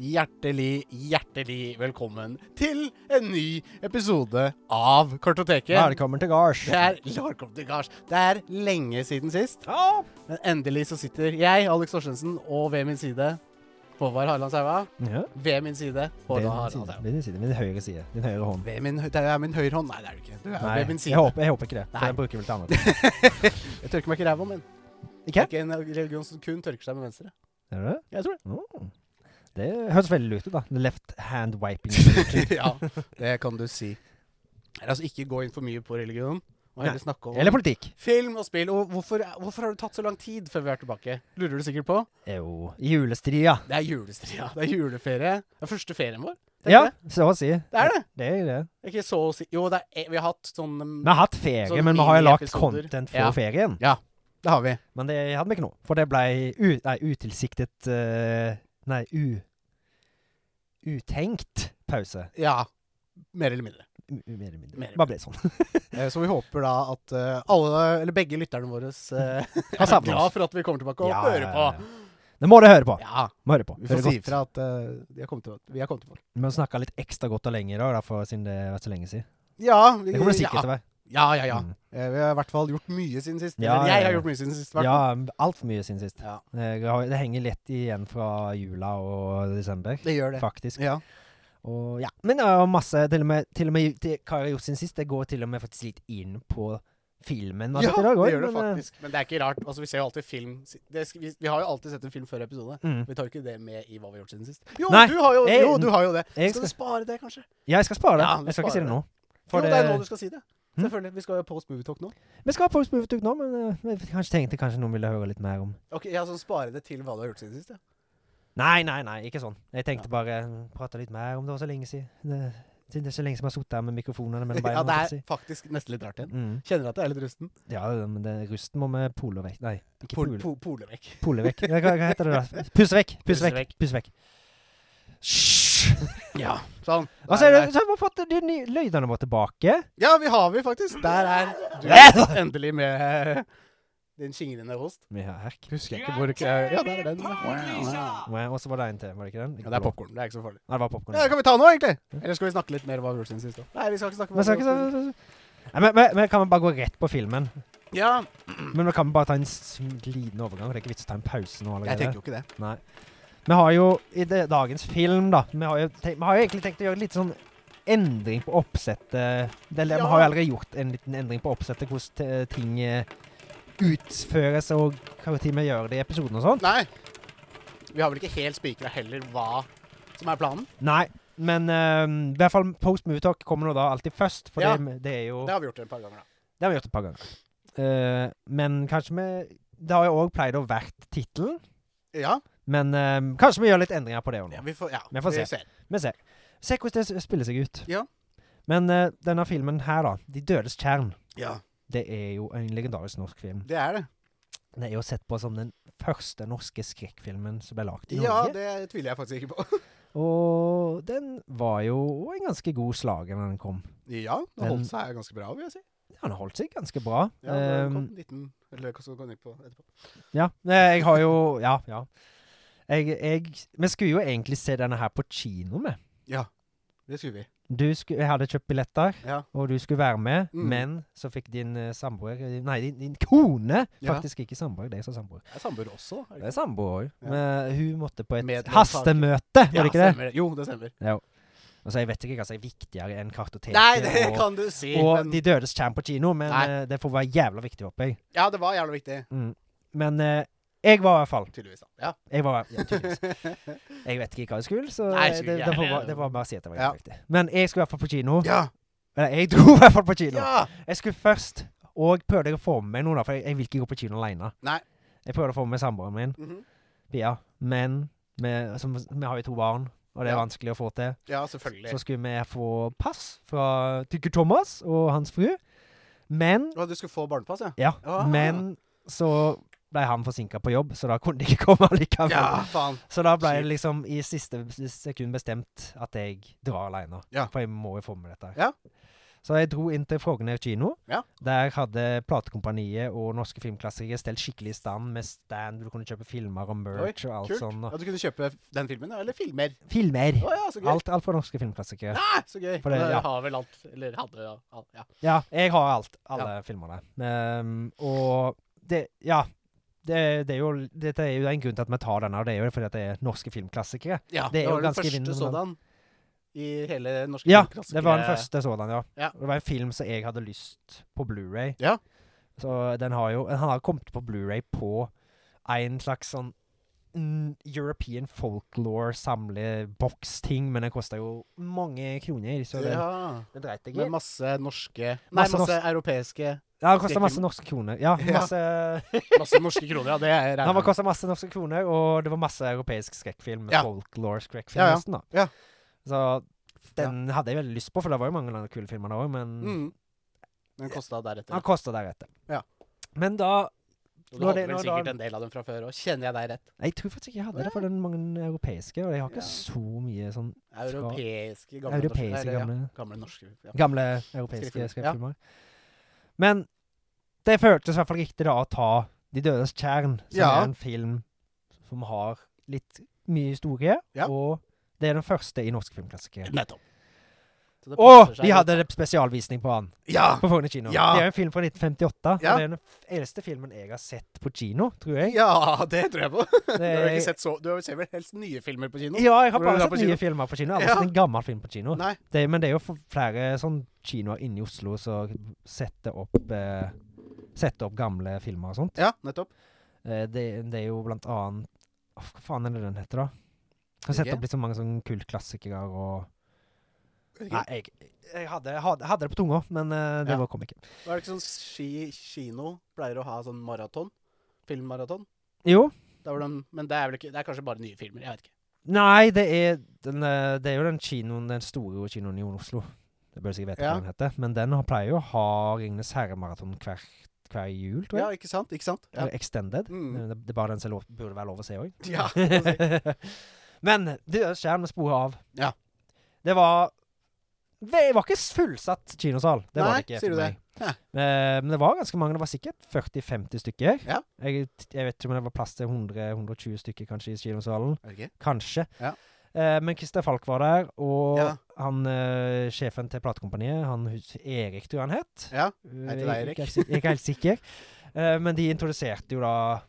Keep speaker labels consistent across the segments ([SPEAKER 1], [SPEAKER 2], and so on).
[SPEAKER 1] hjertelig, hjertelig velkommen til en ny episode av Kartoteket.
[SPEAKER 2] Velkommen til gards.
[SPEAKER 1] Det er Larkom til gards. Det er lenge siden sist,
[SPEAKER 2] Ja.
[SPEAKER 1] men endelig så sitter jeg, Alex Torstensen, og ved min side Håvard Harland Saua.
[SPEAKER 2] ja.
[SPEAKER 1] Ved min side
[SPEAKER 2] Ved
[SPEAKER 1] Håvard
[SPEAKER 2] din
[SPEAKER 1] Harland
[SPEAKER 2] side,
[SPEAKER 1] Saua.
[SPEAKER 2] ved din side, min høyre side. Din høyre hånd.
[SPEAKER 1] Ved min, det er min høyre hånd. Nei, det er du ikke. Du er
[SPEAKER 2] Nei,
[SPEAKER 1] ved min
[SPEAKER 2] jeg
[SPEAKER 1] side.
[SPEAKER 2] håper, jeg håper ikke det.
[SPEAKER 1] Nei.
[SPEAKER 2] For jeg bruker vel til annet.
[SPEAKER 1] Jeg tørker meg ikke i ræva, men
[SPEAKER 2] Ikke?
[SPEAKER 1] ikke en religion som kun tørker seg med venstre.
[SPEAKER 2] Er det det?
[SPEAKER 1] Jeg tror det.
[SPEAKER 2] Mm. Det høres veldig lurt ut, da. Left hand wiping.
[SPEAKER 1] ja, det kan du si. Eller altså, ikke gå inn for mye på religion, og heller snakke om
[SPEAKER 2] Eller politikk.
[SPEAKER 1] Film og spill. Og hvorfor, hvorfor har det tatt så lang tid før vi er tilbake? Lurer du sikkert på?
[SPEAKER 2] Jo, julestria.
[SPEAKER 1] Det er julestria. Det er juleferie. Det er første ferien vår. Det er
[SPEAKER 2] Ja,
[SPEAKER 1] det.
[SPEAKER 2] så å si.
[SPEAKER 1] Det er det.
[SPEAKER 2] Det er det.
[SPEAKER 1] Det er Ikke så å si Jo, det er, vi har hatt sånn um,
[SPEAKER 2] Vi har hatt ferie,
[SPEAKER 1] Sånn
[SPEAKER 2] men vi har jo lagt
[SPEAKER 1] mini-episoder.
[SPEAKER 2] content for
[SPEAKER 1] Ja.
[SPEAKER 2] ferien.
[SPEAKER 1] Det har vi.
[SPEAKER 2] Men det hadde vi ikke nå, for det ble u, nei, utilsiktet eh, Nei, u... Utenkt pause.
[SPEAKER 1] Ja. Mer eller mindre.
[SPEAKER 2] U, u, mer eller mindre.
[SPEAKER 1] Mer eller
[SPEAKER 2] Bare ble sånn.
[SPEAKER 1] Eh, Så vi håper da at eh, alle, eller begge lytterne våre, eh,
[SPEAKER 2] Har
[SPEAKER 1] er
[SPEAKER 2] savnet
[SPEAKER 1] glad
[SPEAKER 2] oss.
[SPEAKER 1] for at vi kommer tilbake og
[SPEAKER 2] Ja,
[SPEAKER 1] hører
[SPEAKER 2] ja,
[SPEAKER 1] på.
[SPEAKER 2] ja, Det må dere høre på.
[SPEAKER 1] Ja.
[SPEAKER 2] Må høre på.
[SPEAKER 1] Vi
[SPEAKER 2] Hører
[SPEAKER 1] får si
[SPEAKER 2] godt.
[SPEAKER 1] ifra at eh, de har kommet til, vi har kommet tilbake.
[SPEAKER 2] Vi har snakka litt ekstra godt og lenge i dag, da, for siden det har vært så lenge siden.
[SPEAKER 1] Ja, vi,
[SPEAKER 2] Det kommer det
[SPEAKER 1] ja.
[SPEAKER 2] sikkert til å være.
[SPEAKER 1] Ja, ja, ja.
[SPEAKER 2] Mm.
[SPEAKER 1] Eh, Vi har i hvert fall gjort mye siden sist.
[SPEAKER 2] Ja,
[SPEAKER 1] Eller
[SPEAKER 2] ja,
[SPEAKER 1] jeg
[SPEAKER 2] ja.
[SPEAKER 1] har gjort mye siden sist. i hvert
[SPEAKER 2] Ja,
[SPEAKER 1] fall.
[SPEAKER 2] altfor mye siden sist.
[SPEAKER 1] Ja.
[SPEAKER 2] Jeg har- Det henger lett igjen fra jula og desember,
[SPEAKER 1] Det gjør det.
[SPEAKER 2] faktisk.
[SPEAKER 1] Ja.
[SPEAKER 2] Og ja, Men det er jo masse Til og med, til og med til, hva jeg har gjort siden sist, det går til og med faktisk litt inn på filmen.
[SPEAKER 1] Ja,
[SPEAKER 2] vi har sett i dag også,
[SPEAKER 1] det gjør det
[SPEAKER 2] men, eh,
[SPEAKER 1] faktisk. Men det er ikke rart. Altså, vi ser jo alltid film det, sk- vi, vi har jo alltid sett en film før episode.
[SPEAKER 2] Mm.
[SPEAKER 1] Vi tar jo ikke det med i hva vi har gjort siden sist. Jo,
[SPEAKER 2] Nei,
[SPEAKER 1] du har jo,
[SPEAKER 2] jeg-
[SPEAKER 1] jo, du har jo det.
[SPEAKER 2] Jeg
[SPEAKER 1] Skal
[SPEAKER 2] skal,
[SPEAKER 1] du spare det, kanskje?
[SPEAKER 2] ja, jeg skal spare det.
[SPEAKER 1] Ja, du
[SPEAKER 2] jeg skal ikke si
[SPEAKER 1] sparer
[SPEAKER 2] det
[SPEAKER 1] det.
[SPEAKER 2] nå.
[SPEAKER 1] Jo,
[SPEAKER 2] For
[SPEAKER 1] det er nå du
[SPEAKER 2] det,
[SPEAKER 1] skal si det.
[SPEAKER 2] Mm.
[SPEAKER 1] Selvfølgelig. Vi skal jo post movie talk nå.
[SPEAKER 2] vi skal ha Post Movie Talk nå, men eh, jeg kanskje tenkte kanskje noen ville høre litt mer om
[SPEAKER 1] Ok, ja, så Spare det til hva du har gjort siden sist. Ja.
[SPEAKER 2] Nei, nei, nei, ikke sånn. Jeg tenkte
[SPEAKER 1] Ja.
[SPEAKER 2] bare mm, prate litt mer om det var så lenge siden. Det, siden det er så lenge siden vi har sittet her med mikrofonene mellom beina.
[SPEAKER 1] ja, det
[SPEAKER 2] holdt
[SPEAKER 1] er
[SPEAKER 2] jeg
[SPEAKER 1] faktisk nesten litt rart
[SPEAKER 2] på å
[SPEAKER 1] igjen.
[SPEAKER 2] si. mm.
[SPEAKER 1] Kjenner at jeg er litt rusten.
[SPEAKER 2] Ja, det- men det, rusten må vi pole vekk. Nei, ikke
[SPEAKER 1] Pol,
[SPEAKER 2] pole,
[SPEAKER 1] po, pole vekk.
[SPEAKER 2] pole vekk. Hva, hva heter det da? Pusse vekk,
[SPEAKER 1] Pusse
[SPEAKER 2] pusse vekk,
[SPEAKER 1] vekk.
[SPEAKER 2] pusse vekk. Hysj!
[SPEAKER 1] Ja, sånn. Der,
[SPEAKER 2] Altså, er det,
[SPEAKER 1] der.
[SPEAKER 2] så har vi fått de nye lydene våre tilbake.
[SPEAKER 1] Ja, vi har vi faktisk. Der er du endelig med eh, din skingrende host.
[SPEAKER 2] Ja, herk.
[SPEAKER 1] Husker jeg ikke hvor Ja, der er den. Ja,
[SPEAKER 2] Nei, Og så var det en til, var det ikke den?
[SPEAKER 1] det er popkorn. Det er ikke så farlig.
[SPEAKER 2] Nei, det
[SPEAKER 1] Ja,
[SPEAKER 2] var
[SPEAKER 1] det
[SPEAKER 2] popkorn.
[SPEAKER 1] kan vi ta nå, egentlig. Eller skal vi snakke litt mer om hva vi gjorde siden sist? da? Nei, vi skal ikke snakke om
[SPEAKER 2] Men,
[SPEAKER 1] hva vi
[SPEAKER 2] skal ikke,
[SPEAKER 1] gjorde siden
[SPEAKER 2] så- Nei, men, men, men kan vi bare gå rett på filmen?
[SPEAKER 1] sist. Ja,
[SPEAKER 2] Men vi kan vi bare ta en s- glidende overgang? for Det er ikke vits å ta en pause nå allerede.
[SPEAKER 1] jeg tenker jo ikke det.
[SPEAKER 2] Nei. Vi har jo i det, dagens film, da vi har, jo tenkt, vi har jo egentlig tenkt å gjøre litt sånn endring på oppsettet. Det, eller,
[SPEAKER 1] Ja.
[SPEAKER 2] Vi har jo allerede gjort en liten endring på oppsettet, hvordan t- ting eh, utføres og hva tid vi gjør det i episoden og sånn.
[SPEAKER 1] Nei. Vi har vel ikke helt spikra heller hva som er planen.
[SPEAKER 2] Nei, men eh, i hvert fall Post Movie Talk kommer nå da alltid først, for
[SPEAKER 1] Ja.
[SPEAKER 2] det, det er jo
[SPEAKER 1] Det har vi gjort et par ganger, da.
[SPEAKER 2] Det har vi gjort et par ganger. Eh, men kanskje vi Det har jo òg pleid å vært tittelen,
[SPEAKER 1] Ja,
[SPEAKER 2] men eh, kanskje vi gjør litt endringer på det òg nå.
[SPEAKER 1] ja vi får, ja,
[SPEAKER 2] Vi får se.
[SPEAKER 1] ser.
[SPEAKER 2] Vi ser. Se hvordan det s- spiller seg ut.
[SPEAKER 1] Ja.
[SPEAKER 2] Men eh, denne filmen her, da. 'De dødes kjern'.
[SPEAKER 1] Ja,
[SPEAKER 2] Det er jo en legendarisk norsk film.
[SPEAKER 1] det er det.
[SPEAKER 2] Den er jo sett på som den første norske skrekkfilmen som ble lagd i
[SPEAKER 1] Ja,
[SPEAKER 2] Norge.
[SPEAKER 1] det tviler jeg faktisk ikke på.
[SPEAKER 2] Og den var jo en ganske god slager når den kom.
[SPEAKER 1] Ja, det
[SPEAKER 2] Men-
[SPEAKER 1] holdt seg ganske bra, vil jeg si.
[SPEAKER 2] Ja, Den holdt seg ganske bra.
[SPEAKER 1] Ja, det kom
[SPEAKER 2] Ehm,
[SPEAKER 1] 19, eller hva skal vi gå inn på etterpå?
[SPEAKER 2] ja. Nei, Jeg har jo Ja, ja. Jeg, jeg, vi skulle jo egentlig se denne her på kino med.
[SPEAKER 1] Ja, det skulle vi.
[SPEAKER 2] Du sku, jeg hadde kjøpt billetter,
[SPEAKER 1] Ja.
[SPEAKER 2] og du skulle være med,
[SPEAKER 1] Mm.
[SPEAKER 2] men så fikk din eh, samboer Nei, din, din kone!
[SPEAKER 1] Ja.
[SPEAKER 2] Faktisk ikke samboer, det er så samboer.
[SPEAKER 1] Det er samboer også. er det
[SPEAKER 2] Det
[SPEAKER 1] ikke?
[SPEAKER 2] er samboer.
[SPEAKER 1] Ja.
[SPEAKER 2] Men eh, hun måtte på et
[SPEAKER 1] Medlemssak.
[SPEAKER 2] hastemøte, var
[SPEAKER 1] Ja,
[SPEAKER 2] det ikke det?
[SPEAKER 1] stemmer. Jo, det stemmer.
[SPEAKER 2] Altså, jeg vet ikke hva som er viktigere enn kartoteket
[SPEAKER 1] Nei, det
[SPEAKER 2] og,
[SPEAKER 1] kan du si.
[SPEAKER 2] og
[SPEAKER 1] Men,
[SPEAKER 2] De dødes kjern på kino, men
[SPEAKER 1] Nei.
[SPEAKER 2] eh, det får være jævla viktig, håper jeg.
[SPEAKER 1] ja, det var jævla viktig.
[SPEAKER 2] Mm. Men eh, jeg var i hvert fall
[SPEAKER 1] Tydeligvis, da. Ja.
[SPEAKER 2] Jeg var ja, tydeligvis. Jeg vet ikke hva jeg skulle, så
[SPEAKER 1] Nei,
[SPEAKER 2] eh,
[SPEAKER 1] sikkert
[SPEAKER 2] det,
[SPEAKER 1] ikke
[SPEAKER 2] det, får
[SPEAKER 1] jeg.
[SPEAKER 2] bare, det var bare å si at det var
[SPEAKER 1] Ja.
[SPEAKER 2] jævla viktig. Men jeg skulle i hvert fall på kino.
[SPEAKER 1] Ja!
[SPEAKER 2] Eller, jeg dro i hvert fall på kino.
[SPEAKER 1] ja.
[SPEAKER 2] Jeg skulle først og prøvde jeg å få med meg noen, da, for jeg, jeg vil ikke gå på kino alene.
[SPEAKER 1] Nei.
[SPEAKER 2] Jeg prøvde å få med meg samboeren min,
[SPEAKER 1] Mhm.
[SPEAKER 2] Pia, men vi, som, vi har jo to barn, og det er
[SPEAKER 1] Ja.
[SPEAKER 2] vanskelig å få til.
[SPEAKER 1] Ja, selvfølgelig.
[SPEAKER 2] Så skulle vi få pass fra Tykker Thomas og hans fru, men
[SPEAKER 1] Å, du skulle få barnepass, ja?
[SPEAKER 2] Ja,
[SPEAKER 1] Ah.
[SPEAKER 2] men så ble han forsinka på jobb, så da kunne de ikke komme likevel.
[SPEAKER 1] Ja, faen.
[SPEAKER 2] Så da ble det liksom i siste sekund bestemt at jeg drar aleine.
[SPEAKER 1] Ja.
[SPEAKER 2] For jeg må jo få med dette. her.
[SPEAKER 1] Ja.
[SPEAKER 2] Så jeg dro inn til Frogner kino.
[SPEAKER 1] Ja.
[SPEAKER 2] Der hadde platekompaniet og norske filmklassikere stelt skikkelig i stand med stand hvor du kunne kjøpe filmer og merch og alt
[SPEAKER 1] kult.
[SPEAKER 2] sånn. Og
[SPEAKER 1] Ja, du kunne kjøpe den filmen, eller filmer.
[SPEAKER 2] filmer!
[SPEAKER 1] Å ja, så gøy.
[SPEAKER 2] Alt, alt for norske filmklassikere.
[SPEAKER 1] Ah, så gøy.
[SPEAKER 2] For det-
[SPEAKER 1] Men
[SPEAKER 2] ja.
[SPEAKER 1] Har vel alt, eller hadde ja, alt, ja.
[SPEAKER 2] Ja, jeg har alt. Alle filmene. Ehm, og det Ja. Det, det er jo, dette er jo en grunn til at vi tar denne, og det er jo fordi at det er norske filmklassikere.
[SPEAKER 1] ja.
[SPEAKER 2] Det er jo
[SPEAKER 1] var den
[SPEAKER 2] ganske
[SPEAKER 1] første
[SPEAKER 2] vinnende.
[SPEAKER 1] sådan i hele norsk
[SPEAKER 2] Ja,
[SPEAKER 1] filmklassiker-
[SPEAKER 2] det var den første sådan, ja.
[SPEAKER 1] Ja.
[SPEAKER 2] Det var en film som jeg hadde lyst på Blu-ray.
[SPEAKER 1] Ja.
[SPEAKER 2] Så den har jo Han har kommet på Blu-ray på en slags sånn mm, European folklore-samleboks-ting, men den kosta jo mange kroner, så det,
[SPEAKER 1] Ja.
[SPEAKER 2] det dreit jeg i.
[SPEAKER 1] Med masse norske Nei,
[SPEAKER 2] Masse
[SPEAKER 1] masse,
[SPEAKER 2] norsk-
[SPEAKER 1] europeiske
[SPEAKER 2] Ja, det kosta masse norske kroner. Ja,
[SPEAKER 1] Ja.
[SPEAKER 2] masse
[SPEAKER 1] Masse norske kroner, ja. Det er
[SPEAKER 2] Den var kosta masse norske kroner, og det var masse europeisk skrekkfilm.
[SPEAKER 1] Ja.
[SPEAKER 2] Folklore-skrekkfilm,
[SPEAKER 1] Ja, ja.
[SPEAKER 2] nesten, da.
[SPEAKER 1] Ja.
[SPEAKER 2] Så den hadde jeg veldig lyst på, for det var jo mange andre kule filmer da òg, men
[SPEAKER 1] mm. Den kosta deretter.
[SPEAKER 2] han kosta deretter.
[SPEAKER 1] Ja.
[SPEAKER 2] Men da
[SPEAKER 1] Og
[SPEAKER 2] Når
[SPEAKER 1] Du hadde
[SPEAKER 2] det-
[SPEAKER 1] vel
[SPEAKER 2] når
[SPEAKER 1] sikkert
[SPEAKER 2] da-
[SPEAKER 1] en del av dem fra før òg. Kjenner jeg deg rett?
[SPEAKER 2] Nei, Jeg tror faktisk ikke jeg hadde det, for det er mange europeiske, og jeg har ikke
[SPEAKER 1] Ja.
[SPEAKER 2] så mye sånn
[SPEAKER 1] Europeiske, gamle norske,
[SPEAKER 2] europeiske gamle,
[SPEAKER 1] Ja, gamle norske ja.
[SPEAKER 2] gamle europeiske
[SPEAKER 1] Skrekkfilm, ja.
[SPEAKER 2] skrekkfilmer. Men det føltes i hvert fall riktig da å ta De dødes tjern, som
[SPEAKER 1] Ja.
[SPEAKER 2] er en film som har litt mye historie,
[SPEAKER 1] Ja.
[SPEAKER 2] og det er den første i norske filmklassiker.
[SPEAKER 1] Nettopp. Så det
[SPEAKER 2] Og
[SPEAKER 1] passer seg
[SPEAKER 2] de
[SPEAKER 1] litt.
[SPEAKER 2] hadde rep- spesialvisning på han
[SPEAKER 1] Ja!
[SPEAKER 2] på Fogne kino.
[SPEAKER 1] Ja.
[SPEAKER 2] Det er jo en film fra 1958,
[SPEAKER 1] Ja.
[SPEAKER 2] og det er den f- eldste filmen jeg har sett på kino, tror jeg.
[SPEAKER 1] Ja, det tror jeg på. Du har jo
[SPEAKER 2] er-
[SPEAKER 1] ikke sett så Du har jo ser vel helst nye filmer på kino?
[SPEAKER 2] Ja, jeg har
[SPEAKER 1] Hvor
[SPEAKER 2] bare
[SPEAKER 1] du er på
[SPEAKER 2] sett
[SPEAKER 1] kino.
[SPEAKER 2] nye filmer på kino. Jeg har
[SPEAKER 1] Ja.
[SPEAKER 2] aldri sett en gammel film på kino.
[SPEAKER 1] Nei.
[SPEAKER 2] Det, men det er jo f- flere sånn kinoer inne i Oslo som setter opp eh, Setter opp gamle filmer og sånt.
[SPEAKER 1] Ja, nettopp.
[SPEAKER 2] Eh, det, det er jo blant annet Åh, Hva faen er det den heter, da? Kan sette
[SPEAKER 1] Ikke?
[SPEAKER 2] opp litt så mange sånne kultklassikere og
[SPEAKER 1] Ikke?
[SPEAKER 2] Nei, jeg, jeg hadde, hadde, hadde det på tunga, men eh, det
[SPEAKER 1] Ja.
[SPEAKER 2] var- kom ikke.
[SPEAKER 1] Var det ikke sånn ski, kino pleier å ha sånn maraton? Filmmaraton?
[SPEAKER 2] Jo.
[SPEAKER 1] Da var de- Men det er vel ikke Det er kanskje bare nye filmer. Jeg vet ikke.
[SPEAKER 2] Nei, det er, den, eh, det er jo den kinoen, den store kinoen i Oslo. Det bør du sikkert vite
[SPEAKER 1] Ja.
[SPEAKER 2] hva den heter. Men den har- pleier jo å ha Ringenes herre-maraton hver, hver jul, tror jeg.
[SPEAKER 1] Ja, ikke sant? Ikke sant? Ja.
[SPEAKER 2] Eller Extended.
[SPEAKER 1] Mm.
[SPEAKER 2] Det, det er bare den som er lov, burde være lov å se òg.
[SPEAKER 1] Ja,
[SPEAKER 2] Men det skjer med sporet av.
[SPEAKER 1] Ja.
[SPEAKER 2] Det var Det var ikke fullsatt kinosal. Det var
[SPEAKER 1] Nei,
[SPEAKER 2] det ikke.
[SPEAKER 1] sier
[SPEAKER 2] for
[SPEAKER 1] du det?
[SPEAKER 2] meg. Eh, Men det var ganske mange. Det var sikkert 40-50 stykker.
[SPEAKER 1] Ja.
[SPEAKER 2] Jeg, jeg vet ikke om det var plass til 100-120 stykker kanskje i kinosalen.
[SPEAKER 1] Er det ikke?
[SPEAKER 2] Kanskje.
[SPEAKER 1] Ja.
[SPEAKER 2] Eh, men Christer Falk var der, og
[SPEAKER 1] Ja.
[SPEAKER 2] han, eh, sjefen til platekompaniet, han hus- Erik tror jeg han het.
[SPEAKER 1] Ja.
[SPEAKER 2] Eh,
[SPEAKER 1] Hei til
[SPEAKER 2] jeg-
[SPEAKER 1] deg, Erik.
[SPEAKER 2] Jeg, er ikke helt sik- jeg er ikke helt sikker. Eh, men de introduserte jo da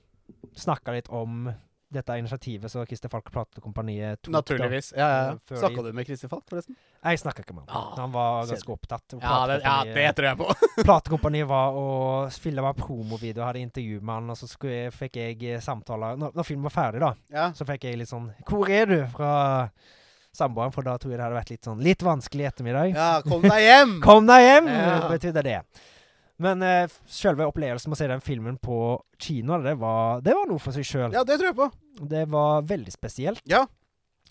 [SPEAKER 2] Snakka litt om dette initiativet som Christer Falk platekompaniet tok. da.
[SPEAKER 1] Naturligvis. Ja, ja.
[SPEAKER 2] Før de-
[SPEAKER 1] Snakka du med Kristin Falk, forresten?
[SPEAKER 2] Jeg snakka ikke med ham.
[SPEAKER 1] Ah,
[SPEAKER 2] Han var ganske
[SPEAKER 1] kjedelig.
[SPEAKER 2] opptatt. og
[SPEAKER 1] Ja det, ja,
[SPEAKER 2] platekompaniet-
[SPEAKER 1] det tror jeg på.
[SPEAKER 2] Platekompaniet var og filma promovideo, hadde intervju med han, og så skulle jeg, fikk jeg eh, samtaler når, når filmen var ferdig, da,
[SPEAKER 1] Ja.
[SPEAKER 2] så fikk jeg litt sånn 'Hvor er du?' fra samboeren, for da tror jeg det hadde vært litt sånn litt vanskelig ettermiddag.
[SPEAKER 1] ja, kom deg hjem!
[SPEAKER 2] Kom deg hjem!
[SPEAKER 1] Ja.
[SPEAKER 2] betydde det. Men eh, selve opplevelsen med å se den filmen på kino, det var, det var noe for seg sjøl.
[SPEAKER 1] Ja, det tror jeg på.
[SPEAKER 2] Det var veldig spesielt.
[SPEAKER 1] Ja.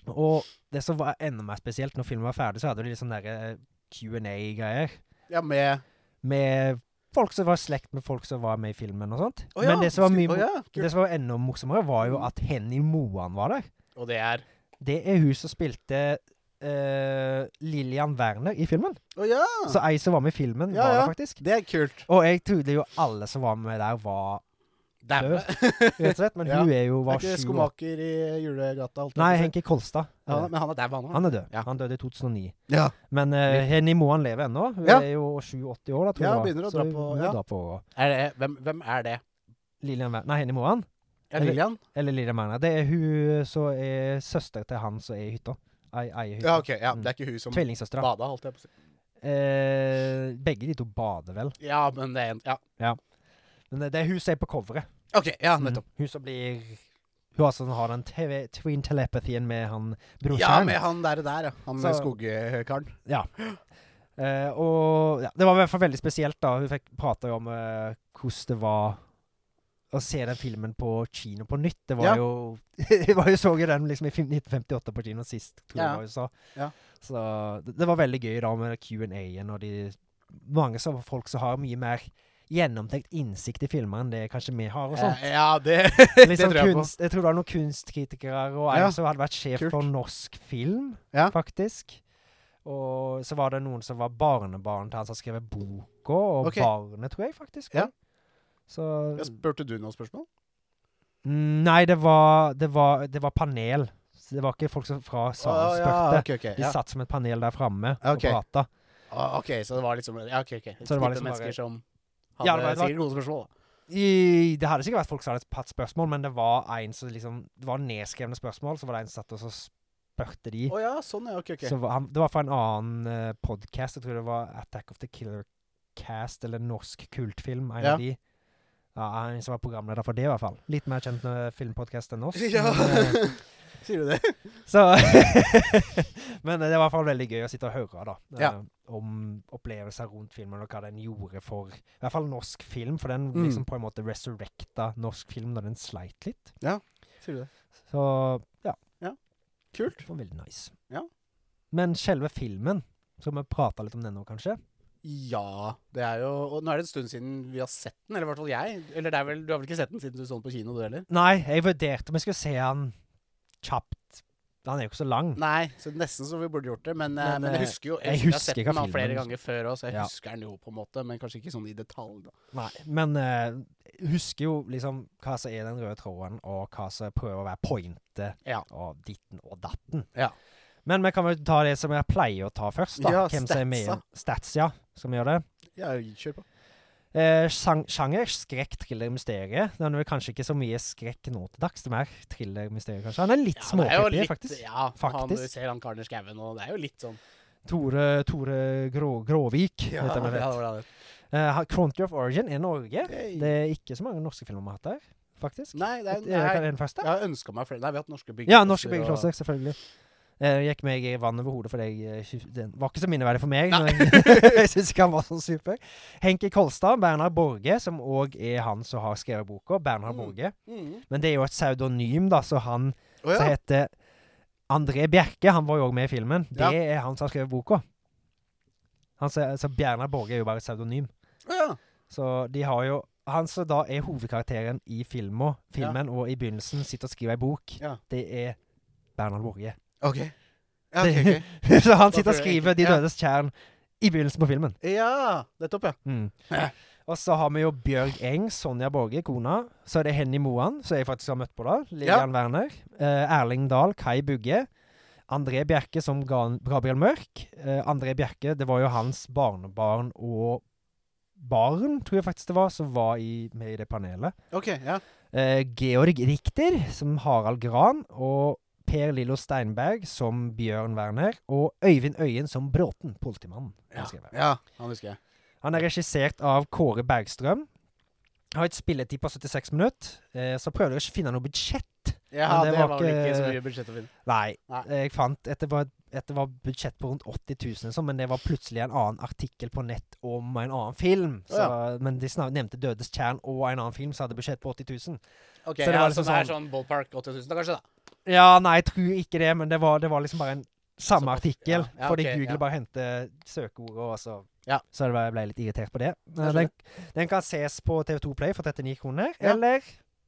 [SPEAKER 2] Og det som var enda mer spesielt, når filmen var ferdig, så hadde de litt sånne der, eh, Q&A-greier
[SPEAKER 1] Ja, med
[SPEAKER 2] med folk som var i slekt med folk som var med i filmen og sånt.
[SPEAKER 1] Å ja,
[SPEAKER 2] Men det som var mye
[SPEAKER 1] å ja, kult. Mm.
[SPEAKER 2] det som var enda morsommere, var jo at Henny Moan var der.
[SPEAKER 1] Og det er
[SPEAKER 2] Det er hun som spilte eh, Lillian Werner i filmen.
[SPEAKER 1] Å ja!
[SPEAKER 2] Så ei som var med i filmen,
[SPEAKER 1] Ah. Ja,
[SPEAKER 2] var
[SPEAKER 1] ja.
[SPEAKER 2] der faktisk.
[SPEAKER 1] Det er kult.
[SPEAKER 2] Og jeg trodde jo alle som var med der, var
[SPEAKER 1] Dæven.
[SPEAKER 2] rett og slett, men
[SPEAKER 1] Ja.
[SPEAKER 2] hun er jo
[SPEAKER 1] Er
[SPEAKER 2] var
[SPEAKER 1] ikke
[SPEAKER 2] sju år.
[SPEAKER 1] skomaker i julegata? alt
[SPEAKER 2] Nei,
[SPEAKER 1] det?
[SPEAKER 2] Henki Kolstad.
[SPEAKER 1] ja,
[SPEAKER 2] er det.
[SPEAKER 1] Men han er dau, han òg.
[SPEAKER 2] Han er død.
[SPEAKER 1] Ja.
[SPEAKER 2] Han døde i 2009.
[SPEAKER 1] Ja.
[SPEAKER 2] Men eh, Henny Moan lever ennå. Hun
[SPEAKER 1] Ja.
[SPEAKER 2] er jo 87 år, da, tror
[SPEAKER 1] Ja,
[SPEAKER 2] jeg. det
[SPEAKER 1] begynner
[SPEAKER 2] var.
[SPEAKER 1] å
[SPEAKER 2] Så
[SPEAKER 1] dra
[SPEAKER 2] hun
[SPEAKER 1] på-
[SPEAKER 2] må
[SPEAKER 1] ja.
[SPEAKER 2] dra på åra.
[SPEAKER 1] Er det, hvem, hvem er det?
[SPEAKER 2] Lillian Werner Nei, Henny Moan.
[SPEAKER 1] Er det Lillian?
[SPEAKER 2] Eller Lillian Werner. Det er hun som er søster til han som er i hytta. Ei, ei i hytta.
[SPEAKER 1] Ja, ok. Ja,
[SPEAKER 2] Mm.
[SPEAKER 1] det er ikke hun som
[SPEAKER 2] Tvillingsøstera.
[SPEAKER 1] bada, holdt jeg på å si.
[SPEAKER 2] Eh, begge de to bader vel.
[SPEAKER 1] Ja, men det er en Ja.
[SPEAKER 2] Men eh, det, det er hun som er på coveret. Mm.
[SPEAKER 1] OK. Ja, nettopp.
[SPEAKER 2] Hun som blir Hun altså har den TV, twin telepathien med han
[SPEAKER 1] Ja,
[SPEAKER 2] brorsan.
[SPEAKER 1] med han der, der ja. Han
[SPEAKER 2] Så-
[SPEAKER 1] skogkaren.
[SPEAKER 2] Eh, og ja, det var i hvert fall veldig spesielt, da. Hun fikk prata jo om eh, hvordan det var å se den filmen på kino på nytt. Det var
[SPEAKER 1] Ja.
[SPEAKER 2] jo Jeg var jo så jo den liksom i film- 1958 på kino sist, tror jeg
[SPEAKER 1] Ja.
[SPEAKER 2] det var i USA.
[SPEAKER 1] Ja.
[SPEAKER 2] Så det, det var veldig gøy da med Q&A-en og de mange som, folk som har mye mer gjennomtenkt innsikt i filmer enn det kanskje vi har og sånn.
[SPEAKER 1] Ja, det,
[SPEAKER 2] Litt
[SPEAKER 1] det
[SPEAKER 2] sånn
[SPEAKER 1] tror jeg på.
[SPEAKER 2] kunst, jeg tror det var noen kunstkritikere og en
[SPEAKER 1] Ja.
[SPEAKER 2] som hadde vært sjef
[SPEAKER 1] Kult.
[SPEAKER 2] for norsk film,
[SPEAKER 1] Ja.
[SPEAKER 2] faktisk. Og så var det noen som var barnebarn til han som skrev boka, og
[SPEAKER 1] Ok.
[SPEAKER 2] barnet, tror jeg faktisk.
[SPEAKER 1] Ja.
[SPEAKER 2] Så
[SPEAKER 1] Jeg spurte du noen spørsmål?
[SPEAKER 2] Nei, det var, det var, det var panel. Så det var ikke folk som fra
[SPEAKER 1] Å,
[SPEAKER 2] salen spurte.
[SPEAKER 1] ok, ok,
[SPEAKER 2] De
[SPEAKER 1] ja.
[SPEAKER 2] satt som et panel der framme
[SPEAKER 1] Ok.
[SPEAKER 2] og prata.
[SPEAKER 1] Ah, ok, så det var liksom ja, ok, ok. Et
[SPEAKER 2] Så det
[SPEAKER 1] knippe
[SPEAKER 2] var liksom
[SPEAKER 1] mennesker
[SPEAKER 2] bare-
[SPEAKER 1] som hadde
[SPEAKER 2] Ja, det var- det var-
[SPEAKER 1] sikkert gode spørsmål. da.
[SPEAKER 2] I, det hadde sikkert vært folk som hadde hatt spørsmål, men det var en som liksom Det var nedskrevne spørsmål, så var det en som satt og så spurte de.
[SPEAKER 1] Å ja, sånn ja, ok, ok.
[SPEAKER 2] Så var han, det var fra en annen uh, podkast, jeg tror det var Attack of the Killer Cast, eller norsk kultfilm, en
[SPEAKER 1] Ja.
[SPEAKER 2] av de. Ja, en som var programleder for det, i hvert fall. Litt mer kjent uh, filmpodkast enn oss.
[SPEAKER 1] ja.
[SPEAKER 2] Men, eh,
[SPEAKER 1] Sier du det?
[SPEAKER 2] så Men eh, det var i hvert fall veldig gøy å sitte og høre, da. eh,
[SPEAKER 1] Ja.
[SPEAKER 2] Om opplevelser rundt filmen, og hva den gjorde for I hvert fall norsk film, for den
[SPEAKER 1] Mm.
[SPEAKER 2] liksom på en måte resurrecta norsk film da den sleit litt.
[SPEAKER 1] Sier du det?
[SPEAKER 2] Så ja.
[SPEAKER 1] Ja. Kult.
[SPEAKER 2] Det var veldig nice.
[SPEAKER 1] Ja.
[SPEAKER 2] Men selve filmen, skal vi prate litt om den nå, kanskje?
[SPEAKER 1] Ja. Det er jo Og nå er det en stund siden vi har sett den, eller i hvert fall jeg. Eller det er vel, du har vel ikke sett den siden du så den på kino, du heller?
[SPEAKER 2] Nei, jeg vurderte om jeg skulle se han kjapt. Han er jo ikke så lang.
[SPEAKER 1] Nei, så nesten så vi burde gjort det, men, eh,
[SPEAKER 2] Men,
[SPEAKER 1] men jeg
[SPEAKER 2] eh,
[SPEAKER 1] husker jo Jeg,
[SPEAKER 2] jeg
[SPEAKER 1] husker jeg har
[SPEAKER 2] husker
[SPEAKER 1] sett
[SPEAKER 2] ikke
[SPEAKER 1] den da
[SPEAKER 2] filmen,
[SPEAKER 1] flere
[SPEAKER 2] liksom.
[SPEAKER 1] ganger før òg, så jeg
[SPEAKER 2] Ja.
[SPEAKER 1] husker den jo på en måte, men kanskje ikke sånn i detalj. da.
[SPEAKER 2] Nei, men eh, husker jo liksom hva som er den røde tråden, og hva som prøver å være pointet,
[SPEAKER 1] Ja.
[SPEAKER 2] og ditten og datten.
[SPEAKER 1] Ja.
[SPEAKER 2] Men vi kan vel ta det som jeg pleier å ta først, da.
[SPEAKER 1] Ja,
[SPEAKER 2] Hvem som er med i
[SPEAKER 1] statsa.
[SPEAKER 2] Stats, ja. Som gjør det.
[SPEAKER 1] Ja, kjør på.
[SPEAKER 2] Eh, sjang, sjanger skrekk, thriller, mysterie. Det er vel kanskje ikke så mye skrekk nå til dags. Det er mer thriller, mysterie, kanskje. Han er litt
[SPEAKER 1] det er jo
[SPEAKER 2] småkreppig,
[SPEAKER 1] litt-
[SPEAKER 2] faktisk.
[SPEAKER 1] Ja, Han,
[SPEAKER 2] Faktisk.
[SPEAKER 1] du ser han karen i skauen, og det er jo litt sånn
[SPEAKER 2] Tore, Tore Grå, Gråvik,
[SPEAKER 1] Ja,
[SPEAKER 2] heter
[SPEAKER 1] det
[SPEAKER 2] han vel.
[SPEAKER 1] var det.
[SPEAKER 2] Eh, ha- Country of Origin er Norge.
[SPEAKER 1] Hey.
[SPEAKER 2] Det er ikke så mange norske filmer vi har hatt der, faktisk.
[SPEAKER 1] Nei, det
[SPEAKER 2] Er
[SPEAKER 1] er,
[SPEAKER 2] det
[SPEAKER 1] nei,
[SPEAKER 2] den første?
[SPEAKER 1] jeg har ønska meg flere Nei, vi har hatt norske byggeklosser.
[SPEAKER 2] Ja, norske
[SPEAKER 1] og-
[SPEAKER 2] byggeklosser, selvfølgelig. Eh, Jeg gikk meg i vann over hodet, for jeg, eh, sy- den var ikke så minneverdig for meg.
[SPEAKER 1] Nei.
[SPEAKER 2] men Jeg, jeg syns ikke han var så super. Henki Kolstad, Bernhard Borge, som òg er han som har skrevet boka. Bernhard
[SPEAKER 1] Mm.
[SPEAKER 2] Borge.
[SPEAKER 1] Mhm.
[SPEAKER 2] Men det er jo et pseudonym, da, så han
[SPEAKER 1] Å
[SPEAKER 2] som
[SPEAKER 1] ja.
[SPEAKER 2] heter André Bjerke, han var jo òg med i filmen.
[SPEAKER 1] Ja.
[SPEAKER 2] Det er han som har skrevet boka. Han, som- så Bernhard Borge er jo bare et pseudonym.
[SPEAKER 1] Å ja.
[SPEAKER 2] Så de har jo Han som da er hovedkarakteren i filmen, filmen og i begynnelsen sitter og skriver ei bok,
[SPEAKER 1] Ja.
[SPEAKER 2] det er Bernhard Borge.
[SPEAKER 1] OK. Ja, ok, ok.
[SPEAKER 2] så han
[SPEAKER 1] Da
[SPEAKER 2] sitter
[SPEAKER 1] tror jeg
[SPEAKER 2] og skriver
[SPEAKER 1] egentlig-
[SPEAKER 2] 'De
[SPEAKER 1] ja.
[SPEAKER 2] dødes tjern' i begynnelsen på filmen.
[SPEAKER 1] ja nettopp, ja.
[SPEAKER 2] Mm. Og så har vi jo Bjørg Eng, Sonja Borge, kona. Så er det Henny Moan, som jeg faktisk har møtt på da. Lillian Werner. Eh, Erling Dahl, Kai Bugge. André Bjerke som Ga- Gabriel Mørk. Eh, André Bjerke, det var jo hans barnebarn og barn, tror jeg faktisk det var, som var i, med i det panelet.
[SPEAKER 1] OK, ja.
[SPEAKER 2] Eh, Georg Richter som Harald Gran, og Per Lillo Steinberg som Bjørn Werner, og Øyvind Øyen som Bråten, politimannen.
[SPEAKER 1] Ja,
[SPEAKER 2] skrev jeg.
[SPEAKER 1] ja han husker jeg.
[SPEAKER 2] Han er regissert av Kåre Bergstrøm. Har et spilletid på 76 minutter. Eh, så prøvde jeg å finne noe budsjett.
[SPEAKER 1] Ja,
[SPEAKER 2] Men
[SPEAKER 1] det,
[SPEAKER 2] det
[SPEAKER 1] var,
[SPEAKER 2] var
[SPEAKER 1] vel ikke
[SPEAKER 2] ikke-
[SPEAKER 1] så mye budsjett å finne.
[SPEAKER 2] Nei,
[SPEAKER 1] Nei.
[SPEAKER 2] jeg fant at det var, at det var budsjett på rundt 80 000, liksom, men det var plutselig en annen artikkel på nett om en annen film.
[SPEAKER 1] Å,
[SPEAKER 2] Så, Men de snak- nevnte 'Dødes tjern' og en annen film som hadde budsjett på 80 000.
[SPEAKER 1] Ok,
[SPEAKER 2] Så det
[SPEAKER 1] ja,
[SPEAKER 2] var
[SPEAKER 1] så
[SPEAKER 2] liksom
[SPEAKER 1] det er sånn ballpark 80 000, da, kanskje? da
[SPEAKER 2] Ja, nei, jeg tror ikke det, men det var, det var liksom bare en samme
[SPEAKER 1] Såpass,
[SPEAKER 2] artikkel.
[SPEAKER 1] ja. Ja,
[SPEAKER 2] fordi
[SPEAKER 1] ok, ja.
[SPEAKER 2] Google bare henter søkeordet, og så
[SPEAKER 1] Ja.
[SPEAKER 2] Så det var, jeg ble litt irritert på det.
[SPEAKER 1] Jeg
[SPEAKER 2] Den, den kan ses på TV2 Play for 39 kroner,
[SPEAKER 1] Ja.
[SPEAKER 2] eller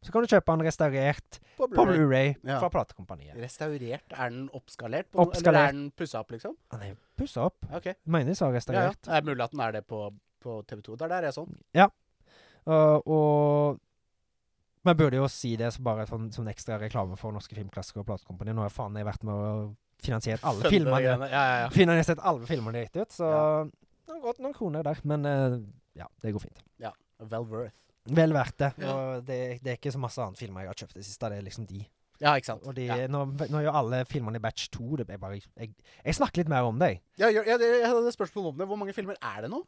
[SPEAKER 2] så kan du kjøpe den restaurert
[SPEAKER 1] På
[SPEAKER 2] på
[SPEAKER 1] Blu-ray.
[SPEAKER 2] Blu-ray
[SPEAKER 1] Ja.
[SPEAKER 2] fra platekompaniet.
[SPEAKER 1] Restaurert? Er den oppskalert? På noe, eller
[SPEAKER 2] Oppskalert.
[SPEAKER 1] er den pussa opp, liksom?
[SPEAKER 2] Den er jo pussa opp.
[SPEAKER 1] Ok, ja,
[SPEAKER 2] Mener de sa
[SPEAKER 1] ja.
[SPEAKER 2] restaurert.
[SPEAKER 1] Det er mulig at den er det på, på TV2. Der, der er jeg sånn.
[SPEAKER 2] Og, og Man burde jo si det så bare sånn, som, som en ekstra reklame for norske filmklassikere og platekompaniet. Nå har faen jeg vært med og finansiert alle
[SPEAKER 1] Skjønner
[SPEAKER 2] filmene.
[SPEAKER 1] greiene. Ja, ja, ja.
[SPEAKER 2] Finner nesten alle filmene de har gitt ut, så
[SPEAKER 1] Ja.
[SPEAKER 2] det har gått noen kroner der. Men eh, ja, det går fint.
[SPEAKER 1] Well worth.
[SPEAKER 2] Vel verdt det.
[SPEAKER 1] Ja.
[SPEAKER 2] Og det, det er ikke så masse annet filmer jeg har kjøpt i det siste. Det er liksom de.
[SPEAKER 1] Ja, ikke sant.
[SPEAKER 2] Og de,
[SPEAKER 1] ja.
[SPEAKER 2] nå, nå gjør alle filmene i batch 2 det er bare, jeg, jeg snakker litt mer om det. jeg.
[SPEAKER 1] Ja, ja, ja, det, jeg hadde et spørsmål om det. Hvor mange filmer er det nå?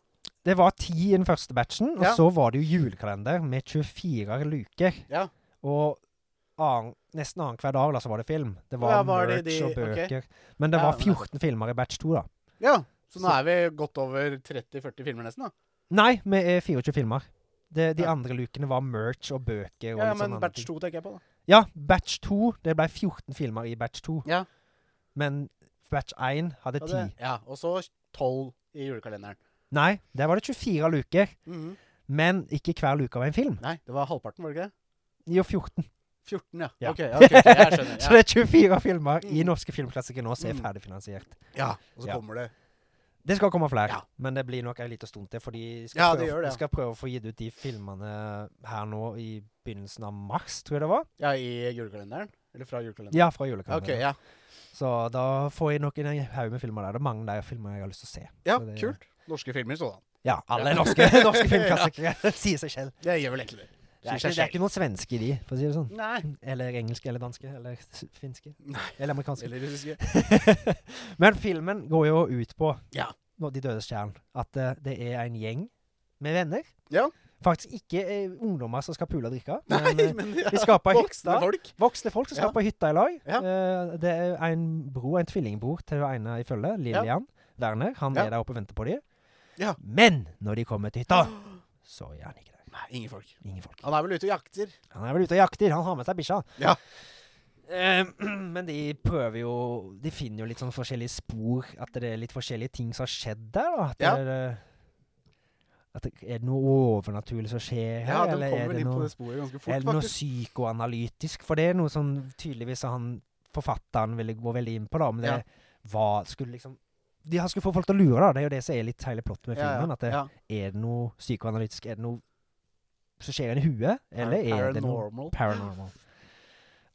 [SPEAKER 2] Det var ti i den første batchen, og
[SPEAKER 1] Ja.
[SPEAKER 2] så var det jo julekalender med 24 luker.
[SPEAKER 1] Ja.
[SPEAKER 2] Og annen, nesten annenhver dag da, så var det film. Det var,
[SPEAKER 1] Ja, var
[SPEAKER 2] merch
[SPEAKER 1] det de-
[SPEAKER 2] og
[SPEAKER 1] ok.
[SPEAKER 2] bøker. Men det
[SPEAKER 1] Ja,
[SPEAKER 2] var
[SPEAKER 1] men det-
[SPEAKER 2] 14 filmer i batch 2, da.
[SPEAKER 1] Ja, så nå
[SPEAKER 2] Så-
[SPEAKER 1] er vi godt over 30-40 filmer nesten, da.
[SPEAKER 2] Nei, vi er 24 filmer. Det, de
[SPEAKER 1] Ja.
[SPEAKER 2] andre lukene var merch og bøker. Og
[SPEAKER 1] Ja, men
[SPEAKER 2] litt sånn andre
[SPEAKER 1] batch
[SPEAKER 2] ting.
[SPEAKER 1] 2 tenker jeg på, da.
[SPEAKER 2] Ja, batch 2. Det ble 14 filmer i batch 2.
[SPEAKER 1] Ja.
[SPEAKER 2] Men batch 1 hadde
[SPEAKER 1] Og
[SPEAKER 2] 10.
[SPEAKER 1] det- Ja, og så 12 i julekalenderen.
[SPEAKER 2] Nei, der var det 24 luker.
[SPEAKER 1] Mhm.
[SPEAKER 2] Men ikke hver luke av en film.
[SPEAKER 1] Nei, det var halvparten, var det ikke det?
[SPEAKER 2] Jo, 14.
[SPEAKER 1] 14, ja.
[SPEAKER 2] Ja.
[SPEAKER 1] Ok, ja, ok, ok, jeg
[SPEAKER 2] Så
[SPEAKER 1] skjønner.
[SPEAKER 2] det er 24 filmer i
[SPEAKER 1] Mm.
[SPEAKER 2] norske filmklassikere nå som er
[SPEAKER 1] Mm.
[SPEAKER 2] ferdigfinansiert.
[SPEAKER 1] Ja, ja og så
[SPEAKER 2] Ja.
[SPEAKER 1] kommer det.
[SPEAKER 2] Det skal komme flere,
[SPEAKER 1] Ja.
[SPEAKER 2] men det blir nok en liten stund til. For de skal,
[SPEAKER 1] Ja, det gjør
[SPEAKER 2] prøve,
[SPEAKER 1] det, ja.
[SPEAKER 2] de skal prøve å få gitt ut de filmene her nå i begynnelsen av mars, tror jeg det var.
[SPEAKER 1] Ja, i julekalenderen? Eller fra julekalenderen?
[SPEAKER 2] Ja, fra
[SPEAKER 1] Ok,
[SPEAKER 2] julekalenderen.
[SPEAKER 1] ja.
[SPEAKER 2] Så da får jeg nok en haug med filmer der. Det er mange der filmer jeg har lyst til å se.
[SPEAKER 1] Ja,
[SPEAKER 2] Så det-
[SPEAKER 1] kult. Norske filmer sådan.
[SPEAKER 2] Ja, alle
[SPEAKER 1] Ja.
[SPEAKER 2] norske, norske filmklassikere. Sier seg selv.
[SPEAKER 1] Det gjør vel egentlig det.
[SPEAKER 2] Det
[SPEAKER 1] Sier
[SPEAKER 2] er, ikke,
[SPEAKER 1] seg
[SPEAKER 2] det er ikke noen svenske i de, for å si det sånn.
[SPEAKER 1] selv. Nei.
[SPEAKER 2] Eller engelske, eller danske, eller s- finske.
[SPEAKER 1] Nei.
[SPEAKER 2] Eller amerikanske.
[SPEAKER 1] Eller russiske.
[SPEAKER 2] Men filmen går jo ut på
[SPEAKER 1] Ja.
[SPEAKER 2] nå, De dødes kjern. At eh, det er en gjeng med venner.
[SPEAKER 1] Ja.
[SPEAKER 2] Faktisk ikke eh, ungdommer som skal pule og drikke.
[SPEAKER 1] Nei,
[SPEAKER 2] Men, eh,
[SPEAKER 1] men de
[SPEAKER 2] de skal på hytta.
[SPEAKER 1] voksne folk.
[SPEAKER 2] voksne folk som skal
[SPEAKER 1] Ja.
[SPEAKER 2] på hytta i lag.
[SPEAKER 1] Ja.
[SPEAKER 2] Eh, det er en bror, en tvillingbror til den ene i følge, Lillian Werner. Han
[SPEAKER 1] Ja.
[SPEAKER 2] er der oppe og venter på dem.
[SPEAKER 1] Ja.
[SPEAKER 2] Men når de kommer til hytta, så er han ikke der.
[SPEAKER 1] Nei, ingen folk.
[SPEAKER 2] Ingen folk.
[SPEAKER 1] Han er vel ute og jakter.
[SPEAKER 2] Han er vel ute og jakter. Han har med seg bikkja.
[SPEAKER 1] Ja.
[SPEAKER 2] Eh, men de prøver jo De finner jo litt sånn forskjellige spor. At det er litt forskjellige ting som har skjedd der. da. At
[SPEAKER 1] Ja.
[SPEAKER 2] det er, eh, at det, er det noe overnaturlig som skjer her?
[SPEAKER 1] Ja, de
[SPEAKER 2] eller
[SPEAKER 1] kommer
[SPEAKER 2] er
[SPEAKER 1] vel
[SPEAKER 2] det
[SPEAKER 1] inn på
[SPEAKER 2] noe,
[SPEAKER 1] det sporet ganske
[SPEAKER 2] er
[SPEAKER 1] fort,
[SPEAKER 2] det noe
[SPEAKER 1] faktisk.
[SPEAKER 2] psykoanalytisk? For det er noe som tydeligvis han, forfatteren ville gå veldig inn på. da, Men det
[SPEAKER 1] Ja.
[SPEAKER 2] var, skulle liksom de han skulle få folk til å lure, da. Det er jo det som er litt hele plottet med filmen. At det,
[SPEAKER 1] ja.
[SPEAKER 2] Er det noe psykoanalytisk? Er det noe som skjer inni huet? Eller er det noe
[SPEAKER 1] Paranormal.
[SPEAKER 2] Paranormal.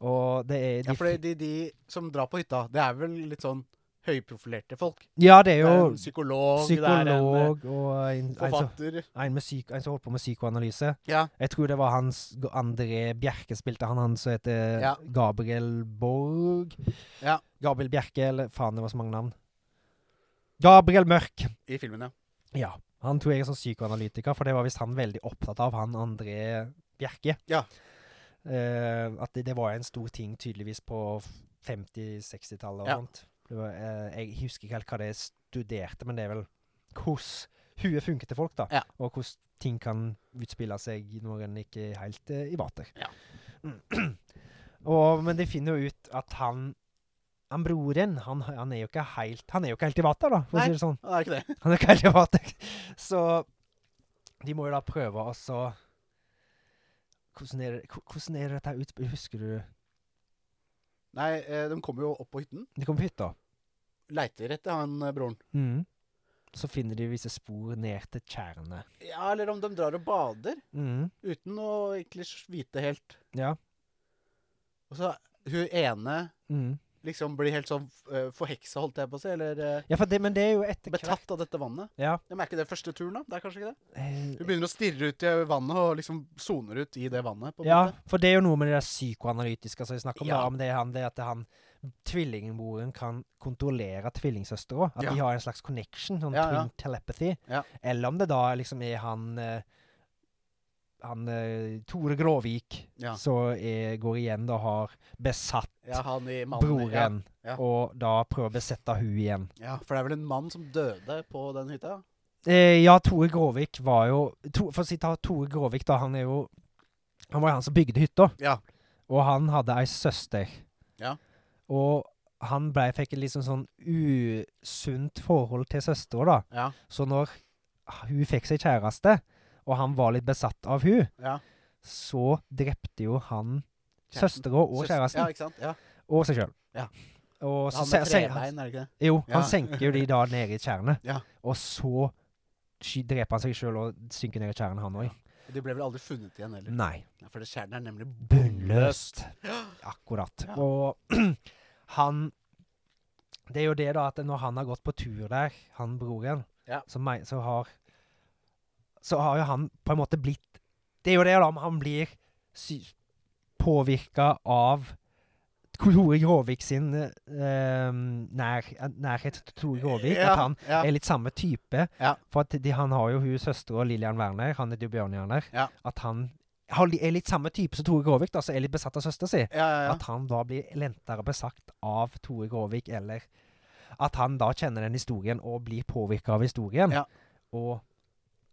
[SPEAKER 2] Og det er de
[SPEAKER 1] Ja, for
[SPEAKER 2] fi-
[SPEAKER 1] de, de som drar på hytta, det er vel litt sånn høyprofilerte folk.
[SPEAKER 2] ja, det er
[SPEAKER 1] Det er
[SPEAKER 2] jo
[SPEAKER 1] en psykolog, det er en eh,
[SPEAKER 2] psykolog Altså- og en, en, som-
[SPEAKER 1] forfatter.
[SPEAKER 2] en, med psyk, en som holdt på med psykoanalyse.
[SPEAKER 1] Ja,
[SPEAKER 2] Jeg tror det var hans André Bjerke spilte han, han som heter
[SPEAKER 1] Ja.
[SPEAKER 2] Gabriel Borg.
[SPEAKER 1] Ja.
[SPEAKER 2] Gabriel Bjerke, eller faen, det var så mange navn. Gabriel Mørk.
[SPEAKER 1] i filmen, ja.
[SPEAKER 2] Ja. Han tror jeg er sånn psykoanalytiker, for det var visst han veldig opptatt av, han André Bjerke.
[SPEAKER 1] Ja.
[SPEAKER 2] Eh, at det, det var en stor ting tydeligvis på 50-60-tallet og
[SPEAKER 1] Ja.
[SPEAKER 2] sånt. Det var, eh, jeg husker ikke helt hva det studerte, men det er vel hvordan huet funker til folk, da.
[SPEAKER 1] Ja.
[SPEAKER 2] Og hvordan ting kan utspille seg når en ikke er helt eh, i vater.
[SPEAKER 1] Ja.
[SPEAKER 2] Mm. og, men de finner jo ut at han han broren, han, han er jo ikke helt, han er jo ikke helt i vater, da, for
[SPEAKER 1] Nei.
[SPEAKER 2] å si det sånn.
[SPEAKER 1] Ja, Det er ikke det.
[SPEAKER 2] Han er kald i vater. Så de må jo da prøve å så hvordan er, det, ko- hvordan er dette ut... Husker du
[SPEAKER 1] Nei, eh, de kommer jo opp på hytten.
[SPEAKER 2] De kommer på hytta.
[SPEAKER 1] Leiter etter han eh, broren.
[SPEAKER 2] Mm. Så finner de visse spor ned til tjærene.
[SPEAKER 1] Ja, eller om de drar og bader
[SPEAKER 2] Mm.
[SPEAKER 1] uten å egentlig s- vite helt.
[SPEAKER 2] Ja.
[SPEAKER 1] Og så hun ene
[SPEAKER 2] Mm.
[SPEAKER 1] liksom blir helt sånn eh, forheksa, holdt jeg på å si, eller eh,
[SPEAKER 2] Ja, for det, men det er jo etter hvert
[SPEAKER 1] betatt av dette vannet.
[SPEAKER 2] Ja.
[SPEAKER 1] Ja, men er ikke det første turen, da? Det er kanskje ikke det? Hun
[SPEAKER 2] Eh,
[SPEAKER 1] begynner å stirre ut i vannet og liksom soner ut i det vannet. på en
[SPEAKER 2] ja,
[SPEAKER 1] måte.
[SPEAKER 2] for det er jo noe med det der psykoanalytiske som vi snakker om.
[SPEAKER 1] Ja.
[SPEAKER 2] da, Om det er han, det er at han tvillingbroren kan kontrollere tvillingsøstera. At
[SPEAKER 1] Ja.
[SPEAKER 2] de har en slags connection, sånn
[SPEAKER 1] Ja, ja.
[SPEAKER 2] twin telepathy.
[SPEAKER 1] Ja.
[SPEAKER 2] Eller om det da liksom er han eh, han eh, Tore Gråvik
[SPEAKER 1] Ja.
[SPEAKER 2] som er- går igjen da har besatt
[SPEAKER 1] Ja, han i mannen.
[SPEAKER 2] broren,
[SPEAKER 1] ja.
[SPEAKER 2] og da prøver å besette hun igjen.
[SPEAKER 1] Ja. ja, for det er vel en mann som døde på den hytta?
[SPEAKER 2] Eh, ja, Tore Gråvik var jo to, For å si ta Tore Gråvik, da. Han er jo Han var jo han som bygde hytta.
[SPEAKER 1] Ja.
[SPEAKER 2] Og han hadde ei søster.
[SPEAKER 1] Ja.
[SPEAKER 2] Og han ble, fikk et liksom sånn usunt forhold til søstera, da.
[SPEAKER 1] Ja.
[SPEAKER 2] Så når hun fikk seg kjæreste, og han var litt besatt av hun,
[SPEAKER 1] ja.
[SPEAKER 2] så drepte jo han
[SPEAKER 1] Kjæresten.
[SPEAKER 2] søstera og
[SPEAKER 1] Søs-
[SPEAKER 2] kjæresten.
[SPEAKER 1] Ja, ikke sant? Ja.
[SPEAKER 2] Og seg sjøl.
[SPEAKER 1] Ja.
[SPEAKER 2] Og så
[SPEAKER 1] Han med
[SPEAKER 2] se- se-
[SPEAKER 1] trebein, er det ikke det?
[SPEAKER 2] Jo,
[SPEAKER 1] Ja.
[SPEAKER 2] han senker jo de da ned i tjernet.
[SPEAKER 1] Ja.
[SPEAKER 2] Og så sky- dreper han seg sjøl og synker ned i tjernet, han òg.
[SPEAKER 1] Og de ble vel aldri funnet igjen heller?
[SPEAKER 2] Nei.
[SPEAKER 1] Ja, For det kjernen er nemlig
[SPEAKER 2] Bunnløst. Akkurat.
[SPEAKER 1] Ja.
[SPEAKER 2] Og han Det er jo det, da, at når han har gått på tur der, han broren,
[SPEAKER 1] Ja.
[SPEAKER 2] så, mei- så har Så har jo han på en måte blitt Det er jo det, da, om han blir sy påvirka av Tore Gråvik sin eh, nær, nærhet til Tore Gråvik.
[SPEAKER 1] ja,
[SPEAKER 2] At han
[SPEAKER 1] ja.
[SPEAKER 2] er litt samme type.
[SPEAKER 1] Ja.
[SPEAKER 2] For at de, han har jo hun søstera Lillian Werner, han er jo Bjørn Werner.
[SPEAKER 1] Ja.
[SPEAKER 2] At han har, li- er litt samme type som Tore Gråvik, da, som er litt besatt av søstera si.
[SPEAKER 1] Ja, ja, ja.
[SPEAKER 2] At han da blir lentere besatt av Tore Gråvik, eller at han da kjenner den historien og blir påvirka av historien.
[SPEAKER 1] Ja.
[SPEAKER 2] Og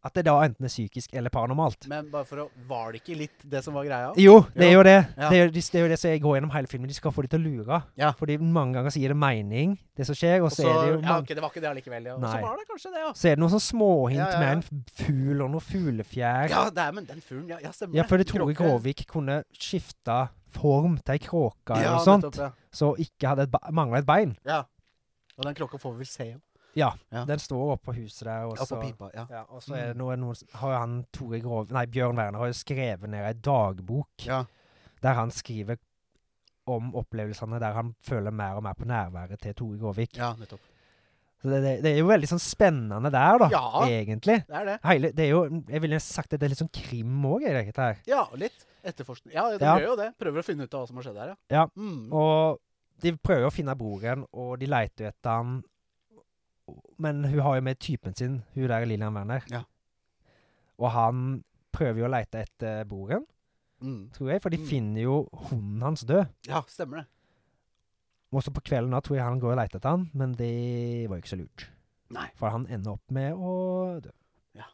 [SPEAKER 2] At det da enten er psykisk eller paranormalt.
[SPEAKER 1] Men bare for å Var det ikke litt det som var greia?
[SPEAKER 2] Jo, det er jo det.
[SPEAKER 1] Ja.
[SPEAKER 2] Det, er, jo- det er jo det som jeg går gjennom hele filmen. De skal få de til å lure.
[SPEAKER 1] Ja.
[SPEAKER 2] Fordi mange ganger så gir det mening, det som skjer. Og så, er det jo
[SPEAKER 1] ja,
[SPEAKER 2] mange,
[SPEAKER 1] ok, det var ikke det allikevel. Ja. Og
[SPEAKER 2] Nei.
[SPEAKER 1] Så var det kanskje det, altså. ja.
[SPEAKER 2] så er det noen sånne småhint
[SPEAKER 1] Ja, ja, ja.
[SPEAKER 2] med en f- fugl og noe fuglefjær.
[SPEAKER 1] Ja, det er, men den fuglen, ja, ja stemmer
[SPEAKER 2] Ja, fordi
[SPEAKER 1] En
[SPEAKER 2] Tore
[SPEAKER 1] kråke.
[SPEAKER 2] Gråvik kunne skifte form til ei kråke eller
[SPEAKER 1] Ja,
[SPEAKER 2] noe sånt,
[SPEAKER 1] nettopp, ja.
[SPEAKER 2] så ikke hadde et ba- mangla et bein.
[SPEAKER 1] ja. Og den klokka får vi vel se, jo. Ja.
[SPEAKER 2] Den står oppe på huset der, og
[SPEAKER 1] Ja, på Mm.
[SPEAKER 2] så
[SPEAKER 1] pipa. Ja.
[SPEAKER 2] ja, og så er det noe, noen, har jo han Tore Grov... Nei, Bjørn Werner har jo skrevet ned ei dagbok
[SPEAKER 1] ja.
[SPEAKER 2] der han skriver om opplevelsene der han føler mer og mer på nærværet til Tore Gråvik.
[SPEAKER 1] Ja, nettopp.
[SPEAKER 2] Så det, det, det er jo veldig sånn spennende der, da,
[SPEAKER 1] Ja.
[SPEAKER 2] egentlig.
[SPEAKER 1] Det er det.
[SPEAKER 2] Hele, det er jo, jeg ville sagt at det er litt sånn krim òg, er det ikke her?
[SPEAKER 1] Ja, og litt etterforskning. Ja, de
[SPEAKER 2] Ja.
[SPEAKER 1] gjør jo det. Prøver å finne ut av hva som har skjedd her, ja.
[SPEAKER 2] Ja.
[SPEAKER 1] Mm.
[SPEAKER 2] Og de prøver å finne broren, og de leter jo etter han. Men hun har jo med typen sin, hun der Lillian Werner.
[SPEAKER 1] Ja.
[SPEAKER 2] Og han prøver jo å lete etter broren,
[SPEAKER 1] Mm.
[SPEAKER 2] tror jeg, for de
[SPEAKER 1] Mm.
[SPEAKER 2] finner jo hunden hans død.
[SPEAKER 1] Ja, stemmer det.
[SPEAKER 2] Også på kvelden da tror jeg han går og leter etter han, men det var jo ikke så lurt.
[SPEAKER 1] Nei.
[SPEAKER 2] For han ender opp med å dø.
[SPEAKER 1] Ja.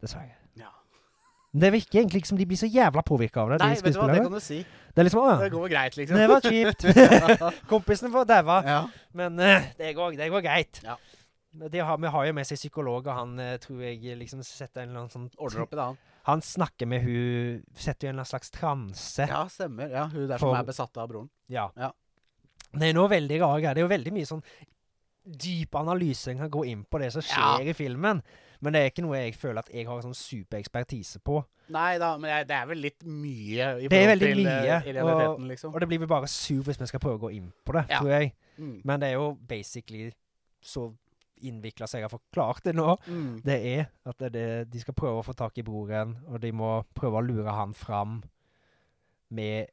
[SPEAKER 2] Dessverre.
[SPEAKER 1] Ja.
[SPEAKER 2] Men Det virker egentlig ikke som de blir så jævla påvirka av det,
[SPEAKER 1] Nei,
[SPEAKER 2] de
[SPEAKER 1] vet du hva, det
[SPEAKER 2] skuespillerne.
[SPEAKER 1] kan du si.
[SPEAKER 2] Det, er liksom
[SPEAKER 1] Det
[SPEAKER 2] «Å,
[SPEAKER 1] går greit, liksom.
[SPEAKER 2] Det var kjipt.
[SPEAKER 1] ja.
[SPEAKER 2] Kompisen får daua.
[SPEAKER 1] ja.
[SPEAKER 2] Men eh, det, går, det går greit.
[SPEAKER 1] Ja.
[SPEAKER 2] Men De har, vi har jo med seg psykolog, og han eh, tror jeg liksom setter en eller annen sånn
[SPEAKER 1] Ordner opp i det, han.
[SPEAKER 2] Han snakker med hun Setter jo en eller annen slags transe.
[SPEAKER 1] Ja, stemmer. Ja, hun der som
[SPEAKER 2] For-
[SPEAKER 1] er besatt av broren.
[SPEAKER 2] Ja.
[SPEAKER 1] Ja.
[SPEAKER 2] Det er noe veldig rare greier. Det er jo veldig mye sånn dyp analyse en kan gå inn på det som
[SPEAKER 1] Ja.
[SPEAKER 2] skjer i filmen. Men det er ikke noe jeg føler at jeg har sånn superekspertise på.
[SPEAKER 1] Nei da, men jeg, det er vel litt mye i
[SPEAKER 2] Det er
[SPEAKER 1] forhold
[SPEAKER 2] veldig
[SPEAKER 1] til eh,
[SPEAKER 2] mye,
[SPEAKER 1] i realiteten, liksom.
[SPEAKER 2] Og det blir vel bare sur hvis vi skal prøve å gå inn på det,
[SPEAKER 1] Ja.
[SPEAKER 2] tror jeg.
[SPEAKER 1] Mm.
[SPEAKER 2] Men det er jo basically så innvikla som jeg har forklart det nå.
[SPEAKER 1] Mm.
[SPEAKER 2] det er at det, er det, de skal prøve å få tak i broren, og de må prøve å lure han fram med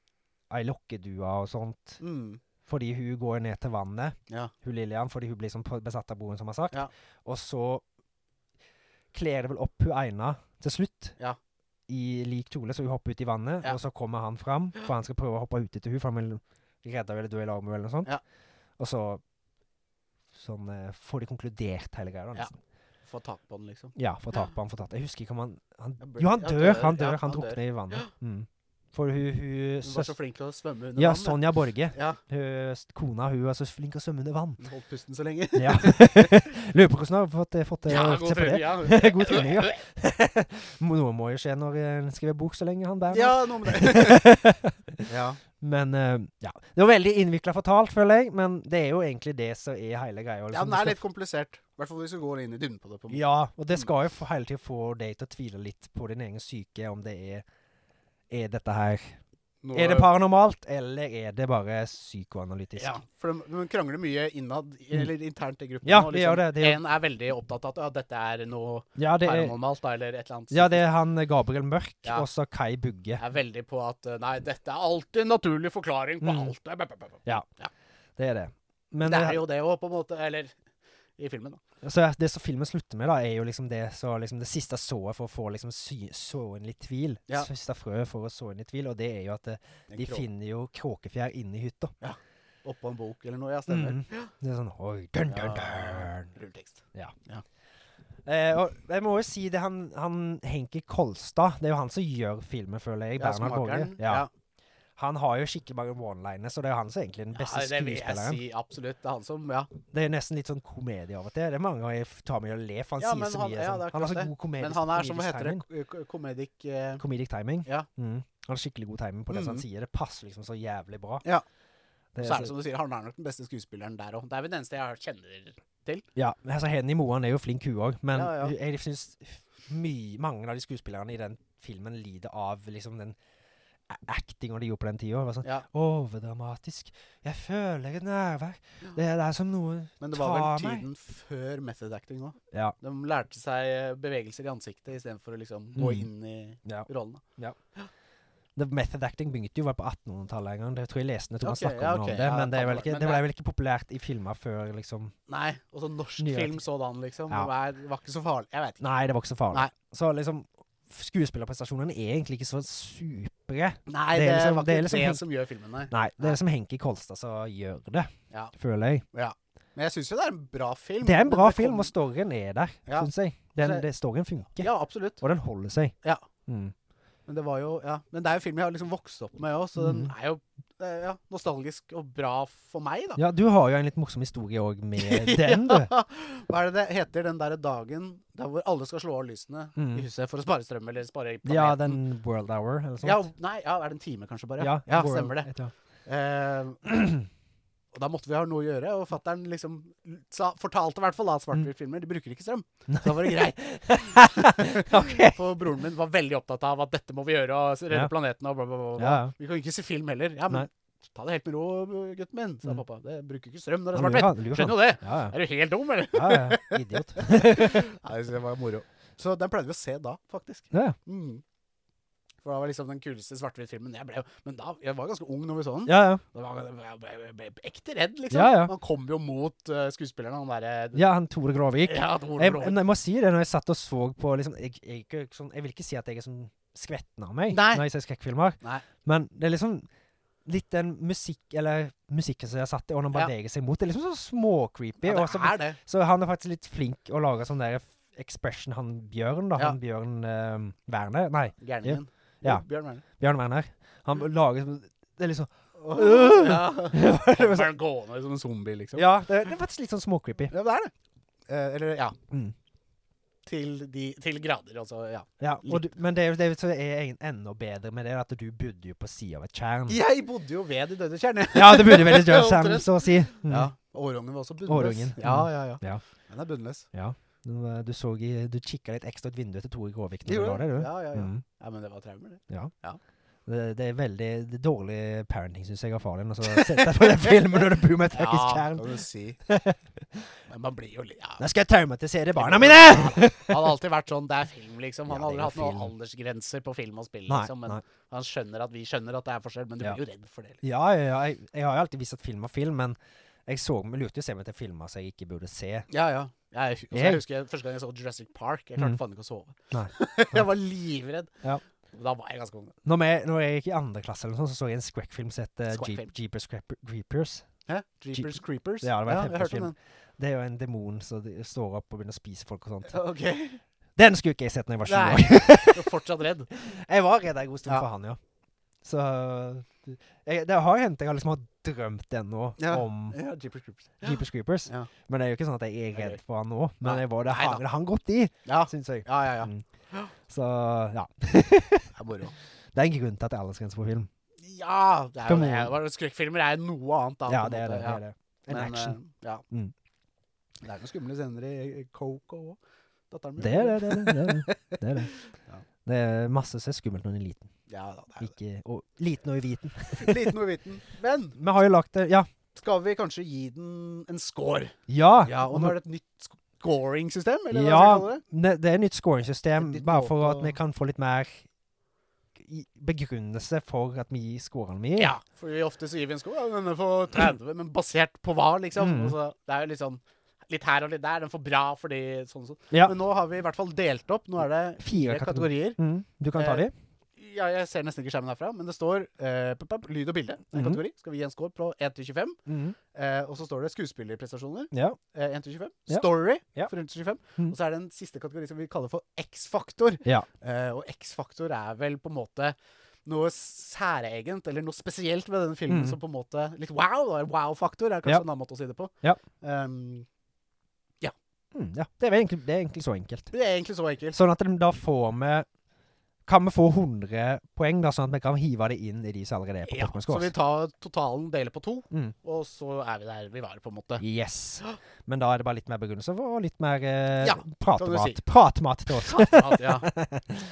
[SPEAKER 2] ei lokkedue og sånt.
[SPEAKER 1] Mm.
[SPEAKER 2] Fordi hun går ned til vannet,
[SPEAKER 1] Ja.
[SPEAKER 2] hun Lillian, fordi hun blir sånn på- besatt av broren, som har sagt.
[SPEAKER 1] Ja.
[SPEAKER 2] Og så kler det vel opp hun Eina til slutt.
[SPEAKER 1] Ja.
[SPEAKER 2] I lik kjole, så hun hopper ut i vannet,
[SPEAKER 1] Ja.
[SPEAKER 2] og så kommer han fram. For han skal prøve å hoppe ut etter hun, for han vil redde henne eller dø i lag med henne eller noe sånt.
[SPEAKER 1] Ja.
[SPEAKER 2] Og så sånn, eh, får de konkludert hele greia, da,
[SPEAKER 1] Ja.
[SPEAKER 2] nesten.
[SPEAKER 1] Få tak på den, liksom.
[SPEAKER 2] Ja, for tap på han, for tap. Jeg husker ikke om han, han
[SPEAKER 1] Han bør-
[SPEAKER 2] Jo, han
[SPEAKER 1] ja,
[SPEAKER 2] dør! Han
[SPEAKER 1] ja,
[SPEAKER 2] dør, han
[SPEAKER 1] han
[SPEAKER 2] drukner i vannet. Mm. For hun, hun
[SPEAKER 1] Hun var så
[SPEAKER 2] søs-
[SPEAKER 1] flink til å svømme under
[SPEAKER 2] Ja,
[SPEAKER 1] vann,
[SPEAKER 2] Sonja Borge.
[SPEAKER 1] Ja,
[SPEAKER 2] Hun, s- kona hun er så flink til å svømme under vann.
[SPEAKER 1] hun holdt pusten så lenge.
[SPEAKER 2] Ja. Lurer på hvordan hun har fått, eh, fått ja,
[SPEAKER 1] god
[SPEAKER 2] se på
[SPEAKER 1] trening,
[SPEAKER 2] det.
[SPEAKER 1] ja.
[SPEAKER 2] God trening, ja. Må- Noe må jo skje når en skriver bok, så lenge han der.
[SPEAKER 1] Ja, noe med det. ja.
[SPEAKER 2] Men eh, ja. Det var veldig innvikla fortalt, føler jeg, men det er jo egentlig det som er hele greia.
[SPEAKER 1] ja,
[SPEAKER 2] liksom.
[SPEAKER 1] den er
[SPEAKER 2] Du
[SPEAKER 1] litt komplisert. I hvert fall hvis du går inn i dybden på det. på en måte.
[SPEAKER 2] Ja, og det skal jo få- hele tiden få deg til å tvile litt på din egen psyke, om det er Er dette her
[SPEAKER 1] Nå-
[SPEAKER 2] Er det paranormalt, eller er det bare psykoanalytisk?
[SPEAKER 1] Ja, for de, de krangler mye innad, eller internt i gruppen.
[SPEAKER 2] Mm. Ja,
[SPEAKER 1] og
[SPEAKER 2] de gjør det, de gjør-
[SPEAKER 1] En er veldig opptatt av at ja, dette er noe
[SPEAKER 2] Ja, det er,
[SPEAKER 1] paranormalt, da, eller et eller annet.
[SPEAKER 2] ja, det er han eh, Gabriel Mørk
[SPEAKER 1] Ja.
[SPEAKER 2] og så Kai Bugge.
[SPEAKER 1] er veldig på at eh, nei, dette er alltid en naturlig forklaring på
[SPEAKER 2] Mm.
[SPEAKER 1] alt. Ba, ba, ba, ba.
[SPEAKER 2] Det er det. Men
[SPEAKER 1] Det
[SPEAKER 2] det
[SPEAKER 1] er jo det òg, på en måte. Eller i filmen, da.
[SPEAKER 2] så det som filmen slutter med, da, er jo liksom det, så liksom det siste sået for å få liksom sy, så inn litt tvil.
[SPEAKER 1] Ja.
[SPEAKER 2] Siste frøet for å så inn litt tvil, og det er jo at eh,
[SPEAKER 1] En
[SPEAKER 2] de
[SPEAKER 1] krok
[SPEAKER 2] finner jo kråkefjær inni hytta.
[SPEAKER 1] Oppå en bok eller noe. Ja, stemmer.
[SPEAKER 2] Mm. Det er sånn Oi, dun, dun,
[SPEAKER 1] Ja.
[SPEAKER 2] dun.
[SPEAKER 1] Rulletekst.
[SPEAKER 2] Eh, og jeg må jo si det han, han Henki Kolstad Det er jo han som gjør filmen, føler jeg.
[SPEAKER 1] Ja,
[SPEAKER 2] Bernhard Borge.
[SPEAKER 1] smakeren.
[SPEAKER 2] Ja. Han har jo skikkelig mange one-liners, så det er jo han som egentlig er den beste
[SPEAKER 1] Ja, det vil jeg
[SPEAKER 2] skuespilleren.
[SPEAKER 1] si absolutt. Det er han som Ja,
[SPEAKER 2] Det er nesten litt sånn komedie av og til. Det er mange ganger jeg f- tar meg i å le, for han
[SPEAKER 1] Ja, men
[SPEAKER 2] sier så
[SPEAKER 1] han-
[SPEAKER 2] mye.
[SPEAKER 1] ja, det er
[SPEAKER 2] sånn. han har
[SPEAKER 1] akkurat
[SPEAKER 2] så
[SPEAKER 1] det.
[SPEAKER 2] god komedi
[SPEAKER 1] men han er som hva
[SPEAKER 2] komedisk
[SPEAKER 1] heter det?
[SPEAKER 2] timing.
[SPEAKER 1] Ko- ko- Comedic eh,
[SPEAKER 2] Comedic timing.
[SPEAKER 1] Ja.
[SPEAKER 2] Mm. Han har skikkelig god timing på det som
[SPEAKER 1] Mhm.
[SPEAKER 2] han sier. Det passer liksom så jævlig bra.
[SPEAKER 1] Ja.
[SPEAKER 2] Det
[SPEAKER 1] Så er det som du sier, han er nok den beste skuespilleren der òg. Det er vel den eneste jeg har- kjenner
[SPEAKER 2] Ja, altså Henny Moan er jo flink hun òg, men
[SPEAKER 1] Ja, ja.
[SPEAKER 2] hun- jeg syns mange av de skuespillerne i den filmen lider av liksom den a- actinga de gjorde på den tida. Det var Sånn,
[SPEAKER 1] Ja.
[SPEAKER 2] Overdramatisk. Jeg føler et nærvær.
[SPEAKER 1] Ja.
[SPEAKER 2] Det, det er som noe
[SPEAKER 1] Men det var vel
[SPEAKER 2] Ta meg.
[SPEAKER 1] tiden før method acting òg.
[SPEAKER 2] Ja.
[SPEAKER 1] De lærte seg eh, bevegelser i ansiktet istedenfor å liksom gå
[SPEAKER 2] Mm.
[SPEAKER 1] inn i
[SPEAKER 2] ja.
[SPEAKER 1] rollen.
[SPEAKER 2] The method acting begynte jo vel på 1800-tallet en gang. Det tror jeg lesende jeg tror
[SPEAKER 1] Ok,
[SPEAKER 2] han snakket
[SPEAKER 1] ja,
[SPEAKER 2] om
[SPEAKER 1] ok,
[SPEAKER 2] det,
[SPEAKER 1] ja,
[SPEAKER 2] men det, er vel
[SPEAKER 1] 1800-tallet,
[SPEAKER 2] ikke,
[SPEAKER 1] men
[SPEAKER 2] det
[SPEAKER 1] det
[SPEAKER 2] ble
[SPEAKER 1] er-
[SPEAKER 2] vel ikke populært i filmer før liksom
[SPEAKER 1] Nei, og så norsk
[SPEAKER 2] Nyere
[SPEAKER 1] film
[SPEAKER 2] ting.
[SPEAKER 1] sådan, liksom.
[SPEAKER 2] Ja.
[SPEAKER 1] Det var, var ikke så farlig. Jeg vet ikke.
[SPEAKER 2] Nei, det var ikke så farlig.
[SPEAKER 1] Nei.
[SPEAKER 2] Så liksom Skuespillerprestasjonene er egentlig ikke så supre.
[SPEAKER 1] Nei,
[SPEAKER 2] Det
[SPEAKER 1] det,
[SPEAKER 2] er liksom-
[SPEAKER 1] var ikke
[SPEAKER 2] det
[SPEAKER 1] det,
[SPEAKER 2] er liksom Henk-
[SPEAKER 1] som gjør filmen, nei.
[SPEAKER 2] Nei, det er liksom Henki Kolstad som gjør det,
[SPEAKER 1] Ja.
[SPEAKER 2] føler jeg.
[SPEAKER 1] Men jeg syns jo det er en bra film.
[SPEAKER 2] Det er en
[SPEAKER 1] men
[SPEAKER 2] bra
[SPEAKER 1] kom-
[SPEAKER 2] film, og storyen er der,
[SPEAKER 1] Ja.
[SPEAKER 2] syns jeg. Den,
[SPEAKER 1] Så-
[SPEAKER 2] det, storyen funker,
[SPEAKER 1] Ja, absolutt.
[SPEAKER 2] og den holder seg.
[SPEAKER 1] Ja.
[SPEAKER 2] Mm.
[SPEAKER 1] Men det var jo Ja. Men det er jo film jeg har liksom vokst opp med òg, så den
[SPEAKER 2] Mhm.
[SPEAKER 1] er jo eh, ja, nostalgisk og bra for meg, da.
[SPEAKER 2] Ja, du har jo en litt morsom historie òg med den, du.
[SPEAKER 1] Ja. Hva er det det heter den derre dagen der hvor alle skal slå av lysene
[SPEAKER 2] Mm.
[SPEAKER 1] i huset for å spare strøm eller spare planeten?
[SPEAKER 2] Ja, den World Hour, eller
[SPEAKER 1] Ja,
[SPEAKER 2] sånt.
[SPEAKER 1] nei, ja, er det en time kanskje bare? Ja, ja
[SPEAKER 2] World-
[SPEAKER 1] stemmer det.
[SPEAKER 2] et eller annet.
[SPEAKER 1] Eh, og da måtte vi ha noe å gjøre, og fattern liksom sa, fortalte i hvert fall at svart-hvitt-filmer de bruker ikke strøm. Så da var det greit.
[SPEAKER 2] Ok.
[SPEAKER 1] For broren min var veldig opptatt av at dette må vi gjøre, og redde
[SPEAKER 2] Ja.
[SPEAKER 1] planeten og bla, bla, bla. bla.
[SPEAKER 2] Ja, ja.
[SPEAKER 1] Vi kan ikke se film heller. Ja, men
[SPEAKER 2] Nei.
[SPEAKER 1] ta det helt med ro, gutten min, sa
[SPEAKER 2] Mm.
[SPEAKER 1] pappa. Det bruker ikke strøm når det
[SPEAKER 2] Han
[SPEAKER 1] er svart-hvitt.
[SPEAKER 2] lurer han- lurer han.
[SPEAKER 1] Skjønner jo det.
[SPEAKER 2] Ja, ja.
[SPEAKER 1] Er du helt dum, eller?
[SPEAKER 2] ja, ja. Idiot.
[SPEAKER 1] Nei, så det var moro. Så den pleide vi å se da, faktisk.
[SPEAKER 2] Ja, ja.
[SPEAKER 1] Mm. For da var liksom den kuleste svart-hvitt-filmen. Jeg ble jo, men da, jeg var ganske ung når vi så den.
[SPEAKER 2] ja, ja.
[SPEAKER 1] Det var, jeg ble, jeg ble ekte redd, liksom.
[SPEAKER 2] Ja, ja.
[SPEAKER 1] Han kom jo mot uh, skuespillerne, han derre
[SPEAKER 2] ja, han Tore Gråvik.
[SPEAKER 1] ja, det var
[SPEAKER 2] Jeg,
[SPEAKER 1] blå.
[SPEAKER 2] jeg må si det, når jeg satt og så på liksom, jeg, jeg, er ikke sånn, jeg vil ikke si at jeg er sånn skvetten av meg
[SPEAKER 1] Nei.
[SPEAKER 2] når jeg ser skrekkfilmer,
[SPEAKER 1] Nei.
[SPEAKER 2] men det er liksom litt den musikk, eller musikken som jeg har satt det, og når man
[SPEAKER 1] Ja.
[SPEAKER 2] beveger seg imot, det er liksom så småcreepy.
[SPEAKER 1] Ja,
[SPEAKER 2] og
[SPEAKER 1] det
[SPEAKER 2] så,
[SPEAKER 1] er det.
[SPEAKER 2] så han er faktisk litt flink å lage sånn der expression, han Bjørn, da.
[SPEAKER 1] Ja.
[SPEAKER 2] Han Bjørn eh, Werner. Nei,
[SPEAKER 1] Gærningen.
[SPEAKER 2] Ja.
[SPEAKER 1] Bjørn Werner.
[SPEAKER 2] Bjørn Werner. Han lager sånn- Det er liksom
[SPEAKER 1] Åh, ja. Kommer han gående som en zombie, liksom.
[SPEAKER 2] Ja, det, det er faktisk litt sånn småcreepy.
[SPEAKER 1] Ja, det er det. Eh, eller, ja.
[SPEAKER 2] Mm.
[SPEAKER 1] Til, de, til grader, altså. Ja.
[SPEAKER 2] Ja, og
[SPEAKER 1] Litt.
[SPEAKER 2] du, men det, er jo- det er jo- så er en- enda bedre med det, er at du bodde jo på sida av et tjern.
[SPEAKER 1] Jeg bodde jo ved de døde kjerner.
[SPEAKER 2] Ja, det burde vel et
[SPEAKER 1] Ja,
[SPEAKER 2] tjern,
[SPEAKER 1] omtrent.
[SPEAKER 2] så å si. Mm.
[SPEAKER 1] Ja. Årungen var også bunnløs.
[SPEAKER 2] Årungen,
[SPEAKER 1] Ja, ja, ja,
[SPEAKER 2] Mm. Ja.
[SPEAKER 1] Den er bunnløs.
[SPEAKER 2] Du, eh, Du, så i- du kikka litt ekstra ut vinduet til Tore Gråvik når du
[SPEAKER 1] Gjorde
[SPEAKER 2] var der,
[SPEAKER 1] den?
[SPEAKER 2] du.
[SPEAKER 1] Ja, ja, ja.
[SPEAKER 2] Mm.
[SPEAKER 1] ja, men det var traumer, det.
[SPEAKER 2] Det, det er veldig det er dårlig parenting, syns jeg, av far din. Og så sette deg på den filmen når du bor med et fuckings
[SPEAKER 1] kan
[SPEAKER 2] tjern.
[SPEAKER 1] du si. Men man blir jo litt ja.
[SPEAKER 2] Nå skal jeg traumatisere barna mine!
[SPEAKER 1] Han har alltid vært sånn, det er film, liksom. Han
[SPEAKER 2] Ja,
[SPEAKER 1] har
[SPEAKER 2] det
[SPEAKER 1] aldri
[SPEAKER 2] er
[SPEAKER 1] hatt noen
[SPEAKER 2] film.
[SPEAKER 1] aldersgrenser på film og spill,
[SPEAKER 2] Nei,
[SPEAKER 1] liksom. Men
[SPEAKER 2] nei.
[SPEAKER 1] han skjønner at vi skjønner at det er forskjell, men du
[SPEAKER 2] Ja.
[SPEAKER 1] blir jo redd for det. Liksom.
[SPEAKER 2] Ja, ja, ja. Jeg, jeg har jo alltid visst at film var film, men jeg så, lurte jo å se meg til filmer som jeg ikke burde se.
[SPEAKER 1] Ja, ja. Jeg, altså,
[SPEAKER 2] Jeg-
[SPEAKER 1] jeg husker første gang jeg så Jurassic Park. Jeg klarte
[SPEAKER 2] Mm.
[SPEAKER 1] faen ikke å sove.
[SPEAKER 2] Nei.
[SPEAKER 1] jeg var livredd.
[SPEAKER 2] Ja.
[SPEAKER 1] Da var jeg ganske ung.
[SPEAKER 2] Når jeg, når jeg gikk i andre klasse, eller noe sånt, så så jeg en skrekkfilm som het eh,
[SPEAKER 1] Skrekkfilm.
[SPEAKER 2] Jeep- Jeepers Crep- Creepers.
[SPEAKER 1] Hæ? Jeepers Creepers?
[SPEAKER 2] Ja, det var en
[SPEAKER 1] jeg hørte om
[SPEAKER 2] tempelfilm.
[SPEAKER 1] den.
[SPEAKER 2] Det er jo en demon som de- står opp og begynner å spise folk og sånt.
[SPEAKER 1] Ok.
[SPEAKER 2] Den skulle ikke jeg sett når jeg var 20 år.
[SPEAKER 1] Nei, jeg er fortsatt redd.
[SPEAKER 2] Jeg var redd en god stund
[SPEAKER 1] Ja.
[SPEAKER 2] for han, ja. Så jeg, Det har hendt jeg har liksom har drømt ennå
[SPEAKER 1] Ja.
[SPEAKER 2] om
[SPEAKER 1] Ja, Jeepers Creepers.
[SPEAKER 2] Jeepers Creepers.
[SPEAKER 1] Ja.
[SPEAKER 2] Men det er jo ikke sånn at jeg er
[SPEAKER 1] Ok.
[SPEAKER 2] redd for han nå. Men
[SPEAKER 1] Nei.
[SPEAKER 2] jeg var det
[SPEAKER 1] Neida.
[SPEAKER 2] hang, det hang godt i,
[SPEAKER 1] Ja,
[SPEAKER 2] syns jeg.
[SPEAKER 1] ja, ja. ja.
[SPEAKER 2] Mm. Så ja.
[SPEAKER 1] Det er moro.
[SPEAKER 2] Det er en grunn til at det er aldersgrense på film.
[SPEAKER 1] Ja! det er jo
[SPEAKER 2] Come
[SPEAKER 1] det.
[SPEAKER 2] on.
[SPEAKER 1] Bare Skrekkfilmer er noe annet, da.
[SPEAKER 2] Ja,
[SPEAKER 1] på en
[SPEAKER 2] det er
[SPEAKER 1] måte.
[SPEAKER 2] det. det,
[SPEAKER 1] Ja.
[SPEAKER 2] er det. En
[SPEAKER 1] Men,
[SPEAKER 2] action.
[SPEAKER 1] eh, ja.
[SPEAKER 2] Mm.
[SPEAKER 1] Det er noen skumle scener i i Coco òg. Datteren min.
[SPEAKER 2] Det er det. Det er det. Det er det. Det er, det.
[SPEAKER 1] Ja.
[SPEAKER 2] Det er masse som er skummelt når en er liten.
[SPEAKER 1] Ja, da, det er
[SPEAKER 2] Ikke, og, liten og uviten.
[SPEAKER 1] det. Liten uviten. Men
[SPEAKER 2] Vi har jo lagt det Ja.
[SPEAKER 1] skal vi kanskje gi den en score?
[SPEAKER 2] ja.
[SPEAKER 1] Ja, og nå er det et nytt scoring-system, eller hva skal
[SPEAKER 2] Ah, Ja.
[SPEAKER 1] vi kalle det?
[SPEAKER 2] Det, det er et nytt
[SPEAKER 1] Et
[SPEAKER 2] scoringssystem,
[SPEAKER 1] nytt
[SPEAKER 2] bare
[SPEAKER 1] måte
[SPEAKER 2] for at
[SPEAKER 1] å-
[SPEAKER 2] vi kan få litt mer i- begrunnelse for at vi gir scorene vi gir.
[SPEAKER 1] Ja, for vi ofte så gir vi en score. Ja, denne får 30, men basert på hva, liksom?
[SPEAKER 2] Mm.
[SPEAKER 1] Og så, det er jo litt sånn Litt her og litt der. Den får bra fordi sånn og sånn.
[SPEAKER 2] Ja.
[SPEAKER 1] Men nå har vi i hvert fall delt opp. Nå er det
[SPEAKER 2] Fire
[SPEAKER 1] fire
[SPEAKER 2] kategorier.
[SPEAKER 1] kategorier.
[SPEAKER 2] Mm, du kan ta
[SPEAKER 1] Eh,
[SPEAKER 2] de.
[SPEAKER 1] Ja, jeg ser nesten ikke skjermen herfra, men det står eh, pop, pop, lyd og bilde. En
[SPEAKER 2] Mhm.
[SPEAKER 1] kategori. Skal vi gi en score på 1 til 25?
[SPEAKER 2] Mm,
[SPEAKER 1] Eh, og så står det skuespillerprestasjoner.
[SPEAKER 2] ja.
[SPEAKER 1] Eh, 1 til 25.
[SPEAKER 2] Ja.
[SPEAKER 1] Story
[SPEAKER 2] Ja.
[SPEAKER 1] for 1 til 25.
[SPEAKER 2] Mhm.
[SPEAKER 1] Og så er det en siste kategori som vi kaller for X-faktor.
[SPEAKER 2] Ja.
[SPEAKER 1] Eh, og X-faktor er vel på en måte noe særegent, eller noe spesielt ved denne filmen
[SPEAKER 2] Mhm.
[SPEAKER 1] som på en måte Litt wow! da. Wow-faktor er kanskje
[SPEAKER 2] Ja.
[SPEAKER 1] en annen måte å si det på.
[SPEAKER 2] Ja.
[SPEAKER 1] Ehm,
[SPEAKER 2] Mm, ja. Det, er vel egentlig, det er egentlig så enkelt.
[SPEAKER 1] det er egentlig så enkelt.
[SPEAKER 2] Sånn at de da får vi Kan vi få 100 poeng, da, sånn at vi kan hive det inn i de som allerede er på
[SPEAKER 1] Ja,
[SPEAKER 2] Pokémon
[SPEAKER 1] så vi
[SPEAKER 2] Scores?
[SPEAKER 1] tar totalen, deler på to,
[SPEAKER 2] Mm.
[SPEAKER 1] og så er vi der vi var, på en måte.
[SPEAKER 2] Yes. Men da er det bare litt mer begrunnelse for, og litt mer eh,
[SPEAKER 1] Ja,
[SPEAKER 2] pratemat.
[SPEAKER 1] kan du si.
[SPEAKER 2] Pratmat til oss.
[SPEAKER 1] Kattemat, ja.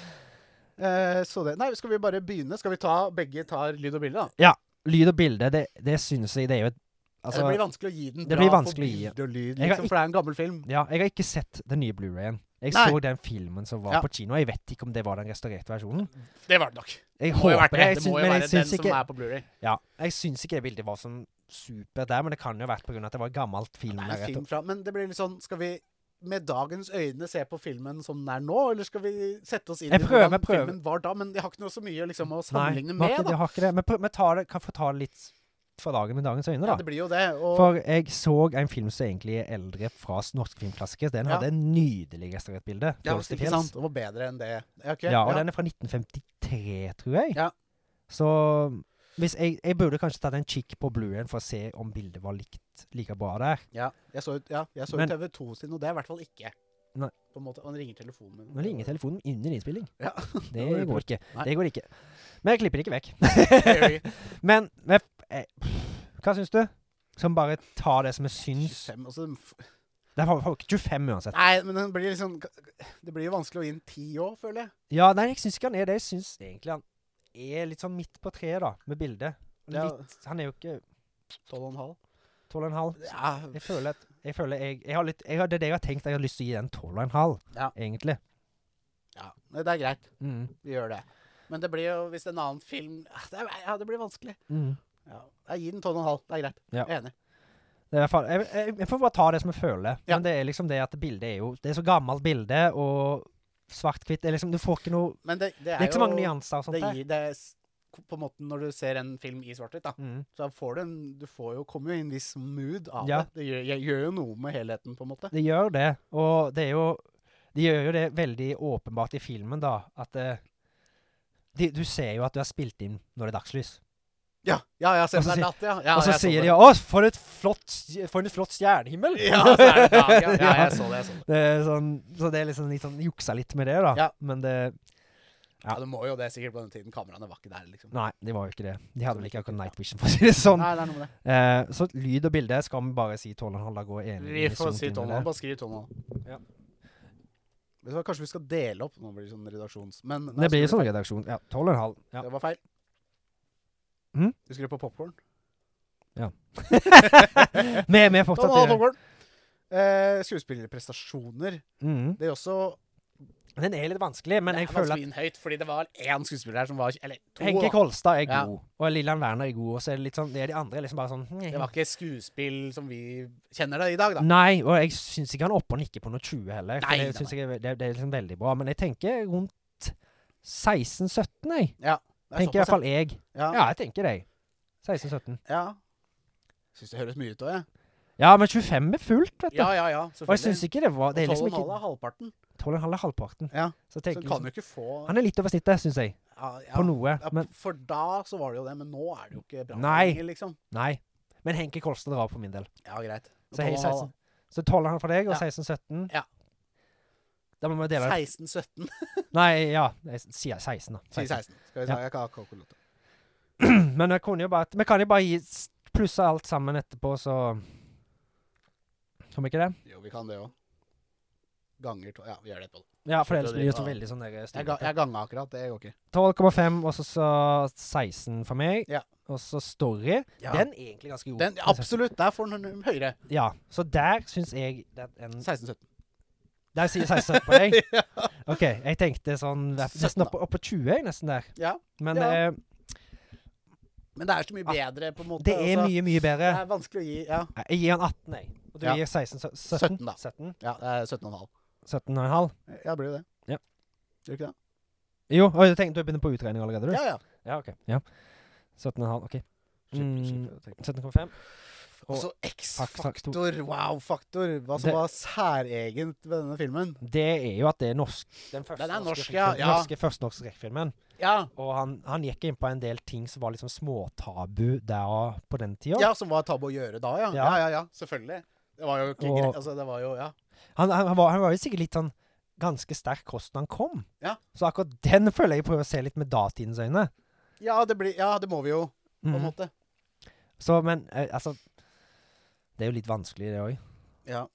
[SPEAKER 1] Eh, så det. Nei, skal vi bare begynne? Skal vi ta begge tar lyd og bilde, da?
[SPEAKER 2] Lyd og bilde, det, det syns jeg det er jo et altså,
[SPEAKER 1] det blir vanskelig å gi den
[SPEAKER 2] det
[SPEAKER 1] bra
[SPEAKER 2] blir
[SPEAKER 1] for
[SPEAKER 2] vanskelig å gi.
[SPEAKER 1] bilde og lyd,
[SPEAKER 2] Jeg har
[SPEAKER 1] liksom, for det er en gammel film.
[SPEAKER 2] Ja, jeg har ikke sett den nye Blu-rayen. Jeg
[SPEAKER 1] Nei.
[SPEAKER 2] så den filmen som var
[SPEAKER 1] Ja.
[SPEAKER 2] på kino. Jeg vet ikke om det var den restaurerte versjonen.
[SPEAKER 1] Det var det nok. Det
[SPEAKER 2] Jeg
[SPEAKER 1] må jo
[SPEAKER 2] håper
[SPEAKER 1] være
[SPEAKER 2] det.
[SPEAKER 1] det.
[SPEAKER 2] Jeg
[SPEAKER 1] Det
[SPEAKER 2] syns,
[SPEAKER 1] må jo
[SPEAKER 2] men
[SPEAKER 1] være
[SPEAKER 2] jeg
[SPEAKER 1] den
[SPEAKER 2] syns
[SPEAKER 1] som
[SPEAKER 2] ikke,
[SPEAKER 1] er på Blu-ray
[SPEAKER 2] ja, jeg syns ikke det bildet var sånn super der, men det kan jo ha vært pga. at det var et gammelt film.
[SPEAKER 1] Det er
[SPEAKER 2] der
[SPEAKER 1] en
[SPEAKER 2] rett
[SPEAKER 1] film
[SPEAKER 2] og-
[SPEAKER 1] fra Men det blir litt sånn Skal vi med dagens øyne se på filmen som den er nå, eller skal vi sette oss inn
[SPEAKER 2] Jeg prøver,
[SPEAKER 1] hvordan
[SPEAKER 2] jeg prøver.
[SPEAKER 1] filmen var da? Men jeg har ikke noe så mye liksom, å
[SPEAKER 2] Nei,
[SPEAKER 1] sammenligne
[SPEAKER 2] vi har ikke,
[SPEAKER 1] med,
[SPEAKER 2] vi
[SPEAKER 1] da.
[SPEAKER 2] har ikke det. Men prøv- vi tar det, kan få ta det litt for dagen med dagens øyne,
[SPEAKER 1] Ja,
[SPEAKER 2] da.
[SPEAKER 1] det blir jo det. Og
[SPEAKER 2] For jeg så en film som egentlig er eldre fra s- Norsk Filmklassiker. Den
[SPEAKER 1] Ja.
[SPEAKER 2] hadde en nydelig restaurertbilde.
[SPEAKER 1] ja,
[SPEAKER 2] Dolls til
[SPEAKER 1] ikke
[SPEAKER 2] fjells.
[SPEAKER 1] sant? Det var bedre enn det. Ok,
[SPEAKER 2] Ja, og den er fra 1953, tror jeg.
[SPEAKER 1] Ja.
[SPEAKER 2] Så hvis jeg, jeg burde kanskje tatt en kikk på Blueen for å se om bildet var likt like bra der.
[SPEAKER 1] ja, jeg så, ut- ja, jeg så
[SPEAKER 2] Men-
[SPEAKER 1] TV 2 sin, og det er i hvert fall ikke.
[SPEAKER 2] Nei.
[SPEAKER 1] På en måte, Han ringer telefonen min.
[SPEAKER 2] Nå ringer telefonen under innspilling.
[SPEAKER 1] Ja. var
[SPEAKER 2] Det går ikke.
[SPEAKER 1] Nei.
[SPEAKER 2] Det går ikke. Men jeg klipper det ikke vekk.
[SPEAKER 1] telefonen.
[SPEAKER 2] Men men f- eh, hva syns du? Som bare ta det som jeg syns.
[SPEAKER 1] 25, altså, den f-
[SPEAKER 2] Det er folk- 25 uansett.
[SPEAKER 1] nei, men den blir liksom Det blir jo vanskelig å gi en 10 òg, føler jeg.
[SPEAKER 2] Ja, nei, jeg syns ikke han er det. Jeg syns egentlig han er litt sånn midt på treet, da, med bildet.
[SPEAKER 1] Ja.
[SPEAKER 2] Litt, han er jo ikke
[SPEAKER 1] 12,5.
[SPEAKER 2] 12,5.
[SPEAKER 1] Ja,
[SPEAKER 2] Jeg føler at jeg føler jeg, jeg har litt, jeg har, Det er det jeg har tenkt. Jeg har lyst til å gi den 12,5,
[SPEAKER 1] Ja.
[SPEAKER 2] egentlig.
[SPEAKER 1] ja, nei, det er greit.
[SPEAKER 2] Mm.
[SPEAKER 1] Vi gjør det. Men det blir jo, hvis en annen film ah, det, er- Ja, det blir vanskelig.
[SPEAKER 2] Mm.
[SPEAKER 1] Ja, jeg gir den 12,5. Det er greit.
[SPEAKER 2] Ja.
[SPEAKER 1] Jeg er enig.
[SPEAKER 2] Det er i hvert fall, jeg, jeg, jeg får bare ta det som jeg føler.
[SPEAKER 1] Ja.
[SPEAKER 2] Men det er liksom det at bildet er jo Det er så gammelt bilde, og svart-hvitt det er liksom, Du får ikke noe
[SPEAKER 1] Men det, det
[SPEAKER 2] Det
[SPEAKER 1] er,
[SPEAKER 2] er ikke så
[SPEAKER 1] jo
[SPEAKER 2] mange nyanser og sånt
[SPEAKER 1] det
[SPEAKER 2] der.
[SPEAKER 1] gir, det er s- på en måte Når du ser en film i svart-hvitt, da,
[SPEAKER 2] Mm.
[SPEAKER 1] så får du en Du får jo, kommer jo i en viss mood av
[SPEAKER 2] Ja.
[SPEAKER 1] det. Det gjør, jeg, gjør jo noe med helheten, på en måte.
[SPEAKER 2] Det gjør det, og det er jo De gjør jo det veldig åpenbart i filmen, da, at eh, de, Du ser jo at du har spilt inn når det er dagslys.
[SPEAKER 1] Ja, ja, ja se
[SPEAKER 2] Og
[SPEAKER 1] om det
[SPEAKER 2] så
[SPEAKER 1] er
[SPEAKER 2] sier-
[SPEAKER 1] natt, ja. ja
[SPEAKER 2] og så
[SPEAKER 1] jeg så
[SPEAKER 2] sier
[SPEAKER 1] det.
[SPEAKER 2] de 'Å, for, et flott, stj- for en flott stjernehimmel'.
[SPEAKER 1] Ja, så er det dag, ja. ja, jeg så det. Jeg så det.
[SPEAKER 2] Det er sånn, så det er liksom litt sånn juksa litt med det, da.
[SPEAKER 1] Ja.
[SPEAKER 2] Men det Ja.
[SPEAKER 1] Ja, du må jo det sikkert på den tiden. Kameraene var ikke der, liksom.
[SPEAKER 2] Nei, de var jo ikke det. De hadde vel ikke akkurat night vision, for å si det sånn.
[SPEAKER 1] Nei, det er noe med det.
[SPEAKER 2] Eh, så lyd og bilde skal vi bare si 12,5 da går enig.
[SPEAKER 1] Vi får
[SPEAKER 2] unisont
[SPEAKER 1] si
[SPEAKER 2] inn i
[SPEAKER 1] Tonal.
[SPEAKER 2] det.
[SPEAKER 1] Bare skriv Tonal.
[SPEAKER 2] Ja.
[SPEAKER 1] Vet du hva, Kanskje vi skal dele opp? Nå blir det sånn redaksjons... Men
[SPEAKER 2] Det blir jo sånn redaksjon. Ja, 12,5. Ja.
[SPEAKER 1] Det var feil.
[SPEAKER 2] Mm?
[SPEAKER 1] Du skrev på popkorn.
[SPEAKER 2] Vi er med fortsatt. i det.
[SPEAKER 1] Eh, skuespillerprestasjoner.
[SPEAKER 2] Mhm.
[SPEAKER 1] Det er også
[SPEAKER 2] Den er litt vanskelig, men jeg
[SPEAKER 1] det er
[SPEAKER 2] føler at
[SPEAKER 1] vanskelig høyt, fordi det var én skuespiller her som var Eller to.
[SPEAKER 2] Henke
[SPEAKER 1] da.
[SPEAKER 2] Kolstad er
[SPEAKER 1] Ja.
[SPEAKER 2] god, og Lillian Werner er god, og så er det litt sånn Det er de andre liksom bare sånn
[SPEAKER 1] Det var ikke skuespill som vi kjenner det i dag, da.
[SPEAKER 2] Nei, og jeg syns ikke han er oppe og nikker på noe 20 heller. for
[SPEAKER 1] Nei,
[SPEAKER 2] det,
[SPEAKER 1] nei,
[SPEAKER 2] synes jeg, er ve- det, det er liksom veldig bra. Men jeg tenker rundt 16-17, jeg.
[SPEAKER 1] Det er
[SPEAKER 2] Tenker i
[SPEAKER 1] såpass,
[SPEAKER 2] hvert fall jeg.
[SPEAKER 1] ja. Ja.
[SPEAKER 2] Ja, jeg tenker det. 16-17.
[SPEAKER 1] ja. Syns det høres mye ut òg, jeg.
[SPEAKER 2] Ja, men 25 er fullt, vet du.
[SPEAKER 1] Ja, ja, ja.
[SPEAKER 2] og jeg syns ikke det var Det er liksom
[SPEAKER 1] Og 12,5
[SPEAKER 2] ikke
[SPEAKER 1] er halvparten.
[SPEAKER 2] 12,5 er halvparten.
[SPEAKER 1] Ja.
[SPEAKER 2] Så
[SPEAKER 1] Så
[SPEAKER 2] jeg tenker
[SPEAKER 1] du kan
[SPEAKER 2] liksom,
[SPEAKER 1] jo ikke få
[SPEAKER 2] han er litt over snittet, syns jeg.
[SPEAKER 1] ja, ja.
[SPEAKER 2] På noe.
[SPEAKER 1] Ja,
[SPEAKER 2] Men
[SPEAKER 1] For da så var det jo det, men nå er det jo ikke bra
[SPEAKER 2] Nei.
[SPEAKER 1] lenger, liksom.
[SPEAKER 2] nei. Men Henke Kolstad drar for min del.
[SPEAKER 1] Ja, greit.
[SPEAKER 2] Så jeg
[SPEAKER 1] 12,5
[SPEAKER 2] 16. Så 12,5 for deg, og
[SPEAKER 1] Ja.
[SPEAKER 2] 16-17.
[SPEAKER 1] Ja.
[SPEAKER 2] Da må vi
[SPEAKER 1] da.
[SPEAKER 2] dele det.
[SPEAKER 1] 16-17.
[SPEAKER 2] Nei, ja. Jeg sier 16, da.
[SPEAKER 1] Si 16. Skal vi
[SPEAKER 2] Ja.
[SPEAKER 1] se, jeg kan ha kokolotte.
[SPEAKER 2] Men jeg kunne jo bare Vi kan jo bare gi s- plusse alt sammen etterpå, så Kan vi ikke det?
[SPEAKER 1] Jo, vi kan det òg. Ganger to Ja, vi gjør det etterpå.
[SPEAKER 2] Ja, for ellers
[SPEAKER 1] Slutter å
[SPEAKER 2] blir det
[SPEAKER 1] drive
[SPEAKER 2] så
[SPEAKER 1] av.
[SPEAKER 2] veldig sånn der
[SPEAKER 1] Jeg, ga,
[SPEAKER 2] styrete.
[SPEAKER 1] jeg ganga akkurat, det går ikke.
[SPEAKER 2] 12,5, og så så 16 for meg.
[SPEAKER 1] Ja.
[SPEAKER 2] Og så Story. Den er egentlig ganske god.
[SPEAKER 1] Den, absolutt, der får den høyere.
[SPEAKER 2] Ja, Så der syns jeg den, en,
[SPEAKER 1] 16-17.
[SPEAKER 2] Der sier 16 på deg. OK, jeg tenkte sånn Nesten
[SPEAKER 1] 17 da.
[SPEAKER 2] opp, opp på 20, jeg, nesten der.
[SPEAKER 1] Ja.
[SPEAKER 2] Men
[SPEAKER 1] Ja.
[SPEAKER 2] eh,
[SPEAKER 1] Men det er så mye bedre, på en måte.
[SPEAKER 2] Ah, det er
[SPEAKER 1] altså.
[SPEAKER 2] mye, mye
[SPEAKER 1] Det
[SPEAKER 2] bedre.
[SPEAKER 1] er vanskelig å gi Ja,
[SPEAKER 2] Nei, Jeg gir han 18, jeg. Og du
[SPEAKER 1] Ja.
[SPEAKER 2] gir 16 17?
[SPEAKER 1] 17 da.
[SPEAKER 2] 17,
[SPEAKER 1] ja det er 17,5.
[SPEAKER 2] 17,5?
[SPEAKER 1] Ja, det blir jo det.
[SPEAKER 2] Ja.
[SPEAKER 1] Gjør ikke det?
[SPEAKER 2] Jo, og jeg tenkte du begynner på utregning allerede, du?
[SPEAKER 1] Ja, ja.
[SPEAKER 2] Ja, ok. Ja. 17,5, ok.
[SPEAKER 1] Skikkelig,
[SPEAKER 2] Mm.
[SPEAKER 1] skikkelig, tenk.
[SPEAKER 2] 17,5.
[SPEAKER 1] Og så
[SPEAKER 2] Faktor.
[SPEAKER 1] X-faktor, wow-faktor. Hva som
[SPEAKER 2] Mm. Det-
[SPEAKER 1] var særegent ved denne filmen.
[SPEAKER 2] Det er jo at det er norsk. Den første
[SPEAKER 1] Den er norsk,
[SPEAKER 2] ja.
[SPEAKER 1] ja, ja.
[SPEAKER 2] Norske, første norske skrekkfilmen.
[SPEAKER 1] Ja,
[SPEAKER 2] Og han, han gikk inn på en del ting som var liksom småtabu der på den tida.
[SPEAKER 1] ja som var tabu å gjøre da, ja. Ja,
[SPEAKER 2] Ja.
[SPEAKER 1] ja, ja. Selvfølgelig. Det var jo ikke
[SPEAKER 2] Og-
[SPEAKER 1] greit. Altså, det var jo Ja.
[SPEAKER 2] Han, han, han, var, han var jo sikkert litt sånn ganske sterk kost når han kom.
[SPEAKER 1] Ja.
[SPEAKER 2] Så akkurat den føler jeg prøver å se litt med datidens øyne.
[SPEAKER 1] Ja, det blir Ja, det må vi jo, på en
[SPEAKER 2] Mm.
[SPEAKER 1] måte.
[SPEAKER 2] Så, men eh, altså Det er jo litt vanskelig, det òg.
[SPEAKER 1] Ja.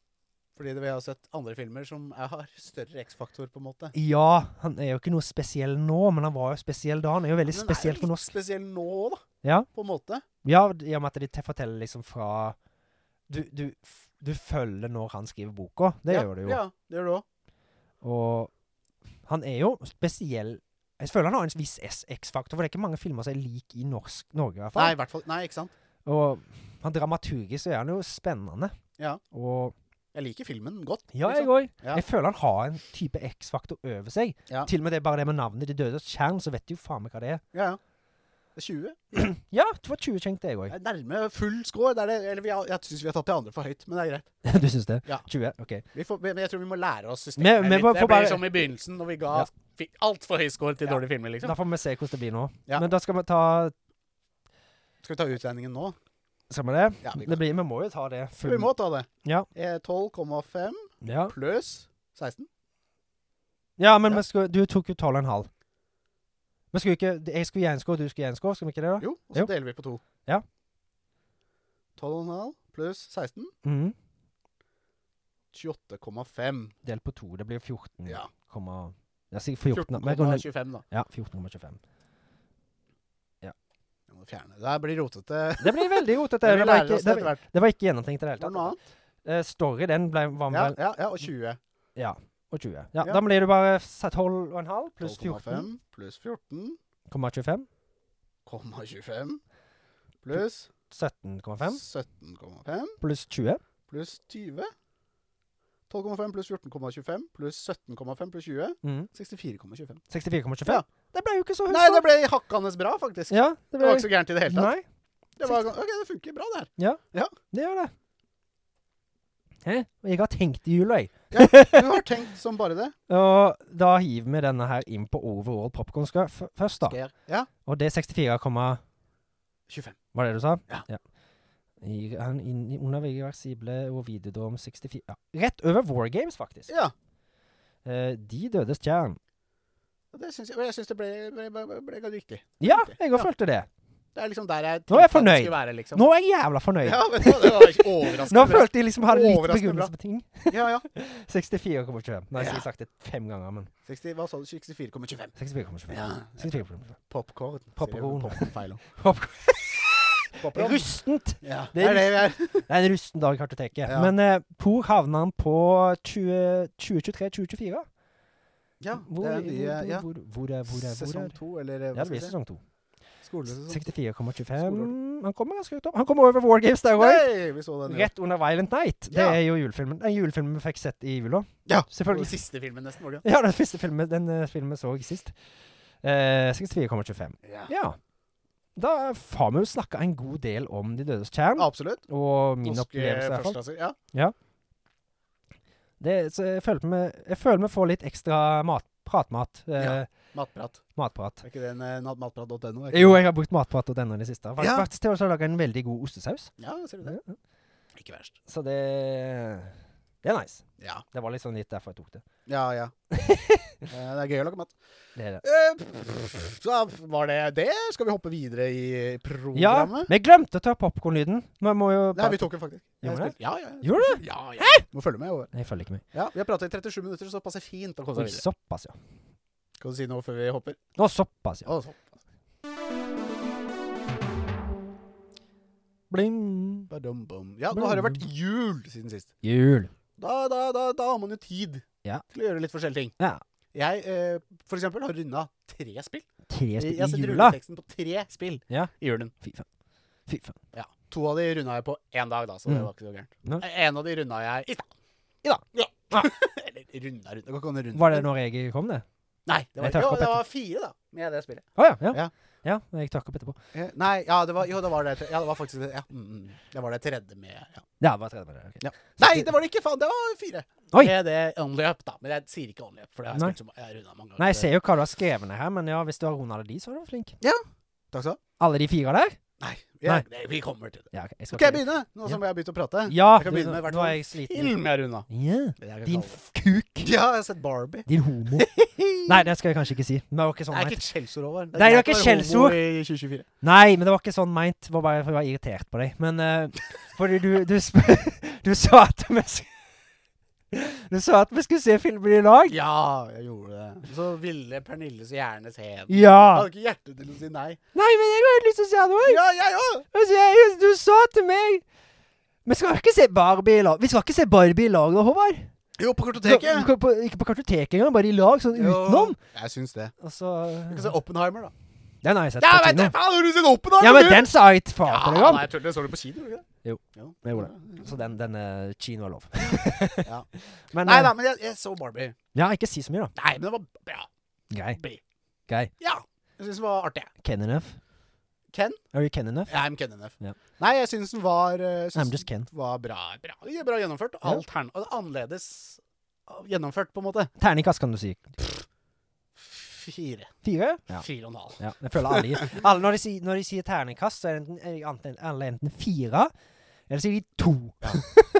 [SPEAKER 1] Fordi det, vi har sett andre filmer som er, har større X-faktor, på en måte.
[SPEAKER 2] Ja, han er jo ikke noe spesiell nå, men han var jo spesiell da. Han er jo veldig
[SPEAKER 1] Men den er
[SPEAKER 2] spesiell
[SPEAKER 1] jo
[SPEAKER 2] for
[SPEAKER 1] litt
[SPEAKER 2] norsk.
[SPEAKER 1] Spesiell nå òg, da.
[SPEAKER 2] Ja.
[SPEAKER 1] På en måte.
[SPEAKER 2] Ja, d- i og med at de te- forteller liksom fra Du, du, f- du følger når han skriver boka. Det
[SPEAKER 1] ja,
[SPEAKER 2] gjør du jo.
[SPEAKER 1] Ja, det gjør du òg.
[SPEAKER 2] Og han er jo spesiell Jeg føler han har en viss S- X-faktor, for det er ikke mange filmer som er lik i norsk Norge, i hvert
[SPEAKER 1] Nei,
[SPEAKER 2] fall.
[SPEAKER 1] i hvert fall. Nei, ikke sant.
[SPEAKER 2] Og han dramaturgisk så er han jo spennende.
[SPEAKER 1] Ja.
[SPEAKER 2] Og
[SPEAKER 1] Jeg liker filmen godt.
[SPEAKER 2] Ja,
[SPEAKER 1] liksom.
[SPEAKER 2] jeg òg.
[SPEAKER 1] Ja.
[SPEAKER 2] Jeg føler han har en type X-faktor over seg.
[SPEAKER 1] Ja.
[SPEAKER 2] Til og med det bare det med navnet De dødes tjern, så vet du jo faen meg hva det er.
[SPEAKER 1] Ja, ja. 20?
[SPEAKER 2] Ja, det var 20 skjenkt, det òg.
[SPEAKER 1] Det er nærme full score. Det er det, eller vi har, jeg syns vi har tatt de andre for høyt, men det er greit.
[SPEAKER 2] du syns det?
[SPEAKER 1] Ja.
[SPEAKER 2] 20? OK.
[SPEAKER 1] Vi får, men jeg tror vi må lære oss
[SPEAKER 2] Men-
[SPEAKER 1] systemet
[SPEAKER 2] men
[SPEAKER 1] litt.
[SPEAKER 2] bare-
[SPEAKER 1] Det
[SPEAKER 2] får
[SPEAKER 1] blir
[SPEAKER 2] bare-
[SPEAKER 1] som i begynnelsen, når vi ga
[SPEAKER 2] Ja.
[SPEAKER 1] ja. altfor høy score til
[SPEAKER 2] Ja.
[SPEAKER 1] dårlige filmer, liksom.
[SPEAKER 2] Da får vi se hvordan det blir nå.
[SPEAKER 1] Ja.
[SPEAKER 2] Men da skal vi ta
[SPEAKER 1] Skal vi ta utregningen nå?
[SPEAKER 2] Skal vi det?
[SPEAKER 1] Ja, vi,
[SPEAKER 2] det blir, vi må jo ta det.
[SPEAKER 1] kan. vi må ta det.
[SPEAKER 2] Ja.
[SPEAKER 1] Eh, 12,5
[SPEAKER 2] Ja.
[SPEAKER 1] pluss 16.
[SPEAKER 2] ja, men
[SPEAKER 1] Ja.
[SPEAKER 2] vi skal, du tok jo 12,5. Vi skulle ikke Jeg skulle gi en score, du skulle gi en score. Skal vi ikke det, da?
[SPEAKER 1] Jo, og så
[SPEAKER 2] Jo.
[SPEAKER 1] deler vi på to.
[SPEAKER 2] Ja.
[SPEAKER 1] 12,5 pluss 16
[SPEAKER 2] Mhm.
[SPEAKER 1] 28,5.
[SPEAKER 2] Delt på to. Det blir 14,
[SPEAKER 1] Ja.
[SPEAKER 2] komma, ja, sikkert 14, men jeg går ned-
[SPEAKER 1] 14,25, da.
[SPEAKER 2] ja, 14,25.
[SPEAKER 1] Jeg må fjerne. Det her blir rotete.
[SPEAKER 2] Det blir veldig rotete.
[SPEAKER 1] Men
[SPEAKER 2] det,
[SPEAKER 1] vi
[SPEAKER 2] var
[SPEAKER 1] lærer
[SPEAKER 2] ikke-
[SPEAKER 1] oss det
[SPEAKER 2] det,
[SPEAKER 1] etter hvert.
[SPEAKER 2] det var ikke gjennomtenkt i det
[SPEAKER 1] Det
[SPEAKER 2] hele
[SPEAKER 1] var
[SPEAKER 2] tatt.
[SPEAKER 1] noe annet.
[SPEAKER 2] Eh, story, den ble, var
[SPEAKER 1] Ja,
[SPEAKER 2] vel
[SPEAKER 1] ja, ja, og 20.
[SPEAKER 2] Ja. Og 20. Ja,
[SPEAKER 1] Ja.
[SPEAKER 2] Da blir du bare s- 12,5 pluss
[SPEAKER 1] 12,5 pluss 14,25
[SPEAKER 2] 14,25.
[SPEAKER 1] pluss
[SPEAKER 2] 17,5
[SPEAKER 1] 17,5
[SPEAKER 2] pluss 20.
[SPEAKER 1] pluss 20. 12,5 pluss 14,25 pluss 17,5 pluss 20.
[SPEAKER 2] Mm.
[SPEAKER 1] 64,25.
[SPEAKER 2] 64,25.
[SPEAKER 1] Ja.
[SPEAKER 2] Det ble jo ikke så høyt.
[SPEAKER 1] Nei, det ble hakkende bra, faktisk.
[SPEAKER 2] ja,
[SPEAKER 1] Det
[SPEAKER 2] det
[SPEAKER 1] var
[SPEAKER 2] ble
[SPEAKER 1] ikke så gærent i det hele tatt.
[SPEAKER 2] Nei,
[SPEAKER 1] Det, var, ok, det funker bra, det her.
[SPEAKER 2] det gjør det. Hæ? Jeg har tenkt i jula, jeg.
[SPEAKER 1] Du har tenkt som bare det.
[SPEAKER 2] Og da hiver vi denne her inn på overall popcorn skal- f- først, da.
[SPEAKER 1] Skjer. Ja.
[SPEAKER 2] Og det er 64,
[SPEAKER 1] 25.
[SPEAKER 2] var det du sa?
[SPEAKER 1] Ja.
[SPEAKER 2] I, han inn, under reversible og videodom 64 ja. Rett over War Games, faktisk.
[SPEAKER 1] Ja.
[SPEAKER 2] Eh, de dødes tjern.
[SPEAKER 1] Og det syns jeg, og jeg syns det ble, ble, ble, ble ganske riktig.
[SPEAKER 2] Ja, jeg òg
[SPEAKER 1] Ja.
[SPEAKER 2] følte det.
[SPEAKER 1] Det er liksom der jeg
[SPEAKER 2] Nå
[SPEAKER 1] tenkte
[SPEAKER 2] er jeg
[SPEAKER 1] at det
[SPEAKER 2] fornøyd.
[SPEAKER 1] skulle være, liksom.
[SPEAKER 2] Nå er jeg jævla fornøyd.
[SPEAKER 1] Ja, vet du hva, det var ikke overraskende
[SPEAKER 2] Nå følte jeg liksom hadde litt
[SPEAKER 1] Overraskende bra.
[SPEAKER 2] begrunnelse på ting.
[SPEAKER 1] bra. Ja, ja.
[SPEAKER 2] 64,25. Nei, jeg
[SPEAKER 1] Ja.
[SPEAKER 2] skulle sagt det fem ganger, men
[SPEAKER 1] 60, hva sa du? 64,25.
[SPEAKER 2] 64,25.
[SPEAKER 1] Ja.
[SPEAKER 2] 64,25.
[SPEAKER 1] Popkorn.
[SPEAKER 2] Popcorn.
[SPEAKER 1] Feil ord.
[SPEAKER 2] Popcorn. Det er
[SPEAKER 1] Popcorn.
[SPEAKER 2] rustent!
[SPEAKER 1] Ja,
[SPEAKER 2] Det
[SPEAKER 1] det
[SPEAKER 2] er
[SPEAKER 1] er det vi er.
[SPEAKER 2] Det er en rusten dag i kartoteket.
[SPEAKER 1] Ja.
[SPEAKER 2] Men eh, hvor havna han på 2023-2024?
[SPEAKER 1] Ja,
[SPEAKER 2] Hvor,
[SPEAKER 1] det er nye ja.
[SPEAKER 2] hvor, hvor, hvor, er- hvor, er- hvor
[SPEAKER 1] Sesong
[SPEAKER 2] er
[SPEAKER 1] to, eller eh,
[SPEAKER 2] Ja,
[SPEAKER 1] hva
[SPEAKER 2] det blir
[SPEAKER 1] skal vi si?
[SPEAKER 2] sesong to.
[SPEAKER 1] Skolesesong.
[SPEAKER 2] 64,25
[SPEAKER 1] Skoleår.
[SPEAKER 2] Han kommer ganske høyt opp. Han kommer over War Games der òg!
[SPEAKER 1] Hei, vi så den jo.
[SPEAKER 2] Rett under Violent Night. Det
[SPEAKER 1] Ja.
[SPEAKER 2] er jo julefilmen Den julefilmen vi fikk sett i jula.
[SPEAKER 1] Ja,
[SPEAKER 2] selvfølgelig.
[SPEAKER 1] Den siste filmen nesten, var det
[SPEAKER 2] Ja, den første filmen Den eh, filmen så jeg sist. Eh, 64,25.
[SPEAKER 1] ja.
[SPEAKER 2] Ja. Da har vi jo snakka en god del om De dødes kjern,
[SPEAKER 1] Absolutt.
[SPEAKER 2] og min
[SPEAKER 1] Norske
[SPEAKER 2] opplevelse, i hvert fall.
[SPEAKER 1] førsteklasser. Ja.
[SPEAKER 2] Det, så jeg føler vi, jeg føler vi får litt ekstra mat, pratmat. Eh,
[SPEAKER 1] Ja. Matprat.
[SPEAKER 2] Matprat.
[SPEAKER 1] Er ikke det en eh, nat- matprat.no? er ikke
[SPEAKER 2] Jo,
[SPEAKER 1] det?
[SPEAKER 2] jeg har brukt matprat.no i det siste. Fakt-
[SPEAKER 1] Ja.
[SPEAKER 2] Faktisk til å lage en veldig god ostesaus.
[SPEAKER 1] Ja, ser du det. Ikke verst.
[SPEAKER 2] Så det Det er nice.
[SPEAKER 1] Ja,
[SPEAKER 2] Det var litt sånn litt derfor jeg tok det.
[SPEAKER 1] ja. ja. Eh, det er gøy å lage mat.
[SPEAKER 2] Det er det.
[SPEAKER 1] Eh, pff, Så var det det. Skal vi hoppe videre i
[SPEAKER 2] Ja,
[SPEAKER 1] programmet?
[SPEAKER 2] vi glemte å ta popkornlyden. Vi må jo
[SPEAKER 1] Nei, vi tok den faktisk. Jeg
[SPEAKER 2] Gjorde det?
[SPEAKER 1] spilte- Ja, ja. jeg
[SPEAKER 2] Gjorde
[SPEAKER 1] spilte- Ja, ja. Må følge med. over.
[SPEAKER 2] Nei, jeg følger ikke med.
[SPEAKER 1] Ja, Vi har pratet i 37 minutter, så det passer fint å komme seg
[SPEAKER 2] Oi,
[SPEAKER 1] videre.
[SPEAKER 2] såpass, ja.
[SPEAKER 1] Skal du si noe før vi hopper?
[SPEAKER 2] Nå, såpass, ja.
[SPEAKER 1] Å, så-
[SPEAKER 2] Bling.
[SPEAKER 1] badum-bum. Ja, nå har det vært jul siden sist.
[SPEAKER 2] Jul.
[SPEAKER 1] Da, da, da, da har man jo tid
[SPEAKER 2] Ja.
[SPEAKER 1] til å gjøre litt forskjellige ting.
[SPEAKER 2] Ja.
[SPEAKER 1] Jeg eh, for eksempel har runda tre spill.
[SPEAKER 2] Tre
[SPEAKER 1] Jeg
[SPEAKER 2] spill
[SPEAKER 1] har
[SPEAKER 2] i
[SPEAKER 1] sett
[SPEAKER 2] jula.
[SPEAKER 1] rulleteksten på tre spill
[SPEAKER 2] Ja.
[SPEAKER 1] i julen.
[SPEAKER 2] Fy faen. Fy faen.
[SPEAKER 1] To av de runda jeg på én dag, da, så det
[SPEAKER 2] Mm.
[SPEAKER 1] var ikke så gærent.
[SPEAKER 2] Nei.
[SPEAKER 1] Eh, En av de runda jeg i dag. I dag. Ja. Eller runda, runda. Kan ikke kalle det runda.
[SPEAKER 2] Var det når jeg kom, det?
[SPEAKER 1] Nei, det var,
[SPEAKER 2] Jeg trakk
[SPEAKER 1] jo,
[SPEAKER 2] opp
[SPEAKER 1] det
[SPEAKER 2] etter.
[SPEAKER 1] var fire, da, med det spillet.
[SPEAKER 2] Å ja. Ja.
[SPEAKER 1] Ja.
[SPEAKER 2] ja. Jeg trakk opp etterpå.
[SPEAKER 1] Eh, Nei, ja, det var, jo, det var det. Ja, det var faktisk det. Ja, mm, mm. det var det tredje med ja.
[SPEAKER 2] Ja, bare tredje med det. ok.
[SPEAKER 1] Ja. Nei, det var det ikke! Faen, det var fire.
[SPEAKER 2] Oi.
[SPEAKER 1] Med det Only Up, da. Men jeg sier ikke Only Up, for det har jeg
[SPEAKER 2] Nei.
[SPEAKER 1] spilt som jeg har rundet mange ganger.
[SPEAKER 2] Nei, jeg ser jo hva du har skrevet ned her, men ja, hvis du har runda de, så er du flink.
[SPEAKER 1] Takk skal du ha.
[SPEAKER 2] Alle de fire der?
[SPEAKER 1] Nei, ja, det- vi kommer til det.
[SPEAKER 2] Ja, ok, jeg skal
[SPEAKER 1] Skal jeg
[SPEAKER 2] ikke-
[SPEAKER 1] begynne, nå som jeg har begynt å prate?
[SPEAKER 2] Ja,
[SPEAKER 1] Jeg kan begynne med
[SPEAKER 2] nå-
[SPEAKER 1] hvert
[SPEAKER 2] nå er
[SPEAKER 1] fall
[SPEAKER 2] jeg sliten.
[SPEAKER 1] Film jeg har runda.
[SPEAKER 2] Ja.
[SPEAKER 1] Det er det jeg
[SPEAKER 2] Din
[SPEAKER 1] kaller det.
[SPEAKER 2] f- kuk.
[SPEAKER 1] Ja, jeg har sett Barbie. Sånn
[SPEAKER 2] Din homo. Nei, det skal jeg kanskje ikke si. Men det var ikke
[SPEAKER 1] Det
[SPEAKER 2] sånn
[SPEAKER 1] er
[SPEAKER 2] meint.
[SPEAKER 1] ikke et skjellsord, Håvard.
[SPEAKER 2] Nei, det er
[SPEAKER 1] greit
[SPEAKER 2] ikke
[SPEAKER 1] å være homo
[SPEAKER 2] skjellsord.
[SPEAKER 1] i 2024.
[SPEAKER 2] Nei, men det var ikke sånn meint. Det var bare for jeg var irritert på deg. Men eh, fordi du du, sp- du sa at vi sk- Du sa at vi skulle se filmer i lag.
[SPEAKER 1] Ja, jeg gjorde det. Så ville Pernille så gjerne se den. Jeg
[SPEAKER 2] Ja.
[SPEAKER 1] hadde ikke hjerte til å si nei.
[SPEAKER 2] Nei, men jeg har helt lyst til å se noe.
[SPEAKER 1] Ja, jeg òg!
[SPEAKER 2] Altså, jeg, du sa til meg Vi skal ikke se Barbie i lag. Vi skal ikke se Barbie i lag da, Håvard.
[SPEAKER 1] Jo, på kartoteket.
[SPEAKER 2] På, på, ikke på kartoteket engang, bare i lag, sånn
[SPEAKER 1] Jo,
[SPEAKER 2] utenom.
[SPEAKER 1] Jeg syns det.
[SPEAKER 2] Og så
[SPEAKER 1] Du kan se Oppenheimer, da.
[SPEAKER 2] Den har jeg sett
[SPEAKER 1] Ja,
[SPEAKER 2] på
[SPEAKER 1] vet du,
[SPEAKER 2] kino.
[SPEAKER 1] faen, har du sett Oppenheimer?
[SPEAKER 2] Ja, men den sa jeg til far til deg
[SPEAKER 1] Ja,
[SPEAKER 2] om.
[SPEAKER 1] nei, jeg tuller. Så du på kino? Ikke? det?
[SPEAKER 2] Jo, jeg gjorde Så den, den er kino er lov.
[SPEAKER 1] Ja.
[SPEAKER 2] Men,
[SPEAKER 1] Nei
[SPEAKER 2] eh,
[SPEAKER 1] da, men jeg, jeg så Barbie.
[SPEAKER 2] Ja, ikke si så mye, da.
[SPEAKER 1] Nei, men det var bra.
[SPEAKER 2] Grei.
[SPEAKER 1] Bli.
[SPEAKER 2] Grei.
[SPEAKER 1] Ja. Jeg syns det var artig.
[SPEAKER 2] Kenneneff.
[SPEAKER 1] Ken?
[SPEAKER 2] Are you Ken enough?
[SPEAKER 1] I'm Ken enough.
[SPEAKER 2] Ja.
[SPEAKER 1] Nei, jeg syns den var, eh, syns
[SPEAKER 2] I'm just Ken.
[SPEAKER 1] den var bra, bra, ja, bra gjennomført.
[SPEAKER 2] Ja.
[SPEAKER 1] Alt her, og annerledes eh, gjennomført, på en måte.
[SPEAKER 2] Terningkast, kan du si.
[SPEAKER 1] Fire.
[SPEAKER 2] Fire? Ja.
[SPEAKER 1] Fire og en halv.
[SPEAKER 2] Ja, jeg føler alle, gir- alle når, de sier, når de sier terningkast, så er det enten, er de enten, alle enten fire, eller sier de to.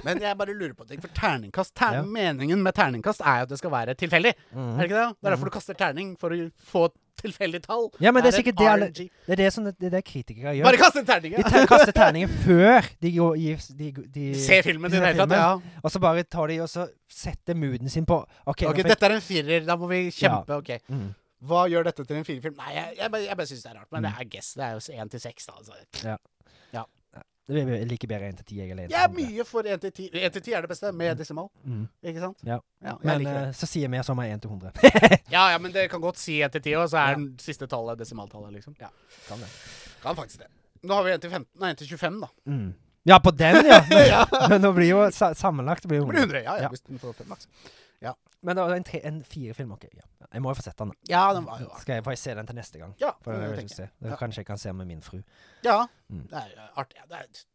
[SPEAKER 1] Men jeg bare lurer på en ting, for terningkast ter
[SPEAKER 2] Ja.
[SPEAKER 1] Meningen med terningkast er jo at det skal være tilfeldig.
[SPEAKER 2] Mhm.
[SPEAKER 1] Er det ikke det? Det er derfor du kaster terning, for å få et tilfeldig tall.
[SPEAKER 2] Ja, men det er
[SPEAKER 1] en
[SPEAKER 2] sikkert det alle-
[SPEAKER 1] RNG.
[SPEAKER 2] Det er det, som, det, det er det kritikere gjør.
[SPEAKER 1] Bare kast en terning!
[SPEAKER 2] De
[SPEAKER 1] Ja.
[SPEAKER 2] ter kaster terninger før de, går- gir- de, de,
[SPEAKER 1] Se filmen i
[SPEAKER 2] de
[SPEAKER 1] det
[SPEAKER 2] ser
[SPEAKER 1] hele tatt.
[SPEAKER 2] filmen.
[SPEAKER 1] Ja.
[SPEAKER 2] Og så bare tar de og så setter mooden sin på OK, nå
[SPEAKER 1] Ok,
[SPEAKER 2] fikk-
[SPEAKER 1] dette er en firer. Da må vi kjempe. Ok.
[SPEAKER 2] Mm.
[SPEAKER 1] Hva gjør dette til en firerfilm? Nei, jeg, jeg, bare- jeg bare syns det er rart. Men det er guess. Det er jo én til seks, da. Altså.
[SPEAKER 2] Det blir like bedre én til ti eller én
[SPEAKER 1] Jeg er mye for én til ti. Én til ti er det beste, med desimal.
[SPEAKER 2] Mm.
[SPEAKER 1] Ikke sant?
[SPEAKER 2] Ja.
[SPEAKER 1] jeg
[SPEAKER 2] Men
[SPEAKER 1] liker det.
[SPEAKER 2] eh, så sier vi som er én til hundre.
[SPEAKER 1] ja, ja, men det kan godt si én til ti, og så
[SPEAKER 2] Ja.
[SPEAKER 1] er den siste tallet desimaltallet, liksom. Ja. Kan faktisk det. Nå har vi én til 15, nei, en til 25, da.
[SPEAKER 2] Mm. Ja, på den, ja! Men, men nå blir jo sa sammenlagt blir
[SPEAKER 1] Det
[SPEAKER 2] jo
[SPEAKER 1] blir 100.
[SPEAKER 2] 100.
[SPEAKER 1] Ja,
[SPEAKER 2] Ja.
[SPEAKER 1] ja, hvis den får fem maks.
[SPEAKER 2] Men da, en, tre, en fire film, OK. Ja. Jeg må jo få sett den. da.
[SPEAKER 1] Ja, den var jo artig.
[SPEAKER 2] Skal jeg, får jeg se den til neste gang?
[SPEAKER 1] Mm. Ja,
[SPEAKER 2] For
[SPEAKER 1] det
[SPEAKER 2] jeg vil
[SPEAKER 1] tenker jeg.
[SPEAKER 2] se. Det
[SPEAKER 1] Ja.
[SPEAKER 2] Kanskje jeg kan se med min fru.
[SPEAKER 1] ja.
[SPEAKER 2] Mm.
[SPEAKER 1] det er jo artig. Ja, det er et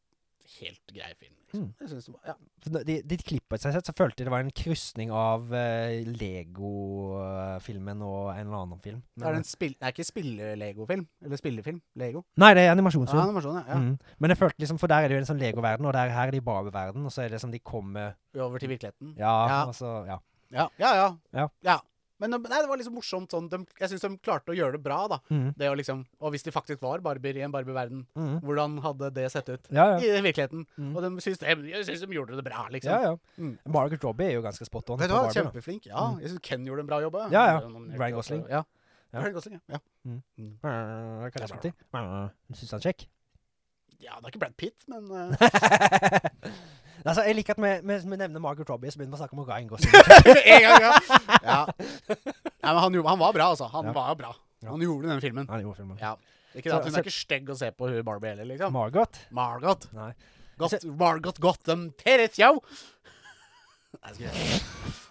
[SPEAKER 1] helt grei film. Liksom.
[SPEAKER 2] Mm.
[SPEAKER 1] Jeg synes det var, ja.
[SPEAKER 2] For da- De, de klippet seg sett, så følte jeg det var en krysning av eh, Lego-filmen og en eller annen film.
[SPEAKER 1] det, er
[SPEAKER 2] Men- eh,
[SPEAKER 1] en spill, det er ikke spille-Lego-film. Eller spillefilm. Lego.
[SPEAKER 2] Nei, det er
[SPEAKER 1] Ja,
[SPEAKER 2] animasjonsfilm.
[SPEAKER 1] animasjon, Ah, ja.
[SPEAKER 2] Mm. Men jeg følte liksom, for der er det jo en sånn Lego-verden, og der her er det i Barbie-verden, og så er det som de kommer
[SPEAKER 1] ja. Over til virkeligheten.
[SPEAKER 2] Mm. Ja,
[SPEAKER 1] Ja.
[SPEAKER 2] altså Ja.
[SPEAKER 1] Ja, ja. ja.
[SPEAKER 2] Ja.
[SPEAKER 1] Men de- nei, det var liksom morsomt sånn de, Jeg syns de klarte å gjøre det bra, da.
[SPEAKER 2] Mm.
[SPEAKER 1] Det å liksom Og hvis de faktisk var barbier i en barbieverden,
[SPEAKER 2] Mm.
[SPEAKER 1] hvordan hadde Mm-hmm. det sett ut?
[SPEAKER 2] Ja, ja.
[SPEAKER 1] I virkeligheten.
[SPEAKER 2] Mm.
[SPEAKER 1] Og de syns, de, jeg syns de gjorde det bra, liksom.
[SPEAKER 2] ja, ja.
[SPEAKER 1] Mm.
[SPEAKER 2] Margaret Robbie er jo ganske spot on.
[SPEAKER 1] Vet du
[SPEAKER 2] på
[SPEAKER 1] hva,
[SPEAKER 2] Barbie, da.
[SPEAKER 1] kjempeflink. Ja, jeg syns Ken gjorde en bra jobb.
[SPEAKER 2] Mm. Ja, ja.
[SPEAKER 1] Han ble nominert
[SPEAKER 2] Ryan
[SPEAKER 1] til
[SPEAKER 2] Gosling.
[SPEAKER 1] Oscar. Ja.
[SPEAKER 2] Ja.
[SPEAKER 1] Ryan Gosling, ja.
[SPEAKER 2] Brr, Hva er det som
[SPEAKER 1] Ja,
[SPEAKER 2] heter? Brr, Syns han er kjekk?
[SPEAKER 1] ja. ja, det er ikke Brad Pitt, men eh,
[SPEAKER 2] altså, jeg liker at vi, vi, vi nevner Margaret Robbie, så begynner vi å snakke om Ryan Gosling.
[SPEAKER 1] Med en gang, ja. ja. Nei, men han, gjorde- han var bra, altså. Han
[SPEAKER 2] Ja.
[SPEAKER 1] var bra.
[SPEAKER 2] Ja.
[SPEAKER 1] Han gjorde den filmen.
[SPEAKER 2] Han er i ordfilmen.
[SPEAKER 1] Ja. Ikke det,
[SPEAKER 2] Så-
[SPEAKER 1] at hun
[SPEAKER 2] så-
[SPEAKER 1] er ikke stygg å se på, hun Barbie heller, liksom.
[SPEAKER 2] Margot?
[SPEAKER 1] Margot.
[SPEAKER 2] Nei.
[SPEAKER 1] Got, Margot Gotham Terethjau. um, Nei, skal jeg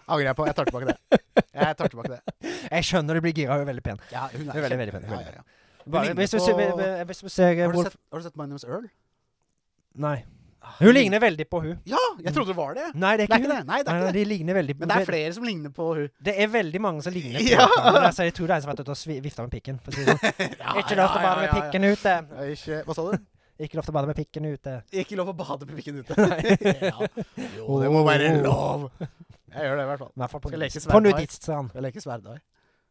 [SPEAKER 1] Angrer jeg på. Jeg tar tilbake det. Jeg tar tilbake det.
[SPEAKER 2] Jeg skjønner du blir gira, hun er veldig pen.
[SPEAKER 1] Ja, hun
[SPEAKER 2] Hun er veldig, veldig pen,
[SPEAKER 1] Ja,
[SPEAKER 2] veldig
[SPEAKER 1] ja, ja.
[SPEAKER 2] Bare,
[SPEAKER 1] ligner
[SPEAKER 2] hvis, du,
[SPEAKER 1] på-
[SPEAKER 2] ser- hvis- hvis du ser eh,
[SPEAKER 1] Har, du
[SPEAKER 2] Wolf
[SPEAKER 1] sett, har du sett My Name's Earl?
[SPEAKER 2] Nei. Hun ligner veldig på hun.
[SPEAKER 1] Ja, jeg trodde det var Ah, det.
[SPEAKER 2] Nei, det
[SPEAKER 1] Det
[SPEAKER 2] er ikke
[SPEAKER 1] er ikke
[SPEAKER 2] hun.
[SPEAKER 1] det. Nei, det
[SPEAKER 2] Nei,
[SPEAKER 1] er
[SPEAKER 2] nei,
[SPEAKER 1] ikke det.
[SPEAKER 2] de ligner veldig
[SPEAKER 1] Men det er flere som ligner på hun.
[SPEAKER 2] Det er veldig mange som ligner på
[SPEAKER 1] Ja.
[SPEAKER 2] hverandre. Altså, jeg tror det er en som har vært ute og svi- vifta med pikken. For å si det. sånn.
[SPEAKER 1] Ja,
[SPEAKER 2] Ikke lov til å
[SPEAKER 1] ja,
[SPEAKER 2] bade
[SPEAKER 1] ja,
[SPEAKER 2] med
[SPEAKER 1] ja, ja.
[SPEAKER 2] pikken ute!
[SPEAKER 1] Ikke, hva sa du?
[SPEAKER 2] Ikke lov til å bade med pikken ute.
[SPEAKER 1] Ikke lov å bade med pikken ute.
[SPEAKER 2] Nei.
[SPEAKER 1] ja. Jo, det må være lov. Oh. Jeg gjør det i hvert fall.
[SPEAKER 2] I hvert fall på,
[SPEAKER 1] Skal leke
[SPEAKER 2] nudist- på
[SPEAKER 1] sverdhai.
[SPEAKER 2] nudiststrand.
[SPEAKER 1] Jeg leker sverdhai.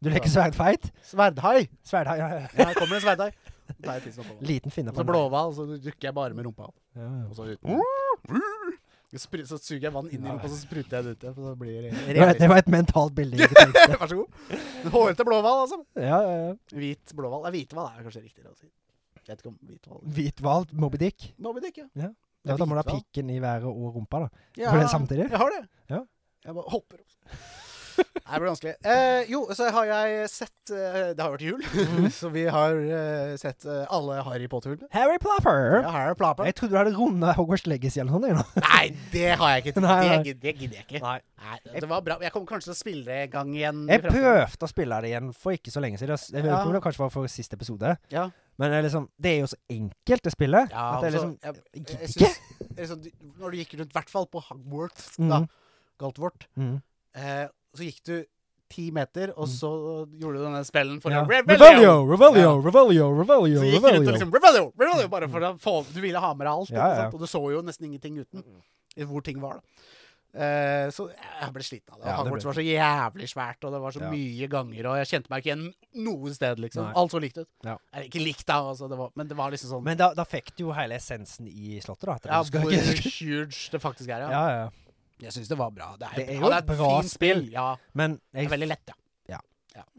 [SPEAKER 2] Du leker sverdfight?
[SPEAKER 1] Sverdhai!
[SPEAKER 2] Sverdhai, ja. ja.
[SPEAKER 1] Ja, her kommer en sverdhai. Da tar jeg tissen oppå meg.
[SPEAKER 2] Liten finne på
[SPEAKER 1] Så
[SPEAKER 2] en
[SPEAKER 1] blåhval, så dukker jeg bare med rumpa opp.
[SPEAKER 2] vei. Ja, ja.
[SPEAKER 1] Og så ut. Jeg spry- Så suger jeg vann inn i rumpa, så spruter jeg det ut igjen. Så da blir det
[SPEAKER 2] Det var, det var et mentalt bilde. jeg ikke tenkte.
[SPEAKER 1] Vær så god. En Hårete blåhval, altså.
[SPEAKER 2] Ja, ja, ja.
[SPEAKER 1] Hvit blåhval. Ja, hvithval er kanskje riktigere å si. Jeg vet ikke om hvithval
[SPEAKER 2] Hvit hval, Moby Dick.
[SPEAKER 1] Moby Dick, ja.
[SPEAKER 2] Da, da må du ha
[SPEAKER 1] Hvithval.
[SPEAKER 2] pikken i været og rumpa, da.
[SPEAKER 1] Ja,
[SPEAKER 2] Var det samtidig?
[SPEAKER 1] Jeg har det.
[SPEAKER 2] Ja.
[SPEAKER 1] Jeg bare hopper opp. Nei, Det blir vanskelig. Eh, jo, så har jeg sett eh, Det har vært jul,
[SPEAKER 2] Mhm.
[SPEAKER 1] så vi har eh, sett eh, alle Harry Potter-filmene.
[SPEAKER 2] Harry Plopper!
[SPEAKER 1] Ja, her er plata.
[SPEAKER 2] Jeg trodde du hadde runda Hogwarts Legacy eller noe sånt. jeg,
[SPEAKER 1] Nei, det har jeg ikke.
[SPEAKER 2] Nei, nei.
[SPEAKER 1] Det, gid- det gidder jeg ikke.
[SPEAKER 2] nå.
[SPEAKER 1] Nei, det var bra. Jeg kommer kanskje til å spille det en gang igjen. i
[SPEAKER 2] Jeg
[SPEAKER 1] fremtiden.
[SPEAKER 2] prøvde å spille det igjen for ikke så lenge siden. Jeg vet
[SPEAKER 1] Ja.
[SPEAKER 2] ikke om det kanskje var for siste episode.
[SPEAKER 1] Ja.
[SPEAKER 2] Men det er, liksom, det er jo så enkelt, det spillet.
[SPEAKER 1] Ja,
[SPEAKER 2] at
[SPEAKER 1] altså,
[SPEAKER 2] det er liksom
[SPEAKER 1] jeg,
[SPEAKER 2] jeg
[SPEAKER 1] jeg
[SPEAKER 2] gidder ikke.
[SPEAKER 1] syns- det er sånn, du- Når du gikk rundt, i hvert fall på Hogwarts, da,
[SPEAKER 2] Mhm.
[SPEAKER 1] Galtvort,
[SPEAKER 2] Mm.
[SPEAKER 1] eh, så gikk du ti meter, og
[SPEAKER 2] Mhm.
[SPEAKER 1] så gjorde du denne spellen for
[SPEAKER 2] Ja.
[SPEAKER 1] å-
[SPEAKER 2] Revelio, Revelio, Revelio, Revelio.
[SPEAKER 1] Så gikk du rundt og
[SPEAKER 2] Revelio.
[SPEAKER 1] liksom Revelio, Revelio, bare for å få Du ville ha med deg alt,
[SPEAKER 2] Mm. Ja,
[SPEAKER 1] ikke
[SPEAKER 2] ja.
[SPEAKER 1] sant? og du så jo nesten ingenting uten i hvor ting var, da. Eh, så jeg ble sliten av det.
[SPEAKER 2] Ja, det
[SPEAKER 1] Hogwarts
[SPEAKER 2] ble-
[SPEAKER 1] var så jævlig svært, og det var så
[SPEAKER 2] Ja.
[SPEAKER 1] mye ganger, og jeg kjente meg ikke igjen noe sted, liksom.
[SPEAKER 2] Nei.
[SPEAKER 1] Alt så likt ut.
[SPEAKER 2] Ja.
[SPEAKER 1] Eller ikke likt, da, altså, det var, men det var liksom sånn
[SPEAKER 2] Men da, da fikk du jo hele essensen i slottet, da. At
[SPEAKER 1] Ja,
[SPEAKER 2] du
[SPEAKER 1] hvor
[SPEAKER 2] skal ikke
[SPEAKER 1] huge det faktisk er,
[SPEAKER 2] ja,
[SPEAKER 1] ja.
[SPEAKER 2] ja. ja.
[SPEAKER 1] Jeg syns det var bra. Det er,
[SPEAKER 2] Det er
[SPEAKER 1] ja,
[SPEAKER 2] jo et bra
[SPEAKER 1] fint
[SPEAKER 2] spill.
[SPEAKER 1] Ja,
[SPEAKER 2] Men
[SPEAKER 1] det er
[SPEAKER 2] jeg,
[SPEAKER 1] veldig lett, ja.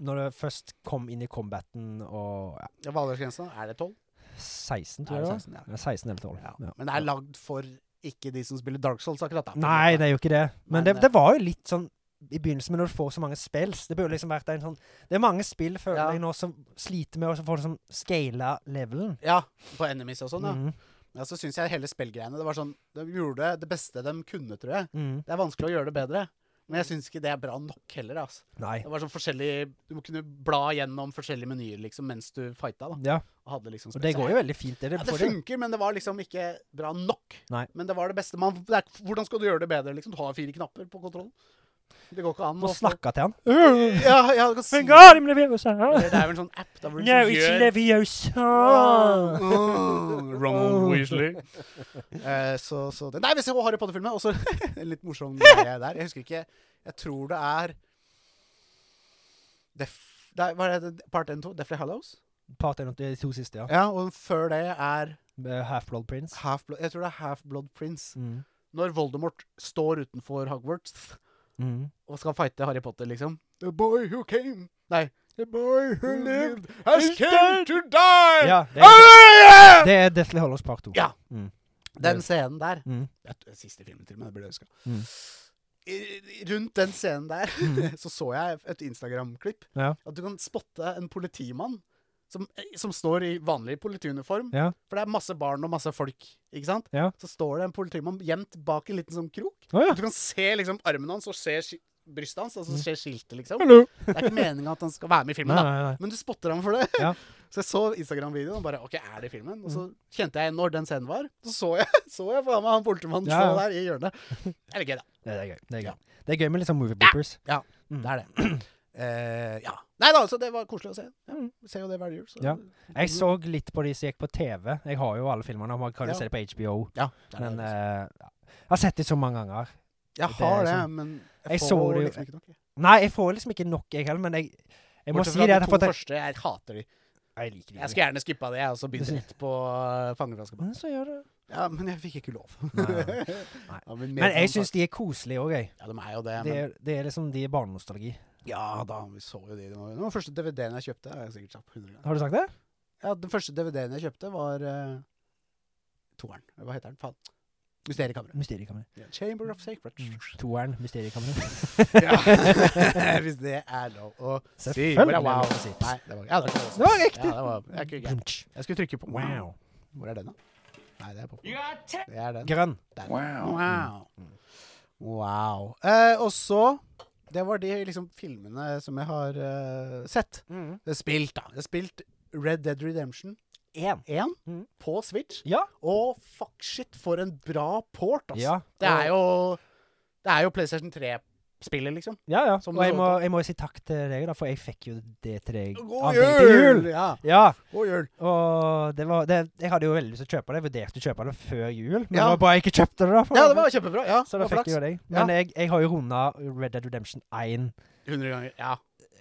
[SPEAKER 2] når du først kom inn i combaten og ja,
[SPEAKER 1] ja. Valgårdsgrensa, er det 12?
[SPEAKER 2] 16,
[SPEAKER 1] Er det
[SPEAKER 2] tror jeg det var.
[SPEAKER 1] 16, ja.
[SPEAKER 2] Ja, 16 eller 12.
[SPEAKER 1] Ja.
[SPEAKER 2] Ja.
[SPEAKER 1] Men det er lagd for ikke de som spiller Dark Souls, akkurat. da.
[SPEAKER 2] Nei, det er jo ikke det.
[SPEAKER 1] Men,
[SPEAKER 2] Men, det,
[SPEAKER 1] eh,
[SPEAKER 2] det var jo litt sånn i begynnelsen med når du får så mange spills. Det burde liksom vært en sånn Det er mange spill, føler
[SPEAKER 1] Ja.
[SPEAKER 2] jeg nå, som sliter med å få liksom scala levelen.
[SPEAKER 1] Ja, på Enemies og sånn, ja.
[SPEAKER 2] Mhm,
[SPEAKER 1] Ja, så syns jeg hele spillgreiene Det var sånn, De gjorde det beste de kunne, tror jeg.
[SPEAKER 2] mhm.
[SPEAKER 1] Det er vanskelig å gjøre det bedre. Men jeg syns ikke det er bra nok heller. Altså.
[SPEAKER 2] Nei.
[SPEAKER 1] Det var sånn forskjellig Du må kunne bla gjennom forskjellige menyer liksom, mens du fighta. Da.
[SPEAKER 2] Ja,
[SPEAKER 1] Og hadde liksom
[SPEAKER 2] og det
[SPEAKER 1] spesial-
[SPEAKER 2] går jo veldig fint. Det, det,
[SPEAKER 1] ja, det
[SPEAKER 2] for det.
[SPEAKER 1] funker, men det var liksom ikke bra nok.
[SPEAKER 2] Nei.
[SPEAKER 1] Men det var det beste. Man, det er, hvordan skal du gjøre det bedre? Liksom? Du har fire knapper på kontrollen. Det går ikke an.
[SPEAKER 2] Må
[SPEAKER 1] å-
[SPEAKER 2] snakke til han.
[SPEAKER 1] Ja, ja, du kan si det.
[SPEAKER 2] God, I'm living outside.
[SPEAKER 1] Eller Det er vel en sånn app da, hvor du
[SPEAKER 2] No,
[SPEAKER 1] liksom
[SPEAKER 2] it's
[SPEAKER 1] gjør
[SPEAKER 2] Leviosa.
[SPEAKER 1] Ronald Weasley. Eh, så, så det. Nei, vi ser Harry Potter-filmen. Også en litt morsom greie der. Jeg husker ikke Jeg tror det er Def, det er, Hva er det? Part 1 2? Deathly Hallows?
[SPEAKER 2] Part 1 og de to siste, ja.
[SPEAKER 1] Ja, og før det er
[SPEAKER 2] Med Half-Blood Prince.
[SPEAKER 1] Half Blood, Jeg tror det er Half Blood Prince.
[SPEAKER 2] Mm.
[SPEAKER 1] Når Voldemort står utenfor Hogwarts
[SPEAKER 2] Mm.
[SPEAKER 1] og skal fighte Harry Potter, liksom. The boy who came Nei. The boy who
[SPEAKER 2] lived
[SPEAKER 1] has
[SPEAKER 2] came
[SPEAKER 1] to die! Ah,
[SPEAKER 2] Ja, det er,
[SPEAKER 1] Ja.
[SPEAKER 2] det er Deathly Hollows Part 2.
[SPEAKER 1] Ja.
[SPEAKER 2] Mm.
[SPEAKER 1] Den scenen der
[SPEAKER 2] Mm.
[SPEAKER 1] Jeg tror- Siste filmen til, men det burde jeg huska.
[SPEAKER 2] Mm.
[SPEAKER 1] Rundt den scenen der
[SPEAKER 2] Mm.
[SPEAKER 1] så så jeg et Instagram-klipp.
[SPEAKER 2] Ja.
[SPEAKER 1] At du kan spotte en politimann som, eh, som står i vanlig politiuniform.
[SPEAKER 2] Ja.
[SPEAKER 1] For det er masse barn og masse folk. ikke sant?
[SPEAKER 2] Ja.
[SPEAKER 1] Så står det en politimann gjemt bak en liten sånn krok.
[SPEAKER 2] Å ja.
[SPEAKER 1] Du kan se liksom armen hans og se ski- brystet hans,
[SPEAKER 2] Mm.
[SPEAKER 1] og så ser skiltet, liksom.
[SPEAKER 2] Hallo.
[SPEAKER 1] Det er ikke meninga at han skal være med i filmen,
[SPEAKER 2] Nei,
[SPEAKER 1] da.
[SPEAKER 2] nei, nei.
[SPEAKER 1] Men du spotter ham for det.
[SPEAKER 2] Ja. Mm.
[SPEAKER 1] Så jeg så Instagram-videoen og bare OK, er det i filmen? Og så kjente jeg når den scenen var. Så så jeg, så jeg faen meg han politimannen
[SPEAKER 2] Ja,
[SPEAKER 1] stå
[SPEAKER 2] ja.
[SPEAKER 1] der i hjørnet. Det er litt gøy, da.
[SPEAKER 2] Det er gøy. Det er
[SPEAKER 1] Ja.
[SPEAKER 2] gøy, det er gøy med litt sånn movie Mm. bloopers.
[SPEAKER 1] Det er det. Eh, ja. Nei da, så det var koselig å se. Ja, vi ser jo det hver jul. Så.
[SPEAKER 2] Mm. Ja. Jeg så litt på de som gikk på TV. Jeg har jo alle filmene. og Man kan jo
[SPEAKER 1] Ja.
[SPEAKER 2] se det på HBO.
[SPEAKER 1] Ja, det liksom. er
[SPEAKER 2] Men
[SPEAKER 1] det.
[SPEAKER 2] eh, ja. jeg har sett det så mange ganger.
[SPEAKER 1] jeg
[SPEAKER 2] det er
[SPEAKER 1] har det,
[SPEAKER 2] sånn-
[SPEAKER 1] men
[SPEAKER 2] jeg
[SPEAKER 1] jeg
[SPEAKER 2] så
[SPEAKER 1] får
[SPEAKER 2] det jo-
[SPEAKER 1] liksom ikke nok. jeg.
[SPEAKER 2] Nei, jeg får liksom ikke nok, jeg heller. Men jeg, jeg må
[SPEAKER 1] Bortsett
[SPEAKER 2] si
[SPEAKER 1] fra de
[SPEAKER 2] det. at
[SPEAKER 1] to
[SPEAKER 2] Jeg, jeg,
[SPEAKER 1] første. Jeg hater de. Jeg
[SPEAKER 2] jeg liker det ikke.
[SPEAKER 1] skulle gjerne skippa det, jeg, og så begynt rett på uh, Fangeflaskebanen.
[SPEAKER 2] Men så gjør det.
[SPEAKER 1] Ja, men jeg fikk ikke lov.
[SPEAKER 2] Nei.
[SPEAKER 1] Ja, men
[SPEAKER 2] Men jeg syns de er koselige òg, jeg.
[SPEAKER 1] Ja, de er jo det.
[SPEAKER 2] Det
[SPEAKER 1] Men
[SPEAKER 2] er, det er liksom de er barnenostalgi.
[SPEAKER 1] Ja da, vi så jo de. Det var det var den første DVD-en jeg kjøpte. har Jeg sikkert kjapt 100 ganger.
[SPEAKER 2] Har du sagt det?
[SPEAKER 1] Ja, Den første DVD-en jeg kjøpte, var eh, toeren. Hva heter den? Faen. Mysteriekammeret.
[SPEAKER 2] Mysteriekammeret.
[SPEAKER 1] Ja. Chamber of Sacred.
[SPEAKER 2] Mm. Toeren Mysteriekammeret.
[SPEAKER 1] Ja. Hvis det er lov å si.
[SPEAKER 2] Selvfølgelig
[SPEAKER 1] Hvor er
[SPEAKER 2] er det
[SPEAKER 1] wow?
[SPEAKER 2] lov å si.
[SPEAKER 1] Nei, det var, ja, det var, ikke
[SPEAKER 2] Det var riktig.
[SPEAKER 1] Ja, det var, jeg, kunne ikke-
[SPEAKER 2] Brunch.
[SPEAKER 1] jeg skulle trykke på
[SPEAKER 2] Wow.
[SPEAKER 1] Hvor er den, da? Nei, det er på Det er den.
[SPEAKER 2] Grønn.
[SPEAKER 1] Der.
[SPEAKER 3] Wow.
[SPEAKER 1] Wow.
[SPEAKER 2] Mm.
[SPEAKER 1] wow. Eh, og så Det var de liksom filmene som jeg har eh, sett. Jeg har Spilt, da. Jeg har spilt Red Dead Redemption
[SPEAKER 2] Én.
[SPEAKER 1] 1
[SPEAKER 2] Mhm.
[SPEAKER 1] på Switch.
[SPEAKER 2] Ja.
[SPEAKER 1] Og fuck shit, for en bra port, altså.
[SPEAKER 2] Ja.
[SPEAKER 1] Det er jo Det er jo PlayStation 3-spillet, liksom.
[SPEAKER 2] Ja, ja.
[SPEAKER 1] Som
[SPEAKER 2] Og
[SPEAKER 1] du
[SPEAKER 2] jeg
[SPEAKER 1] så
[SPEAKER 2] må, jeg må jo si takk til deg, da, for jeg fikk jo det til deg.
[SPEAKER 1] God
[SPEAKER 2] av deg til
[SPEAKER 1] jul! Ja,
[SPEAKER 2] Ja.
[SPEAKER 1] god jul.
[SPEAKER 2] Og det var det, Jeg hadde jo veldig lyst til å kjøpe det. Jeg vurderte å kjøpe det før jul, men
[SPEAKER 1] Ja.
[SPEAKER 2] det var bare jeg ikke kjøpte det. da for-
[SPEAKER 1] Ja, det var kjempebra. Ja,
[SPEAKER 2] Så da
[SPEAKER 1] det var
[SPEAKER 2] fikk jeg jo deg.
[SPEAKER 1] Ja.
[SPEAKER 2] Men jeg, jeg har jo runda Red Dead Redemption 1
[SPEAKER 1] 100 ganger. Ja.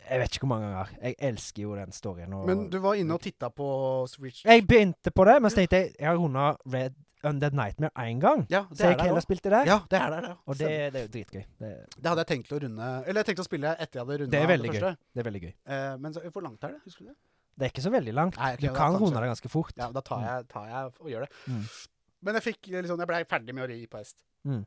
[SPEAKER 2] jeg vet ikke hvor mange ganger. Jeg elsker jo den storyen. Og
[SPEAKER 1] Men du var inne og titta på Switch.
[SPEAKER 2] Jeg begynte på det, men så tenkte jeg jeg har runda Red Undead Nightmare én gang.
[SPEAKER 1] Ja,
[SPEAKER 2] Så
[SPEAKER 1] det
[SPEAKER 2] jeg
[SPEAKER 1] er
[SPEAKER 2] gikk
[SPEAKER 1] der
[SPEAKER 2] heller
[SPEAKER 1] nå.
[SPEAKER 2] og spilte det.
[SPEAKER 1] Ja, det er der, ja.
[SPEAKER 2] Og det, det er jo dritgøy. Det,
[SPEAKER 1] Det hadde jeg tenkt å runde Eller jeg tenkte å spille etter jeg hadde runda
[SPEAKER 2] Det er veldig
[SPEAKER 1] første.
[SPEAKER 2] det er veldig gøy.
[SPEAKER 1] Eh, men så, hvor langt er det? Husker du det?
[SPEAKER 2] Det er ikke så veldig langt.
[SPEAKER 1] Nei, ok,
[SPEAKER 2] Du
[SPEAKER 1] da
[SPEAKER 2] kan
[SPEAKER 1] tar vi
[SPEAKER 2] runde det ganske fort.
[SPEAKER 1] Ja, da tar jeg, tar jeg og gjør det.
[SPEAKER 2] Mm.
[SPEAKER 1] Men jeg fikk liksom Jeg blei ferdig med å ri på hest.
[SPEAKER 2] Mm.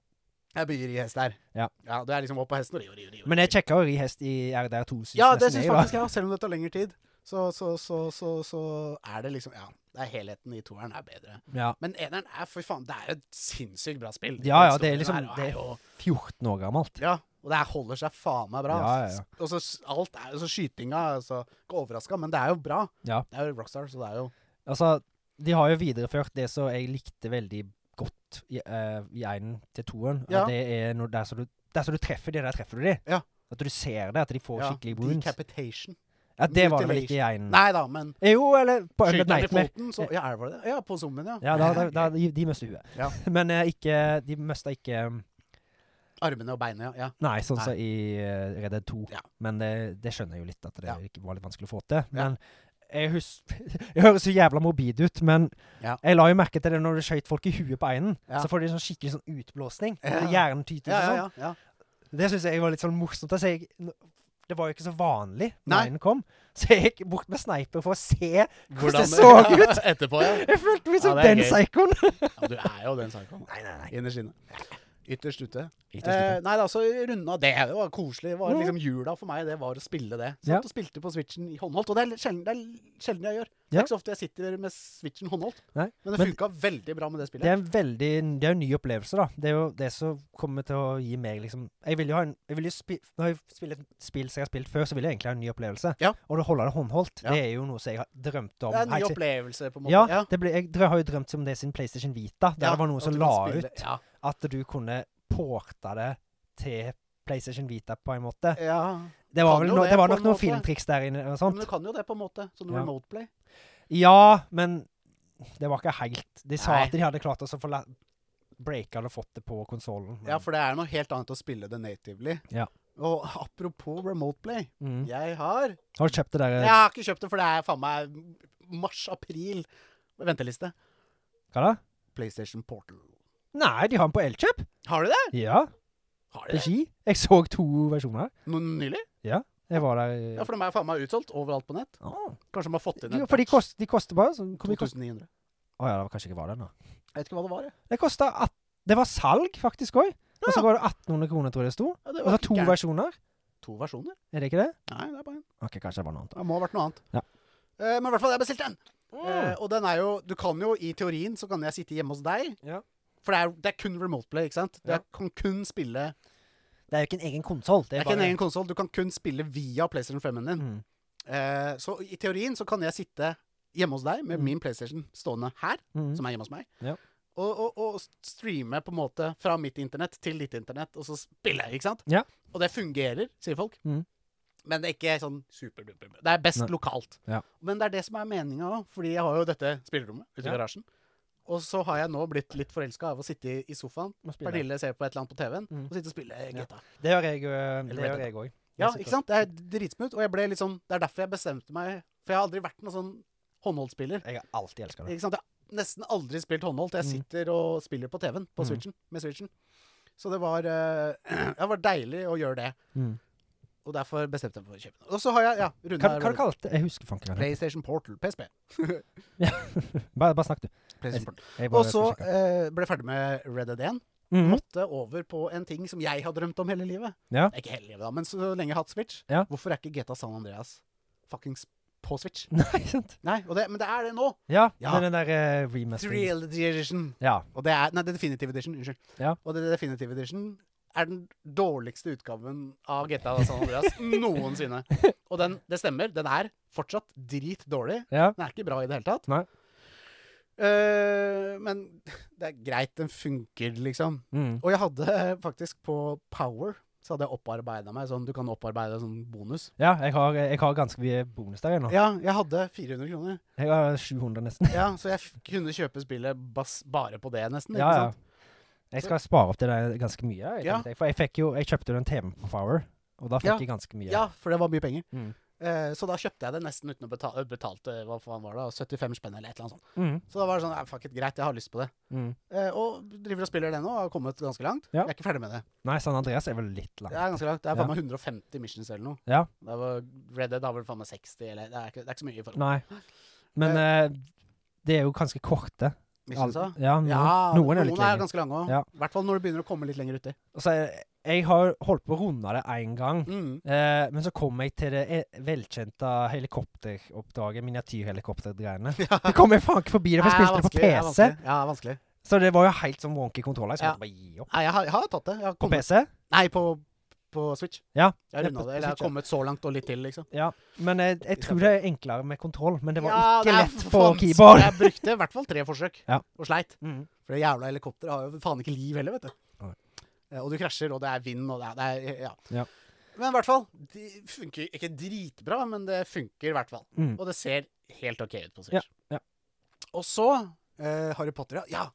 [SPEAKER 1] Jeg begynner å ri hest der.
[SPEAKER 2] Ja.
[SPEAKER 1] ja du er liksom opp på hesten og ri og ri og ri. og ri.
[SPEAKER 2] Men jeg sjekka jo ri hest i RDR2. synes
[SPEAKER 1] Ja,
[SPEAKER 2] nesten
[SPEAKER 1] det syns
[SPEAKER 2] jeg, da.
[SPEAKER 1] faktisk jeg òg, selv om det tar lengre tid. Så, så, så, så, så er det liksom Ja, det er helheten i toeren er bedre.
[SPEAKER 2] Ja.
[SPEAKER 1] Men eneren er for faen Det er jo et sinnssykt bra spill.
[SPEAKER 2] Ja, ja,
[SPEAKER 1] Den
[SPEAKER 2] det er
[SPEAKER 1] storyen
[SPEAKER 2] liksom-
[SPEAKER 1] her
[SPEAKER 2] det-
[SPEAKER 1] jo-
[SPEAKER 2] 14 år gammelt.
[SPEAKER 1] Ja, og det her holder seg faen meg bra.
[SPEAKER 2] Ja, ja, ja.
[SPEAKER 1] Og så s- alt er jo så skytinga altså, Ikke overraska, men det er jo bra.
[SPEAKER 2] Ja.
[SPEAKER 1] Det er jo Rockstar, så det er jo
[SPEAKER 2] Altså, de har jo videreført det som jeg likte veldig godt i, eh, i einen til toeren.
[SPEAKER 1] Ja.
[SPEAKER 2] At Det er når der som du, der som du treffer de, der treffer du de.
[SPEAKER 1] Ja.
[SPEAKER 2] At du ser det, at de får
[SPEAKER 1] ja,
[SPEAKER 2] skikkelig wounds.
[SPEAKER 1] Decapitation.
[SPEAKER 2] Ja, det var det vel ikke i einen.
[SPEAKER 1] Nei da, men
[SPEAKER 2] Eh, Jo, eller på
[SPEAKER 1] skyter
[SPEAKER 2] Undead
[SPEAKER 1] den i
[SPEAKER 2] Nightmare.
[SPEAKER 1] foten, så Ja, er det det? Ja, på zombien, ja.
[SPEAKER 2] Ja, da, da, da, de, de mister huet.
[SPEAKER 1] Ja.
[SPEAKER 2] Men eh, ikke De mista ikke um,
[SPEAKER 1] Armene og beinet, ja. ja.
[SPEAKER 2] Nei, sånn
[SPEAKER 1] mm, Nei.
[SPEAKER 2] som i eh, Red Dead 2.
[SPEAKER 1] Ja.
[SPEAKER 2] Men det, det skjønner jeg jo litt, at det
[SPEAKER 1] Ja.
[SPEAKER 2] ikke var litt vanskelig å få til. Men jeg husker Jeg høres så jævla morbid ut, men
[SPEAKER 1] Ja.
[SPEAKER 2] jeg la jo merke til det når du skøyt folk i huet på einen.
[SPEAKER 1] Ja.
[SPEAKER 2] Så får de sånn skikkelig sånn utblåsning.
[SPEAKER 1] Ja.
[SPEAKER 2] og Hjernen tyter
[SPEAKER 1] Ja,
[SPEAKER 2] og
[SPEAKER 1] ja,
[SPEAKER 2] sånn.
[SPEAKER 1] ja, ja.
[SPEAKER 2] Det syns jeg var litt sånn morsomt. Altså, jeg, n- det var jo ikke så vanlig da
[SPEAKER 1] Nei.
[SPEAKER 2] einen kom, så jeg gikk bort med sniper for å se hvordan det så
[SPEAKER 1] Hvordan-
[SPEAKER 2] ut.
[SPEAKER 1] Etterpå, ja.
[SPEAKER 2] Jeg følte meg
[SPEAKER 1] Ja,
[SPEAKER 2] som
[SPEAKER 1] det er
[SPEAKER 2] den
[SPEAKER 1] gøy.
[SPEAKER 2] psykoen.
[SPEAKER 1] ja. Du er jo den saken.
[SPEAKER 2] Nei, nei, nei.
[SPEAKER 1] Innerst inne. Ytterst ute.
[SPEAKER 2] Ytterst
[SPEAKER 1] Eh,
[SPEAKER 2] ute.
[SPEAKER 1] nei da, så runda det. Det var koselig. Det var
[SPEAKER 2] Mm.
[SPEAKER 1] liksom Jula for meg, det var å spille det.
[SPEAKER 2] Ja.
[SPEAKER 1] Satt og spilte på Switchen i håndholdt. Og det er sjelden, det er sjelden jeg gjør. Det
[SPEAKER 2] Ja.
[SPEAKER 1] er ikke så ofte jeg sitter med switchen håndholdt,
[SPEAKER 2] Nei,
[SPEAKER 1] men det
[SPEAKER 2] men-
[SPEAKER 1] funka veldig bra med det
[SPEAKER 2] Det
[SPEAKER 1] spillet.
[SPEAKER 2] er en veldig Det er en ny opplevelse, da. Det er jo det som kommer til å gi meg liksom Jeg vil jo ha en jeg vil jo spi, Når jeg spiller et spill som jeg har spilt før, så vil jeg egentlig ha en ny opplevelse.
[SPEAKER 1] Ja.
[SPEAKER 2] Og å holde det håndholdt,
[SPEAKER 1] Ja.
[SPEAKER 2] det er jo noe som jeg har drømt
[SPEAKER 1] Det
[SPEAKER 2] om.
[SPEAKER 1] er en ny
[SPEAKER 2] helt si-
[SPEAKER 1] opplevelse, på en måte.
[SPEAKER 2] ja, det ble, jeg drø- har jo drømt om det sin PlayStation Vita, der
[SPEAKER 1] Ja,
[SPEAKER 2] det var noen
[SPEAKER 1] at
[SPEAKER 2] som
[SPEAKER 1] du
[SPEAKER 2] la
[SPEAKER 1] kan spille-
[SPEAKER 2] ut at du kunne porte det til PlayStation Vita på en måte.
[SPEAKER 1] Ja. ja.
[SPEAKER 2] Det var,
[SPEAKER 1] Eh, Kan
[SPEAKER 2] vel
[SPEAKER 1] jo
[SPEAKER 2] no,
[SPEAKER 1] det
[SPEAKER 2] det var
[SPEAKER 1] på
[SPEAKER 2] nok
[SPEAKER 1] en
[SPEAKER 2] noen
[SPEAKER 1] måte.
[SPEAKER 2] filmtriks der inne og
[SPEAKER 1] Ja, Men
[SPEAKER 2] sånn.
[SPEAKER 1] du kan jo det, på en måte. Sånn
[SPEAKER 2] Ja.
[SPEAKER 1] remote play.
[SPEAKER 2] Ja, men det var ikke helt De sa
[SPEAKER 1] Nei.
[SPEAKER 2] at de hadde klart å så få la- breaka eller fått det på konsollen.
[SPEAKER 1] Ja, for det er noe helt annet å spille det natively.
[SPEAKER 2] Ja.
[SPEAKER 1] Og apropos remote play.
[SPEAKER 2] mm. Eh.
[SPEAKER 1] Jeg har
[SPEAKER 2] Har du kjøpt det der
[SPEAKER 1] Jeg har ikke kjøpt det, for det er faen meg mars-april. Venteliste.
[SPEAKER 2] Hva da?
[SPEAKER 1] PlayStation Portal.
[SPEAKER 2] Nei, de har den på Elkjøp.
[SPEAKER 1] Har du det?
[SPEAKER 2] Ja,
[SPEAKER 1] Har
[SPEAKER 2] på
[SPEAKER 1] du det?
[SPEAKER 2] Ski. Jeg så to versjoner.
[SPEAKER 1] Nå nylig?
[SPEAKER 2] Jeg var der eh,
[SPEAKER 1] Ja, for de er faen meg utsolgt overalt på nett.
[SPEAKER 2] Ah.
[SPEAKER 1] Kanskje de har fått inn
[SPEAKER 2] Jo,
[SPEAKER 1] en
[SPEAKER 2] For de, kost, de koster bare sånn Hvor mye koster
[SPEAKER 1] 2900.
[SPEAKER 2] Å ja, det var kanskje ikke var den, da.
[SPEAKER 1] Jeg vet ikke hva det var, jeg.
[SPEAKER 2] Det kosta at- Det var salg, faktisk òg. Og
[SPEAKER 1] Ja.
[SPEAKER 2] så var det 1800 kroner, tror jeg det sto.
[SPEAKER 1] Ja, det
[SPEAKER 2] Og så
[SPEAKER 1] var
[SPEAKER 2] Altså, to
[SPEAKER 1] ikke gærent.
[SPEAKER 2] versjoner.
[SPEAKER 1] to versjoner?
[SPEAKER 2] Er det ikke det?
[SPEAKER 1] Nei, det er bare en.
[SPEAKER 2] OK, kanskje det var noe annet. da.
[SPEAKER 1] Det må ha vært noe annet.
[SPEAKER 2] Ja.
[SPEAKER 1] Eh, men i hvert fall, jeg bestilte en. Eh,
[SPEAKER 2] Eh,
[SPEAKER 1] og den er jo Du kan jo, i teorien, så kan jeg sitte hjemme hos deg.
[SPEAKER 2] Ja.
[SPEAKER 1] For det er, det er kun remote play, ikke sant? Du
[SPEAKER 2] Ja.
[SPEAKER 1] kan kun spille Det
[SPEAKER 2] Det er jo ikke en egen konsoll. Det
[SPEAKER 1] er ikke en egen konsoll. Du kan kun spille via PlayStation 5-en din.
[SPEAKER 2] Mm.
[SPEAKER 1] Eh, så i teorien så kan jeg sitte hjemme hos deg med
[SPEAKER 2] Mm.
[SPEAKER 1] min PlayStation stående her,
[SPEAKER 2] Mm.
[SPEAKER 1] som er hjemme hos meg,
[SPEAKER 2] Ja.
[SPEAKER 1] og, og, og streame på en måte fra mitt internett til ditt internett, og så spille, ikke sant?
[SPEAKER 2] Ja.
[SPEAKER 1] Og det fungerer, sier folk.
[SPEAKER 2] Mm.
[SPEAKER 1] Men det er ikke sånn superduper. Det er best
[SPEAKER 2] Nei.
[SPEAKER 1] lokalt.
[SPEAKER 2] Ja.
[SPEAKER 1] Men det er det som er meninga òg, fordi jeg har jo dette spillerommet ute i
[SPEAKER 2] Ja.
[SPEAKER 1] garasjen. Og så har jeg nå blitt litt forelska av å sitte i- i sofaen,
[SPEAKER 2] Må spille.
[SPEAKER 1] Pernille ser på et eller annet på TV-en,
[SPEAKER 2] Mm.
[SPEAKER 1] og sitte og spille
[SPEAKER 2] Ja.
[SPEAKER 1] GTA.
[SPEAKER 2] Det gjør jeg eh, Det
[SPEAKER 1] Red
[SPEAKER 2] gjør jeg òg.
[SPEAKER 1] Ja, ikke sant? Det er dritsmooth. Og jeg ble litt sånn, det er derfor jeg bestemte meg For jeg har aldri vært noen sånn håndholdsspiller.
[SPEAKER 2] Jeg har alltid elska det.
[SPEAKER 1] Ikke sant? Jeg har nesten aldri spilt håndholdt. Jeg
[SPEAKER 2] Mm.
[SPEAKER 1] sitter og spiller på TV-en på
[SPEAKER 2] Mm.
[SPEAKER 1] Switchen, med Switchen. Så det var, eh, det var deilig å gjøre det.
[SPEAKER 2] Mm.
[SPEAKER 1] Og derfor bestemte jeg meg for å kjøpe den. Og så har jeg ja,
[SPEAKER 2] Hva,
[SPEAKER 1] runda
[SPEAKER 2] hva du kalte du det? Jeg husker fanken. Bare,
[SPEAKER 1] PlayStation Portal, PSP.
[SPEAKER 2] bare snakk, du.
[SPEAKER 1] PlayStation Portal.
[SPEAKER 2] Jeg bare
[SPEAKER 1] Og så
[SPEAKER 2] skal sjekke.
[SPEAKER 1] eh, ble jeg ferdig med Red Dead 1.
[SPEAKER 2] Mhm.
[SPEAKER 1] Måtte over på en ting som jeg har drømt om hele livet.
[SPEAKER 2] Ja.
[SPEAKER 1] Ikke hele livet, da, men så lenge jeg har hatt Switch.
[SPEAKER 2] Ja.
[SPEAKER 1] Hvorfor er ikke GTA San Andreas fuckings på Switch?
[SPEAKER 2] Nei, sant.
[SPEAKER 1] Nei, og det, men det er det nå.
[SPEAKER 2] Ja,
[SPEAKER 1] Ja.
[SPEAKER 2] men den der uh, remasteren.
[SPEAKER 1] Reality Edition.
[SPEAKER 2] Ja.
[SPEAKER 1] Og det er, nei, det er Definitive Edition. Unnskyld.
[SPEAKER 2] Ja.
[SPEAKER 1] Og det er Definitive Edition er den dårligste utgaven av GTA San Andreas noensinne. Og den, det stemmer, den er fortsatt dritdårlig.
[SPEAKER 2] ja.
[SPEAKER 1] Den er ikke bra i det hele tatt.
[SPEAKER 2] Nei.
[SPEAKER 1] Eh, men det er greit, den funker, liksom.
[SPEAKER 2] Mm.
[SPEAKER 1] Og jeg hadde eh, faktisk på Power så hadde jeg opparbeida meg sånn Du kan opparbeide sånn bonus.
[SPEAKER 2] Ja, jeg har, eh, jeg har ganske mye bonus der ennå.
[SPEAKER 1] Ja, jeg hadde 400 kroner.
[SPEAKER 2] Jeg har 700 nesten.
[SPEAKER 1] Ja, Så jeg f kunne kjøpe spillet bas bare på det, nesten.
[SPEAKER 2] Ja,
[SPEAKER 1] ikke
[SPEAKER 2] ja.
[SPEAKER 1] sant?
[SPEAKER 2] Jeg skal spare opp til det ganske mye. Jeg,
[SPEAKER 1] Ja.
[SPEAKER 2] tenkte jeg. For jeg, fikk jo, jeg kjøpte jo den TV-en på Power, og da fikk
[SPEAKER 1] Ja.
[SPEAKER 2] jeg ganske mye.
[SPEAKER 1] Ja, for det var mye penger.
[SPEAKER 2] Mm.
[SPEAKER 1] Eh, så da kjøpte jeg det nesten uten å betale, betalte hva faen var det, da, 75 spenn eller et eller annet sånt.
[SPEAKER 2] Mm.
[SPEAKER 1] Så da var det sånn, eh, fuck it, greit, jeg har lyst på det.
[SPEAKER 2] Mm.
[SPEAKER 1] Eh, og driver og spiller det nå, og har kommet ganske langt.
[SPEAKER 2] Ja.
[SPEAKER 1] Jeg er ikke ferdig med det.
[SPEAKER 2] Nei, San Andreas er vel litt
[SPEAKER 1] Det
[SPEAKER 2] lang.
[SPEAKER 1] er ganske langt. Det er faen
[SPEAKER 2] Ja.
[SPEAKER 1] meg 150 missions eller noe.
[SPEAKER 2] Ja.
[SPEAKER 1] Det var Red Dead har vel faen meg 60, eller det er ikke, det er ikke så mye i forhold
[SPEAKER 2] Nei. Men eh, det er jo ganske korte.
[SPEAKER 1] til missions. da.
[SPEAKER 2] Al- Ja, noen,
[SPEAKER 1] Ja,
[SPEAKER 2] noen er litt lengre.
[SPEAKER 1] ganske lange òg.
[SPEAKER 2] Ja.
[SPEAKER 1] I hvert fall når du begynner å komme litt lenger uti.
[SPEAKER 2] Altså, jeg, jeg har holdt på å runde det én gang,
[SPEAKER 1] Mm.
[SPEAKER 2] eh, men så kom jeg til det eh, velkjente helikopteroppdraget, miniatyrhelikoptergreiene.
[SPEAKER 1] Ja.
[SPEAKER 2] Det kom jeg faen ikke forbi det, for jeg
[SPEAKER 1] Nei,
[SPEAKER 2] spilte
[SPEAKER 1] vanskelig,
[SPEAKER 2] det
[SPEAKER 1] er
[SPEAKER 2] på PC.
[SPEAKER 1] vanskelig. Ja, er vanskelig.
[SPEAKER 2] Så det var jo helt sånn wonky kontroller. Jeg
[SPEAKER 1] Ja.
[SPEAKER 2] skulle bare gi opp.
[SPEAKER 1] Nei, jeg har, jeg har tatt det. Jeg har
[SPEAKER 2] På
[SPEAKER 1] kommet,
[SPEAKER 2] PC?
[SPEAKER 1] nei, på, på Switch.
[SPEAKER 2] Ja.
[SPEAKER 1] Jeg har runda
[SPEAKER 2] Ja, på-
[SPEAKER 1] det.
[SPEAKER 2] på
[SPEAKER 1] Eller jeg
[SPEAKER 2] Switch, ja.
[SPEAKER 1] har kommet så langt og litt til, liksom.
[SPEAKER 2] Ja, men jeg, jeg tror det er enklere med kontroll. Men det var
[SPEAKER 1] Ja,
[SPEAKER 2] ikke
[SPEAKER 1] det er
[SPEAKER 2] lett på
[SPEAKER 1] vanskelig.
[SPEAKER 2] keyboard. Mm,
[SPEAKER 1] Jeg brukte i hvert fall tre forsøk,
[SPEAKER 2] Ja.
[SPEAKER 1] og sleit. For det jævla helikopteret har jo faen ikke liv heller, vet du.
[SPEAKER 2] Nei.
[SPEAKER 1] Eh, Og du krasjer, og det er vind, og det er, det er ja.
[SPEAKER 2] Ja.
[SPEAKER 1] Men i hvert fall, det funker ikke dritbra, men det funker i hvert fall.
[SPEAKER 2] Mm.
[SPEAKER 1] Og det ser helt OK ut på
[SPEAKER 2] Ja,
[SPEAKER 1] Switch.
[SPEAKER 2] ja.
[SPEAKER 1] Og så eh, Harry Potter, ja. ja.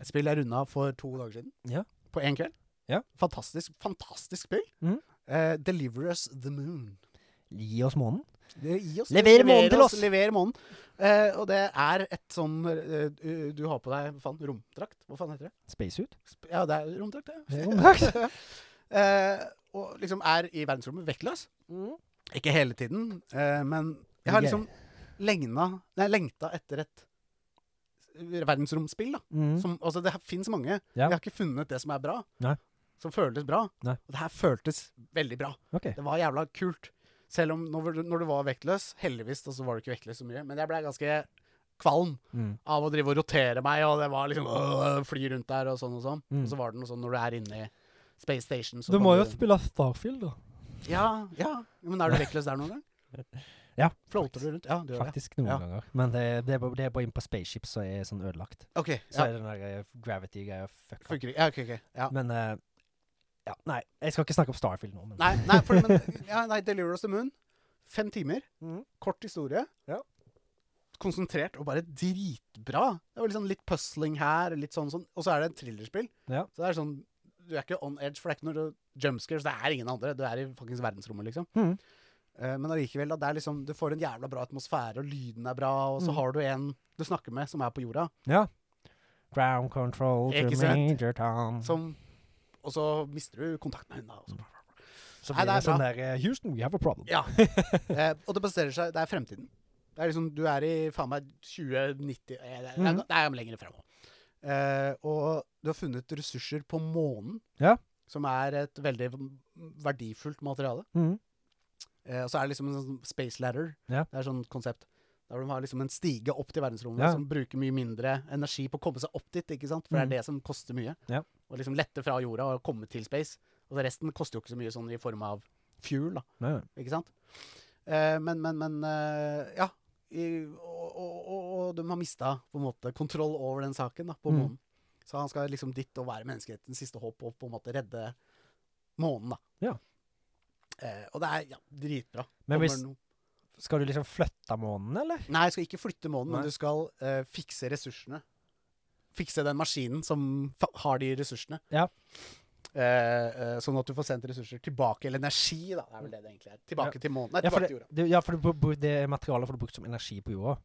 [SPEAKER 1] Et spill jeg runda for to dager siden.
[SPEAKER 2] Ja.
[SPEAKER 1] På én kveld.
[SPEAKER 2] Ja.
[SPEAKER 1] Fantastisk, fantastisk spill.
[SPEAKER 2] Mhm.
[SPEAKER 1] Eh, Deliver Us The Moon.
[SPEAKER 2] Gi oss månen.
[SPEAKER 1] Det- Gi oss,
[SPEAKER 2] Lever månen til oss.
[SPEAKER 1] Lever månen. Eh, og det er et sånn eh, du- Du har på deg hva faen, romdrakt? Hva faen heter det?
[SPEAKER 2] Spacesuit.
[SPEAKER 1] Sp- Ja, det er romdrakt,
[SPEAKER 2] Det
[SPEAKER 1] det.
[SPEAKER 2] er romdrakt.
[SPEAKER 1] eh, og liksom er i verdensrommet vektløs.
[SPEAKER 2] Mm.
[SPEAKER 1] Ikke hele tiden, eh, men jeg har
[SPEAKER 2] Ok.
[SPEAKER 1] liksom lengna, nei, lengta etter et verdensromspill. da
[SPEAKER 2] Mm.
[SPEAKER 1] som, altså Det fins mange.
[SPEAKER 2] Ja.
[SPEAKER 1] Jeg har ikke funnet det som er bra.
[SPEAKER 2] Nei.
[SPEAKER 1] Som føltes bra.
[SPEAKER 2] Nei.
[SPEAKER 1] Og det her føltes veldig bra.
[SPEAKER 2] Ok.
[SPEAKER 1] Det var jævla kult. Selv om når, du- når du var vektløs, heldigvis da, så var du ikke vektløs så mye, men jeg ble ganske kvalm
[SPEAKER 2] Mm.
[SPEAKER 1] av å drive og rotere meg, og det var liksom øh, fly rundt der og sånn og sånn.
[SPEAKER 2] Mm.
[SPEAKER 1] Og så var det noe sånn når du er inne i Space Station så
[SPEAKER 3] Du
[SPEAKER 1] kan
[SPEAKER 3] må jo spille Starfield, da.
[SPEAKER 1] Ja, ja. Men er du vektløs der noen gang?
[SPEAKER 2] Ja,
[SPEAKER 1] Floater du rundt? Ja, du gjør det.
[SPEAKER 2] Faktisk noen
[SPEAKER 1] Ja.
[SPEAKER 2] ganger. Men det, det, er bare- det er bare inn på spaceship som er sånn ødelagt.
[SPEAKER 1] OK.
[SPEAKER 2] Så
[SPEAKER 1] Ja.
[SPEAKER 2] er den der eh, gravity-greia fucka.
[SPEAKER 1] Funker ikke. Ja, ok, ok. Ja.
[SPEAKER 2] Men eh, ja, nei, jeg skal ikke snakke om Starfield nå, men
[SPEAKER 1] Nei, nei, for, men, ja, nei Deliver Us the Moon. Fem timer.
[SPEAKER 2] Mhm.
[SPEAKER 1] Kort historie.
[SPEAKER 2] Ja.
[SPEAKER 1] Konsentrert og bare dritbra. Det var liksom litt puzzling her, litt sånn sånn. Og så er det et thrillerspill.
[SPEAKER 2] Ja.
[SPEAKER 1] Så det er sånn Du er ikke on edge, for det er ikke noe jumpscare. Så det er ingen andre. Du er i fuckings verdensrommet, liksom.
[SPEAKER 2] Mhm.
[SPEAKER 1] Eh, men allikevel, da. Det er liksom Du får en jævla bra atmosfære, og lyden er bra, og så
[SPEAKER 2] Mhm.
[SPEAKER 1] har du en du snakker med, som er på jorda,
[SPEAKER 2] Ground control to
[SPEAKER 1] Ikke sant?
[SPEAKER 2] major town.
[SPEAKER 1] som Og så mister du kontakt med henne, og så
[SPEAKER 2] så
[SPEAKER 1] Nei,
[SPEAKER 2] blir
[SPEAKER 1] det
[SPEAKER 2] det,
[SPEAKER 1] er
[SPEAKER 2] sånn der eh, Houston, we have a problem.
[SPEAKER 1] Ja. Eh, og det baserer seg Det er fremtiden. Det er liksom, du er i faen meg 2090 eh, Det er,
[SPEAKER 2] Mhm.
[SPEAKER 1] det er lenger fremover. Eh, og du har funnet ressurser på månen,
[SPEAKER 2] Ja.
[SPEAKER 1] som er et veldig verdifullt materiale.
[SPEAKER 2] Mm.
[SPEAKER 1] Eh, og så er det liksom en sånn space ladder.
[SPEAKER 2] Ja.
[SPEAKER 1] Det er sånn konsept. Der de har liksom en stige opp til verdensrommet
[SPEAKER 2] Ja.
[SPEAKER 1] som bruker mye mindre energi på å komme seg opp dit, ikke sant? For det
[SPEAKER 2] Mhm.
[SPEAKER 1] er det som koster mye.
[SPEAKER 2] Ja.
[SPEAKER 1] Å liksom lette fra jorda og komme til space. Og resten koster jo ikke så mye sånn i form av fuel, da.
[SPEAKER 2] Nei, nei.
[SPEAKER 1] Ikke sant? Eh, men, men, men eh, Ja. I, og, og, og, og de har mista på en måte kontroll over den saken da, på
[SPEAKER 2] Mm.
[SPEAKER 1] månen. Så han skal liksom dit og være menneskehetens siste håp og på en måte redde månen, da.
[SPEAKER 2] Ja.
[SPEAKER 1] Eh, og det er ja, dritbra.
[SPEAKER 2] Men
[SPEAKER 1] Kommer
[SPEAKER 2] hvis,
[SPEAKER 1] no-
[SPEAKER 2] skal du liksom flytte månen, eller?
[SPEAKER 1] Nei, jeg skal ikke flytte månen,
[SPEAKER 2] Nei.
[SPEAKER 1] men du skal eh, fikse ressursene. Fikse den maskinen som fa har de ressursene.
[SPEAKER 2] Ja.
[SPEAKER 1] Eh, eh, sånn at du får sendt ressurser tilbake, eller energi, da. Det er vel det det egentlig er. Tilbake til månen. Nei,
[SPEAKER 2] Ja, for
[SPEAKER 1] tilbake til
[SPEAKER 2] det,
[SPEAKER 1] jorda.
[SPEAKER 2] det, ja, for du, bru- det materialet får du brukt som energi på jorda.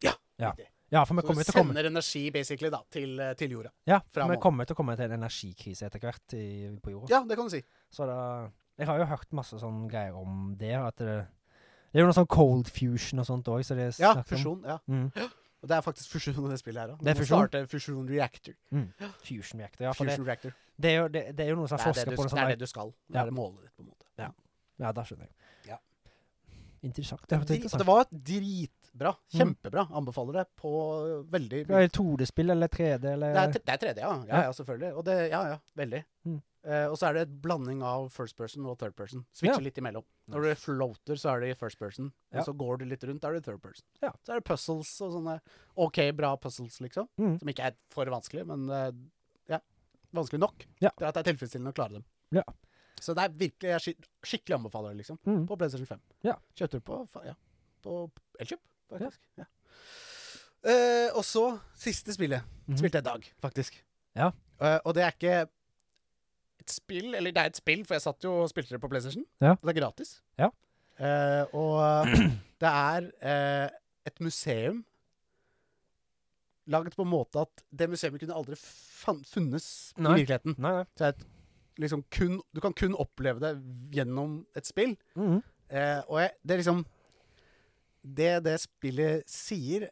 [SPEAKER 1] Ja,
[SPEAKER 2] Ja,
[SPEAKER 1] riktig.
[SPEAKER 2] ja for vi
[SPEAKER 1] Så
[SPEAKER 2] kommer
[SPEAKER 1] du
[SPEAKER 2] jo til å komme
[SPEAKER 1] sender energi basically da, til, eh, til jorda.
[SPEAKER 2] Ja,
[SPEAKER 1] fra
[SPEAKER 2] vi
[SPEAKER 1] månen.
[SPEAKER 2] kommer til å komme til en energikrise etter hvert i, på jorda.
[SPEAKER 1] Ja, det kan du si.
[SPEAKER 2] Så da Jeg har jo hørt masse sånn greier om det. At det, det er jo noe sånn cold fusion og sånt òg, så det er
[SPEAKER 1] Ja,
[SPEAKER 2] snakk om.
[SPEAKER 1] fusjon. ja.
[SPEAKER 2] Mm.
[SPEAKER 1] Og det er faktisk fusjon i det spillet her òg.
[SPEAKER 2] Det er fusjon?
[SPEAKER 1] Fusjon reactor.
[SPEAKER 2] Fusion reactor. Ja, for det,
[SPEAKER 1] Fusion reactor.
[SPEAKER 2] det, er jo, det, det er jo noen som
[SPEAKER 1] Det
[SPEAKER 2] har
[SPEAKER 1] er det,
[SPEAKER 2] forska
[SPEAKER 1] du,
[SPEAKER 2] på det.
[SPEAKER 1] det
[SPEAKER 2] Sånn
[SPEAKER 1] er
[SPEAKER 2] der-
[SPEAKER 1] det du skal. Det
[SPEAKER 2] Ja.
[SPEAKER 1] er målet ditt, på en måte.
[SPEAKER 2] Ja, da skjønner jeg.
[SPEAKER 1] Ja.
[SPEAKER 2] Interessant. Det,
[SPEAKER 1] Det,
[SPEAKER 2] er
[SPEAKER 1] drit-
[SPEAKER 2] interessant.
[SPEAKER 1] det var dritbra.
[SPEAKER 2] Mm.
[SPEAKER 1] Kjempebra. Anbefaler det på veldig
[SPEAKER 2] Det er 2D-spill eller 3D eller
[SPEAKER 1] Det er, t- det er 3D, ja. Ja,
[SPEAKER 2] Eh, Ja.
[SPEAKER 1] ja, selvfølgelig. Og det, ja, ja, veldig.
[SPEAKER 2] Mm.
[SPEAKER 1] Eh, og så er det et blanding av first person og third person. Switcher
[SPEAKER 2] Ja.
[SPEAKER 1] litt imellom. Når du floater, så er det i first person.
[SPEAKER 2] Ja.
[SPEAKER 1] Og så går du litt rundt, da er det third person.
[SPEAKER 2] Ja.
[SPEAKER 1] Så er det puzzles og sånne OK, bra puzzles, liksom.
[SPEAKER 2] Mm.
[SPEAKER 1] Som ikke er for vanskelig, men eh, ja, vanskelig nok.
[SPEAKER 2] Ja.
[SPEAKER 1] Det er at det er tilfredsstillende å klare dem.
[SPEAKER 2] Ja.
[SPEAKER 1] Så det er virkelig jeg skik- skikkelig anbefaler det, liksom.
[SPEAKER 2] Mm.
[SPEAKER 1] På PlayStation 5.
[SPEAKER 2] Ja.
[SPEAKER 1] Kjøpte du på, fa- ja, på Elkjøp, faktisk. Ja. Eh, og så siste spillet.
[SPEAKER 2] Mhm.
[SPEAKER 1] Spilte jeg i dag, faktisk.
[SPEAKER 2] Ja.
[SPEAKER 1] Eh, og det er ikke et spill, eller det er et spill, for jeg satt jo og spilte det på PlayStation.
[SPEAKER 2] Ja.
[SPEAKER 1] Og Det er gratis.
[SPEAKER 2] Ja.
[SPEAKER 1] Eh, og det er eh, et museum laget på en måte at det museet kunne aldri fan- funnes
[SPEAKER 2] Nei.
[SPEAKER 1] i virkeligheten.
[SPEAKER 2] Nei, nei.
[SPEAKER 1] Så det er et, liksom kun, du kan kun oppleve det gjennom et spill.
[SPEAKER 2] Mm.
[SPEAKER 1] Eh, og jeg, det er liksom Det det spillet sier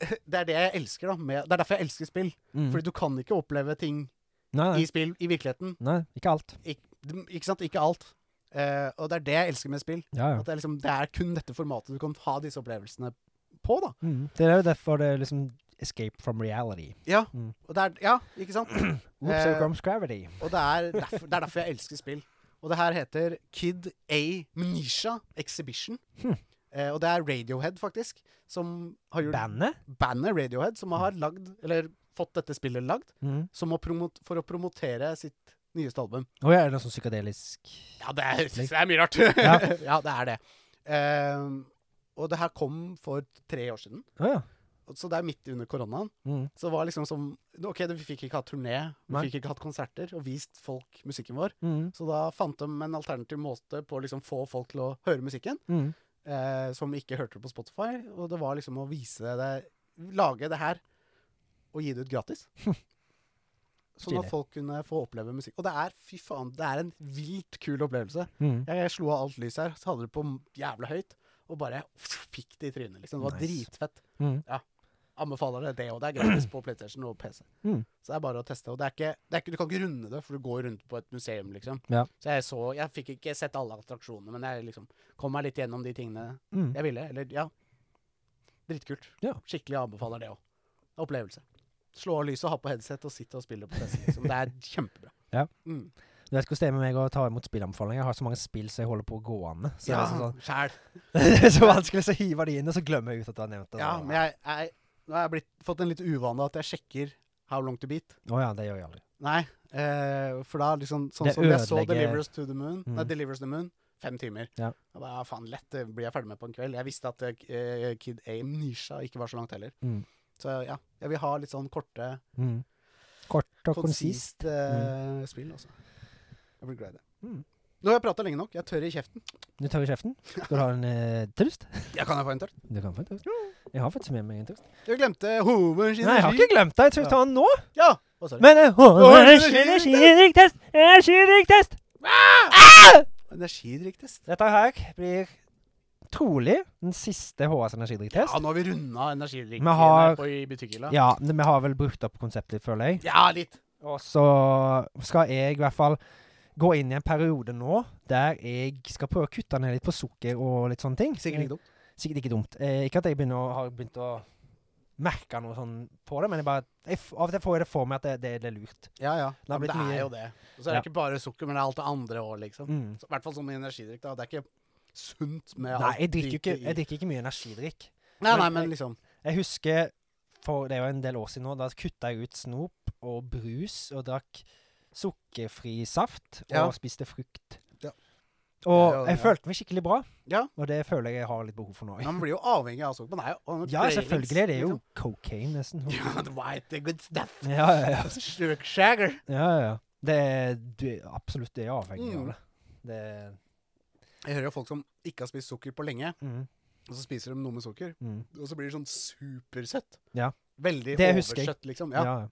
[SPEAKER 1] eh, Det er det jeg elsker, da. Med, det er derfor jeg elsker spill.
[SPEAKER 2] Mm.
[SPEAKER 1] Fordi du kan ikke oppleve ting
[SPEAKER 2] nei, nei.
[SPEAKER 1] i spill i virkeligheten.
[SPEAKER 2] nei, ikke alt.
[SPEAKER 1] Du- Ikke sant? Ikke alt. Eh, og det er det jeg elsker med spill.
[SPEAKER 2] Ja, ja.
[SPEAKER 1] At det er, liksom, det er kun dette formatet du kan ha disse opplevelsene på, da.
[SPEAKER 2] Mm. Det er jo derfor det er liksom Escape from reality.
[SPEAKER 1] Ja,
[SPEAKER 2] Mm.
[SPEAKER 1] og det er, ja ikke sant?
[SPEAKER 2] Oops,
[SPEAKER 1] Eh,
[SPEAKER 2] here comes gravity.
[SPEAKER 1] Og det er, derfor, det er derfor jeg elsker spill. Og det her heter Kid A Mnisha Exhibition.
[SPEAKER 2] Hm.
[SPEAKER 1] Eh, og det er Radiohead, faktisk, som har gjort
[SPEAKER 2] Bandet?
[SPEAKER 1] bandet Radiohead, som har lagd, eller fått dette spillet lagd,
[SPEAKER 2] Å mm.
[SPEAKER 1] som å promot for å promotere sitt nyeste album.
[SPEAKER 2] Å ja, er det noe sånn psykadelisk
[SPEAKER 1] Ja, det er,
[SPEAKER 2] Opplegg.
[SPEAKER 1] det er mye rart. ja. det er det. Ehm, og det her kom for tre år siden,
[SPEAKER 2] Å ja.
[SPEAKER 1] så det er midt under koronaen.
[SPEAKER 2] Mm.
[SPEAKER 1] Så det var liksom som OK, vi fikk ikke hatt turné, vi
[SPEAKER 2] Nei.
[SPEAKER 1] fikk ikke hatt konserter og vist folk musikken vår.
[SPEAKER 2] Mm.
[SPEAKER 1] Så da fant de en alternativ måte på å liksom få folk til å høre musikken,
[SPEAKER 2] Mm.
[SPEAKER 1] eh, som ikke hørte det på Spotify. Og det var liksom å vise det Lage det her og gi det ut gratis. Sånn at
[SPEAKER 2] Stilig.
[SPEAKER 1] folk kunne få oppleve musikk. Og det er fy faen, det er en vilt kul opplevelse.
[SPEAKER 2] Mm.
[SPEAKER 1] Jeg, jeg slo av alt lyset her, så hadde det på m- jævla høyt, og bare fikk det i trynet. liksom. Det var
[SPEAKER 2] Nice.
[SPEAKER 1] dritfett.
[SPEAKER 2] Mm.
[SPEAKER 1] Ja. Anbefaler det, det òg. Det er gratis på PlayStation og PC.
[SPEAKER 2] Mm.
[SPEAKER 1] Så det er bare å teste. Og det er ikke, det er ikke, du kan ikke runde det, for du går rundt på et museum, liksom.
[SPEAKER 2] Ja.
[SPEAKER 1] Så jeg så Jeg fikk ikke sett alle attraksjonene, men jeg liksom kom meg litt gjennom de tingene
[SPEAKER 2] Mm.
[SPEAKER 1] jeg ville. Eller, ja. Dritkult.
[SPEAKER 2] Ja.
[SPEAKER 1] Skikkelig anbefaler det òg. Opplevelse. Slå av lyset, ha på headset og sitte og spille på PC. Liksom. Det er kjempebra.
[SPEAKER 2] Ja.
[SPEAKER 1] Mm.
[SPEAKER 2] Du vet hvordan det er med meg å ta imot spillanbefalinger. Jeg har så mange spill som jeg holder på å gå an med. Så
[SPEAKER 1] ja,
[SPEAKER 2] det, er sånn,
[SPEAKER 1] sjæl.
[SPEAKER 2] det er så vanskelig å hive de inn, og så glemmer jeg ut at du har nevnt det.
[SPEAKER 1] Ja, men jeg, jeg, nå har jeg blitt, fått en litt uvane at jeg sjekker how long to beat.
[SPEAKER 2] Å ja, det gjør jeg aldri.
[SPEAKER 1] Nei, eh, for da liksom Sånn
[SPEAKER 2] Det
[SPEAKER 1] som jeg så
[SPEAKER 2] ødelegger-
[SPEAKER 1] 'Delivers to the Moon'.
[SPEAKER 2] Mm.
[SPEAKER 1] Nei, 'Delivers the Moon'. Fem timer.
[SPEAKER 2] Ja.
[SPEAKER 1] Jeg bare, ja, faen, lett det blir jeg ferdig med på en kveld. Jeg visste at eh, Kid Aim Nisha ikke var så langt heller.
[SPEAKER 2] Mm.
[SPEAKER 1] Så ja, jeg vil ha litt sånn korte,
[SPEAKER 2] Mm. Kort og konsist.
[SPEAKER 1] konsist eh, spill, altså. Jeg blir glad i det.
[SPEAKER 2] Mm.
[SPEAKER 1] Nå har jeg prata lenge nok. Jeg er tørr i kjeften.
[SPEAKER 2] Du tør i kjeften. Skal du ha en uh, tørst?
[SPEAKER 1] Ja, kan jeg få en tørr?
[SPEAKER 2] Du kan få en tørst. Jeg har faktisk med meg en tørst.
[SPEAKER 1] Du glemte hovedens
[SPEAKER 2] Nei, jeg har ikke glemt det. Jeg tror jeg tar den nå.
[SPEAKER 1] Ja! Å, sorry.
[SPEAKER 2] Men uh, energidrikktest! Energidrikktest!
[SPEAKER 1] Energidrikktest.
[SPEAKER 2] Dette her blir trolig den siste HS energidrikktest.
[SPEAKER 1] Ja, nå har vi runda energidrikken
[SPEAKER 2] Vi har-
[SPEAKER 1] på i butikkhylla. Ja.
[SPEAKER 2] Ja, men vi har vel brukt opp konseptet, føler jeg.
[SPEAKER 1] litt.
[SPEAKER 2] Og så skal jeg i hvert fall gå inn i en periode nå der jeg skal prøve å kutte ned litt på sukker og litt sånne ting.
[SPEAKER 1] Sikkert ikke dumt.
[SPEAKER 2] Sikkert ikke dumt. Eh, ikke at jeg begynner å, har begynt å merke noe sånn på det, men jeg bare, jeg, f- av og til får jeg det for meg at det, det, det er lurt.
[SPEAKER 1] Ja, ja.
[SPEAKER 2] Det har
[SPEAKER 1] Men
[SPEAKER 2] blitt
[SPEAKER 1] det
[SPEAKER 2] mye-
[SPEAKER 1] er jo det. Og så er det ikke bare sukker, men det er alt det andre òg, liksom.
[SPEAKER 2] Mm.
[SPEAKER 1] Så, I hvert fall sånn med energidrikk. da. Det er ikke sunt med
[SPEAKER 2] Nei, jeg drikker, jo
[SPEAKER 1] drikke
[SPEAKER 2] ikke,
[SPEAKER 1] i-
[SPEAKER 2] jeg drikker ikke mye energidrikk.
[SPEAKER 1] Nei, nei, men liksom
[SPEAKER 2] Jeg husker for det var en del år siden nå, da kutta jeg ut snop og brus og drakk sukkerfri saft og
[SPEAKER 1] Ja.
[SPEAKER 2] spiste frukt.
[SPEAKER 1] Ja.
[SPEAKER 2] Og
[SPEAKER 1] Ja, ja,
[SPEAKER 2] jeg
[SPEAKER 1] ja.
[SPEAKER 2] følte meg skikkelig bra,
[SPEAKER 1] Ja.
[SPEAKER 2] og det føler jeg jeg har litt behov for nå.
[SPEAKER 1] ja, Man blir jo avhengig av sukker. Man er jo man har
[SPEAKER 2] Ja,
[SPEAKER 1] cravings,
[SPEAKER 2] selvfølgelig. Det er jo
[SPEAKER 1] liksom.
[SPEAKER 2] cocaine, nesten.
[SPEAKER 1] Ja, the white, the good stuff.
[SPEAKER 2] Ja, ja, ja.
[SPEAKER 1] Sugar.
[SPEAKER 2] ja, ja. Det er, du er absolutt det er avhengig
[SPEAKER 1] Mm.
[SPEAKER 2] av det. det
[SPEAKER 1] Jeg hører jo folk som ikke har spist sukker på lenge,
[SPEAKER 2] mm,
[SPEAKER 1] og så spiser de noe med sukker.
[SPEAKER 2] mm.
[SPEAKER 1] Og så blir det sånn supersøtt.
[SPEAKER 2] Ja.
[SPEAKER 1] Veldig
[SPEAKER 2] Det husker jeg.
[SPEAKER 1] oversøtt, liksom.
[SPEAKER 2] Ja.
[SPEAKER 1] Ja.
[SPEAKER 2] ja.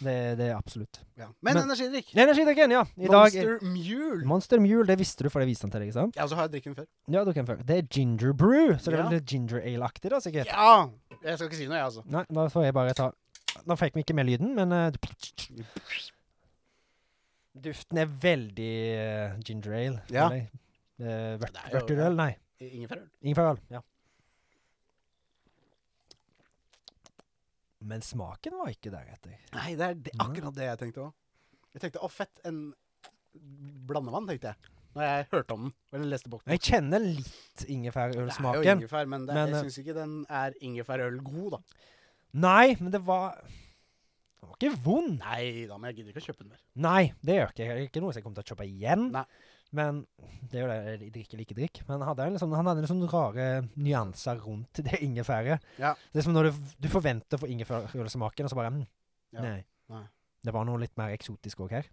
[SPEAKER 2] Det, det er absolutt.
[SPEAKER 1] ja. Men,
[SPEAKER 2] Men-
[SPEAKER 1] energidrikk.
[SPEAKER 2] Energidrikken, ja. I dag er
[SPEAKER 1] Monster Mule.
[SPEAKER 2] Monster Mule, det visste du, for jeg viste den til deg, ikke sant?
[SPEAKER 1] Ja, og så har jeg drikken før.
[SPEAKER 2] Ja, du kan følge. Det er ginger brew, så det er
[SPEAKER 1] Ja.
[SPEAKER 2] vel litt ginger ale-aktig, da, sikkert.
[SPEAKER 1] Ja! Jeg skal ikke si noe, jeg, altså.
[SPEAKER 2] Nei, da får jeg bare ta Nå fikk vi ikke med lyden, men eh, du- Duften er veldig eh, ginger ale.
[SPEAKER 1] Ja.
[SPEAKER 2] føler jeg. Eh,
[SPEAKER 1] Det
[SPEAKER 2] vørt-
[SPEAKER 1] er jo-
[SPEAKER 2] Vørterøl, nei.
[SPEAKER 1] Ingefærøl.
[SPEAKER 2] Ingefærøl. Ja. Men smaken var ikke deretter.
[SPEAKER 1] Nei, det er det,
[SPEAKER 2] Nei.
[SPEAKER 1] akkurat det jeg tenkte òg. Jeg tenkte å, fett, en blandevann, tenkte jeg. Når jeg hørte om den. Eller leste boken.
[SPEAKER 2] Jeg kjenner litt
[SPEAKER 1] Det er jo
[SPEAKER 2] ingefærølsmaken.
[SPEAKER 1] ingefær, men, det,
[SPEAKER 2] Men, eh,
[SPEAKER 1] jeg syns ikke den er ingefærøl god, da.
[SPEAKER 2] Nei, men det var Den var ikke vond.
[SPEAKER 1] Nei da, men jeg gidder ikke å kjøpe den mer.
[SPEAKER 2] Nei, det gjør ikke jeg. Det er Ikke noe som jeg kommer til å kjøpe igjen.
[SPEAKER 1] Nei.
[SPEAKER 2] Men det er jo det jeg drikker like drikk. Men han hadde liksom, han hadde liksom rare nyanser rundt det ingefæret.
[SPEAKER 1] Ja.
[SPEAKER 2] Det er som når du, du forventer å få ingefærølsmaken, og så bare mm,
[SPEAKER 1] Ja.
[SPEAKER 2] nei.
[SPEAKER 1] Nei.
[SPEAKER 2] Det var noe litt mer eksotisk òg her.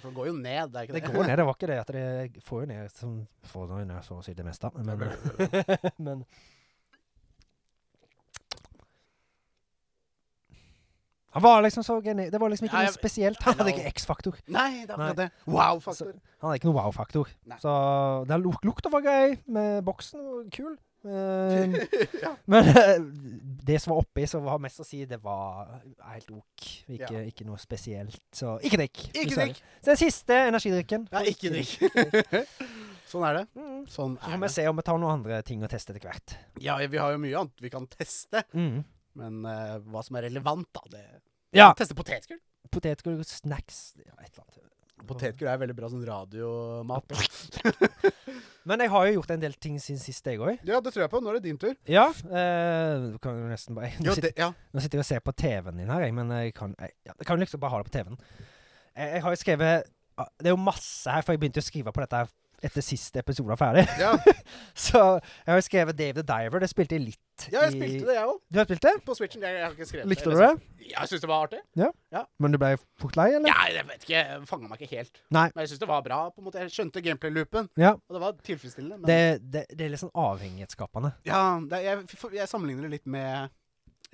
[SPEAKER 1] For den går jo ned, det er ikke
[SPEAKER 2] Det
[SPEAKER 1] det?
[SPEAKER 2] går ned, det var ikke det. At det får jo ned, som, får jo ned så å si det meste. Men, men Han var liksom så geni... Det var liksom ikke
[SPEAKER 1] Ja,
[SPEAKER 2] noe
[SPEAKER 1] jeg-
[SPEAKER 2] spesielt. Han hadde
[SPEAKER 1] Nei,
[SPEAKER 2] ikke X-faktor.
[SPEAKER 1] Nei, det er akkurat det. Wow-faktor.
[SPEAKER 2] Han er ikke noen wow-faktor.
[SPEAKER 1] Nei.
[SPEAKER 2] Så det luk lukta var grei, med boksen var kul. Eh,
[SPEAKER 1] ja.
[SPEAKER 2] men det som var oppi, som har mest å si, det var helt ok. Ikke,
[SPEAKER 1] Ja.
[SPEAKER 2] ikke noe spesielt. Så ikke drikk.
[SPEAKER 1] Ikke
[SPEAKER 2] dessverre.
[SPEAKER 1] drikk.
[SPEAKER 2] Så den siste energidrikken.
[SPEAKER 1] Ja, ikke drikk. sånn er det.
[SPEAKER 2] Mm.
[SPEAKER 1] Sånn
[SPEAKER 2] Så
[SPEAKER 1] er
[SPEAKER 2] får vi
[SPEAKER 1] det.
[SPEAKER 2] se om vi tar noen andre ting å teste etter hvert.
[SPEAKER 1] Ja, vi har jo mye annet vi kan teste,
[SPEAKER 2] Mm.
[SPEAKER 1] men eh, hva som er relevant, da det
[SPEAKER 2] Ja.
[SPEAKER 1] Teste potetgull.
[SPEAKER 2] Potetgull, snacks, ja, et eller annet.
[SPEAKER 1] Potetgull er veldig bra sånn radiomat.
[SPEAKER 2] Men jeg har jo gjort en del ting siden sist, jeg òg.
[SPEAKER 1] Ja, det tror jeg på. Nå er det din tur.
[SPEAKER 2] Ja. Eh, du kan jo nesten bare
[SPEAKER 1] Ja, det, ja.
[SPEAKER 2] Nå sitter jeg og ser på TV-en din her, jeg, men jeg kan, jeg, ja, jeg kan liksom bare ha det på TV-en. Jeg, jeg har jo skrevet ah, Det er jo masse her, for jeg begynte å skrive på dette her etter siste episode var ferdig.
[SPEAKER 1] Ja.
[SPEAKER 2] Så jeg har jo skrevet Dave the Diver. Det spilte jeg litt
[SPEAKER 1] ja, jeg spilte det, jeg òg.
[SPEAKER 2] Du har spilt det?
[SPEAKER 1] På Switchen. Jeg, jeg har ikke skrevet
[SPEAKER 2] Likte du
[SPEAKER 1] eller
[SPEAKER 2] det?
[SPEAKER 1] sånn. Ja, jeg syns det var artig.
[SPEAKER 2] Men du ble fort lei, eller?
[SPEAKER 1] Ja, jeg vet ikke. Jeg Fanga meg ikke helt.
[SPEAKER 2] Nei.
[SPEAKER 1] Men jeg syns det var bra. på en måte. Jeg skjønte gameplay-loopen,
[SPEAKER 2] Ja.
[SPEAKER 1] og det var tilfredsstillende. Men
[SPEAKER 2] Det, det, det er litt sånn avhengighetsskapende.
[SPEAKER 1] ja, det, jeg, f- jeg sammenligner det litt med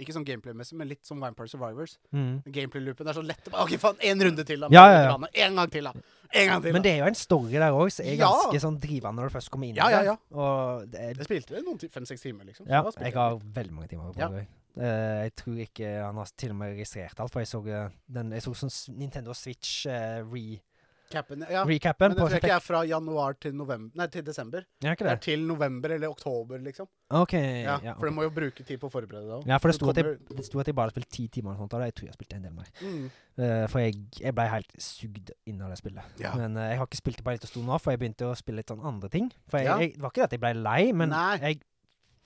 [SPEAKER 1] Ikke sånn gameplay-messig, men litt som Vampire Survivors.
[SPEAKER 2] Mm.
[SPEAKER 1] Gameplay-loopen er så lett å bare OK, faen, én runde til, da.
[SPEAKER 2] Ja, ja, ja.
[SPEAKER 1] En gang til, da. En gang til, da.
[SPEAKER 2] Men det er jo en story der òg, så jeg er
[SPEAKER 1] Ja.
[SPEAKER 2] ganske sånn drivende når du først kommer inn
[SPEAKER 1] Ja,
[SPEAKER 2] i
[SPEAKER 1] ja, ja.
[SPEAKER 2] det. Og det er,
[SPEAKER 1] Jeg spilte det noen ti- fem-seks timer, liksom. så
[SPEAKER 2] ja,
[SPEAKER 1] da spilte
[SPEAKER 2] jeg har veldig mange timer på
[SPEAKER 1] Ja.
[SPEAKER 2] det. Eh, jeg tror ikke han har til og med registrert alt, for jeg så, eh, den, jeg så sånn s- Nintendo Switch-recappen
[SPEAKER 1] Capen, ja. Men det
[SPEAKER 2] på
[SPEAKER 1] tror jeg ikke er fra januar til, november, nei, til desember.
[SPEAKER 2] Ja, ikke
[SPEAKER 1] Det
[SPEAKER 2] det?
[SPEAKER 1] er til november eller oktober, liksom.
[SPEAKER 2] OK.
[SPEAKER 1] Ja,
[SPEAKER 2] Ja,
[SPEAKER 1] For
[SPEAKER 2] ok.
[SPEAKER 1] du må jo bruke tid på å forberede deg. også.
[SPEAKER 2] ja, for det
[SPEAKER 1] Det
[SPEAKER 2] sto, at jeg,
[SPEAKER 1] kommer-
[SPEAKER 2] det sto at jeg bare hadde spilt ti timer, og sånt, og jeg tror jeg spilte en del mer.
[SPEAKER 1] Mm.
[SPEAKER 2] Eh, for jeg, jeg ble helt sugd inn av det spillet.
[SPEAKER 1] Ja.
[SPEAKER 2] Men eh, jeg har ikke spilt det på en liten stund nå, for jeg begynte å spille litt sånn andre ting. For jeg,
[SPEAKER 1] Ja.
[SPEAKER 2] jeg, det var ikke det at jeg ble lei, men
[SPEAKER 1] Nei.
[SPEAKER 2] jeg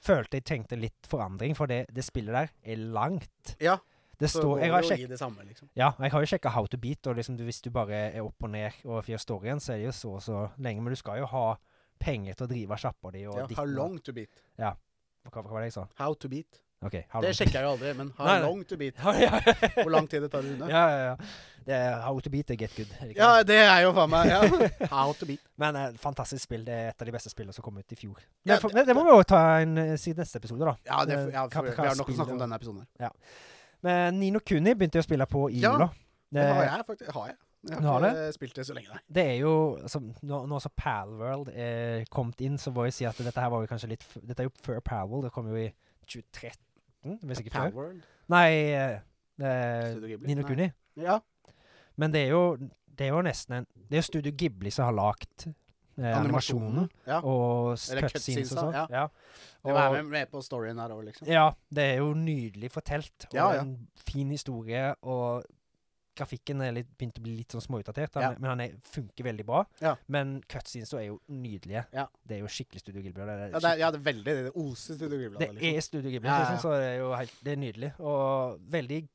[SPEAKER 2] følte jeg trengte litt forandring, for det, det spillet der er langt.
[SPEAKER 1] Ja,
[SPEAKER 2] Det
[SPEAKER 1] Så
[SPEAKER 2] står,
[SPEAKER 1] går
[SPEAKER 2] jeg, har
[SPEAKER 1] det jo
[SPEAKER 2] sjekk,
[SPEAKER 1] i det samme, liksom.
[SPEAKER 2] ja, jeg har jo sjekka How to Beat, og liksom du, hvis du bare er opp og ned og gjør storyen, så er det jo så og så lenge. Men du skal jo ha penger til å drive sjappa di og
[SPEAKER 1] Ja,
[SPEAKER 2] ditten
[SPEAKER 1] how
[SPEAKER 2] og-
[SPEAKER 1] long to beat.
[SPEAKER 2] Hva, hva var det jeg sa?
[SPEAKER 1] How to beat.
[SPEAKER 2] OK. How
[SPEAKER 1] Det
[SPEAKER 2] long-
[SPEAKER 1] sjekker jeg jo aldri, men how
[SPEAKER 2] Nei, nei.
[SPEAKER 1] long to beat.
[SPEAKER 2] Ja, ja.
[SPEAKER 1] Hvor lang tid det tar å runde.
[SPEAKER 2] ja, ja, ja. Det er How to Beat er get good. er det ikke
[SPEAKER 1] Ja,
[SPEAKER 2] det?
[SPEAKER 1] det er jo faen meg ja. How to beat.
[SPEAKER 2] Men eh, fantastisk spill. Det er et av de beste spillene som kom ut i fjor.
[SPEAKER 1] Ja,
[SPEAKER 2] det, for,
[SPEAKER 1] det-
[SPEAKER 2] det, det må vi jo ta en eh, siden neste episode, da.
[SPEAKER 1] Ja, det,
[SPEAKER 2] Eh,
[SPEAKER 1] ja for,
[SPEAKER 2] hva- hva
[SPEAKER 1] vi har nok
[SPEAKER 2] spiller-
[SPEAKER 1] snakket om denne episoden. her.
[SPEAKER 2] Men Nino Kuni begynte jeg å spille på i
[SPEAKER 1] Ja,
[SPEAKER 2] jula.
[SPEAKER 1] Det har
[SPEAKER 2] Det,
[SPEAKER 1] jeg faktisk. Har jeg. Men
[SPEAKER 2] Du
[SPEAKER 1] Jeg
[SPEAKER 2] har
[SPEAKER 1] har ikke spilt det så lenge, nei.
[SPEAKER 2] det er jo altså, Nå, nå som Palworld er kommet inn, så må jeg si at dette her var jo kanskje litt f Dette er jo før Palworld. Det kom jo i 2013, hvis ikke før.
[SPEAKER 1] Palworld?
[SPEAKER 2] Nei eh, eh,
[SPEAKER 1] Studio Ghibli?
[SPEAKER 2] Nino
[SPEAKER 1] Nei.
[SPEAKER 2] Kuni.
[SPEAKER 1] Ja.
[SPEAKER 2] Men det er jo Det er jo nesten en Det er jo Studio Ghibli som har lagd eh, animasjonen.
[SPEAKER 1] Ja.
[SPEAKER 2] Og s-
[SPEAKER 1] Eller
[SPEAKER 2] cutscenes
[SPEAKER 1] cutscenes,
[SPEAKER 2] og sånn.
[SPEAKER 1] da,
[SPEAKER 2] Ja.
[SPEAKER 1] Det
[SPEAKER 2] Og-
[SPEAKER 1] var med, med på storyen her òg, liksom.
[SPEAKER 2] Ja, det er jo nydelig fortelt, og
[SPEAKER 1] Ja, ja.
[SPEAKER 2] en fin historie, og grafikken er litt, begynt å bli litt sånn småutdatert, han,
[SPEAKER 1] Ja.
[SPEAKER 2] men han er, funker veldig bra.
[SPEAKER 1] Ja.
[SPEAKER 2] Men cutscenes er jo nydelige.
[SPEAKER 1] Ja.
[SPEAKER 2] Det er jo skikkelig Studio Ghibli. og Det er,
[SPEAKER 1] Ja, det er, ja, det er veldig det oser Studio Ghibli.
[SPEAKER 2] skikk-
[SPEAKER 1] av
[SPEAKER 2] det
[SPEAKER 1] det, Liksom.
[SPEAKER 2] er Studio Ghibli,
[SPEAKER 1] Ja, ja,
[SPEAKER 2] liksom,
[SPEAKER 1] ja.
[SPEAKER 2] så det er jo helt, det er nydelig, og veldig...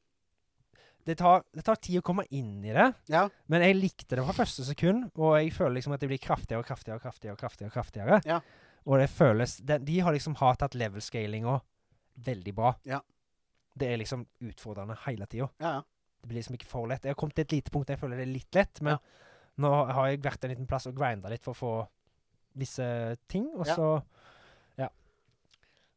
[SPEAKER 2] Det tar, det tar tid å komme inn i det,
[SPEAKER 1] Ja.
[SPEAKER 2] men jeg likte det fra første sekund, og jeg føler liksom at det blir kraftigere og kraftigere og kraftigere. Og kraftigere, og kraftigere.
[SPEAKER 1] Ja.
[SPEAKER 2] Og det føles De, de har liksom har tatt level-scalinga veldig bra.
[SPEAKER 1] Ja.
[SPEAKER 2] Det er liksom utfordrende hele tida.
[SPEAKER 1] ja, ja.
[SPEAKER 2] Det blir liksom ikke for lett. Jeg har kommet til et lite punkt der jeg føler det er litt lett, men nå har jeg vært en liten plass og grinda litt for å få visse ting, og
[SPEAKER 1] Ja.
[SPEAKER 2] så Ja.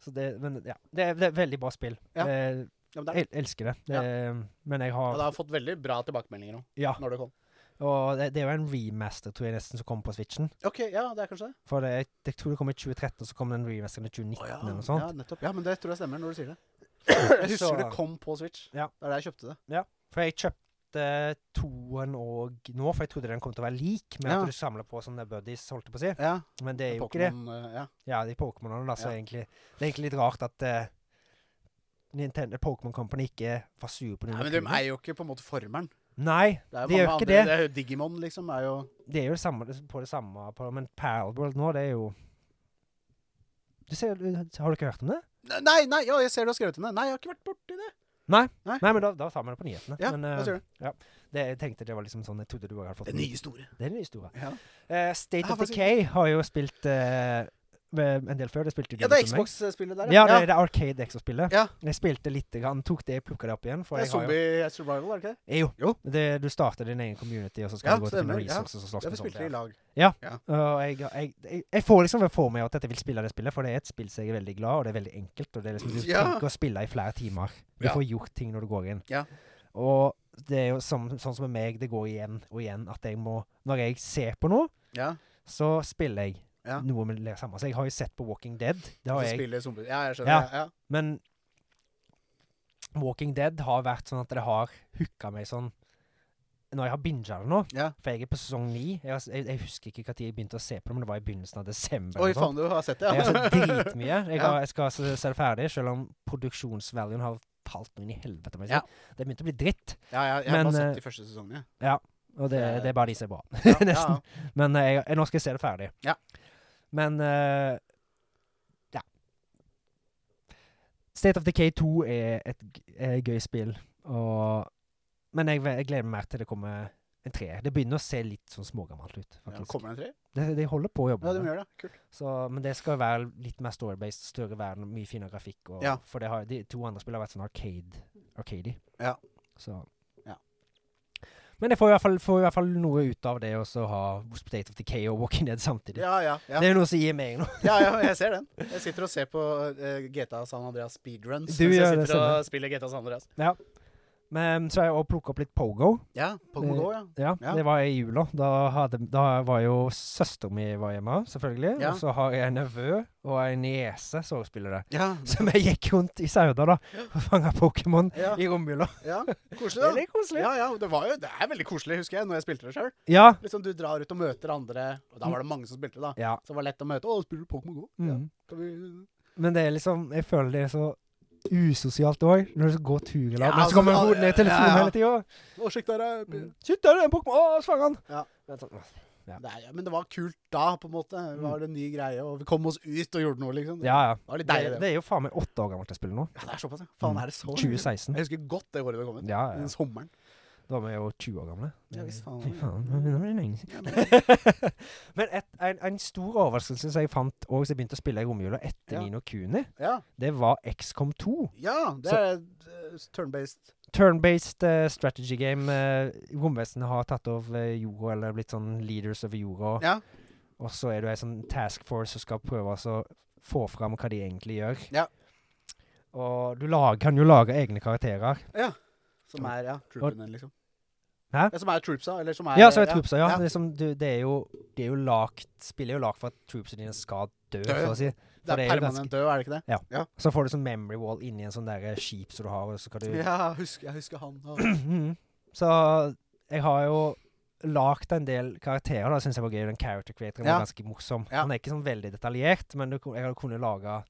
[SPEAKER 2] Så det Men ja. Det er, det er et veldig bra spill.
[SPEAKER 1] Ja.
[SPEAKER 2] Eh,
[SPEAKER 1] ja men det,
[SPEAKER 2] jeg elsker det. det Men jeg
[SPEAKER 1] ja,
[SPEAKER 2] har
[SPEAKER 1] det har fått veldig bra tilbakemeldinger nå,
[SPEAKER 2] Ja.
[SPEAKER 1] når det kom.
[SPEAKER 2] Og det, det er jo en remaster, tror jeg, nesten, som kommer på Switchen.
[SPEAKER 1] OK, ja, det er kanskje det.
[SPEAKER 2] For det, jeg, jeg tror det kom i 2013, så kom den remasteren i 2019
[SPEAKER 1] ja.
[SPEAKER 2] eller noe sånt.
[SPEAKER 1] nettopp. Ja, men det tror jeg stemmer når du sier det. Jeg
[SPEAKER 2] Så-
[SPEAKER 1] husker det kom på Switch.
[SPEAKER 2] Ja.
[SPEAKER 1] Det er der jeg kjøpte det.
[SPEAKER 2] For jeg kjøpte toen og nå, for jeg trodde den kom til å være lik med
[SPEAKER 1] Ja.
[SPEAKER 2] at du samler på sånne buddies, holdt jeg på å si.
[SPEAKER 1] Ja,
[SPEAKER 2] Men det er jo ikke det.
[SPEAKER 1] Pokémon, eh, ja.
[SPEAKER 2] Ja, de Pokémonene, da, så
[SPEAKER 1] Ja.
[SPEAKER 2] egentlig Det er egentlig litt rart at eh, Nintendo Pokémon Company ikke var sure på
[SPEAKER 1] Nei,
[SPEAKER 2] Nino
[SPEAKER 1] men de
[SPEAKER 2] Kuni.
[SPEAKER 1] er jo ikke på en måte formeren.
[SPEAKER 2] Nei,
[SPEAKER 1] Det er jo
[SPEAKER 2] De
[SPEAKER 1] mange
[SPEAKER 2] gjør ikke
[SPEAKER 1] andre.
[SPEAKER 2] det.
[SPEAKER 1] det er jo Digimon, liksom, er jo
[SPEAKER 2] det er jo det samme, det- på det samme på, Men Palworld nå, det er jo du ser, Har du ikke hørt om det?
[SPEAKER 1] Nei, nei, ja, jeg ser du har skrevet om det. Nei, jeg har ikke vært borti det.
[SPEAKER 2] Nei, men da, da tar vi det på nyhetene.
[SPEAKER 1] Ja,
[SPEAKER 2] men,
[SPEAKER 1] hva
[SPEAKER 2] eh,
[SPEAKER 1] sier du?
[SPEAKER 2] det, jeg tenkte det var liksom sånn Jeg trodde du bare hadde fått
[SPEAKER 1] Det nye store.
[SPEAKER 2] Det er den nye store.
[SPEAKER 1] Ja.
[SPEAKER 2] Eh, State
[SPEAKER 1] Ja,
[SPEAKER 2] of
[SPEAKER 1] faktisk-
[SPEAKER 2] Decay har jo spilt eh, ved- en del før. Det spilte du
[SPEAKER 1] Ja, det er
[SPEAKER 2] liksom med.
[SPEAKER 1] Xbox-spillet der,
[SPEAKER 2] Ja, det, det er Arcade Xbox-spillet.
[SPEAKER 1] Ja.
[SPEAKER 2] Jeg spilte lite grann, tok det, plukka det opp igjen. For
[SPEAKER 1] Det er
[SPEAKER 2] jeg har jo,
[SPEAKER 1] Zombie Survival, er det ikke det?
[SPEAKER 2] Eh, jo.
[SPEAKER 1] Jo.
[SPEAKER 2] Det, du starter din egen community, og så skal
[SPEAKER 1] Ja,
[SPEAKER 2] du gå til
[SPEAKER 1] stemmer,
[SPEAKER 2] noen
[SPEAKER 1] ja.
[SPEAKER 2] resources og slåss
[SPEAKER 1] Ja,
[SPEAKER 2] med
[SPEAKER 1] vi spilte i
[SPEAKER 2] zombier.
[SPEAKER 1] lag.
[SPEAKER 2] Og jeg, jeg, jeg, jeg får liksom for meg at dette vil spille det spillet, for det er et spill som jeg er veldig glad og det er veldig enkelt. Og det er liksom, du
[SPEAKER 1] Ja.
[SPEAKER 2] trenger ikke å spille i flere timer. Du
[SPEAKER 1] Ja.
[SPEAKER 2] får gjort ting når du går inn.
[SPEAKER 1] Ja.
[SPEAKER 2] Og det er jo som, sånn som med meg, det går igjen og igjen at jeg må Når jeg ser på noe,
[SPEAKER 1] Ja.
[SPEAKER 2] så spiller jeg
[SPEAKER 1] Ja.
[SPEAKER 2] noe med det samme. Så jeg har jo sett på Walking Dead. Det har
[SPEAKER 1] Så
[SPEAKER 2] jeg.
[SPEAKER 1] spiller zombie. Ja, jeg skjønner.
[SPEAKER 2] Ja.
[SPEAKER 1] Ja. Ja.
[SPEAKER 2] Men Walking Dead har vært sånn at det har hooka meg sånn Når jeg har binga det nå
[SPEAKER 1] Ja.
[SPEAKER 2] For jeg er på sesong ni. Jeg, har- jeg, jeg husker ikke når jeg begynte å se på det, men det var i begynnelsen av desember.
[SPEAKER 1] Oi,
[SPEAKER 2] eller noe sånt.
[SPEAKER 1] faen, du har sett det,
[SPEAKER 2] Jeg har sett dritmye. Jeg,
[SPEAKER 1] Ja.
[SPEAKER 2] har, jeg skal se se det ferdig, selv om produksjonsvaluen har falt noe inn i helvete. må jeg si.
[SPEAKER 1] Ja.
[SPEAKER 2] Det begynte å bli dritt.
[SPEAKER 1] Ja, ja, jeg har
[SPEAKER 2] Men,
[SPEAKER 1] bare sett
[SPEAKER 2] eh,
[SPEAKER 1] de første sesongene.
[SPEAKER 2] Og det,
[SPEAKER 1] Det er-
[SPEAKER 2] det er bare de som er bra.
[SPEAKER 1] Ja, ja,
[SPEAKER 2] Nesten. Men eh, jeg, nå skal jeg se det ferdig.
[SPEAKER 1] Ja.
[SPEAKER 2] Men eh, ja. State of Decay 2 er et g- eh, gøy spill, og Men jeg, ve- jeg gleder meg mer til det kommer en treer. Det begynner å se litt sånn smågammelt ut,
[SPEAKER 1] ja.
[SPEAKER 2] faktisk.
[SPEAKER 1] Kommer det en tre?
[SPEAKER 2] de, de holder på å jobbe
[SPEAKER 1] Ja,
[SPEAKER 2] med
[SPEAKER 1] de
[SPEAKER 2] det.
[SPEAKER 1] gjør det. Kult.
[SPEAKER 2] Så, men det skal være litt mer story-based, større verden, mye finere grafikk. Og,
[SPEAKER 1] Ja.
[SPEAKER 2] For det har, de to andre spillene har vært sånn arcade, arcade
[SPEAKER 1] Ja.
[SPEAKER 2] Så.
[SPEAKER 1] Ja.
[SPEAKER 2] Men jeg får i, hvert fall, får i hvert fall noe ut av det også å ha State of Decay og Walking Dead samtidig.
[SPEAKER 1] Ja, ja, ja.
[SPEAKER 2] Det er jo noe som gir meg noe.
[SPEAKER 1] ja, ja, jeg ser den. Jeg sitter og ser på eh, GTA San Andreas speedruns.
[SPEAKER 2] Du
[SPEAKER 1] mens
[SPEAKER 2] gjør
[SPEAKER 1] jeg
[SPEAKER 2] det
[SPEAKER 1] sitter og
[SPEAKER 2] samme.
[SPEAKER 1] spiller GTA San Andreas.
[SPEAKER 2] Men så har jeg òg plukka opp litt Pogo.
[SPEAKER 1] Ja, Pokémon Go, ja.
[SPEAKER 2] Ja,
[SPEAKER 1] Ja.
[SPEAKER 2] Det var i jula. Da, hadde, da var jo søsteren min var hjemme, selvfølgelig.
[SPEAKER 1] Ja.
[SPEAKER 2] Og så har jeg en nevø og en niese som også spiller det.
[SPEAKER 1] Ja,
[SPEAKER 2] Så vi gikk rundt i Sauda da og fanga Pokémon
[SPEAKER 1] Ja.
[SPEAKER 2] i romjula.
[SPEAKER 1] ja. Koselig,
[SPEAKER 2] Det
[SPEAKER 1] da.
[SPEAKER 2] er litt koselig.
[SPEAKER 1] Ja, ja, det, var jo, det er veldig koselig, husker jeg, når jeg spilte det sjøl.
[SPEAKER 2] Ja.
[SPEAKER 1] Liksom, du drar ut og møter andre, og da var det mange som spilte, da.
[SPEAKER 2] ja.
[SPEAKER 1] Så det var lett å møte. 'Å, spiller du Pokémon Go?' Ja.
[SPEAKER 2] Mm.
[SPEAKER 1] Kan vi
[SPEAKER 2] Men det er liksom Jeg føler det er så usosialt òg, når du går tur i lag.
[SPEAKER 1] Ja,
[SPEAKER 2] men så kommer
[SPEAKER 1] altså,
[SPEAKER 2] hodet ned i telefonen
[SPEAKER 1] ja, ja.
[SPEAKER 2] hele tida.
[SPEAKER 1] 'Å, sjekk der, er
[SPEAKER 2] Mm. Shit, der er det en Pokémon! Å, svang han!
[SPEAKER 1] Ja.
[SPEAKER 2] Det er sånn,
[SPEAKER 1] Det er, ja, men det var kult da, på en måte. Det var en ny greie, og vi kom oss ut og gjorde noe, liksom. Det
[SPEAKER 2] Mm. Ja, ja.
[SPEAKER 1] var litt
[SPEAKER 2] Det, Mm.
[SPEAKER 1] deilig, det.
[SPEAKER 2] det er jo faen meg åtte år gammelt jeg spiller nå.
[SPEAKER 1] Ja, det er såpass, ja. Faen, er det så lenge?
[SPEAKER 2] 2016.
[SPEAKER 1] Jeg husker godt det året det kom ut.
[SPEAKER 2] Ja, ja.
[SPEAKER 1] Den sommeren.
[SPEAKER 2] Da var vi jo 20 år gamle.
[SPEAKER 1] Ja, visst faen.
[SPEAKER 2] Fy faen, nå begynner det å bli lenge siden. Men et, en, en stor overraskelse som jeg fant òg, som jeg begynte å spille i romjula etter
[SPEAKER 1] Ja.
[SPEAKER 2] Nino Kuni,
[SPEAKER 1] Ja,
[SPEAKER 2] det var XCOM 2.
[SPEAKER 1] ja det er eh, turn-based.
[SPEAKER 2] Turn-based eh, strategy game. Uh, Romvesenet har tatt over jorda, eller blitt sånn leaders over jorda.
[SPEAKER 1] Ja.
[SPEAKER 2] Og så er du ei sånn task force som skal prøve altså å få fram hva de egentlig gjør.
[SPEAKER 1] Ja.
[SPEAKER 2] Og du lag, kan jo lage egne karakterer.
[SPEAKER 1] Som er ja, troopene, liksom.
[SPEAKER 2] Hæ?
[SPEAKER 1] Ja, som er troopsa, eller som er
[SPEAKER 2] Ja, så er troopsa, ja.
[SPEAKER 1] ja.
[SPEAKER 2] Det, er som, du, det er jo, det er jo lagt Spillet er jo lagt for at troopsa dine skal
[SPEAKER 1] Dø,
[SPEAKER 2] dø,
[SPEAKER 1] ja.
[SPEAKER 2] så å si.
[SPEAKER 1] Det er
[SPEAKER 2] for det er jo ganske-
[SPEAKER 1] permanent død, er det ikke det?
[SPEAKER 2] Så får du sånn memory wall inni en sånn der skip som du har, og så skal du
[SPEAKER 1] Ja, husker, jeg husker han. Og...
[SPEAKER 2] Mhm. Så jeg har jo lagd en del karakterer, da syns jeg var gøy. Den character creatoren
[SPEAKER 1] Ja.
[SPEAKER 2] var ganske morsom.
[SPEAKER 1] Ja.
[SPEAKER 2] Han er ikke sånn veldig detaljert, men du, kun- jeg har kunnet lage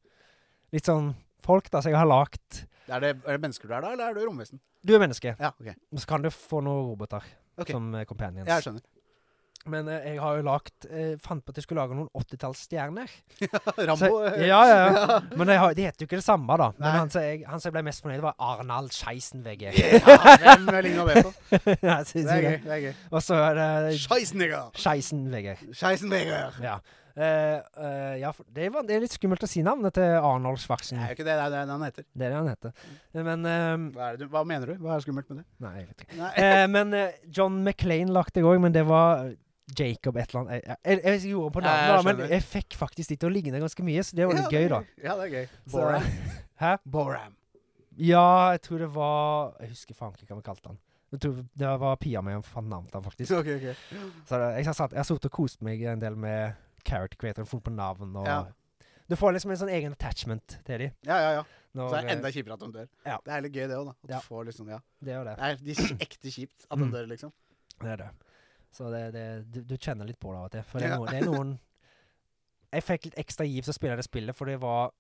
[SPEAKER 2] litt sånn folk, da. Så jeg har lagd
[SPEAKER 1] Er, det, er det mennesker du er da, eller er du romvesen?
[SPEAKER 2] Du er menneske,
[SPEAKER 1] Ja, ok.
[SPEAKER 2] og så kan du få noen roboter
[SPEAKER 1] Ok.
[SPEAKER 2] som eh, companions.
[SPEAKER 1] Jeg skjønner.
[SPEAKER 2] Men eh, jeg har jo lagt eh, Fant på at jeg skulle lage noen 80-tallsstjerner.
[SPEAKER 1] Rambo.
[SPEAKER 2] Så-
[SPEAKER 1] eh,
[SPEAKER 2] Ja, ja, ja. Men de, har, de heter jo ikke det samme, da. Men
[SPEAKER 1] Nei.
[SPEAKER 2] han som jeg, han som jeg ble mest fornøyd med, var Arnald Scheisenwege.
[SPEAKER 1] ja, hvem ligner det på?
[SPEAKER 2] Jeg
[SPEAKER 1] Det
[SPEAKER 2] synes
[SPEAKER 1] er gøy.
[SPEAKER 2] det.
[SPEAKER 1] det er gøy.
[SPEAKER 2] Og så er det
[SPEAKER 1] Scheisenegger!
[SPEAKER 2] Scheisenwege.
[SPEAKER 1] Scheisenegger!
[SPEAKER 2] Ja. Eh, eh, ja, for det, var, det er litt skummelt å si navnet til
[SPEAKER 1] Det er
[SPEAKER 2] Arnold
[SPEAKER 1] jo
[SPEAKER 2] Schwarzenegger.
[SPEAKER 1] ikke det, det er det han heter.
[SPEAKER 2] Det er det han heter.
[SPEAKER 1] Mm.
[SPEAKER 2] Eh, Men eh,
[SPEAKER 1] Hva, er det, du- hva mener du? Hva er skummelt med det?
[SPEAKER 2] Nei, jeg vet ikke.
[SPEAKER 1] Nei.
[SPEAKER 2] Eh, men eh, John McClain lagde jeg òg, men det var Jacob et eller annet. Jeg, jeg, jeg, gjorde om på
[SPEAKER 1] Ja, jeg
[SPEAKER 2] navnet, da, men
[SPEAKER 1] skjønner.
[SPEAKER 2] jeg fikk faktisk de til å ligne ganske mye, så det var
[SPEAKER 1] Ja,
[SPEAKER 2] litt
[SPEAKER 1] det
[SPEAKER 2] gøy,
[SPEAKER 1] er
[SPEAKER 2] da.
[SPEAKER 1] Ja, det er gøy.
[SPEAKER 2] Så-
[SPEAKER 1] Boram.
[SPEAKER 2] Hæ?
[SPEAKER 1] Boram.
[SPEAKER 2] Ja, jeg tror det var Jeg husker faen ikke hva vi kalte han. Jeg tror Det var Pia mi som fant navnet han faktisk.
[SPEAKER 1] Ok, ok.
[SPEAKER 2] Så det, jeg har satt- jeg har sittet og kost meg en del med character creator, funnet på navn og
[SPEAKER 1] Ja.
[SPEAKER 2] Du får liksom en sånn egen attachment til dem.
[SPEAKER 1] Ja, ja, ja.
[SPEAKER 2] Når,
[SPEAKER 1] Så er det
[SPEAKER 2] eh,
[SPEAKER 1] enda kjipere at de dør.
[SPEAKER 2] Ja.
[SPEAKER 1] Det er litt gøy det òg, da. At
[SPEAKER 2] Ja.
[SPEAKER 1] du får liksom, ja.
[SPEAKER 2] det er jo det.
[SPEAKER 1] Det er de s- ekte kjipt at de
[SPEAKER 2] Mm.
[SPEAKER 1] dør, liksom.
[SPEAKER 2] Det er det. Så det, det, du, du kjenner litt på det av og til. For det er,
[SPEAKER 1] Ja.
[SPEAKER 2] noen, det er noen Jeg fikk litt ekstra giv til å spille det spillet, for det var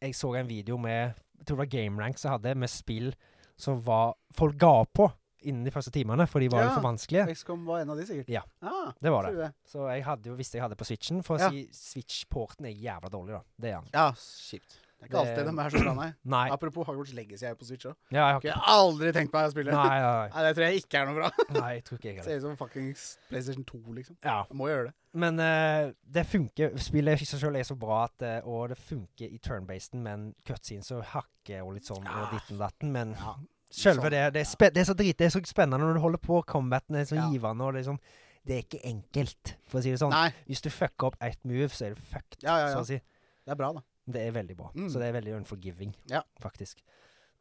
[SPEAKER 2] Jeg så en video med Jeg tror det var GameRank som hadde, med spill som var Folk ga opp på innen de første timene, for de var
[SPEAKER 1] Ja.
[SPEAKER 2] litt for vanskelige.
[SPEAKER 1] XCOM var en av de, sikkert.
[SPEAKER 2] Ja.
[SPEAKER 1] Ah,
[SPEAKER 2] Det var
[SPEAKER 1] tror
[SPEAKER 2] det.
[SPEAKER 1] du det.
[SPEAKER 2] Så jeg hadde jo visste jeg hadde på Switchen, for
[SPEAKER 1] Ja.
[SPEAKER 2] å si Switch-porten er jævla dårlig, da. Det er han.
[SPEAKER 1] Ja, kjipt. Det er ikke
[SPEAKER 2] Det-
[SPEAKER 1] alltid de er så bra, nei.
[SPEAKER 2] Nei.
[SPEAKER 1] Apropos Hogwarts Legacy er jo på Switch òg.
[SPEAKER 2] Ja, jeg har
[SPEAKER 1] Jeg
[SPEAKER 2] ikke
[SPEAKER 1] har aldri tenkt meg å spille.
[SPEAKER 2] Nei, nei,
[SPEAKER 1] Nei, det tror jeg ikke er noe bra.
[SPEAKER 2] nei, nei jeg tror ikke jeg heller.
[SPEAKER 1] Ser ut som fuckings PlayStation 2, liksom.
[SPEAKER 2] Ja.
[SPEAKER 1] Jeg må gjøre det.
[SPEAKER 2] Men eh, det funker. Spillet i seg selv er så bra at eh, Og det funker i turn-basen, men cutscenes og hakke og litt sånn
[SPEAKER 1] Ja.
[SPEAKER 2] og ditten datten. Men
[SPEAKER 1] Ja.
[SPEAKER 2] selve
[SPEAKER 1] Ah. sånn,
[SPEAKER 2] det det er,
[SPEAKER 1] ja.
[SPEAKER 2] spe det er så drit, det er så spennende når du holder på. Combaten er så
[SPEAKER 1] Ja.
[SPEAKER 2] givende, og det er sånn Det er ikke enkelt, for å si det sånn.
[SPEAKER 1] Nei.
[SPEAKER 2] Hvis du fucker opp ett move, så er du fucked,
[SPEAKER 1] Ja, ja, ja.
[SPEAKER 2] så å si.
[SPEAKER 1] Det er bra, da.
[SPEAKER 2] Det er veldig bra.
[SPEAKER 1] Mm.
[SPEAKER 2] Så det er veldig unforgiving,
[SPEAKER 1] Ja.
[SPEAKER 2] faktisk.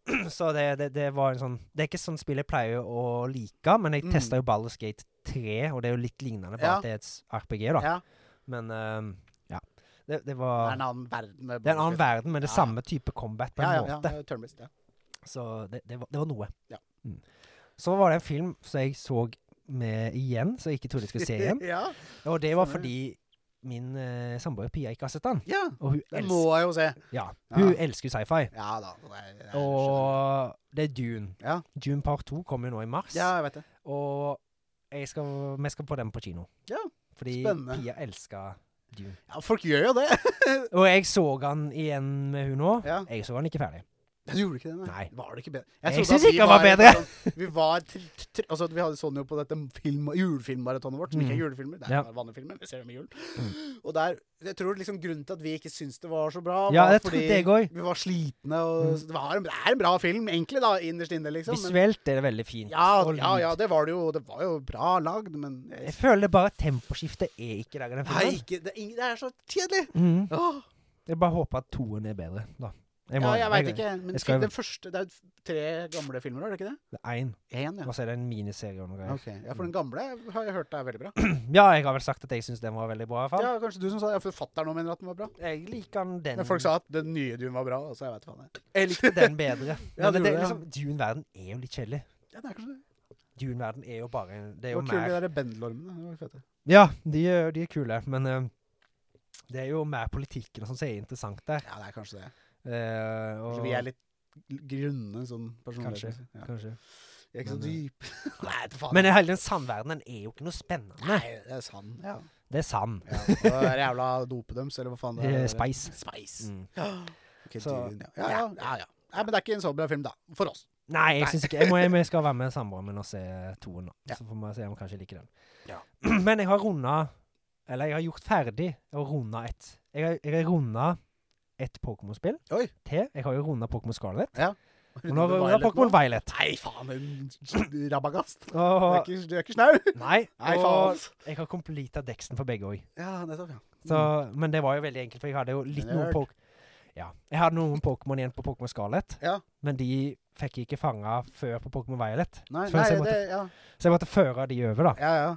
[SPEAKER 2] Så det, det, det var en sånn Det er ikke sånn spill jeg pleier å like, men jeg
[SPEAKER 1] Mm.
[SPEAKER 2] testet testa jo Baldur's Gate 3, og det er jo litt lignende, bare
[SPEAKER 1] Ja.
[SPEAKER 2] at det er et s- RPG, da.
[SPEAKER 1] Ja.
[SPEAKER 2] Men ehm, ja. Det, det
[SPEAKER 1] Det
[SPEAKER 2] var
[SPEAKER 1] er en annen verden. med
[SPEAKER 2] Det er en annen
[SPEAKER 1] Baldur's Gate.
[SPEAKER 2] verden, men det
[SPEAKER 1] Ja.
[SPEAKER 2] er samme type combat på en
[SPEAKER 1] ja, ja, ja,
[SPEAKER 2] måte.
[SPEAKER 1] det er turn-based, ja.
[SPEAKER 2] Så det, det, var, det var noe.
[SPEAKER 1] Ja.
[SPEAKER 2] Mm. Så var det en film som jeg så med igjen, som jeg ikke trodde jeg skulle se igjen.
[SPEAKER 1] ja.
[SPEAKER 2] Og det var
[SPEAKER 1] Stemmer det.
[SPEAKER 2] fordi min eh, samboer Pia ikke har sett den.
[SPEAKER 1] ja.
[SPEAKER 2] Og hun,
[SPEAKER 1] Det må
[SPEAKER 2] elsker,
[SPEAKER 1] jeg jo se.
[SPEAKER 2] ja, hun
[SPEAKER 1] Ja.
[SPEAKER 2] elsker jo sci-fi.
[SPEAKER 1] Ja da. Det er, det er,
[SPEAKER 2] Og det er Dune.
[SPEAKER 1] Ja.
[SPEAKER 2] Dune part 2 kommer jo nå i mars.
[SPEAKER 1] Ja, jeg vet det.
[SPEAKER 2] Og jeg skal, vi skal på den på kino.
[SPEAKER 1] Ja,
[SPEAKER 2] Fordi
[SPEAKER 1] spennende.
[SPEAKER 2] Pia elsker Dune.
[SPEAKER 1] Ja, folk gjør jo det.
[SPEAKER 2] Og jeg så han igjen med hun nå.
[SPEAKER 1] Ja.
[SPEAKER 2] Jeg så han ikke ferdig.
[SPEAKER 1] Du gjorde ikke det, nei?
[SPEAKER 2] Nei.
[SPEAKER 1] Var det ikke bedre?
[SPEAKER 2] Jeg
[SPEAKER 1] trodde
[SPEAKER 2] synes
[SPEAKER 1] at vi
[SPEAKER 2] ikke han var
[SPEAKER 1] et
[SPEAKER 2] bedre.
[SPEAKER 1] sånn- vi var tr tr altså, vi hadde sånn jo på dette film julefilmmaratonet vårt, som ikke er
[SPEAKER 2] Mm.
[SPEAKER 1] julefilmer, det er
[SPEAKER 2] Ja. Mm.
[SPEAKER 1] bare vanlige filmer, vi ser dem i julen. Og der, jeg tror liksom grunnen til at vi ikke syns det var så bra,
[SPEAKER 2] Ja,
[SPEAKER 1] var
[SPEAKER 2] det trodde jeg òg.
[SPEAKER 1] vi var slitne, og
[SPEAKER 2] Mm.
[SPEAKER 1] så det, var en, det er en bra film, egentlig, da, innerst inne, liksom. men-
[SPEAKER 2] Visuelt er det veldig fint.
[SPEAKER 1] ja,
[SPEAKER 2] og
[SPEAKER 1] ja,
[SPEAKER 2] lyd.
[SPEAKER 1] ja, det var det jo. Det var jo bra lagd, men
[SPEAKER 2] Jeg
[SPEAKER 1] jeg,
[SPEAKER 2] føler bare at temposkiftet er ikke der i
[SPEAKER 1] Nei,
[SPEAKER 2] den filmen.
[SPEAKER 1] ikke, det, er ingen- det er så kjedelig!
[SPEAKER 2] Mm.
[SPEAKER 1] Åh,
[SPEAKER 2] Jeg bare håper at toen er bedre, da. Jeg
[SPEAKER 1] Ja,
[SPEAKER 2] må-
[SPEAKER 1] jeg veit ikke. Men
[SPEAKER 2] jeg skal-
[SPEAKER 1] den første Det er jo tre gamle filmer, er det ikke det?
[SPEAKER 2] Det er én,
[SPEAKER 1] Én, ja.
[SPEAKER 2] og så er det en miniserie og noe greier.
[SPEAKER 1] Ok, ja, For den gamle har jeg hørt er veldig bra.
[SPEAKER 2] Ja, jeg har vel sagt at jeg syns den var veldig bra, i hvert fall.
[SPEAKER 1] Ja, Kanskje du som sa ja, for Fatter'n òg mener at den var bra.
[SPEAKER 2] Jeg liker den, den,
[SPEAKER 1] Men folk sa at den nye Dune var bra. Altså, jeg vet faen jeg.
[SPEAKER 2] jeg likte den bedre.
[SPEAKER 1] Ja, det
[SPEAKER 2] Men det,
[SPEAKER 1] gjorde
[SPEAKER 2] er
[SPEAKER 1] jeg.
[SPEAKER 2] liksom, Dune-verden er jo litt kjedelig.
[SPEAKER 1] Ja, det er kanskje det.
[SPEAKER 2] Dune-verden er jo bare Det
[SPEAKER 1] Det
[SPEAKER 2] er jo
[SPEAKER 1] var kule
[SPEAKER 2] mer
[SPEAKER 1] de der bendelormene. Det var fete.
[SPEAKER 2] Ja, de, er- de er kule, men eh, det er jo mer politikken og sånn som er interessant der.
[SPEAKER 1] Ja, det er kanskje det.
[SPEAKER 2] Eh, og,
[SPEAKER 1] Kanskje vi er litt grunne sånn personlig.
[SPEAKER 2] Kanskje,
[SPEAKER 1] Ja.
[SPEAKER 2] kanskje.
[SPEAKER 1] Vi er ikke så
[SPEAKER 2] Men, eh,
[SPEAKER 1] dype. Nei, vet du faen.
[SPEAKER 2] Men eh, hele den sandverdenen er jo ikke noe spennende.
[SPEAKER 1] Nei, det er sann. Ja.
[SPEAKER 2] Det er sand.
[SPEAKER 1] ja. Og det er jævla dopet deres, eller hva faen det
[SPEAKER 2] Eh,
[SPEAKER 1] er.
[SPEAKER 2] Spice.
[SPEAKER 1] Spice.
[SPEAKER 2] Mm.
[SPEAKER 1] Ja. Ok,
[SPEAKER 2] Så-
[SPEAKER 1] Dune, ja. Ja, ja, ja, ja. Nei, men det er ikke en så bra film, da. For oss.
[SPEAKER 2] Nei, jeg
[SPEAKER 1] Nei.
[SPEAKER 2] syns ikke jeg, må, jeg, må- jeg skal være med samboeren min og se toen, da.
[SPEAKER 1] Ja.
[SPEAKER 2] Så får vi se om jeg kanskje liker den.
[SPEAKER 1] Ja.
[SPEAKER 2] Men jeg har runda Eller jeg har gjort ferdig å runde ett. Jeg har, jeg har runda ett Pokémon-spill
[SPEAKER 1] Oi.
[SPEAKER 2] til. Jeg har jo runda Pokémon Scarlet. Og nå
[SPEAKER 1] Runde
[SPEAKER 2] har
[SPEAKER 1] Violet
[SPEAKER 2] jeg rundet Pokémon
[SPEAKER 1] nå.
[SPEAKER 2] Violet.
[SPEAKER 1] Nei, faen, en rabagast. Du er
[SPEAKER 2] Og,
[SPEAKER 1] ikke, du er ikke snau.
[SPEAKER 2] nei,
[SPEAKER 1] Nei,
[SPEAKER 2] og
[SPEAKER 1] faen.
[SPEAKER 2] jeg har completa deksen for begge òg.
[SPEAKER 1] Ja, nettopp, ja. Mm.
[SPEAKER 2] Men det var jo veldig enkelt, for jeg hadde jo litt noen
[SPEAKER 1] Nerd.
[SPEAKER 2] Pokémon ja. Jeg hadde noen Pokémon igjen på Pokémon Scarlet,
[SPEAKER 1] Ja.
[SPEAKER 2] men de fikk jeg ikke fanga før på Pokémon Violet.
[SPEAKER 1] Nei,
[SPEAKER 2] Så
[SPEAKER 1] nei
[SPEAKER 2] jeg måtte-
[SPEAKER 1] det Ja,
[SPEAKER 2] Så jeg måtte føre de over, da.
[SPEAKER 1] ja. ja,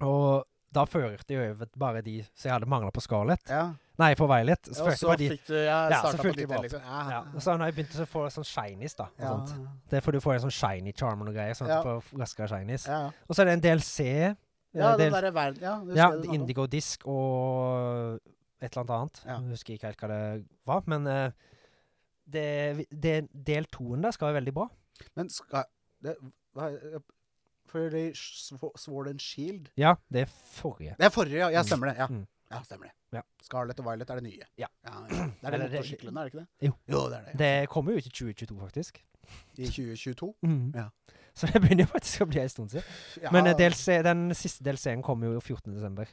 [SPEAKER 2] Og da førte jeg over bare de som jeg hadde mangla på Scarlet.
[SPEAKER 1] ja.
[SPEAKER 2] Nei, på Violet. Så
[SPEAKER 1] Og
[SPEAKER 2] førte jeg
[SPEAKER 1] så
[SPEAKER 2] bare de.
[SPEAKER 1] fikk du ja,
[SPEAKER 2] Ja, så
[SPEAKER 1] starta på
[SPEAKER 2] fulgte
[SPEAKER 1] nytt
[SPEAKER 2] jeg bare
[SPEAKER 1] igjen, liksom. Ja,
[SPEAKER 2] Ja. Og så har jeg begynt å få sånn shinies, da. Og
[SPEAKER 1] ja.
[SPEAKER 2] sånt. Det er fordi du får en sånn shiny charm og noe greier, sånn at du
[SPEAKER 1] Ja.
[SPEAKER 2] får raskere shinies.
[SPEAKER 1] Ja, ja.
[SPEAKER 2] Og så er det en DLC. eh,
[SPEAKER 1] ja den
[SPEAKER 2] del-
[SPEAKER 1] derre verden Ja, du
[SPEAKER 2] ja
[SPEAKER 1] skrev den opp.
[SPEAKER 2] Indigo Disk og et eller annet annet.
[SPEAKER 1] Ja.
[SPEAKER 2] Jeg husker ikke helt hva det var, men eh, det, det, del toen der skal være veldig bra.
[SPEAKER 1] Men skal det, hva, er- For de Sw- Sword and Shield
[SPEAKER 2] Ja, det er forrige.
[SPEAKER 1] Det er forrige, ja. ja
[SPEAKER 2] Mm.
[SPEAKER 1] stemmer det. Ja,
[SPEAKER 2] Mm.
[SPEAKER 1] ja stemmer det.
[SPEAKER 2] Ja.
[SPEAKER 1] Scarlett og Violet er det nye.
[SPEAKER 2] Ja.
[SPEAKER 1] Det er
[SPEAKER 2] Eller
[SPEAKER 1] det
[SPEAKER 2] det-
[SPEAKER 1] motorsyklene, er det ikke det?
[SPEAKER 2] Jo.
[SPEAKER 1] det er det.
[SPEAKER 2] Det kommer jo ut i 2022, faktisk.
[SPEAKER 1] I 2022. Ja.
[SPEAKER 2] Så det begynner jo faktisk å bli en stund siden.
[SPEAKER 1] Ja,
[SPEAKER 2] Men eh, DLC, den siste DLC-en kommer jo 14.12.,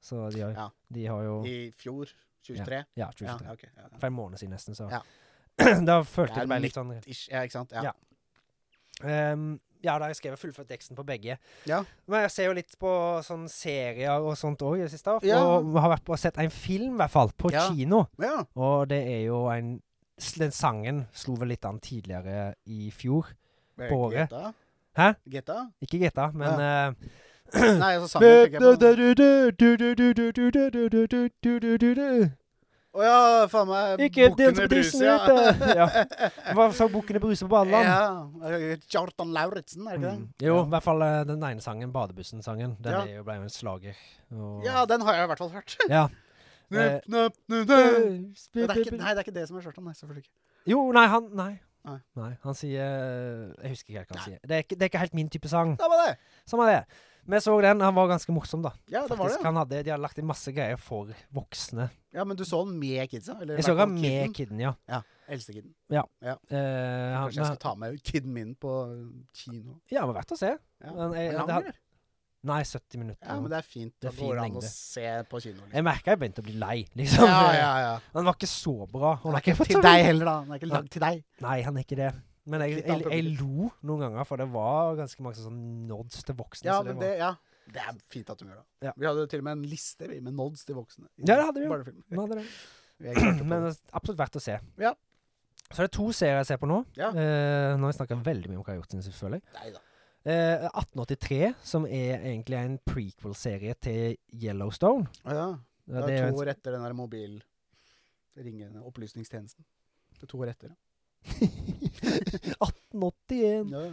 [SPEAKER 2] så de har,
[SPEAKER 1] Ja.
[SPEAKER 2] de har jo
[SPEAKER 1] I fjor. 23. Ja,
[SPEAKER 2] Ja, 2023.
[SPEAKER 1] ok. Ja, ja.
[SPEAKER 2] For en måned siden, nesten. Så
[SPEAKER 1] Ja.
[SPEAKER 2] da
[SPEAKER 1] Det
[SPEAKER 2] følte
[SPEAKER 1] er
[SPEAKER 2] jeg meg litt sånn
[SPEAKER 1] Ish, ja, ikke sant? Ja.
[SPEAKER 2] Ja. Ehm, ja, da har jeg skrevet fullført teksten på begge.
[SPEAKER 1] Ja.
[SPEAKER 2] Men jeg ser jo litt på sånn serier og sånt òg i det siste.
[SPEAKER 1] Ja.
[SPEAKER 2] Og vi har vært på, sett en film, i hvert fall, på
[SPEAKER 1] Ja.
[SPEAKER 2] kino.
[SPEAKER 1] ja.
[SPEAKER 2] Og det er jo en s- Den sangen slo vel litt an tidligere i fjor. På året.
[SPEAKER 1] GTA?
[SPEAKER 2] Hæ?
[SPEAKER 1] GTA?
[SPEAKER 2] Ikke GTA, men eh,
[SPEAKER 1] Nei, altså sangen tenker jeg på. Å ja, faen meg.
[SPEAKER 2] Ikke
[SPEAKER 1] Bukkene
[SPEAKER 2] dans på
[SPEAKER 1] Bruse,
[SPEAKER 2] tissen
[SPEAKER 1] ja.
[SPEAKER 2] ute! Ja. Hva sa bukkene Bruse på Badeland?
[SPEAKER 1] Ja. Kjartan Lauritzen, er det ikke det?
[SPEAKER 2] Mm. Jo, i hvert fall eh, den ene sangen, Badebussen-sangen. Den
[SPEAKER 1] Ja.
[SPEAKER 2] er jo, ble jo en slager. Og,
[SPEAKER 1] Ja, den har jeg i hvert fall hørt.
[SPEAKER 2] ja. Eh,
[SPEAKER 1] Nup, nup, nup, nup. Men det er ikke, nei, det er ikke det som er skjorta. Nei, selvfølgelig ikke.
[SPEAKER 2] Jo, nei, han Nei.
[SPEAKER 1] Nei.
[SPEAKER 2] Nei, han sier øh, Jeg husker ikke helt hva han sier. Det er ikke, det er ikke helt min type sang.
[SPEAKER 1] Det var det!
[SPEAKER 2] Som er det. Men jeg så den. Han var ganske morsom, da.
[SPEAKER 1] Ja, det var
[SPEAKER 2] Faktisk,
[SPEAKER 1] det.
[SPEAKER 2] Han hadde, de hadde lagt inn masse greier for voksne.
[SPEAKER 1] Ja, Men du så den med kidsa? Eller i
[SPEAKER 2] Jeg så
[SPEAKER 1] hvert
[SPEAKER 2] han
[SPEAKER 1] fall
[SPEAKER 2] med
[SPEAKER 1] kidden.
[SPEAKER 2] kidden, ja.
[SPEAKER 1] Eldste-kiden.
[SPEAKER 2] Eh, han,
[SPEAKER 1] Kanskje jeg skal ta med kiden min på kino.
[SPEAKER 2] ja, det var verdt å se.
[SPEAKER 1] Ja.
[SPEAKER 2] Men, eh,
[SPEAKER 1] Er den lang,
[SPEAKER 2] det had-
[SPEAKER 1] eller?
[SPEAKER 2] Nei, 70 minutter.
[SPEAKER 1] Ja, men det er fint.
[SPEAKER 2] Det
[SPEAKER 1] Det
[SPEAKER 2] er fin
[SPEAKER 1] går an å
[SPEAKER 2] lengde.
[SPEAKER 1] se på kino. Liksom.
[SPEAKER 2] Jeg merka jeg begynte å bli lei, liksom.
[SPEAKER 1] Ja, ja, ja.
[SPEAKER 2] Han var ikke så bra. Han
[SPEAKER 1] Den er
[SPEAKER 2] var
[SPEAKER 1] ikke
[SPEAKER 2] ikke
[SPEAKER 1] til deg heller, da. Den er ikke lagd til deg.
[SPEAKER 2] Nei, han er ikke det. Men jeg,
[SPEAKER 1] Litt
[SPEAKER 2] jeg,
[SPEAKER 1] annet
[SPEAKER 2] jeg, lo noen ganger, for det var ganske mange sånn nods til voksne.
[SPEAKER 1] Ja,
[SPEAKER 2] så
[SPEAKER 1] men
[SPEAKER 2] var-
[SPEAKER 1] det, ja. det er fint at du gjør det.
[SPEAKER 2] Ja.
[SPEAKER 1] Vi hadde jo til og med en liste vi, med nods til voksne. i
[SPEAKER 2] Ja, det hadde vi jo.
[SPEAKER 1] barnefilm.
[SPEAKER 2] Nå hadde det.
[SPEAKER 1] Vi er klarte på
[SPEAKER 2] Men
[SPEAKER 1] det.
[SPEAKER 2] det er absolutt verdt å se.
[SPEAKER 1] Ja.
[SPEAKER 2] Så er det to serier jeg ser på nå.
[SPEAKER 1] Ja.
[SPEAKER 2] Eh, nå har jeg snakka veldig mye om hva jeg har gjort siden sist, føler jeg.
[SPEAKER 1] Nei da.
[SPEAKER 2] Eh, 1883, som er egentlig en prequel-serie til Yellowstone.
[SPEAKER 1] Å Ja.
[SPEAKER 2] Eh,
[SPEAKER 1] Det
[SPEAKER 2] det
[SPEAKER 1] er
[SPEAKER 2] jo
[SPEAKER 1] to
[SPEAKER 2] en-
[SPEAKER 1] år etter den der mobilringende opplysningstjenesten. Det er to år etter. ja.
[SPEAKER 2] 1881.
[SPEAKER 1] Ja, ja.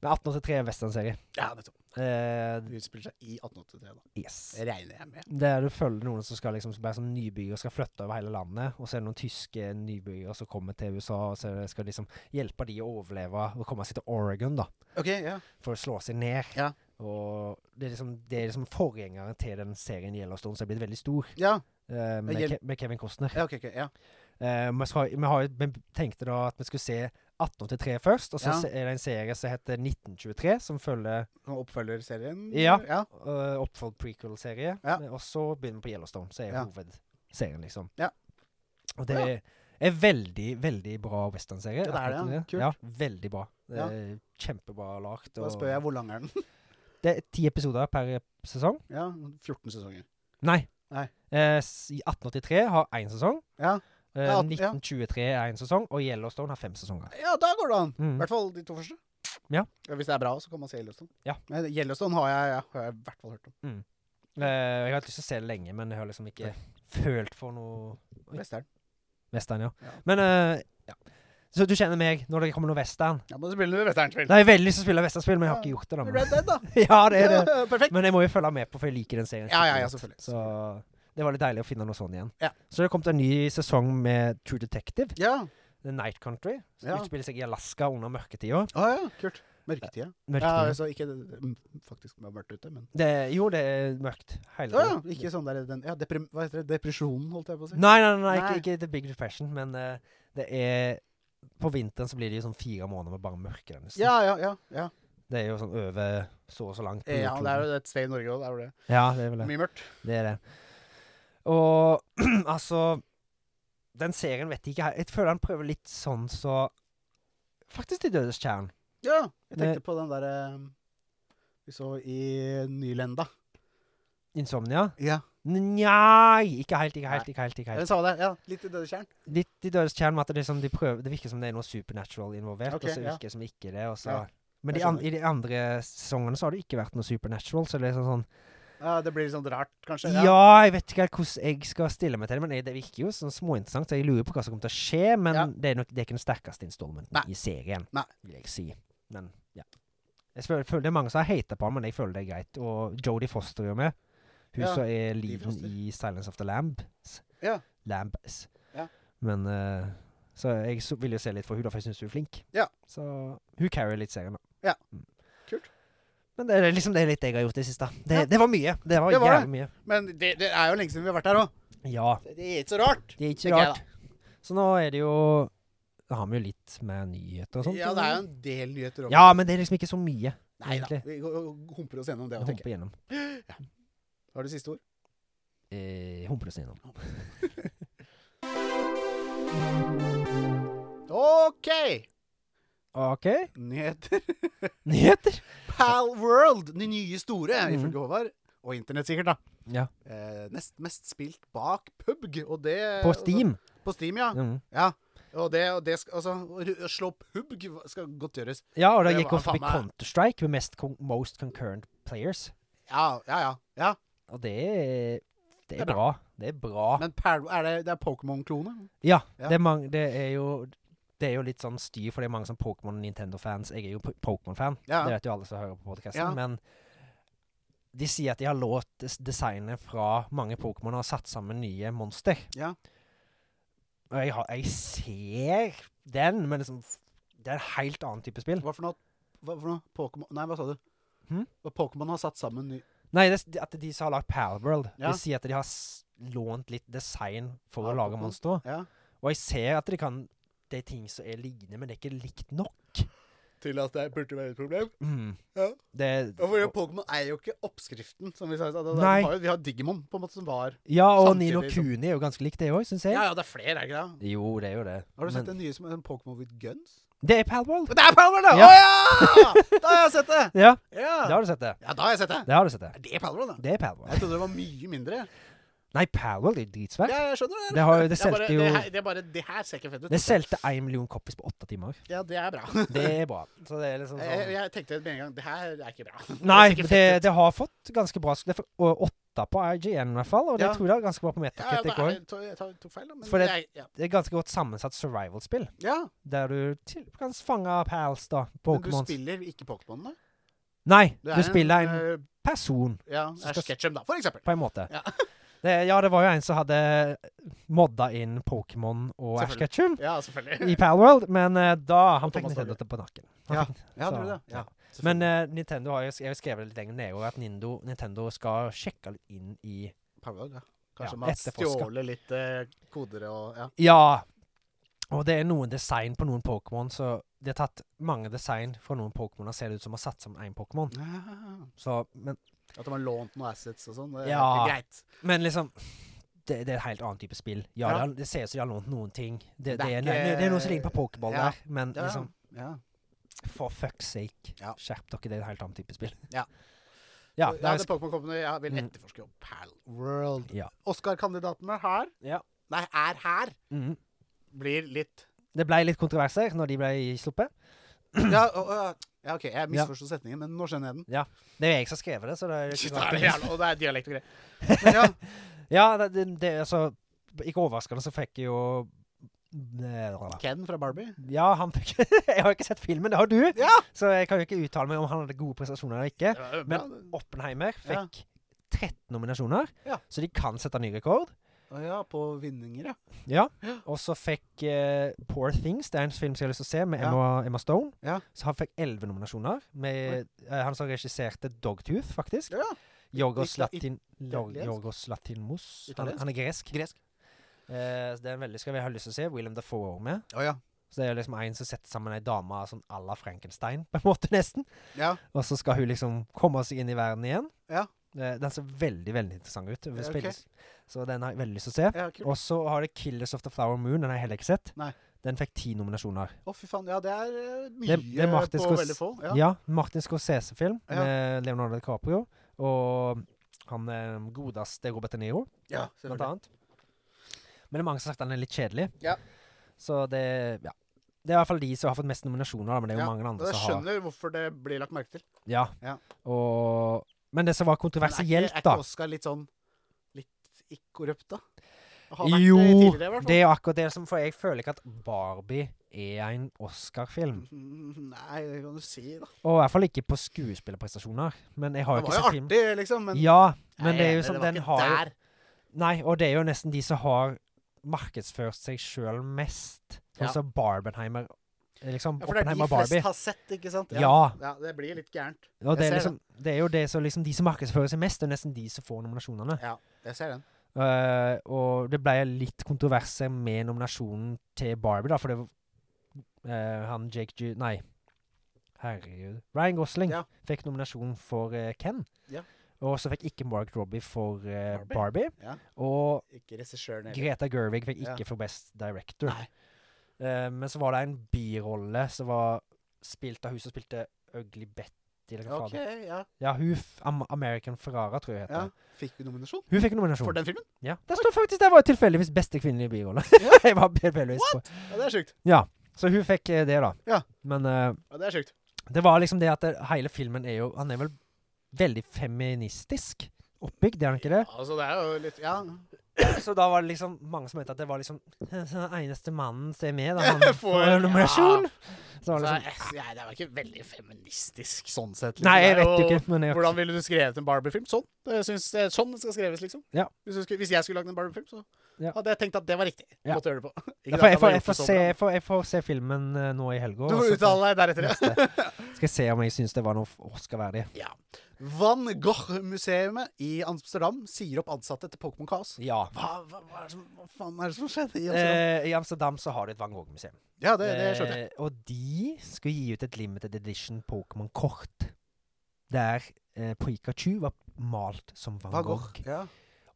[SPEAKER 2] Men 1883 er en westernserie.
[SPEAKER 1] ja nettopp.
[SPEAKER 2] Eh,
[SPEAKER 1] Det utspiller seg i 1883, da.
[SPEAKER 2] yes.
[SPEAKER 1] Det regner jeg med.
[SPEAKER 2] Der du følger noen som skal liksom, som er sånn nybyggere skal flytte over hele landet. Og så er det noen tyske nybyggere som kommer til USA og så er det- skal liksom hjelpe de å overleve og komme seg til Oregon da,
[SPEAKER 1] OK, ja.
[SPEAKER 2] for å slå seg ned.
[SPEAKER 1] Ja.
[SPEAKER 2] Og det er liksom, det er liksom forgjengeren til den serien Yellowstone som er blitt veldig stor,
[SPEAKER 1] Ja,
[SPEAKER 2] eh, med,
[SPEAKER 1] Yell-
[SPEAKER 2] Ke med Kevin Costner.
[SPEAKER 1] ja, ok, ok, ja.
[SPEAKER 2] Eh, vi, skal, vi, har, jo- vi tenkte da at vi skulle se 1883 først, og så
[SPEAKER 1] Ja.
[SPEAKER 2] se- er det en serie som heter 1923, som følger
[SPEAKER 1] Som oppfølger serien?
[SPEAKER 2] Ja.
[SPEAKER 1] ja.
[SPEAKER 2] uh, oppfølgt prequel-serie.
[SPEAKER 1] Ja.
[SPEAKER 2] eh, Og så begynner vi på Yellowstone, som er
[SPEAKER 1] Ja.
[SPEAKER 2] hovedserien, liksom.
[SPEAKER 1] Ja.
[SPEAKER 2] Og det er veldig, veldig bra
[SPEAKER 1] Ja,
[SPEAKER 2] westernserie.
[SPEAKER 1] det er det, ja.
[SPEAKER 2] Absolutt.
[SPEAKER 1] Kult.
[SPEAKER 2] Ja, veldig bra.
[SPEAKER 1] Ja.
[SPEAKER 2] Eh, Kjempebra lagt.
[SPEAKER 1] Da
[SPEAKER 2] og-
[SPEAKER 1] spør jeg hvor lang er den?
[SPEAKER 2] Det er ti episoder per sesong.
[SPEAKER 1] Ja, 14 sesonger.
[SPEAKER 2] Nei.
[SPEAKER 1] Nei.
[SPEAKER 2] Eh, s- I 1883 har én sesong.
[SPEAKER 1] Ja.
[SPEAKER 2] Eh,
[SPEAKER 1] Ja, at- ja.
[SPEAKER 2] 1923 er en sesong, og Yellowstone har fem sesonger.
[SPEAKER 1] Ja, da går det an. I
[SPEAKER 2] Mm.
[SPEAKER 1] hvert fall de to første.
[SPEAKER 2] Ja.
[SPEAKER 1] Hvis det er bra, så kan man se Yellowstone.
[SPEAKER 2] Ja.
[SPEAKER 1] Men Yellowstone har jeg, ja, har jeg i hvert fall hørt om.
[SPEAKER 2] Eh, jeg har hatt lyst til å se det lenge, men jeg har liksom ikke følt for noe Oi.
[SPEAKER 1] Western.
[SPEAKER 2] western, ja.
[SPEAKER 1] Ja.
[SPEAKER 2] Men eh, ja. Så du kjenner meg når det kommer noe western?
[SPEAKER 1] Ja, men så spiller du westernspill.
[SPEAKER 2] Da har jeg veldig lyst til å spille westernspill, men jeg har
[SPEAKER 1] Ja.
[SPEAKER 2] ikke gjort det. da.
[SPEAKER 1] Red Dead, da.
[SPEAKER 2] Men. Ja, det er det.
[SPEAKER 1] Ja, perfekt.
[SPEAKER 2] Men jeg må jo følge med på, for jeg liker den serien.
[SPEAKER 1] Ja, ja, ja,
[SPEAKER 2] skikkelig
[SPEAKER 1] selvfølgelig.
[SPEAKER 2] godt. Så det var litt deilig å finne noe sånn igjen.
[SPEAKER 1] Ja.
[SPEAKER 2] Så det kom til en ny sesong med True Detective,
[SPEAKER 1] Ja.
[SPEAKER 2] The Night Country. Som
[SPEAKER 1] Ja.
[SPEAKER 2] utspiller seg i Alaska under mørketida.
[SPEAKER 1] Å ja, kult. Mørketida. Ja,
[SPEAKER 2] Mørketida.
[SPEAKER 1] altså ikke mm, faktisk det var mørkt ute, men
[SPEAKER 2] det, jo, det er mørkt hele
[SPEAKER 1] Å ja,
[SPEAKER 2] tiden.
[SPEAKER 1] ikke sånn der den, ja, deprim, Hva heter det? Depresjonen, holdt jeg på å si.
[SPEAKER 2] Nei, nei, nei,
[SPEAKER 1] Nei.
[SPEAKER 2] Ikke, ikke The Big Depression, men eh, det er På vinteren så blir det jo sånn fire måneder med bare mørke. der nesten.
[SPEAKER 1] Ja, ja, ja. ja.
[SPEAKER 2] Det er jo sånn over så og så langt. på
[SPEAKER 1] Eh, ja det er
[SPEAKER 2] jordkloden.
[SPEAKER 1] jo et sted i Norge òg, det er jo det.
[SPEAKER 2] ja, det er vel det.
[SPEAKER 1] Mye mørkt.
[SPEAKER 2] Det er det. Og altså Den serien vet jeg ikke her. Jeg føler han prøver litt sånn så Faktisk til dødes kjern.
[SPEAKER 1] Ja, jeg
[SPEAKER 2] Det-
[SPEAKER 1] tenkte på den derre vi så i Nylenda.
[SPEAKER 2] Insomnia?
[SPEAKER 1] Ja.
[SPEAKER 2] Nja Ikke helt, ikke helt. ikke helt, ikke
[SPEAKER 1] Den
[SPEAKER 2] helt.
[SPEAKER 1] samme der. Ja, litt i døde tjern.
[SPEAKER 2] Litt til dødes kjern med at det, er sånn de prøver, det virker som det er noe supernatural involvert,
[SPEAKER 1] Ok,
[SPEAKER 2] og så
[SPEAKER 1] ja.
[SPEAKER 2] virker det som ikke det. Og så.
[SPEAKER 1] Ja,
[SPEAKER 2] Men
[SPEAKER 1] jeg
[SPEAKER 2] de an,
[SPEAKER 1] skjønner.
[SPEAKER 2] i de andre sesongene så har det ikke vært noe supernatural, så det er sånn sånn
[SPEAKER 1] Ja, det blir litt sånn rart, kanskje.
[SPEAKER 2] Ja, jeg vet ikke helt hvordan jeg skal stille meg til det, men jeg- det virker jo sånn småinteressant, så jeg lurer på hva som kommer til å skje, men
[SPEAKER 1] Ja.
[SPEAKER 2] det, er nok, det er ikke den sterkeste installmenten
[SPEAKER 1] Nei.
[SPEAKER 2] i serien,
[SPEAKER 1] Nei.
[SPEAKER 2] vil jeg si. Men, ja. Jeg føler, føler det er mange som har hatet på han, men jeg føler det er greit. Og Jodie Foster er jo med. Hun
[SPEAKER 1] Ja,
[SPEAKER 2] som er
[SPEAKER 1] Jodie
[SPEAKER 2] liven
[SPEAKER 1] Foster.
[SPEAKER 2] i Silence of the Lambs.
[SPEAKER 1] Ja.
[SPEAKER 2] Lambs.
[SPEAKER 1] Ja.
[SPEAKER 2] Men, eh, så jeg så, vil jo se litt for hun da, for jeg synes hun er flink.
[SPEAKER 1] Ja.
[SPEAKER 2] Så hun carrier litt serien da.
[SPEAKER 1] Ja.
[SPEAKER 2] Mm.
[SPEAKER 1] Kult.
[SPEAKER 2] Men det er liksom det er litt jeg har gjort i det siste. Det,
[SPEAKER 1] Ja.
[SPEAKER 2] det var mye. Det var,
[SPEAKER 1] Det var det.
[SPEAKER 2] jævlig mye.
[SPEAKER 1] Men det, det er jo lenge siden vi har vært her òg.
[SPEAKER 2] Ja,
[SPEAKER 1] Det er ikke så rart.
[SPEAKER 2] det er ikke
[SPEAKER 1] Tenker jeg
[SPEAKER 2] rart. Så nå er det jo Da har vi jo litt med nyheter og sånt.
[SPEAKER 1] Ja, det er jo en del nyheter om
[SPEAKER 2] Ja, men det er liksom ikke så mye.
[SPEAKER 1] Nei da.
[SPEAKER 2] egentlig.
[SPEAKER 1] Vi går- humper oss gjennom det
[SPEAKER 2] Jeg
[SPEAKER 1] òg, tenker jeg.
[SPEAKER 2] humper gjennom.
[SPEAKER 1] Har du siste ord?
[SPEAKER 2] Eh, humper oss gjennom.
[SPEAKER 1] OK!
[SPEAKER 2] OK.
[SPEAKER 1] Nyheter.
[SPEAKER 2] Nyheter?
[SPEAKER 1] Pal World, de nye store,
[SPEAKER 2] Mhm.
[SPEAKER 1] ifølge Håvard. Og internett, sikkert, da.
[SPEAKER 2] Ja.
[SPEAKER 1] Eh, nest mest spilt bak PubG, og det
[SPEAKER 2] På Steam.
[SPEAKER 1] Altså, på Steam, ja.
[SPEAKER 2] Mm.
[SPEAKER 1] ja. Og det, og det skal, altså, å ru- å slå PubG skal godt gjøres.
[SPEAKER 2] Ja, og da
[SPEAKER 1] Det
[SPEAKER 2] gikk
[SPEAKER 1] var
[SPEAKER 2] opp i
[SPEAKER 1] faen meg-
[SPEAKER 2] Counter-Strike med mest con most concurrent players.
[SPEAKER 1] Ja, ja, ja. ja.
[SPEAKER 2] Og det er, det
[SPEAKER 1] er
[SPEAKER 2] er bra. Det er bra.
[SPEAKER 1] Men Pal er det, det er Pokémon-klone?
[SPEAKER 2] Ja,
[SPEAKER 1] Ja.
[SPEAKER 2] Det, er mang- det er jo det er jo litt sånn styr, for det er mange sånn Pokémon- og Nintendo-fans. Jeg er jo po- Pokémon-fan,
[SPEAKER 1] Ja.
[SPEAKER 2] det vet jo alle som hører på podkasten.
[SPEAKER 1] Ja.
[SPEAKER 2] Men de sier at de har lånt des- designet fra mange Pokémon og har satt sammen nye monster.
[SPEAKER 1] Ja.
[SPEAKER 2] Og jeg, har, jeg ser den, men liksom f- det er en helt annen type spill.
[SPEAKER 1] Hva for noe? Hva for noe? Pokémon Nei, hva sa du?
[SPEAKER 2] Hm?
[SPEAKER 1] Hva Pokémon har satt sammen ny
[SPEAKER 2] Nei, det, er s- at de som har lagd Palworld,
[SPEAKER 1] Ja.
[SPEAKER 2] de sier at de har s- lånt litt design for
[SPEAKER 1] Av
[SPEAKER 2] å lage
[SPEAKER 1] Pokémon?
[SPEAKER 2] monstre.
[SPEAKER 1] Ja.
[SPEAKER 2] Og jeg ser at de kan Det er ting som er lignende, men det er ikke likt nok.
[SPEAKER 1] Til at det burde være et problem?
[SPEAKER 2] Mm.
[SPEAKER 1] Ja.
[SPEAKER 2] Det,
[SPEAKER 1] Ja, for Pokémon er jo ikke oppskriften, som vi sa. i stad. Det- det-
[SPEAKER 2] Nei.
[SPEAKER 1] Vi har, jo- vi har Digimon, på en måte, som var
[SPEAKER 2] ja, og
[SPEAKER 1] samtidig
[SPEAKER 2] Nino
[SPEAKER 1] som-
[SPEAKER 2] Kuni er jo ganske likt, det òg, syns jeg.
[SPEAKER 1] Ja, ja, det er flere, er det ikke det?
[SPEAKER 2] Jo, det er jo det.
[SPEAKER 1] Har du sett
[SPEAKER 2] men,
[SPEAKER 1] den nye som er en Pokémon with guns?
[SPEAKER 2] det? er Palworld.
[SPEAKER 1] Men Det er Palworld, da!
[SPEAKER 2] Ja.
[SPEAKER 1] Å ja! Da har jeg sett det!
[SPEAKER 2] Ja, det
[SPEAKER 1] Ja,
[SPEAKER 2] har du sett det.
[SPEAKER 1] ja da har jeg sett det.
[SPEAKER 2] Det har du sett det.
[SPEAKER 1] Er det Palworld, da?
[SPEAKER 2] Det er
[SPEAKER 1] Jeg
[SPEAKER 2] Palworld.
[SPEAKER 1] trodde det var mye mindre.
[SPEAKER 2] Nei, Palworld er jo dritsvært.
[SPEAKER 1] Ja, jeg skjønner det.
[SPEAKER 2] Det, har, jo- det
[SPEAKER 1] Det er bare,
[SPEAKER 2] solgte jo
[SPEAKER 1] det, her, det er bare Det her ser ikke fett ut.
[SPEAKER 2] Det solgte én million copies på åtte timer.
[SPEAKER 1] Ja, det er bra.
[SPEAKER 2] Det er bra. Så det er liksom
[SPEAKER 1] Eh, Jeg,
[SPEAKER 2] sånn
[SPEAKER 1] jeg tenkte med en gang Det her er ikke bra. Det
[SPEAKER 2] Nei,
[SPEAKER 1] ser ikke
[SPEAKER 2] men det,
[SPEAKER 1] fett ut.
[SPEAKER 2] det har fått ganske bra Det er for- og Åtte på IGN i hvert fall, og det
[SPEAKER 1] Ja.
[SPEAKER 2] tror jeg det er ganske bra
[SPEAKER 1] Ja,
[SPEAKER 2] på
[SPEAKER 1] ja,
[SPEAKER 2] Metacritic
[SPEAKER 1] da-
[SPEAKER 2] òg.
[SPEAKER 1] jeg tok- jeg tok tok feil, da. Men
[SPEAKER 2] For
[SPEAKER 1] det,
[SPEAKER 2] det-
[SPEAKER 1] er- ja.
[SPEAKER 2] Det er ganske godt sammensatt survival-spill,
[SPEAKER 1] ja.
[SPEAKER 2] der du til, kan fange pals, da.
[SPEAKER 1] Men du
[SPEAKER 2] Pokémons.
[SPEAKER 1] spiller ikke Pokémon, da?
[SPEAKER 2] Nei,
[SPEAKER 1] Du
[SPEAKER 2] du,
[SPEAKER 1] er
[SPEAKER 2] spiller en
[SPEAKER 1] øh,
[SPEAKER 2] person,
[SPEAKER 1] Ja,
[SPEAKER 2] Så
[SPEAKER 1] er
[SPEAKER 2] skal-
[SPEAKER 1] Sketchum, da, for eksempel.
[SPEAKER 2] på en måte.
[SPEAKER 1] Ja.
[SPEAKER 2] det, ja, det var jo en som hadde modda inn Pokémon og Ash
[SPEAKER 1] Selvfølgelig.
[SPEAKER 2] Ketchum
[SPEAKER 1] Ja,
[SPEAKER 2] i
[SPEAKER 1] selvfølgelig.
[SPEAKER 2] Palworld, men eh, da Han fikk
[SPEAKER 1] Thomas
[SPEAKER 2] Nintendo til på nakken.
[SPEAKER 1] Ja.
[SPEAKER 2] Han fikk-
[SPEAKER 1] Ja,
[SPEAKER 2] så-
[SPEAKER 1] tror du det? Ja,
[SPEAKER 2] Men eh, Nintendo har jo jeg har jo skrevet litt lenger nede også at Nindo, Nintendo skal sjekke litt inn i
[SPEAKER 1] Palworld, ja. Kanskje
[SPEAKER 2] eh, Ja,
[SPEAKER 1] man
[SPEAKER 2] etterforska.
[SPEAKER 1] stjåler litt eh, koder og ja.
[SPEAKER 2] Ja. Og det er noen design på noen Pokémon, så de har tatt mange design fra noen Pokémon og ser det ut som har satt sammen én Pokémon. Så, men,
[SPEAKER 1] At de har lånt noen assets og sånn. Det er
[SPEAKER 2] Ja.
[SPEAKER 1] ikke greit.
[SPEAKER 2] men liksom det, det er et helt annet type spill.
[SPEAKER 1] Ja.
[SPEAKER 2] Ja, Det, har, det ser ut som de har lånt noen ting. Det, det,
[SPEAKER 1] Det er
[SPEAKER 2] er, det,
[SPEAKER 1] ikke-
[SPEAKER 2] er noe som ligner på Pokéball
[SPEAKER 1] Ja.
[SPEAKER 2] der, men
[SPEAKER 1] Ja,
[SPEAKER 2] liksom
[SPEAKER 1] ja.
[SPEAKER 2] For fuck's sake.
[SPEAKER 1] Ja.
[SPEAKER 2] Skjerp dere, det er en helt annen type spill.
[SPEAKER 1] Ja.
[SPEAKER 2] Ja,
[SPEAKER 1] Så,
[SPEAKER 2] det er,
[SPEAKER 1] det Pokémon Company ja, vil
[SPEAKER 2] Mm.
[SPEAKER 1] etterforske jo Pal World.
[SPEAKER 2] Ja.
[SPEAKER 1] Oscar-kandidatene her
[SPEAKER 2] Ja.
[SPEAKER 1] Nei, er her,
[SPEAKER 2] Mm.
[SPEAKER 1] blir litt
[SPEAKER 2] Det ble litt kontroverser når de ble sluppet.
[SPEAKER 1] Ja, å, å, ja OK, jeg misforsto setningen, men nå skjønner jeg den.
[SPEAKER 2] Det er jo jeg som har skrevet det, så det er jo
[SPEAKER 1] Shit,
[SPEAKER 2] ikke
[SPEAKER 1] det
[SPEAKER 2] rart.
[SPEAKER 1] er
[SPEAKER 2] det-
[SPEAKER 1] det jævla, og det er dialekt og greier. Men ja,
[SPEAKER 2] Ja, det, det, det, altså, ikke overraskende så fikk jeg jo eh,
[SPEAKER 1] Ken fra Barbie.
[SPEAKER 2] Ja, han fikk Jeg har ikke sett filmen, det har du!
[SPEAKER 1] Ja!
[SPEAKER 2] Så jeg kan jo ikke uttale meg om han hadde gode prestasjoner eller ikke.
[SPEAKER 1] Det var jo
[SPEAKER 2] Men-
[SPEAKER 1] bra.
[SPEAKER 2] Oppenheimer fikk 13 nominasjoner,
[SPEAKER 1] Ja.
[SPEAKER 2] så de kan sette ny rekord.
[SPEAKER 1] Å ja, på vinninger, ja.
[SPEAKER 2] Ja.
[SPEAKER 1] Ja.
[SPEAKER 2] Og så fikk eh, Poor Things, det er en film som jeg har lyst til å se, med
[SPEAKER 1] Ja.
[SPEAKER 2] Emma, Emma Stone.
[SPEAKER 1] Ja.
[SPEAKER 2] Så han fikk 11 nominasjoner. Med, eh, han som regisserte Dogtooth, faktisk.
[SPEAKER 1] ja.
[SPEAKER 2] Jorgos,
[SPEAKER 1] Itla-
[SPEAKER 2] Latin, Jor-
[SPEAKER 1] italiensk?
[SPEAKER 2] Jorgos Latinmos. Han,
[SPEAKER 1] Italiensk?
[SPEAKER 2] han er gresk.
[SPEAKER 1] Gresk.
[SPEAKER 2] Eh, så det er en veldig skal vi ha lyst til å se. William Dafoe er også med.
[SPEAKER 1] Å ja.
[SPEAKER 2] Så det er jo liksom en som setter sammen ei dame sånn à la Frankenstein, på en måte, nesten.
[SPEAKER 1] ja.
[SPEAKER 2] Og så skal hun liksom komme seg inn i verden igjen.
[SPEAKER 1] Ja.
[SPEAKER 2] Eh, den ser veldig, veldig interessant ut. Hun
[SPEAKER 1] Ja, ok.
[SPEAKER 2] spilles- Så den har jeg veldig lyst til å se.
[SPEAKER 1] Ja, kult.
[SPEAKER 2] Og så har det 'Killers of the Flower Moon'. Den har jeg heller ikke sett.
[SPEAKER 1] Nei.
[SPEAKER 2] Den fikk ti nominasjoner.
[SPEAKER 1] Å, fy faen. Ja, det er eh, mye
[SPEAKER 2] Det- det er Martin
[SPEAKER 1] på
[SPEAKER 2] Scors-
[SPEAKER 1] veldig få.
[SPEAKER 2] Ja,
[SPEAKER 1] Ja.
[SPEAKER 2] Martin Scorsese-film
[SPEAKER 1] Ja.
[SPEAKER 2] med Leonardo DiCaprio. Og han eh, godeste Robert De Niro,
[SPEAKER 1] Ja,
[SPEAKER 2] blant
[SPEAKER 1] selvfølgelig.
[SPEAKER 2] annet. Men det er mange som har sagt den er litt kjedelig.
[SPEAKER 1] Ja.
[SPEAKER 2] Så det Ja. Det er i hvert fall de som har fått mest nominasjoner, da, men det er jo
[SPEAKER 1] Ja,
[SPEAKER 2] mange
[SPEAKER 1] Og
[SPEAKER 2] andre
[SPEAKER 1] jeg
[SPEAKER 2] som har
[SPEAKER 1] skjønner hvorfor det blir lagt merke til.
[SPEAKER 2] Ja.
[SPEAKER 1] Ja.
[SPEAKER 2] Og Men det som var
[SPEAKER 1] Men er ikke-
[SPEAKER 2] kontroversielt,
[SPEAKER 1] Er
[SPEAKER 2] da
[SPEAKER 1] ikke Oscar litt sånn litt ikke-korrupt, da? Har vært det
[SPEAKER 2] Jo!
[SPEAKER 1] tidligere, i hvert fall.
[SPEAKER 2] Det er jo akkurat det som For jeg føler ikke at Barbie er
[SPEAKER 1] Mm.
[SPEAKER 2] en Oscar-film.
[SPEAKER 1] Nei, det kan du si, da.
[SPEAKER 2] Og i hvert fall ikke på skuespillerprestasjoner. Men jeg har
[SPEAKER 1] Det var
[SPEAKER 2] jo ikke
[SPEAKER 1] jo
[SPEAKER 2] sett film.
[SPEAKER 1] artig, liksom, men
[SPEAKER 2] Ja,
[SPEAKER 1] Nei,
[SPEAKER 2] men det er jo
[SPEAKER 1] det
[SPEAKER 2] sånn
[SPEAKER 1] var
[SPEAKER 2] den
[SPEAKER 1] ikke
[SPEAKER 2] har jo
[SPEAKER 1] der.
[SPEAKER 2] Nei, og det er jo nesten de som har markedsført seg sjøl mest.
[SPEAKER 1] Ja.
[SPEAKER 2] Altså Barbenheimer Liksom
[SPEAKER 1] Ja, for det er
[SPEAKER 2] Oppenheimer
[SPEAKER 1] de
[SPEAKER 2] og
[SPEAKER 1] flest
[SPEAKER 2] Barbie.
[SPEAKER 1] har sett, ikke sant?
[SPEAKER 2] Ja.
[SPEAKER 1] ja det blir litt gærent.
[SPEAKER 2] Og det
[SPEAKER 1] Jeg
[SPEAKER 2] er,
[SPEAKER 1] ser
[SPEAKER 2] liksom, det er jo det som liksom De som markedsfører seg mest, det er nesten de som får nominasjonene.
[SPEAKER 1] Ja, jeg ser den.
[SPEAKER 2] Eh, og det ble litt kontroverser med nominasjonen til Barbie, da, for det var eh, Han Jake Gy... Nei. Herregud. Ryan Gosling
[SPEAKER 1] Ja.
[SPEAKER 2] fikk nominasjon for eh, Ken.
[SPEAKER 1] Ja.
[SPEAKER 2] Og så fikk ikke Mark Robbie for eh, Barbie.
[SPEAKER 1] Barbie. Ja.
[SPEAKER 2] Og
[SPEAKER 1] Ikke regissøren heller.
[SPEAKER 2] Greta Gerwig fikk
[SPEAKER 1] Ja.
[SPEAKER 2] ikke for Best Director.
[SPEAKER 1] Nei.
[SPEAKER 2] Eh, men så var det en birolle som var spilt av hun som spilte Ugly Betty. Eller hva
[SPEAKER 1] OK,
[SPEAKER 2] faen.
[SPEAKER 1] ja.
[SPEAKER 2] Ja, hun f Am American Ferrara, tror jeg
[SPEAKER 1] ja.
[SPEAKER 2] heter.
[SPEAKER 1] Fikk vi nominasjon
[SPEAKER 2] Hun fikk nominasjon.
[SPEAKER 1] for den filmen?
[SPEAKER 2] Ja. Der står faktisk Der var tilfeldigvis beste kvinnelige birolle.
[SPEAKER 1] Ja.
[SPEAKER 2] Jeg var tilfeldigvis på.
[SPEAKER 1] Ja, det er sjukt.
[SPEAKER 2] Ja. Så hun fikk eh, det, da.
[SPEAKER 1] Ja.
[SPEAKER 2] Men eh,
[SPEAKER 1] Ja, det er sjukt.
[SPEAKER 2] det var liksom det at det, hele filmen er jo Han er vel veldig feministisk oppbygd, er han ikke det?
[SPEAKER 1] Ja, altså, det er jo litt Ja.
[SPEAKER 2] Så da var det liksom mange som mente at det var liksom Den eneste mannen som er med, da han
[SPEAKER 1] Får-
[SPEAKER 2] får en nominasjon. Så var det
[SPEAKER 1] Altså,
[SPEAKER 2] liksom
[SPEAKER 1] jeg- jeg- det er jo ikke veldig feministisk sånn sett. liksom.
[SPEAKER 2] Nei, jeg
[SPEAKER 1] Det er
[SPEAKER 2] vet jo ikke, men jeg
[SPEAKER 1] Hvordan ville du skrevet en Barbie-film? Sånn. Det syns, det er sånn det skal skreves, liksom.
[SPEAKER 2] Ja.
[SPEAKER 1] Hvis, du skulle, hvis jeg skulle lagd en Barbie-film, så
[SPEAKER 2] Ja.
[SPEAKER 1] hadde jeg tenkt at det var riktig.
[SPEAKER 2] Ja.
[SPEAKER 1] Måtte gjøre det på. Ikke
[SPEAKER 2] jeg
[SPEAKER 1] at
[SPEAKER 2] får,
[SPEAKER 1] hadde
[SPEAKER 2] jeg, får, jeg,
[SPEAKER 1] gjort det
[SPEAKER 2] får
[SPEAKER 1] så
[SPEAKER 2] se,
[SPEAKER 1] bra.
[SPEAKER 2] jeg, får, jeg får se filmen eh, nå i helga.
[SPEAKER 1] Du
[SPEAKER 2] og
[SPEAKER 1] får
[SPEAKER 2] så får-
[SPEAKER 1] uttale deg deretter, ja.
[SPEAKER 2] neste. Skal jeg se om jeg syns det var noe Oscar-verdig.
[SPEAKER 1] Van Gogh-museet i Amsterdam sier opp ansatte til Pokémon Kaos.
[SPEAKER 2] Ja.
[SPEAKER 1] Hva, hva, hva, er det som, hva faen er det som skjedde i Amsterdam?
[SPEAKER 2] Eh, I Amsterdam så har de et Van Gogh-museum.
[SPEAKER 1] ja, det, det skjønte jeg.
[SPEAKER 2] Eh, og de skulle gi ut et limited edition Pokémon-kort. Der eh, Pikachu var malt som Van,
[SPEAKER 1] Van
[SPEAKER 2] eh, Gogh.
[SPEAKER 1] Gogh. Ja.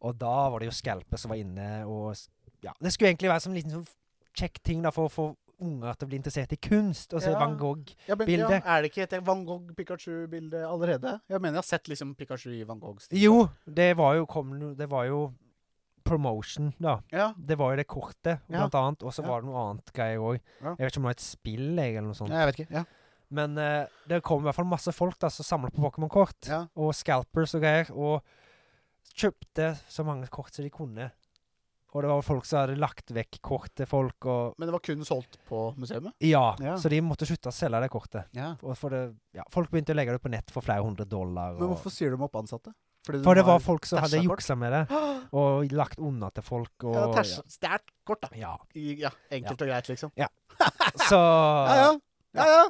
[SPEAKER 2] Og da var det jo Skalpe som var inne og s- ja. Det skulle egentlig være som en liten sånn kjekk ting da, for å få unger til å bli interessert i kunst. Og så
[SPEAKER 1] Ja.
[SPEAKER 2] Van Gogh.
[SPEAKER 1] Ja, men, ja,
[SPEAKER 2] Bildet.
[SPEAKER 1] er det ikke et Van Gogh-Pikachu-bilde allerede? Jeg mener jeg har sett liksom Pikachu i Van Gogh-stil.
[SPEAKER 2] Jo, det var jo, kom, no- det var jo promotion, da.
[SPEAKER 1] Ja.
[SPEAKER 2] Det var jo det kortet,
[SPEAKER 1] Ja.
[SPEAKER 2] blant annet. Og så
[SPEAKER 1] Ja.
[SPEAKER 2] var det noe annet greier òg.
[SPEAKER 1] Ja.
[SPEAKER 2] Jeg vet ikke om det var et spill jeg, eller noe sånt.
[SPEAKER 1] Nei, jeg vet ikke. Ja.
[SPEAKER 2] Men eh, det kom i hvert fall masse folk da, som samla på Pokémon-kort.
[SPEAKER 1] Ja.
[SPEAKER 2] Og scalpers og greier. Og kjøpte så mange kort som de kunne. Og det var folk som hadde lagt vekk kort til folk. Og
[SPEAKER 1] Men det var kun solgt på museet?
[SPEAKER 2] ja,
[SPEAKER 1] Ja.
[SPEAKER 2] Så de måtte slutte å selge det kortet.
[SPEAKER 1] Ja.
[SPEAKER 2] Og for det, ja, folk begynte å legge det ut på nett for flere hundre dollar.
[SPEAKER 1] Men
[SPEAKER 2] Og,
[SPEAKER 1] hvorfor sier de opp ansatte? Fordi de
[SPEAKER 2] for det
[SPEAKER 1] har-
[SPEAKER 2] var folk som hadde
[SPEAKER 1] dasha kort?
[SPEAKER 2] juksa med det. Og lagt unna til folk. Og,
[SPEAKER 1] Ja, tæsj- Stjålet kort, da.
[SPEAKER 2] ja.
[SPEAKER 1] I- Ja, enkelt og greit, liksom.
[SPEAKER 2] Så
[SPEAKER 1] Ja ja. Ja, ja.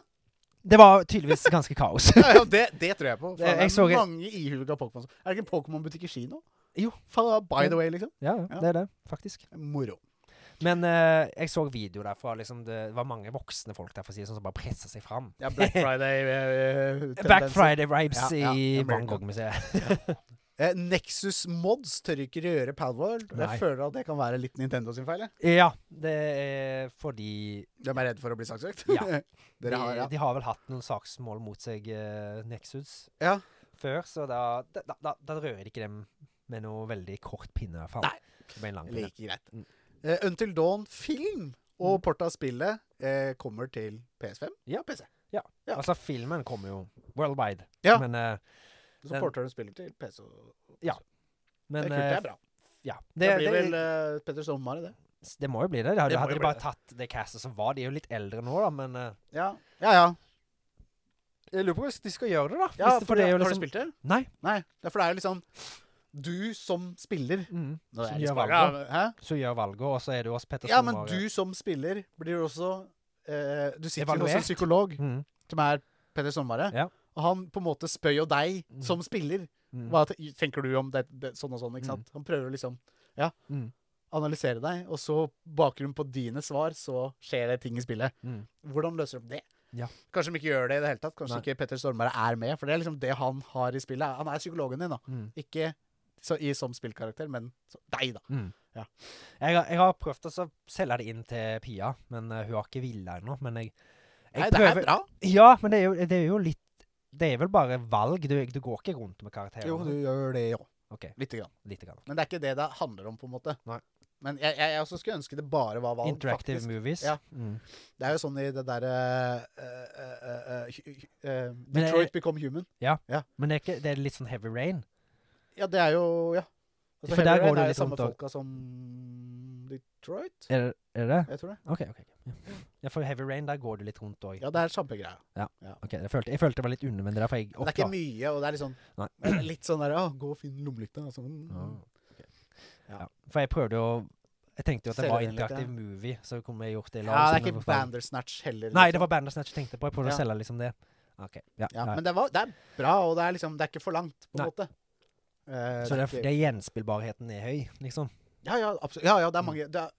[SPEAKER 2] det var tydeligvis ganske kaos.
[SPEAKER 1] ja, ja det, det tror jeg på. Faen,
[SPEAKER 2] Jeg
[SPEAKER 1] det er
[SPEAKER 2] så-
[SPEAKER 1] mange ihuga Pokémon. som- Er det ikke en Pokémon-butikk i Kina?
[SPEAKER 2] Jo.
[SPEAKER 1] Faen, by the way, liksom.
[SPEAKER 2] ja, ja,
[SPEAKER 1] Ja.
[SPEAKER 2] det er det, faktisk.
[SPEAKER 1] Moro.
[SPEAKER 2] Men eh, jeg så video derfra. Liksom, det var mange voksne folk der for å si det sånn, som bare pressa seg fram.
[SPEAKER 1] Ja, Black Friday. eh, eh,
[SPEAKER 2] Back
[SPEAKER 1] tendenser.
[SPEAKER 2] Friday Ribes
[SPEAKER 1] Ja, ja,
[SPEAKER 2] i
[SPEAKER 1] America.
[SPEAKER 2] Van Gogh-museet.
[SPEAKER 1] Eh, Nexus Mods tør ikke røre Palworld. og
[SPEAKER 2] Nei.
[SPEAKER 1] Jeg føler at det kan være litt Nintendo sin feil. jeg.
[SPEAKER 2] ja, det er fordi
[SPEAKER 1] De er redde for å bli saksøkt.
[SPEAKER 2] Ja.
[SPEAKER 1] Dere har,
[SPEAKER 2] de,
[SPEAKER 1] ja.
[SPEAKER 2] de har vel hatt noen saksmål mot seg, eh, Nexus,
[SPEAKER 1] ja.
[SPEAKER 2] før, så da, da, da, da rører de ikke dem med noe veldig kort pinne, i hvert fall.
[SPEAKER 1] Nei.
[SPEAKER 2] Det blir en lang pinne.
[SPEAKER 1] Like greit.
[SPEAKER 2] Mm.
[SPEAKER 1] Eh, Until Dawn-film og Porta-spillet eh, kommer til PS5.
[SPEAKER 2] Ja.
[SPEAKER 1] PC. Ja.
[SPEAKER 2] Altså, filmen kommer jo worldwide.
[SPEAKER 1] Ja.
[SPEAKER 2] Men, eh,
[SPEAKER 1] Så
[SPEAKER 2] Den-
[SPEAKER 1] porter du spiller til PC. og-
[SPEAKER 2] Ja, men
[SPEAKER 1] det er kult, det
[SPEAKER 2] eh,
[SPEAKER 1] er bra.
[SPEAKER 2] Ja.
[SPEAKER 1] Det,
[SPEAKER 2] Det,
[SPEAKER 1] blir
[SPEAKER 2] det, det,
[SPEAKER 1] vel eh, Petter Sommer i det.
[SPEAKER 2] må jo bli det. De hadde,
[SPEAKER 1] Det må
[SPEAKER 2] hadde
[SPEAKER 1] jo
[SPEAKER 2] de
[SPEAKER 1] bli
[SPEAKER 2] bare tatt det castet som var. De er jo litt eldre nå, da, men eh,
[SPEAKER 1] Ja, ja. ja.
[SPEAKER 2] Jeg lurer på hvis de skal gjøre det, da.
[SPEAKER 1] ja
[SPEAKER 2] hvis det, for det er jo
[SPEAKER 1] Har du
[SPEAKER 2] liksom,
[SPEAKER 1] spilt det?
[SPEAKER 2] Nei.
[SPEAKER 1] Nei. Det er for det er jo liksom du som spiller
[SPEAKER 2] Mm.
[SPEAKER 1] Nå er
[SPEAKER 2] Som
[SPEAKER 1] jeg litt
[SPEAKER 2] gjør
[SPEAKER 1] spaka,
[SPEAKER 2] valget.
[SPEAKER 1] Hæ?
[SPEAKER 2] Så gjør valget, og så er det jo oss Petter
[SPEAKER 1] Ja, men
[SPEAKER 2] Stormare.
[SPEAKER 1] du som spiller blir jo også eh, Du sitter jo hos
[SPEAKER 2] Evaluert.
[SPEAKER 1] en psykolog
[SPEAKER 2] mm.
[SPEAKER 1] som er Petter Sommervare.
[SPEAKER 2] Ja.
[SPEAKER 1] Og han på en måte spør jo deg
[SPEAKER 2] Mm.
[SPEAKER 1] som spiller.
[SPEAKER 2] Mm.
[SPEAKER 1] Hva te- tenker du om det, det, sånn og sånn? ikke
[SPEAKER 2] Mm.
[SPEAKER 1] sant? Han prøver å liksom
[SPEAKER 2] Mm.
[SPEAKER 1] analysere deg, og så bakgrunn på dine svar, så skjer det ting i spillet.
[SPEAKER 2] Mm.
[SPEAKER 1] Hvordan løser de det?
[SPEAKER 2] Ja.
[SPEAKER 1] Kanskje de ikke gjør det i det hele tatt. Kanskje
[SPEAKER 2] Nei.
[SPEAKER 1] ikke Petter Stormare er med, for det er liksom det han har i spillet. Han er psykologen din, da.
[SPEAKER 2] Mm.
[SPEAKER 1] Ikke så, i som spillkarakter, men så, deg, da.
[SPEAKER 2] Mm.
[SPEAKER 1] Ja.
[SPEAKER 2] Jeg, har- jeg har prøvd å så selge det inn til Pia, men eh, hun har ikke villet ennå. Men jeg, jeg
[SPEAKER 1] Nei, det er bra.
[SPEAKER 2] Ja, men det er jo, det er jo litt Det er vel bare valg. Du, du går ikke rundt med karakterer?
[SPEAKER 1] Jo, du gjør det, jo.
[SPEAKER 2] OK,
[SPEAKER 1] Lite grann.
[SPEAKER 2] lite grann.
[SPEAKER 1] Men det er ikke det det handler om, på en måte.
[SPEAKER 2] Nei.
[SPEAKER 1] Men jeg, jeg, jeg også skulle ønske det bare var valg,
[SPEAKER 2] Interactive
[SPEAKER 1] faktisk.
[SPEAKER 2] movies.
[SPEAKER 1] Ja.
[SPEAKER 2] Mm.
[SPEAKER 1] Det er jo sånn i det derre eh,
[SPEAKER 2] Men det er-
[SPEAKER 1] Detroit Become Human.
[SPEAKER 2] Men det er, ikke, det er litt sånn heavy rain.
[SPEAKER 1] Ja, det er jo Ja.
[SPEAKER 2] For der
[SPEAKER 1] Heavy Rain
[SPEAKER 2] går det
[SPEAKER 1] er jo
[SPEAKER 2] litt
[SPEAKER 1] samme
[SPEAKER 2] rundt og-
[SPEAKER 1] folka som Detroit.
[SPEAKER 2] Er, er det?
[SPEAKER 1] Jeg tror det.
[SPEAKER 2] OK. ok. ok. Ja. ja, for heavy rain, der går du litt rundt òg.
[SPEAKER 1] Ja, det er samme greia.
[SPEAKER 2] Ok, jeg, følte- jeg følte det var litt unødvendig derfor jeg
[SPEAKER 1] Men det er ikke
[SPEAKER 2] oppklarte.
[SPEAKER 1] mye, og det er litt sånn
[SPEAKER 2] Nei.
[SPEAKER 1] men det er Litt sånn der Å, gå og finn lommelykta. og sånn.
[SPEAKER 2] Ah, ja. For jeg prøvde å Jeg tenkte jo at det
[SPEAKER 1] Selge
[SPEAKER 2] var
[SPEAKER 1] den litt,
[SPEAKER 2] interaktiv movie, så kunne vi gjort det i
[SPEAKER 1] Ja,
[SPEAKER 2] lag.
[SPEAKER 1] det
[SPEAKER 2] så
[SPEAKER 1] er
[SPEAKER 2] vi
[SPEAKER 1] ikke
[SPEAKER 2] får-
[SPEAKER 1] Bandersnatch heller.
[SPEAKER 2] Nei,
[SPEAKER 1] liksom.
[SPEAKER 2] det var Bandersnatch jeg tenkte på. Jeg prøvde å
[SPEAKER 1] Ja.
[SPEAKER 2] selge liksom det. OK. Ja.
[SPEAKER 1] ja,
[SPEAKER 2] ja.
[SPEAKER 1] Men det, var, det er bra, og det er liksom Det er ikke for langt, på en
[SPEAKER 2] Nei.
[SPEAKER 1] måte. Eh,
[SPEAKER 2] så det,
[SPEAKER 1] ikke-
[SPEAKER 2] det gjenspillbarheten er høy, liksom.
[SPEAKER 1] Ja, ja, absolutt. Ja, ja, det er
[SPEAKER 2] Mm.
[SPEAKER 1] mange det er,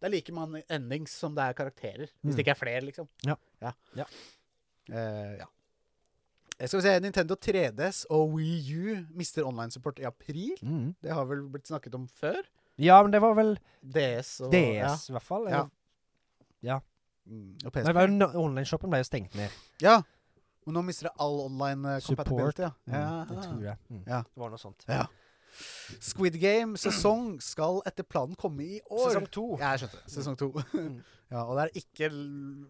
[SPEAKER 1] det er like mange endings som det er karakterer. Hvis
[SPEAKER 2] Mm.
[SPEAKER 1] det ikke er flere, liksom.
[SPEAKER 2] Ja.
[SPEAKER 1] Ja.
[SPEAKER 2] Ja.
[SPEAKER 1] Eh, ja. Eh, Skal vi se Nintendo 3DS og Wii U mister online-support i april. Det har vel blitt snakket om før.
[SPEAKER 2] Ja, men det var vel
[SPEAKER 1] DS og
[SPEAKER 2] DS,
[SPEAKER 1] Ja.
[SPEAKER 2] i hvert fall.
[SPEAKER 1] Ja.
[SPEAKER 2] eller-
[SPEAKER 1] Mm, og
[SPEAKER 2] Men det
[SPEAKER 1] PSP.
[SPEAKER 2] var jo no- Online-shoppen ble jo stengt ned.
[SPEAKER 1] Ja. Men nå mister det all online eh, compatibility. Ja.
[SPEAKER 2] Mm, Jeg tror
[SPEAKER 1] Ja.
[SPEAKER 2] det. Mm.
[SPEAKER 1] Ja.
[SPEAKER 2] Det var noe sånt.
[SPEAKER 1] Ja. Squid Game-sesong skal etter planen komme i år.
[SPEAKER 2] Sesong to.
[SPEAKER 1] Ja, jeg skjønte. Sesong to.
[SPEAKER 2] Mm.
[SPEAKER 1] ja, og det er ikke l-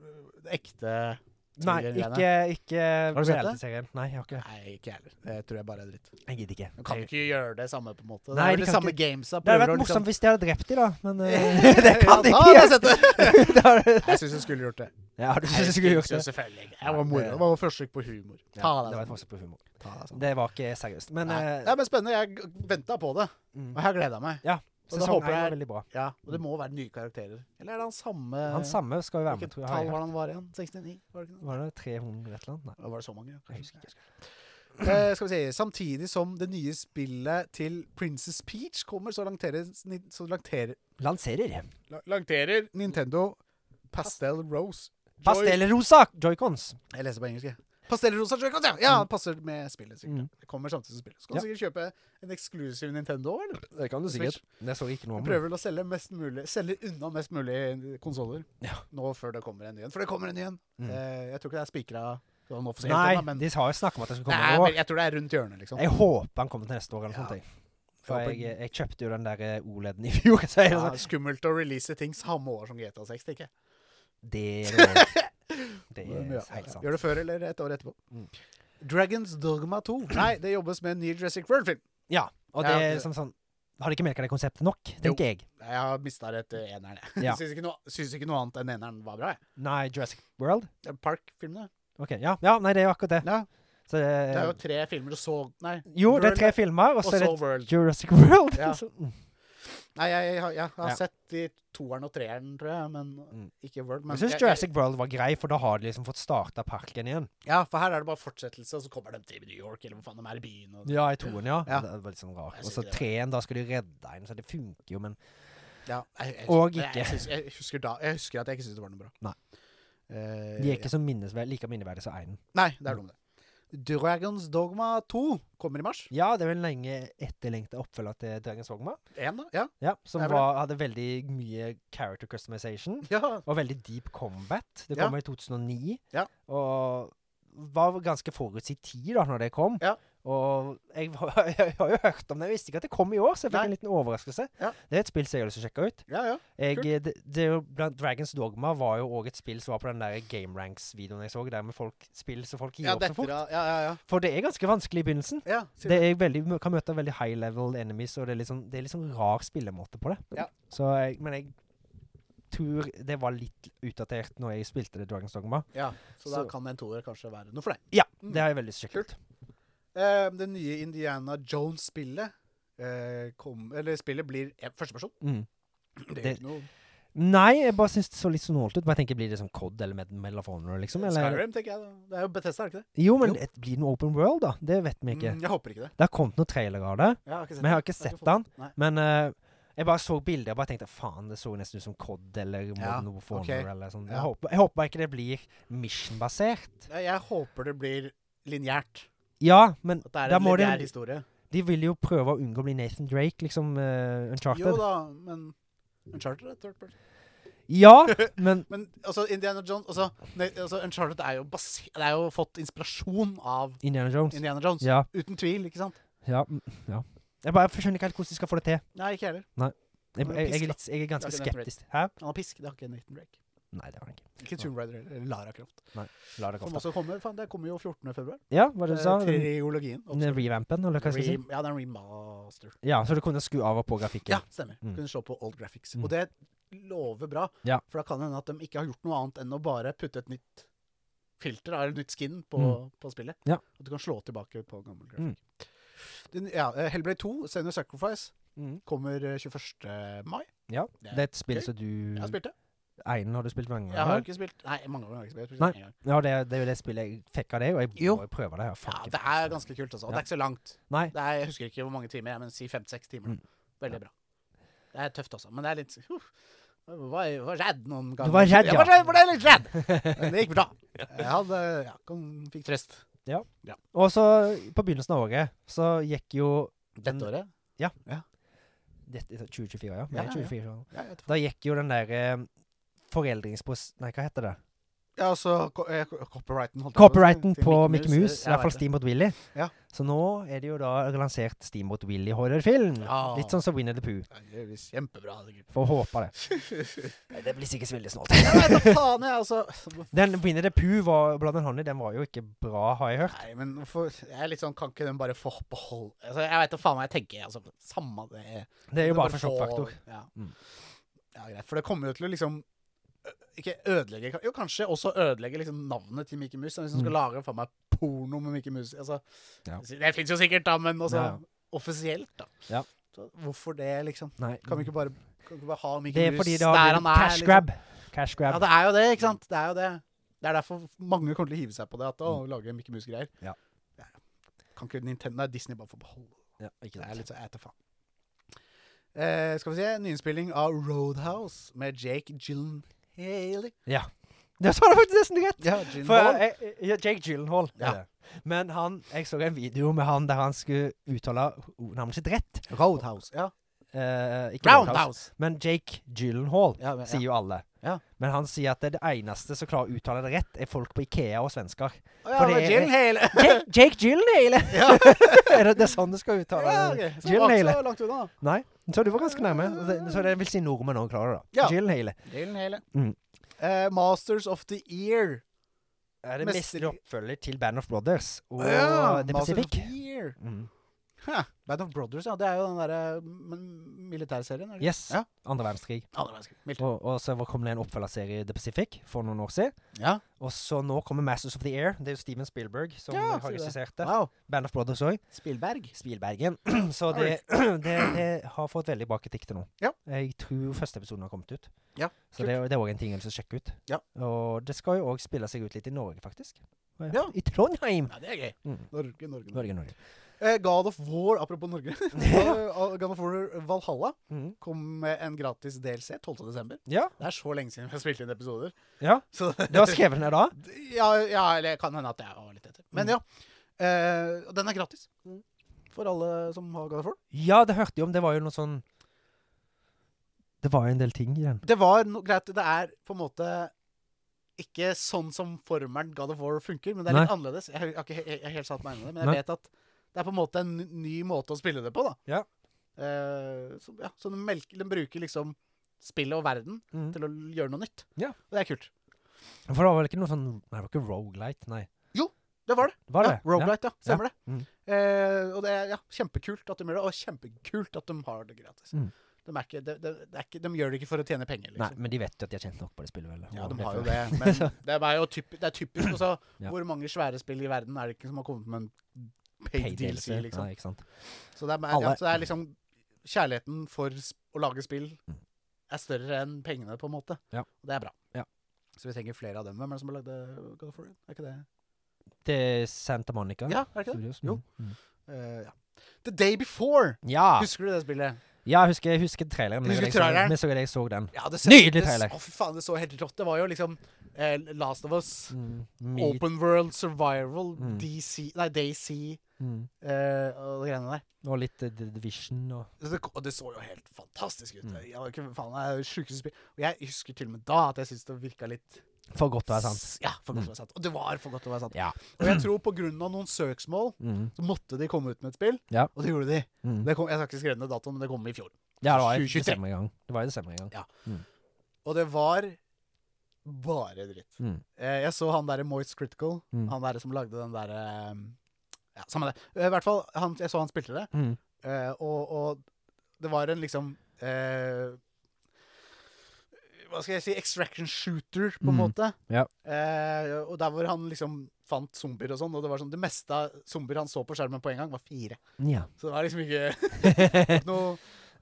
[SPEAKER 1] ekte
[SPEAKER 2] Nei,
[SPEAKER 1] tidligere
[SPEAKER 2] ikke, ikke
[SPEAKER 1] Har du sett det?
[SPEAKER 2] reality-serien. Nei, jeg har ikke det.
[SPEAKER 1] Nei, ikke jeg heller. Det tror jeg bare er dritt.
[SPEAKER 2] Jeg gidder ikke.
[SPEAKER 1] De kan
[SPEAKER 2] Jeg-
[SPEAKER 1] ikke gjøre det samme, på en måte. Det er
[SPEAKER 2] Nei, de
[SPEAKER 1] vel de
[SPEAKER 2] kan
[SPEAKER 1] samme
[SPEAKER 2] ikke-
[SPEAKER 1] gamesa.
[SPEAKER 2] Det
[SPEAKER 1] prøver å
[SPEAKER 2] hadde vært
[SPEAKER 1] liksom-
[SPEAKER 2] morsomt hvis de hadde drept de da, men eh, det kan
[SPEAKER 1] Ja, da
[SPEAKER 2] de
[SPEAKER 1] har
[SPEAKER 2] ikke.
[SPEAKER 1] jeg sett det!
[SPEAKER 2] Det har du-
[SPEAKER 1] Jeg syns hun skulle gjort det.
[SPEAKER 2] Ja, du synes jeg skulle gjort
[SPEAKER 1] synes
[SPEAKER 2] det.
[SPEAKER 1] jo selvfølgelig ikke.
[SPEAKER 2] Ja,
[SPEAKER 1] Det var moro.
[SPEAKER 2] det-
[SPEAKER 1] Det var forsøk på humor.
[SPEAKER 2] Ja,
[SPEAKER 1] Ta
[SPEAKER 2] det var et
[SPEAKER 1] deg
[SPEAKER 2] forsøk på humor.
[SPEAKER 1] sammen.
[SPEAKER 2] Det var ikke seriøst. Men
[SPEAKER 1] altså. Nei,
[SPEAKER 2] eh,
[SPEAKER 1] Nei, men spennende. Jeg venta på det,
[SPEAKER 2] mm.
[SPEAKER 1] og jeg har gleda meg.
[SPEAKER 2] Ja,
[SPEAKER 1] da
[SPEAKER 2] sesong
[SPEAKER 1] håper
[SPEAKER 2] 1 var
[SPEAKER 1] jeg-
[SPEAKER 2] veldig bra.
[SPEAKER 1] Ja, Og det må være nye karakterer. Eller er det han samme
[SPEAKER 2] Han samme skal jo være med,
[SPEAKER 1] Hvilket
[SPEAKER 2] tror jeg. har
[SPEAKER 1] tall
[SPEAKER 2] jeg.
[SPEAKER 1] var
[SPEAKER 2] hørt.
[SPEAKER 1] det han var igjen? 69? Var det ikke det?
[SPEAKER 2] Var det 300 et eller annet? Nei.
[SPEAKER 1] Eller Var det så mange? Ja,
[SPEAKER 2] Jeg
[SPEAKER 1] kanskje
[SPEAKER 2] husker
[SPEAKER 1] ikke. Eh, skal vi si, Samtidig som det nye spillet til Princess Peach kommer, så lanterer, sni- så lanterer,
[SPEAKER 2] Lanserer.
[SPEAKER 1] la- lanterer Nintendo Pastel Rose. Joy-
[SPEAKER 2] Pastellrosa joycons.
[SPEAKER 1] Jeg leser på engelsk, jeg. Pastellrosa Joy-Cons, ja! ja! det Passer med spillet, sikkert.
[SPEAKER 2] Mm.
[SPEAKER 1] Det kommer samtidig som spillet. Så kan
[SPEAKER 2] Ja.
[SPEAKER 1] du sikkert kjøpe en eksklusiv Nintendo, eller?
[SPEAKER 2] Det kan du
[SPEAKER 1] sikkert.
[SPEAKER 2] Det så jeg ikke noe
[SPEAKER 1] Jeg
[SPEAKER 2] om.
[SPEAKER 1] prøver vel å selge, mest mulig, selge unna mest mulig konsoller
[SPEAKER 2] Ja.
[SPEAKER 1] nå før det kommer en ny en. For det kommer en ny en!
[SPEAKER 2] Mm.
[SPEAKER 1] Eh, jeg tror ikke det er spikra sånn offisielt ennå,
[SPEAKER 2] Nei,
[SPEAKER 1] men
[SPEAKER 2] de har jo snakket om at det skulle
[SPEAKER 1] det
[SPEAKER 2] komme
[SPEAKER 1] er,
[SPEAKER 2] i
[SPEAKER 1] vel-
[SPEAKER 2] år.
[SPEAKER 1] jeg tror det er rundt hjørnet, liksom.
[SPEAKER 2] Jeg håper han kommer til neste år eller
[SPEAKER 1] Ja.
[SPEAKER 2] noe sånt. jeg. For
[SPEAKER 1] håper-
[SPEAKER 2] jeg, jeg kjøpte jo den der eh, OLED-en i fjor. Så jeg,
[SPEAKER 1] Ja,
[SPEAKER 2] sånn,
[SPEAKER 1] skummelt å release ting samme år som GTA 6, tenker jeg.
[SPEAKER 2] det er det også. Det
[SPEAKER 1] Men ja,
[SPEAKER 2] er helt sant.
[SPEAKER 1] Gjør det før eller et år etterpå.
[SPEAKER 2] Mm.
[SPEAKER 1] Dragons Dogma 2. Nei, det jobbes med en ny Jurassic World-film.
[SPEAKER 2] Ja, og det
[SPEAKER 1] Ja,
[SPEAKER 2] er
[SPEAKER 1] det-
[SPEAKER 2] som sånn Har de ikke merka det konseptet nok, tenker jeg.
[SPEAKER 1] Nei, Jeg har mista det etter eneren, jeg.
[SPEAKER 2] Ja.
[SPEAKER 1] Syns, ikke noe, syns ikke noe annet enn eneren var bra, jeg.
[SPEAKER 2] Nei, Jurassic World?
[SPEAKER 1] Det er Park-filmene.
[SPEAKER 2] Ok, ja, ja, nei, det er jo akkurat det.
[SPEAKER 1] Ja.
[SPEAKER 2] Så, eh,
[SPEAKER 1] Det er jo tre filmer, og så Nei,
[SPEAKER 2] jo, det er tre
[SPEAKER 1] World,
[SPEAKER 2] filmer, og
[SPEAKER 1] og
[SPEAKER 2] så er
[SPEAKER 1] så
[SPEAKER 2] det
[SPEAKER 1] World.
[SPEAKER 2] Jurassic World.
[SPEAKER 1] Ja.
[SPEAKER 2] Så- mm.
[SPEAKER 1] Nei, jeg, jeg, har- jeg har
[SPEAKER 2] Ja.
[SPEAKER 1] sett de toeren og treeren, tror jeg, men
[SPEAKER 2] Mm.
[SPEAKER 1] ikke World. Men
[SPEAKER 2] Jeg syns Jurassic World var grei, for da har de liksom fått starta parken igjen.
[SPEAKER 1] ja, for her er det bare fortsettelse, og så kommer de til New York, eller hvor faen de er i byen. Og,
[SPEAKER 2] Ja, i toen, ja.
[SPEAKER 1] Ja.
[SPEAKER 2] Det var litt sånn rart.
[SPEAKER 1] Jeg
[SPEAKER 2] Og
[SPEAKER 1] synes
[SPEAKER 2] så
[SPEAKER 1] ikke det var-
[SPEAKER 2] treen, da skal de redde en, så det funker jo, men
[SPEAKER 1] ja, jeg, jeg,
[SPEAKER 2] Og
[SPEAKER 1] jeg-
[SPEAKER 2] ikke.
[SPEAKER 1] Jeg, syns- jeg, husker da, jeg husker at jeg ikke syntes det var noe bra.
[SPEAKER 2] Nei.
[SPEAKER 1] Eh,
[SPEAKER 2] de er ikke så minnesver like minneverdige som einen.
[SPEAKER 1] Nei, det er noe med det. Dragons Dogma 2 kommer i mars.
[SPEAKER 2] Ja, det er vel en lenge etterlengta oppfølger til Dragens Vogma.
[SPEAKER 1] Én, da? Ja.
[SPEAKER 2] Ja, som
[SPEAKER 1] Det er vel
[SPEAKER 2] var, hadde veldig mye character customization.
[SPEAKER 1] ja.
[SPEAKER 2] Og veldig deep combat. Det
[SPEAKER 1] Ja.
[SPEAKER 2] kom i 2009.
[SPEAKER 1] Ja.
[SPEAKER 2] Og var ganske forut sin tid da når det kom.
[SPEAKER 1] Ja.
[SPEAKER 2] Og jeg, var- jeg har jo hørt om det, jeg visste ikke at det kom i år, så jeg fikk
[SPEAKER 1] Nei.
[SPEAKER 2] en liten overraskelse.
[SPEAKER 1] Ja.
[SPEAKER 2] Det er et spill som jeg har lyst til å sjekke ut.
[SPEAKER 1] Ja, ja.
[SPEAKER 2] Jeg, eh,
[SPEAKER 1] Kult.
[SPEAKER 2] det, det er jo blant Dragons Dogma var jo òg et spill som var på den der Game Ranks-videoen jeg så, der med folk, spill som folk gir
[SPEAKER 1] Ja,
[SPEAKER 2] opp så
[SPEAKER 1] dette,
[SPEAKER 2] fort.
[SPEAKER 1] da. ja, ja, ja.
[SPEAKER 2] For det er ganske vanskelig i begynnelsen.
[SPEAKER 1] ja sier
[SPEAKER 2] Det er veldig, man kan møte veldig high level enemies, og det er litt sånn, det er litt sånn rar spillemåte på det.
[SPEAKER 1] Ja.
[SPEAKER 2] Så jeg, men jeg tror det var litt utdatert når jeg spilte det Dragons Dogma.
[SPEAKER 1] du. ja. Så da
[SPEAKER 2] Så-
[SPEAKER 1] kan en toer kanskje være noe for deg.
[SPEAKER 2] Ja,
[SPEAKER 1] Mm.
[SPEAKER 2] det har jeg veldig lyst til å sjekke ut.
[SPEAKER 1] Eh, det nye Indiana Jones-spillet eh, kom- Eller spillet blir eh, førsteperson.
[SPEAKER 2] Mm.
[SPEAKER 1] Det er
[SPEAKER 2] Det-
[SPEAKER 1] ikke noe
[SPEAKER 2] Nei, jeg bare syns det så litt snålt ut. Men jeg tenker, Blir det som Cod eller Med- Medal of Honor, liksom? Eller?
[SPEAKER 1] Skyrim, tenker jeg. da. Det er jo Bethesda, er det ikke det?
[SPEAKER 2] Jo, men
[SPEAKER 1] Jo.
[SPEAKER 2] et- blir det noe Open World, da? Det vet vi ikke.
[SPEAKER 1] Mm, jeg håper ikke det.
[SPEAKER 2] Det har kommet noen trailere av det.
[SPEAKER 1] Jeg har ikke sett
[SPEAKER 2] Men jeg har
[SPEAKER 1] det.
[SPEAKER 2] ikke sett
[SPEAKER 1] fått
[SPEAKER 2] den.
[SPEAKER 1] det. Nei.
[SPEAKER 2] Men eh, jeg bare så bilder og bare tenkte faen, det så nesten ut som Cod eller
[SPEAKER 1] Ja,
[SPEAKER 2] Modern Warfare
[SPEAKER 1] ok.
[SPEAKER 2] eller sånn.
[SPEAKER 1] Ja.
[SPEAKER 2] Jeg, håper, jeg håper bare ikke det blir mission-basert.
[SPEAKER 1] Jeg, jeg håper det blir linjært.
[SPEAKER 2] Ja, men
[SPEAKER 1] At det er
[SPEAKER 2] Da
[SPEAKER 1] en
[SPEAKER 2] må de-
[SPEAKER 1] lineær historie.
[SPEAKER 2] de vil jo prøve å unngå å bli Nathan Drake, liksom eh,
[SPEAKER 1] Jo
[SPEAKER 2] Uncharted.
[SPEAKER 1] da, men Uncharted er third person.
[SPEAKER 2] Ja, men
[SPEAKER 1] Men altså, Indiana Jones altså, ne, altså, Uncharted er jo, basi- det er jo fått inspirasjon av
[SPEAKER 2] Indiana Jones.
[SPEAKER 1] Indiana Jones.
[SPEAKER 2] Ja,
[SPEAKER 1] Uten tvil, ikke sant?
[SPEAKER 2] ja, mm, ja. Jeg bare skjønner ikke helt hvordan de skal få det til.
[SPEAKER 1] Nei, ikke heller.
[SPEAKER 2] Jeg,
[SPEAKER 1] Men
[SPEAKER 2] jeg, jeg,
[SPEAKER 1] pisk,
[SPEAKER 2] er, litt, jeg er ganske
[SPEAKER 1] Det er ikke Nathan
[SPEAKER 2] skeptisk. Hæ?
[SPEAKER 1] Han har pisk, det har ikke Nathan Drake.
[SPEAKER 2] Nei, det var han ikke.
[SPEAKER 1] Ikke Tomb Raider eller Lara Croft.
[SPEAKER 2] La det
[SPEAKER 1] Som
[SPEAKER 2] komme.
[SPEAKER 1] også kommer, faen, det kommer jo 14. februar.
[SPEAKER 2] Ja, hva er
[SPEAKER 1] Eh,
[SPEAKER 2] det du sa? Den-
[SPEAKER 1] Triologien.
[SPEAKER 2] den Revampen, eller hva skal jeg si?
[SPEAKER 1] Re- ja, det er en remaster.
[SPEAKER 2] Ja, så du kunne skru av og på
[SPEAKER 1] Ja,
[SPEAKER 2] grafikken.
[SPEAKER 1] stemmer.
[SPEAKER 2] Mm.
[SPEAKER 1] Kunne slå på old graphics.
[SPEAKER 2] Mm.
[SPEAKER 1] Og det lover bra,
[SPEAKER 2] Ja.
[SPEAKER 1] for da kan det hende at de ikke har gjort noe annet enn å bare putte et nytt filter, eller et nytt skin, på, på spillet.
[SPEAKER 2] Mm. Ja.
[SPEAKER 1] At du kan slå tilbake på gammel
[SPEAKER 2] Mm.
[SPEAKER 1] grafikk. Den, ja, eh, Hellblade 2, Senior Sacrifice,
[SPEAKER 2] Mm.
[SPEAKER 1] kommer eh, 21. mai.
[SPEAKER 2] Ja,
[SPEAKER 1] Det er
[SPEAKER 2] Det er et
[SPEAKER 1] gøy.
[SPEAKER 2] spill som du
[SPEAKER 1] Jeg har spilt det.
[SPEAKER 2] Einen har du spilt mange
[SPEAKER 1] Jeg har
[SPEAKER 2] ganger?
[SPEAKER 1] ikke spilt Nei, mange ganger har jeg ikke spilt. Jeg
[SPEAKER 2] Nei.
[SPEAKER 1] har spilt. en gang.
[SPEAKER 2] Ja, det, er- det er jo det spillet jeg fikk av deg, og jeg
[SPEAKER 1] Jo.
[SPEAKER 2] må jo prøve det. Jeg har faen
[SPEAKER 1] Ja,
[SPEAKER 2] ikke
[SPEAKER 1] det
[SPEAKER 2] fått
[SPEAKER 1] er ganske kult, altså. Og det
[SPEAKER 2] Ja.
[SPEAKER 1] er ikke så langt.
[SPEAKER 2] Nei.
[SPEAKER 1] Det er, jeg husker ikke hvor mange timer, men si fem-seks timer.
[SPEAKER 2] Mm.
[SPEAKER 1] Veldig bra. Det er tøft også, men det er litt uff. Jeg var, jeg var redd noen ganger.
[SPEAKER 2] var redd,
[SPEAKER 1] Jeg
[SPEAKER 2] ja.
[SPEAKER 1] var, redd, var litt redd. Men det gikk bra. Jeg hadde, ja, kom, fikk trøst.
[SPEAKER 2] Og så, på begynnelsen av året, så gikk jo den-
[SPEAKER 1] Dette året?
[SPEAKER 2] Dette, 2024, ja.
[SPEAKER 1] Ja,
[SPEAKER 2] Nei,
[SPEAKER 1] ja, ja.
[SPEAKER 2] 2024, ja.
[SPEAKER 1] Ja, jeg vet ikke.
[SPEAKER 2] Da gikk jo den der eh, foreldringspros... Nei, hva heter det?
[SPEAKER 1] ja altså co- eh, co- copyrighten holdt jeg på å si.
[SPEAKER 2] Copyrighten
[SPEAKER 1] Til
[SPEAKER 2] på Mickey Mouse, i
[SPEAKER 1] jeg
[SPEAKER 2] hvert fall
[SPEAKER 1] vet
[SPEAKER 2] Steam mot Willy.
[SPEAKER 1] Ja.
[SPEAKER 2] Så nå er det jo da lansert Steam mot Willy horrorfilm.
[SPEAKER 1] Ja.
[SPEAKER 2] Litt sånn som Winnie the Pooh.
[SPEAKER 1] det. Ja, det blir kjempebra. sikkert.
[SPEAKER 2] Får håpe det. Nei, Det blir sikkert veldig snålt.
[SPEAKER 1] Jeg vet da faen, jeg, altså.
[SPEAKER 2] Den Winnie the Pooh var blant annet, den var jo ikke bra, har jeg hørt.
[SPEAKER 1] Nei, men hvorfor Jeg er litt sånn, kan ikke den bare få behold... Altså, jeg vet da faen hva jeg tenker. Altså, samme det.
[SPEAKER 2] Det er jo
[SPEAKER 1] Men
[SPEAKER 2] bare for
[SPEAKER 1] få-
[SPEAKER 2] sjokkfaktor.
[SPEAKER 1] Ja.
[SPEAKER 2] Mm.
[SPEAKER 1] ja, greit. For det kommer jo til å liksom ø, Ikke ødelegge ka- Jo, kanskje også ødelegge liksom navnet til Mickey Mouse. Hvis han skal lage for meg porno med Mickey Mouse altså,
[SPEAKER 2] Mm. Ja.
[SPEAKER 1] Det fins jo sikkert, da, men altså
[SPEAKER 2] Ja, ja.
[SPEAKER 1] offisielt, da.
[SPEAKER 2] Ja.
[SPEAKER 1] Så hvorfor det, liksom?
[SPEAKER 2] Nei.
[SPEAKER 1] Kan vi ikke bare, kan vi ikke bare ha Mickey
[SPEAKER 2] Det er
[SPEAKER 1] Mouse
[SPEAKER 2] fordi det
[SPEAKER 1] der
[SPEAKER 2] har
[SPEAKER 1] han
[SPEAKER 2] blitt
[SPEAKER 1] er?
[SPEAKER 2] cash
[SPEAKER 1] liksom?
[SPEAKER 2] grab. Cash grab.
[SPEAKER 1] Ja, det er jo det, ikke sant? Det er jo det. Det er derfor mange kommer til å hive seg på det. At å lage Mickey Mouse-greier.
[SPEAKER 2] Mm. Ja.
[SPEAKER 1] Ja. Kan ikke Nintendo Nei, Disney bare få beholde
[SPEAKER 2] Ja,
[SPEAKER 1] det
[SPEAKER 2] ikke sant.
[SPEAKER 1] er litt så jeg vet da faen. Eh, skal vi se, nyinnspilling av Roadhouse med Jake Gyllenhaal.
[SPEAKER 2] Ja. Det sa du faktisk nesten rett!
[SPEAKER 1] Ja,
[SPEAKER 2] For,
[SPEAKER 1] Gyllenhaal.
[SPEAKER 2] jeg, jeg- jeg- Jake Gyllenhaal. er
[SPEAKER 1] Ja.
[SPEAKER 2] det. Men han, jeg så en video med han der han skulle uttale o- navnet sitt rett.
[SPEAKER 1] Roadhouse, ja.
[SPEAKER 2] Eh, ikke Roundhouse.
[SPEAKER 1] Roundhouse!
[SPEAKER 2] Men Jake Gyllenhaal
[SPEAKER 1] Ja, men,
[SPEAKER 2] sier
[SPEAKER 1] ja.
[SPEAKER 2] jo alle.
[SPEAKER 1] Ja.
[SPEAKER 2] Men han sier at det, det eneste som klarer å uttale det rett, er folk på Ikea og svensker.
[SPEAKER 1] Å, ja,
[SPEAKER 2] for
[SPEAKER 1] men
[SPEAKER 2] det er-
[SPEAKER 1] Gyllenhaal!
[SPEAKER 2] Jake, Jake Gyllenhaal!
[SPEAKER 1] Ja,
[SPEAKER 2] er det, det er sånn du skal uttale
[SPEAKER 1] ja,
[SPEAKER 2] det?
[SPEAKER 1] ok. Så det var ikke
[SPEAKER 2] Gyllenhaal.
[SPEAKER 1] så langt unna.
[SPEAKER 2] Nei. Så du var ganske nærme. Og det- Så det vil si nordmenn òg klarer det. da.
[SPEAKER 1] Ja.
[SPEAKER 2] Gyllenhaal.
[SPEAKER 1] Gyllenhaal.
[SPEAKER 2] Mm.
[SPEAKER 1] Eh, Masters of the Year.
[SPEAKER 2] Er det
[SPEAKER 1] Mester-
[SPEAKER 2] mestlig oppfølger til Band of Brothers og
[SPEAKER 1] Ja,
[SPEAKER 2] The
[SPEAKER 1] Masters of
[SPEAKER 2] Pacific?
[SPEAKER 1] the Year.
[SPEAKER 2] Mm.
[SPEAKER 1] Huh. Band of Brothers, ja. Det er jo den derre mm, militærserien? er det ikke?
[SPEAKER 2] Yes.
[SPEAKER 1] Ja.
[SPEAKER 2] Andre verdenskrig.
[SPEAKER 1] Andre verdenskrig. Militær.
[SPEAKER 2] Og, og så var- kom det en oppfølgerserie The Pacific for noen år siden.
[SPEAKER 1] Ja.
[SPEAKER 2] Og så nå kommer Masters of the Air. Det er jo Steven Spielberg som
[SPEAKER 1] Ja,
[SPEAKER 2] har
[SPEAKER 1] sier det.
[SPEAKER 2] regissert det.
[SPEAKER 1] Wow.
[SPEAKER 2] Band of Brothers òg.
[SPEAKER 1] Spillberg.
[SPEAKER 2] Spielbergen. så det, det, det har fått veldig bra kritikk til nå.
[SPEAKER 1] Ja.
[SPEAKER 2] Jeg tror første episoden har kommet ut.
[SPEAKER 1] Ja,
[SPEAKER 2] så det, det er òg en ting jeg vil sjekke ut.
[SPEAKER 1] Ja.
[SPEAKER 2] Og det skal jo òg spille seg ut litt i Norge, faktisk. Og jeg-
[SPEAKER 1] Ja.
[SPEAKER 2] I Trondheim!
[SPEAKER 1] Ja, det er gøy.
[SPEAKER 2] Mm.
[SPEAKER 1] Norge, Norge, Norge.
[SPEAKER 2] Norge, Norge.
[SPEAKER 1] Eh, God of War, apropos Norge. Eh, God of War Valhalla
[SPEAKER 2] Mm.
[SPEAKER 1] kom med en gratis DLC 12.12.
[SPEAKER 2] Ja.
[SPEAKER 1] Det er så lenge siden vi har spilt inn episoder.
[SPEAKER 2] ja.
[SPEAKER 1] Så
[SPEAKER 2] Du har skrevet ned da?
[SPEAKER 1] ja, ja, eller kan hende at jeg var litt etter. Men
[SPEAKER 2] Mm.
[SPEAKER 1] ja. Eh, og den er gratis for alle som har God of War.
[SPEAKER 2] Ja, det hørte jeg om. Det var jo noe sånn Det var jo en del ting i den.
[SPEAKER 1] Det var no greit, det er på en måte ikke sånn som formelen God of War funker, men det er litt annerledes. Jeg har ikke he- he- helt satt meg inn i det, men jeg
[SPEAKER 2] Nei.
[SPEAKER 1] vet at Det er på en måte en ny måte å spille det på, da.
[SPEAKER 2] Ja.
[SPEAKER 1] Eh, så, ja, så den, melker, den bruker liksom spillet og verden
[SPEAKER 2] Mm.
[SPEAKER 1] til å gjøre noe nytt.
[SPEAKER 2] Ja.
[SPEAKER 1] Og det er kult.
[SPEAKER 2] For det var vel ikke noe sånn Nei, det var ikke Roguelite, nei.
[SPEAKER 1] Det var det.
[SPEAKER 2] Var det?
[SPEAKER 1] Ja, Roguelite, ja. Stemmer
[SPEAKER 2] Mm.
[SPEAKER 1] det. Eh, og det er ja, kjempekult at de gjør det, og kjempekult at de har det gratis.
[SPEAKER 2] Mm.
[SPEAKER 1] De, er ikke, de, de, det er ikke, de gjør det ikke for å tjene penger,
[SPEAKER 2] Nei,
[SPEAKER 1] liksom.
[SPEAKER 2] men de vet jo at de har tjent nok på det spillet, vel.
[SPEAKER 1] ja,
[SPEAKER 2] Og
[SPEAKER 1] de har jo
[SPEAKER 2] derfor-
[SPEAKER 1] det, men det er, jo typ, det er typisk. Også,
[SPEAKER 2] Ja.
[SPEAKER 1] Hvor mange svære spill i verden er det ikke som har kommet med en paid
[SPEAKER 2] Paid
[SPEAKER 1] DLC,
[SPEAKER 2] DLC,
[SPEAKER 1] liksom?
[SPEAKER 2] Nei, ikke sant.
[SPEAKER 1] Så det er, ja,
[SPEAKER 2] Alle-
[SPEAKER 1] så det er liksom Kjærligheten for sp- å lage spill
[SPEAKER 2] Mm.
[SPEAKER 1] er større enn pengene, på en måte.
[SPEAKER 2] Ja.
[SPEAKER 1] Og det er bra.
[SPEAKER 2] Ja.
[SPEAKER 1] Så vi trenger flere av dem. Hvem er det som har lagd eh, God of War? Er ikke det
[SPEAKER 2] Til Santa Monica.
[SPEAKER 1] Ja, er det ikke det?
[SPEAKER 2] Studios.
[SPEAKER 1] Jo.
[SPEAKER 2] Mm, Mm.
[SPEAKER 1] Eh, ja. The Day Before!
[SPEAKER 2] Ja.
[SPEAKER 1] Husker du det spillet?
[SPEAKER 2] ja, jeg husker, jeg husker traileren. men
[SPEAKER 1] Husker
[SPEAKER 2] jeg så-
[SPEAKER 1] traileren?
[SPEAKER 2] men jeg så, jeg så den.
[SPEAKER 1] Ja, det
[SPEAKER 2] Nydelig
[SPEAKER 1] det s-
[SPEAKER 2] trailer.
[SPEAKER 1] Å, fy faen, det så helt rått. Det var jo liksom eh, Last of Us,
[SPEAKER 2] Mm. Meat.
[SPEAKER 1] Open World Survival,
[SPEAKER 2] Mm.
[SPEAKER 1] DC Nei, DayZ eh,
[SPEAKER 2] Mm.
[SPEAKER 1] og de greiene der.
[SPEAKER 2] Og litt eh, The Division og
[SPEAKER 1] Så Det, og det så jo helt fantastisk ut.
[SPEAKER 2] Mm.
[SPEAKER 1] Jeg, var ikke, faen, det er jo det sjukeste spill. Og jeg husker til og med da at jeg syntes det virka litt
[SPEAKER 2] For godt til å være sant.
[SPEAKER 1] S- Ja, for godt til å være sant. Mm. Og det var for godt til å være sant.
[SPEAKER 2] Ja.
[SPEAKER 1] Og jeg tror på grunn av noen søksmål,
[SPEAKER 2] Mm.
[SPEAKER 1] så måtte de komme ut med et spill,
[SPEAKER 2] Ja.
[SPEAKER 1] og det gjorde de.
[SPEAKER 2] Mm.
[SPEAKER 1] Det kom, jeg skal ikke skrive ned datoen, men det kom i fjor.
[SPEAKER 2] Ja, det var i
[SPEAKER 1] 2023.
[SPEAKER 2] desember en gang. Det var i desember en gang.
[SPEAKER 1] Og det var bare dritt.
[SPEAKER 2] Mm.
[SPEAKER 1] Eh, Jeg så han derre Moist Critical,
[SPEAKER 2] Mm.
[SPEAKER 1] han derre som lagde den derre Ja, samme det. Eh, I hvert fall, han, jeg så han spilte det,
[SPEAKER 2] Mm.
[SPEAKER 1] eh, og, og det var en liksom eh, Hva skal jeg si Extraction shooter, på en
[SPEAKER 2] Mm.
[SPEAKER 1] måte.
[SPEAKER 2] Ja.
[SPEAKER 1] Eh, og der hvor han liksom fant zombier og sånn, og det var sånn det meste av zombier han så på skjermen på en gang, var fire.
[SPEAKER 2] ja.
[SPEAKER 1] Så det var liksom ikke
[SPEAKER 2] det
[SPEAKER 1] noe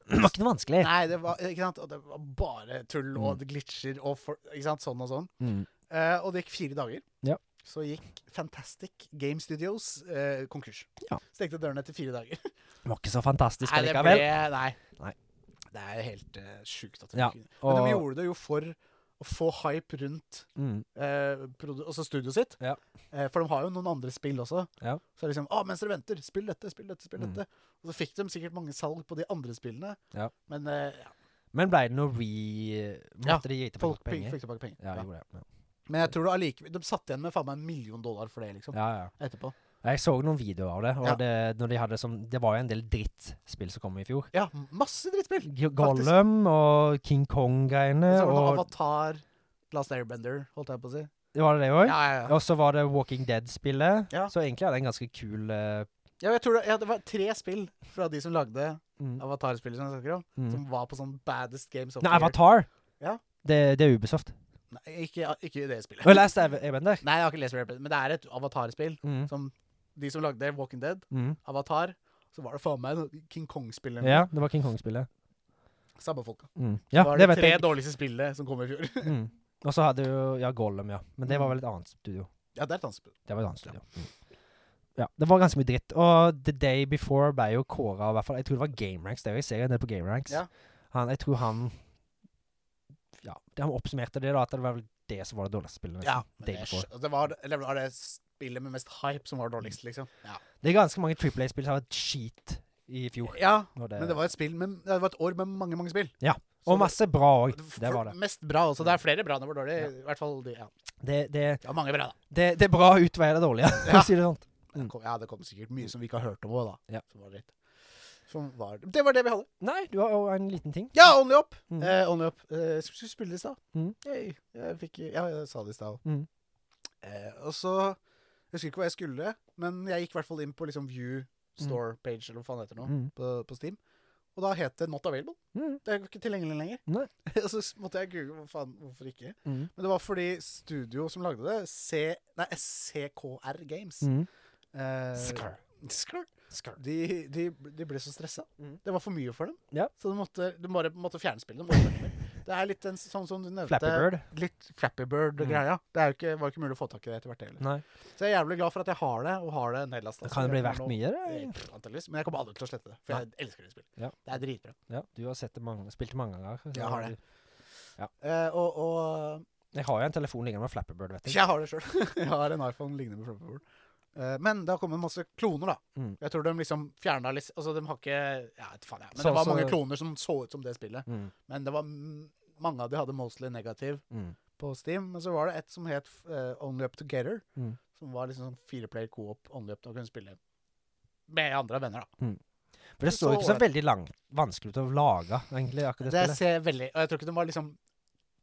[SPEAKER 2] var ikke noe vanskelig.
[SPEAKER 1] Nei, det var, ikke sant? Og det var bare tull og glitcher og for, ikke sant? sånn og sånn.
[SPEAKER 2] Mm.
[SPEAKER 1] Eh, og det gikk fire dager.
[SPEAKER 2] Ja.
[SPEAKER 1] Så gikk Fantastic Game Studios eh, konkurs.
[SPEAKER 2] Ja.
[SPEAKER 1] Stengte dørene etter fire dager.
[SPEAKER 2] Det var ikke så fantastisk
[SPEAKER 1] Nei, det
[SPEAKER 2] likevel.
[SPEAKER 1] ble- Nei.
[SPEAKER 2] Nei.
[SPEAKER 1] Det er helt uh, sjukt at de
[SPEAKER 2] Ja,
[SPEAKER 1] kunne Men de
[SPEAKER 2] Og,
[SPEAKER 1] gjorde det jo for å få hype rundt
[SPEAKER 2] mm,
[SPEAKER 1] eh, produ- altså studioet sitt.
[SPEAKER 2] Ja.
[SPEAKER 1] Eh, for de har jo noen andre spill også.
[SPEAKER 2] Ja.
[SPEAKER 1] Så det er liksom, å, mens dere venter, spill dette, spill dette, spill
[SPEAKER 2] Mm.
[SPEAKER 1] dette. Og så fikk de sikkert mange salg på de andre spillene.
[SPEAKER 2] Ja.
[SPEAKER 1] Men eh, ja,
[SPEAKER 2] men ble det noe re...
[SPEAKER 1] Ja,
[SPEAKER 2] Måtte de gi tilbake
[SPEAKER 1] folk
[SPEAKER 2] penger?
[SPEAKER 1] fikk tilbake penger. Ja.
[SPEAKER 2] Ja, jeg gjorde det.
[SPEAKER 1] Men jeg tror det allikevel, de satt igjen med faen meg en million dollar for det, liksom.
[SPEAKER 2] Ja, ja.
[SPEAKER 1] Etterpå.
[SPEAKER 2] Jeg så noen videoer av det, og
[SPEAKER 1] Ja.
[SPEAKER 2] det, når de hadde som, det var jo en del drittspill som kom i fjor.
[SPEAKER 1] Ja, masse drittspill!
[SPEAKER 2] G- Gollum og King Kong-greiene.
[SPEAKER 1] Så var det
[SPEAKER 2] Og
[SPEAKER 1] Avatar, Last Airbender, holdt jeg på å si.
[SPEAKER 2] var det det òg?
[SPEAKER 1] Ja, ja, ja.
[SPEAKER 2] Og så var det Walking Dead-spillet.
[SPEAKER 1] Ja.
[SPEAKER 2] Så egentlig hadde jeg en ganske kul eh,
[SPEAKER 1] ja jeg tror det, ja, det var tre spill fra de som lagde
[SPEAKER 2] mm,
[SPEAKER 1] Avatar-spillet som jeg snakker om,
[SPEAKER 2] mm.
[SPEAKER 1] som var på sånn baddest games of
[SPEAKER 2] Nei,
[SPEAKER 1] the year.
[SPEAKER 2] Avatar.
[SPEAKER 1] Ja.
[SPEAKER 2] Det, det er Ubisoft.
[SPEAKER 1] Nei, ikke, ikke det spillet.
[SPEAKER 2] Og Last Ev- Airbender.
[SPEAKER 1] Nei, jeg har ikke lest Airbender, men det er et Avatar-spill.
[SPEAKER 2] Mm.
[SPEAKER 1] Som de som lagde Walking Dead,
[SPEAKER 2] Mm.
[SPEAKER 1] Avatar, så var det faen meg noe King Kong-spillet.
[SPEAKER 2] Ja, det var King Kong-spillet.
[SPEAKER 1] Samme folka.
[SPEAKER 2] Mm. Ja,
[SPEAKER 1] var
[SPEAKER 2] det
[SPEAKER 1] det
[SPEAKER 2] vet
[SPEAKER 1] tre
[SPEAKER 2] jeg.
[SPEAKER 1] dårligste spillet som kom i fjor.
[SPEAKER 2] Mm. Og så hadde jo Ja, Gollum, ja. Men
[SPEAKER 1] Mm.
[SPEAKER 2] det var vel et annet studio.
[SPEAKER 1] ja, det er et annet spill.
[SPEAKER 2] Det var et annet studio. Mm. Ja, det var ganske mye dritt. Og The Day Before ble jo kåra av hvert fall Jeg tror det var GameRanks. Det er jo jeg ser en del på GameRanks.
[SPEAKER 1] Ja.
[SPEAKER 2] Han, jeg tror han Ja, det- han oppsummerte det, da, at det var vel det som var det sånn dårligste spillet. nesten.
[SPEAKER 1] Ja, men
[SPEAKER 2] Day
[SPEAKER 1] det,
[SPEAKER 2] Before.
[SPEAKER 1] det var, eller var det spillet med mest hype som var dårligst, liksom. Ja,
[SPEAKER 2] Det er ganske mange Triple A-spill som har vært skit i fjor.
[SPEAKER 1] ja
[SPEAKER 2] når det-
[SPEAKER 1] men det var et spill med, det var et år med mange, mange spill.
[SPEAKER 2] Ja,
[SPEAKER 1] Så
[SPEAKER 2] og masse bra òg.
[SPEAKER 1] det-
[SPEAKER 2] Det var
[SPEAKER 1] for-
[SPEAKER 2] det.
[SPEAKER 1] Mest bra også. Det er flere bra enn det var dårlig.
[SPEAKER 2] Ja.
[SPEAKER 1] I hvert fall de, ja.
[SPEAKER 2] Det, det,
[SPEAKER 1] Det var mange bra, da.
[SPEAKER 2] det, det er bra utveier det dårlige, for
[SPEAKER 1] Ja.
[SPEAKER 2] å si det sånn.
[SPEAKER 1] Det kom, ja, det kom sikkert mye som vi ikke har hørt om òg, da.
[SPEAKER 2] Mm. Ja.
[SPEAKER 1] Som var litt, som var, det var det vi hadde.
[SPEAKER 2] Nei, du har jo en liten ting.
[SPEAKER 1] Ja, Only Up!
[SPEAKER 2] Mm.
[SPEAKER 1] Eh, only up. Eh, skulle skulle spille det i stad.
[SPEAKER 2] Mm.
[SPEAKER 1] Yay. Jeg fikk, ja, jeg sa det i stad.
[SPEAKER 2] Mm.
[SPEAKER 1] Eh, og så Jeg husker ikke hva jeg skulle, men jeg gikk i hvert fall inn på liksom View Store Page, eller hva faen det heter nå,
[SPEAKER 2] Mm.
[SPEAKER 1] på, på Steam. Og da het det Not Available.
[SPEAKER 2] Mm.
[SPEAKER 1] Det er jo ikke tilgjengelig lenger.
[SPEAKER 2] Nei.
[SPEAKER 1] Og så s- måtte jeg google hvor faen, hvorfor ikke.
[SPEAKER 2] Mm.
[SPEAKER 1] Men det var fordi studio som lagde det, C, nei, SCKR Games
[SPEAKER 2] Mm.
[SPEAKER 1] eh,
[SPEAKER 2] Skr.
[SPEAKER 1] Skr.
[SPEAKER 2] Skr.
[SPEAKER 1] De, de, de ble så stressa.
[SPEAKER 2] Mm.
[SPEAKER 1] Det var for mye for dem.
[SPEAKER 2] Ja.
[SPEAKER 1] Så de måtte, de bare måtte fjerne spillet. De måtte fjerne spillet. det er litt den, sånn som du nevnte.
[SPEAKER 2] Flappy Bird. Mm.
[SPEAKER 1] Litt Flappy Bird-greia. Det er jo ikke, var ikke mulig å få tak i det etter hvert. det heller.
[SPEAKER 2] Nei.
[SPEAKER 1] Så jeg er jævlig glad for at jeg har det, og har det nedlasta.
[SPEAKER 2] Mm. Det kan jo bli verdt mye, det.
[SPEAKER 1] Antageligvis. Men jeg kommer aldri til å slette det, for jeg elsker det spillet.
[SPEAKER 2] Ja.
[SPEAKER 1] Det er dritbra.
[SPEAKER 2] Ja, du har sett det mange, spilt det mange ganger. så
[SPEAKER 1] Jeg har det.
[SPEAKER 2] du-
[SPEAKER 1] Eh, og, og
[SPEAKER 2] Jeg har jo en telefon liggende med Flapper Bird, vet du.
[SPEAKER 1] Jeg har det sjøl. jeg har en iPhone lignende med Flappy Bird. Eh, men det har kommet masse kloner, da.
[SPEAKER 2] Mm.
[SPEAKER 1] Jeg tror de liksom fjerna litt Altså, de har ikke Ja, vet faen, jeg. Men
[SPEAKER 2] Så-
[SPEAKER 1] det var
[SPEAKER 2] så-
[SPEAKER 1] mange kloner som så ut som det spillet.
[SPEAKER 2] Mm,
[SPEAKER 1] Men det var m- mange av de hadde mostly negativ
[SPEAKER 2] mm,
[SPEAKER 1] på Steam. Men så var det et som het eh, Only Up Together,
[SPEAKER 2] Mm.
[SPEAKER 1] som var liksom sånn fireplayer co-op only up. Da kunne du spille med andre venner, da.
[SPEAKER 2] For det
[SPEAKER 1] Så
[SPEAKER 2] står jo ikke så
[SPEAKER 1] ålreit.
[SPEAKER 2] veldig langt, vanskelig ut å lage, egentlig, akkurat det,
[SPEAKER 1] Det
[SPEAKER 2] spillet.
[SPEAKER 1] ser veldig Og jeg tror ikke de har liksom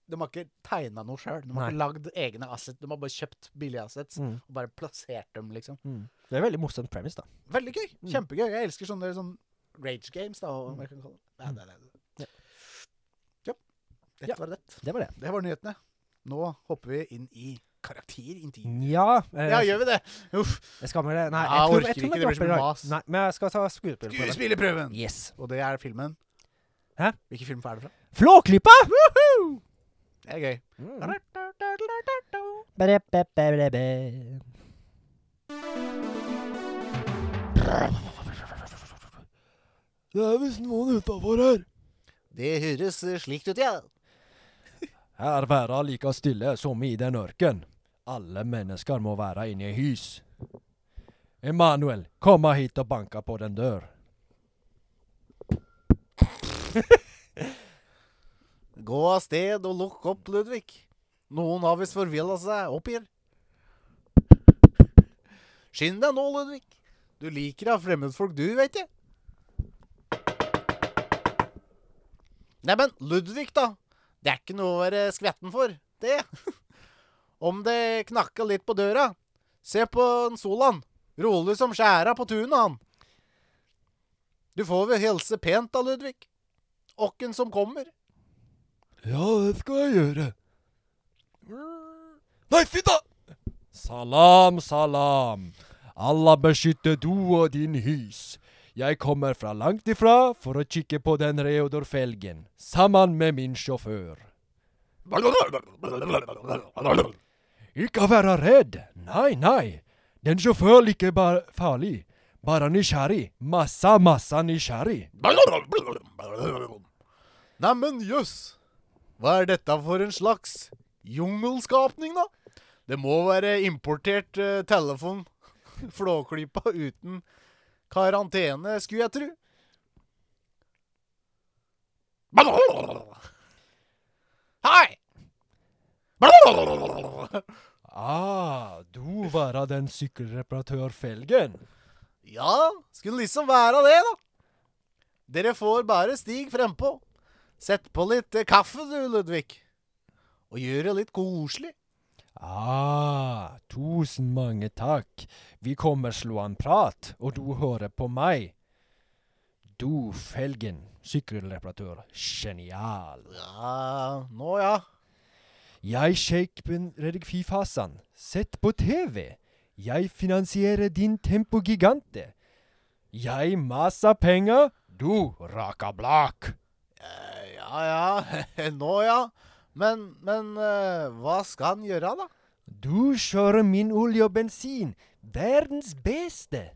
[SPEAKER 1] De har ikke tegna noe sjøl. De har ikke lagd egne assets. De har bare kjøpt billige assets
[SPEAKER 2] Mm,
[SPEAKER 1] og bare plassert dem, liksom.
[SPEAKER 2] mm. Det er et veldig morsomt premise, da.
[SPEAKER 1] Veldig gøy.
[SPEAKER 2] Mm.
[SPEAKER 1] Kjempegøy. Jeg elsker sånne sånn rage games, da, og hva jeg kan kalle det. Nei,
[SPEAKER 2] Mm.
[SPEAKER 1] nei, nei.
[SPEAKER 2] Ja.
[SPEAKER 1] Ja. Dette
[SPEAKER 2] Ja.
[SPEAKER 1] var det.
[SPEAKER 2] Det var det.
[SPEAKER 1] Det var nyhetene. Nå hopper vi inn i karakterintervju.
[SPEAKER 2] Nja eh,
[SPEAKER 1] Ja, gjør vi det? Uff.
[SPEAKER 2] Jeg skal med det. Nei,
[SPEAKER 1] Ja,
[SPEAKER 2] jeg tror,
[SPEAKER 1] orker
[SPEAKER 2] jeg tror
[SPEAKER 1] ikke,
[SPEAKER 2] vi
[SPEAKER 1] det blir så mye
[SPEAKER 2] dropper i dag.
[SPEAKER 1] mas.
[SPEAKER 2] Nei, men jeg skal ta skuespillerprøven.
[SPEAKER 1] Skuespillerprøven!
[SPEAKER 2] Yes.
[SPEAKER 1] Og det er filmen.
[SPEAKER 2] Hæ?
[SPEAKER 1] Hvilken film er det fra?
[SPEAKER 2] Flåklypa!
[SPEAKER 1] Det er gøy.
[SPEAKER 2] Mm. Det er visst noen utafor her.
[SPEAKER 1] Det høres eh, slikt ut, ja.
[SPEAKER 2] Her verda like stille som i den ørken. Alle mennesker må være inne i hus. Emanuel, kom hit og banka på den dør.
[SPEAKER 1] Gå av sted og lukk opp, Ludvig. Noen har visst forvilla seg, oppgir. Skynd deg nå, Ludvig. Du liker da fremmedfolk, du, vet jeg. Neimen, Ludvig, da. Det er ikke noe å være skvetten for, det. Om det knakka litt på døra. Se på en Solan. Rolig som skjæra på tunet, han. Du får vel hilse pent da, Ludvig. Åkken som kommer.
[SPEAKER 2] Ja, det skal jeg gjøre. Nei, fitta! Salam, salam. Allah beskytter du og din hus. Jeg kommer fra langt ifra for å kikke på den Reodor-felgen, sammen med min sjåfør. Ikke være redd. Nei, nei. Den sjåføren ikke bare farlig. Bare nysgjerrig. Massa, massa nysgjerrig.
[SPEAKER 1] Neimen, jøss. Hva er dette for en slags jungelskapning, da? Det må være importert eh, telefon. Flåklypa uten karantene, skulle jeg tru. Hei!
[SPEAKER 2] Ah, du var av den sykkelreparatørfelgen.
[SPEAKER 1] Ja, skulle liksom være det, da. Dere får bare stig frempå. Sett på litt eh, kaffe, du, Ludvig. Og gjør det litt koselig.
[SPEAKER 2] Ah, tusen mange takk. Vi kommer slå en prat, og du hører på meg. Du, felgen, sykkelreparatør, genial.
[SPEAKER 1] Ja, nå ja.
[SPEAKER 2] Jeg Sheikh bin Reddik Fifasan, sett på TV. Jeg finansierer din tempogigante. Jeg masa penger, du raka blak.
[SPEAKER 1] Eh, Ja, ja. Nå ja. Men, men eh, hva skal han gjøre, da?
[SPEAKER 2] Du kjører min olje og bensin, verdens beste.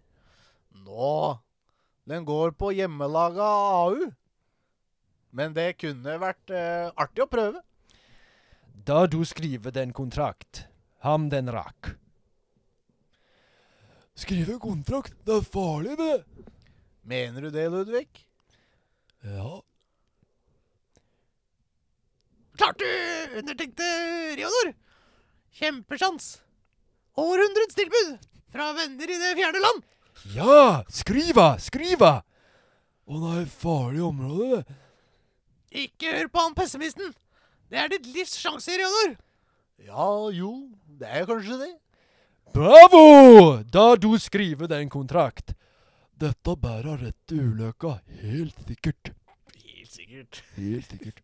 [SPEAKER 1] Nå. Den går på hjemmelaga AU. Men det kunne vært eh, artig å prøve.
[SPEAKER 2] Da du skriver den kontrakt, ham den rakk. Skrive kontrakt, det er farlig det.
[SPEAKER 1] Mener du det, Ludvig?
[SPEAKER 2] Ja.
[SPEAKER 1] Klart du undertenkte, Reodor! Kjempesjans! Århundrets tilbud fra venner i det fjerne land!
[SPEAKER 2] Ja, skriva, skriva. Å nei, farlig område det.
[SPEAKER 1] Ikke hør på han pessimisten! Det er ditt livs sjanse, Reodor! Ja, jo, det er kanskje det.
[SPEAKER 2] Bravo! Da du skriver den kontrakt. Dette bærer rett til ulykka, helt sikkert.
[SPEAKER 1] Helt sikkert.
[SPEAKER 2] Helt sikkert.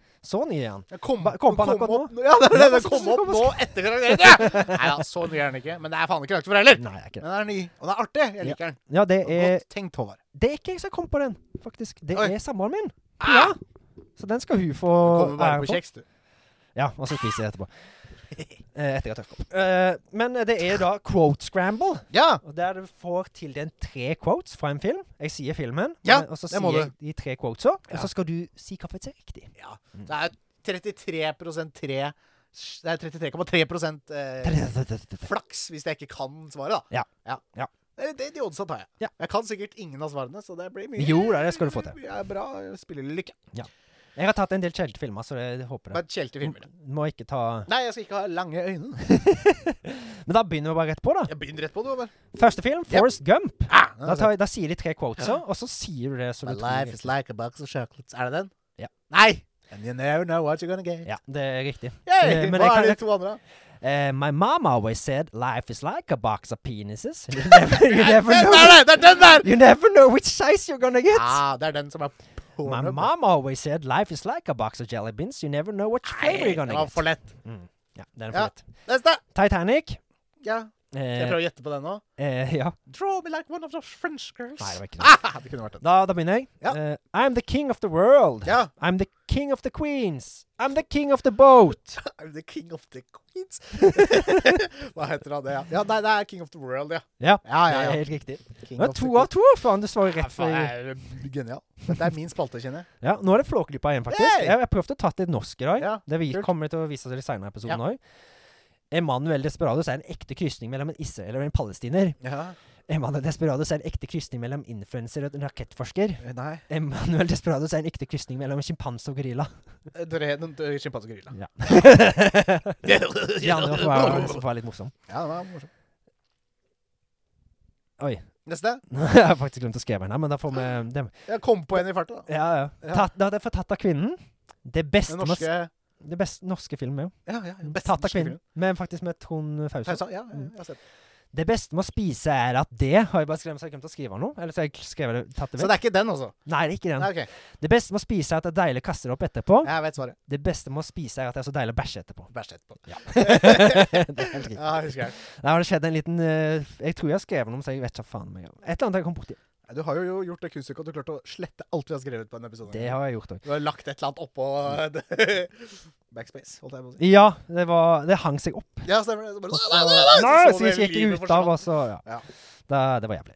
[SPEAKER 2] sånn igjen.
[SPEAKER 1] Den Kom,
[SPEAKER 2] Ba- kom på
[SPEAKER 1] den
[SPEAKER 2] han akkurat
[SPEAKER 1] opp, Ja, det, er det,
[SPEAKER 2] Ja,
[SPEAKER 1] den kom
[SPEAKER 2] så- så
[SPEAKER 1] opp
[SPEAKER 2] kom
[SPEAKER 1] nå etter karakteren. Nei da, så gæren ikke. Men det er faen ikke lagt for heller.
[SPEAKER 2] Nei, det er ikke
[SPEAKER 1] Men
[SPEAKER 2] det.
[SPEAKER 1] den er ny, og den er artig. Jeg liker den.
[SPEAKER 2] Ja, Eh, det er,
[SPEAKER 1] Godt tenkt, Håvard.
[SPEAKER 2] det er ikke jeg som kom på den, faktisk. Det
[SPEAKER 1] Oi.
[SPEAKER 2] er samboeren min.
[SPEAKER 1] Ah,
[SPEAKER 2] Så den skal hun få
[SPEAKER 1] kommer bare
[SPEAKER 2] æren
[SPEAKER 1] på kjeks, du.
[SPEAKER 2] Ja, og så spiser jeg etterpå. eh, etter jeg har tørket opp. Eh, men det er da quote scramble,
[SPEAKER 1] Ja,
[SPEAKER 2] og der du får tildelt tre quotes fra en film. Jeg sier filmen,
[SPEAKER 1] Ja,
[SPEAKER 2] men- og så
[SPEAKER 1] det må
[SPEAKER 2] sier jeg de tre quotesa, og
[SPEAKER 1] Ja.
[SPEAKER 2] så skal du si hva som er riktig.
[SPEAKER 1] det er 33 tre Det er 33,3 eh, flaks hvis jeg ikke kan svaret, da.
[SPEAKER 2] Ja. Ja.
[SPEAKER 1] Det, det, de oddsa tar jeg.
[SPEAKER 2] Ja.
[SPEAKER 1] Jeg kan sikkert ingen av svarene, så det blir mye
[SPEAKER 2] Jo, da, det skal du få til.
[SPEAKER 1] Jeg er bra spillelykke.
[SPEAKER 2] Jeg har tatt en del kjeldefilmer, så jeg håper det.
[SPEAKER 1] Bare kjelte filmer.
[SPEAKER 2] Må ikke ta
[SPEAKER 1] Nei, jeg skal ikke ha lange øyne.
[SPEAKER 2] Men da begynner vi bare rett på, da.
[SPEAKER 1] Jeg begynner rett på det. Bare.
[SPEAKER 2] Første film,
[SPEAKER 1] Ja.
[SPEAKER 2] Forest Gump.
[SPEAKER 1] Ah,
[SPEAKER 2] Da, tar, da sier de tre quotesa, og så sier du det som
[SPEAKER 1] My
[SPEAKER 2] du
[SPEAKER 1] life
[SPEAKER 2] tror.
[SPEAKER 1] is like a box of chocolates. Er det den?
[SPEAKER 2] Ja.
[SPEAKER 1] Nei! And you never know what you're gonna get.
[SPEAKER 2] Ja, det er riktig.
[SPEAKER 1] Yay!
[SPEAKER 2] Eh, men
[SPEAKER 1] Hva
[SPEAKER 2] jeg kan-
[SPEAKER 1] er de to andre?
[SPEAKER 2] Eh, my mom always said life is like a box of penises. You never, you
[SPEAKER 1] Nei,
[SPEAKER 2] never,
[SPEAKER 1] den
[SPEAKER 2] know,
[SPEAKER 1] der, det er den der!
[SPEAKER 2] you never know which size you're gonna get.
[SPEAKER 1] Ah, det er den som er
[SPEAKER 2] My
[SPEAKER 1] porno.
[SPEAKER 2] mom always said life is like a box of jelly beans. You never know which flavor
[SPEAKER 1] Nei,
[SPEAKER 2] you're
[SPEAKER 1] det
[SPEAKER 2] gonna
[SPEAKER 1] var
[SPEAKER 2] get.
[SPEAKER 1] for lett.
[SPEAKER 2] Mm. Ja, den er for
[SPEAKER 1] Ja.
[SPEAKER 2] lett.
[SPEAKER 1] Neste!
[SPEAKER 2] Titanic.
[SPEAKER 1] Ja, skal jeg
[SPEAKER 2] Eh,
[SPEAKER 1] prøve å gjette på den nå?
[SPEAKER 2] eh, ja.
[SPEAKER 1] Draw me like one of those French girls.
[SPEAKER 2] Nei, det var ikke det.
[SPEAKER 1] Ah, det kunne vært den.
[SPEAKER 2] Da, da begynner jeg.
[SPEAKER 1] Ja.
[SPEAKER 2] Eh, I'm the king of the world.
[SPEAKER 1] Ja.
[SPEAKER 2] I'm the king of the queens. I'm the king of the boat.
[SPEAKER 1] I'm the king of the queens. Hva heter han det? Ja, ja nei, det er King of the World, ja.
[SPEAKER 2] Ja,
[SPEAKER 1] Ja,
[SPEAKER 2] det
[SPEAKER 1] ja,
[SPEAKER 2] er
[SPEAKER 1] ja.
[SPEAKER 2] helt riktig.
[SPEAKER 1] King of
[SPEAKER 2] Det er
[SPEAKER 1] the
[SPEAKER 2] to
[SPEAKER 1] queens.
[SPEAKER 2] av to, faen. Du svarer
[SPEAKER 1] Ja,
[SPEAKER 2] rett
[SPEAKER 1] faen,
[SPEAKER 2] før.
[SPEAKER 1] det er Genial. Dette er min spalte, kjenner jeg.
[SPEAKER 2] Ja, nå er det Flåklypa igjen, faktisk.
[SPEAKER 1] Yay!
[SPEAKER 2] Jeg jeg prøvde å ta litt norsk i dag.
[SPEAKER 1] Ja,
[SPEAKER 2] det vi
[SPEAKER 1] kult.
[SPEAKER 2] kommer til å vise oss i senere i episoden
[SPEAKER 1] Ja.
[SPEAKER 2] òg. Emanuel Desperados er en ekte krysning mellom en israeler og en palestiner.
[SPEAKER 1] Ja,
[SPEAKER 2] Emanuel Desperados er en ekte krysning mellom influenser og en rakettforsker.
[SPEAKER 1] nei.
[SPEAKER 2] Emanuel Desperados er en ekte krysning mellom en sjimpanse og gorilla.
[SPEAKER 1] Dere er en sjimpanse gorilla.
[SPEAKER 2] Ja.
[SPEAKER 1] Ja,
[SPEAKER 2] De andre får være,
[SPEAKER 1] det
[SPEAKER 2] får være litt morsom.
[SPEAKER 1] var morsomt.
[SPEAKER 2] Oi.
[SPEAKER 1] Neste.
[SPEAKER 2] Jeg har faktisk glemt å skrive den her, men da får vi dem.
[SPEAKER 1] Jeg kom på en i farta. da.
[SPEAKER 2] Ja, ja.
[SPEAKER 1] Ja.
[SPEAKER 2] Tatt, da hadde jeg fått tatt av kvinnen. Det beste
[SPEAKER 1] Den
[SPEAKER 2] med
[SPEAKER 1] norske Ja,
[SPEAKER 2] s- Det beste norske filmen, jo.
[SPEAKER 1] ja. den beste
[SPEAKER 2] Tatt av
[SPEAKER 1] norske
[SPEAKER 2] kvinnen.
[SPEAKER 1] filmen.
[SPEAKER 2] Men faktisk med Trond Fausa.
[SPEAKER 1] Pausa. Ja, ja, jeg har sett den.
[SPEAKER 2] Det beste med å spise er at det Har jeg bare skrevet, så jeg glemte å skrive noe? Eller så har jeg skrevet det, tatt det
[SPEAKER 1] Så
[SPEAKER 2] vekk?
[SPEAKER 1] det er ikke den, altså?
[SPEAKER 2] Nei, det er ikke den.
[SPEAKER 1] Nei, OK.
[SPEAKER 2] Det beste med å spise er at det er deilig å kaste det opp etterpå.
[SPEAKER 1] Jeg vet svaret.
[SPEAKER 2] Det beste med å spise er at det er så deilig å bæsje etterpå.
[SPEAKER 1] Bæsj etterpå.
[SPEAKER 2] det er helt riktig.
[SPEAKER 1] Ja, husker jeg.
[SPEAKER 2] Der har det skjedd en liten eh, Jeg tror jeg har skrevet noe, så jeg vet ikke hva faen meg. Et eller annet jeg kom borti.
[SPEAKER 1] Du har jo gjort det kunststykket at du klarte å slette alt vi har skrevet på en episode.
[SPEAKER 2] Det har jeg gjort òg.
[SPEAKER 1] Du har lagt et eller annet oppå eh, Backspace, holdt jeg på å si.
[SPEAKER 2] Ja, det var Det hang seg opp.
[SPEAKER 1] Ja, stemmer det. Så
[SPEAKER 2] Og
[SPEAKER 1] bare,
[SPEAKER 2] så, nei,
[SPEAKER 1] Ah, Så
[SPEAKER 2] så jeg
[SPEAKER 1] hele livet
[SPEAKER 2] gikk ut av, og så
[SPEAKER 1] Ja.
[SPEAKER 2] Ja. Da, det var jævlig.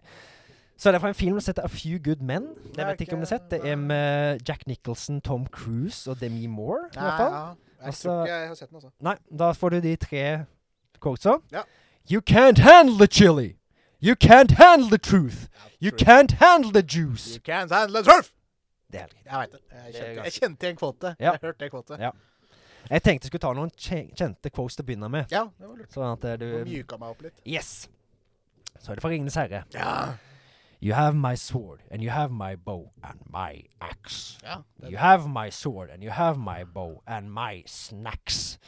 [SPEAKER 2] Så det er fra en film som heter A Few Good Men. Det vet jeg ikke om du har sett. Det er med Jack Nicholson, Tom Cruise og Demi Moore. I hvert fall.
[SPEAKER 1] Ja, ja. Jeg
[SPEAKER 2] Og så-
[SPEAKER 1] tror ikke jeg har sett den, altså.
[SPEAKER 2] Nei, da får du de tre quotesa.
[SPEAKER 1] Ja.
[SPEAKER 2] You can't handle the chili. You can't handle the truth. You can't handle the juice.
[SPEAKER 1] You can't handle the turf!
[SPEAKER 2] Det er helt riktig.
[SPEAKER 1] Jeg veit det. Jeg
[SPEAKER 2] Det er
[SPEAKER 1] kjente,
[SPEAKER 2] ganske-
[SPEAKER 1] jeg kjente igjen kvote.
[SPEAKER 2] Ja.
[SPEAKER 1] Jeg hørte det kvote.
[SPEAKER 2] Ja. Jeg tenkte jeg skulle ta noen kje- kjente quotes til å begynne med.
[SPEAKER 1] Ja, det var lurt.
[SPEAKER 2] Sånn at eh,
[SPEAKER 1] Du
[SPEAKER 2] du
[SPEAKER 1] mjuka meg opp litt.
[SPEAKER 2] Yes. Så er det fra Ringenes herre.
[SPEAKER 1] Ja.
[SPEAKER 2] You have my sword, and you have my bow, and my axe.
[SPEAKER 1] ja det,
[SPEAKER 2] You have my sword, and you have my bow, and my snacks.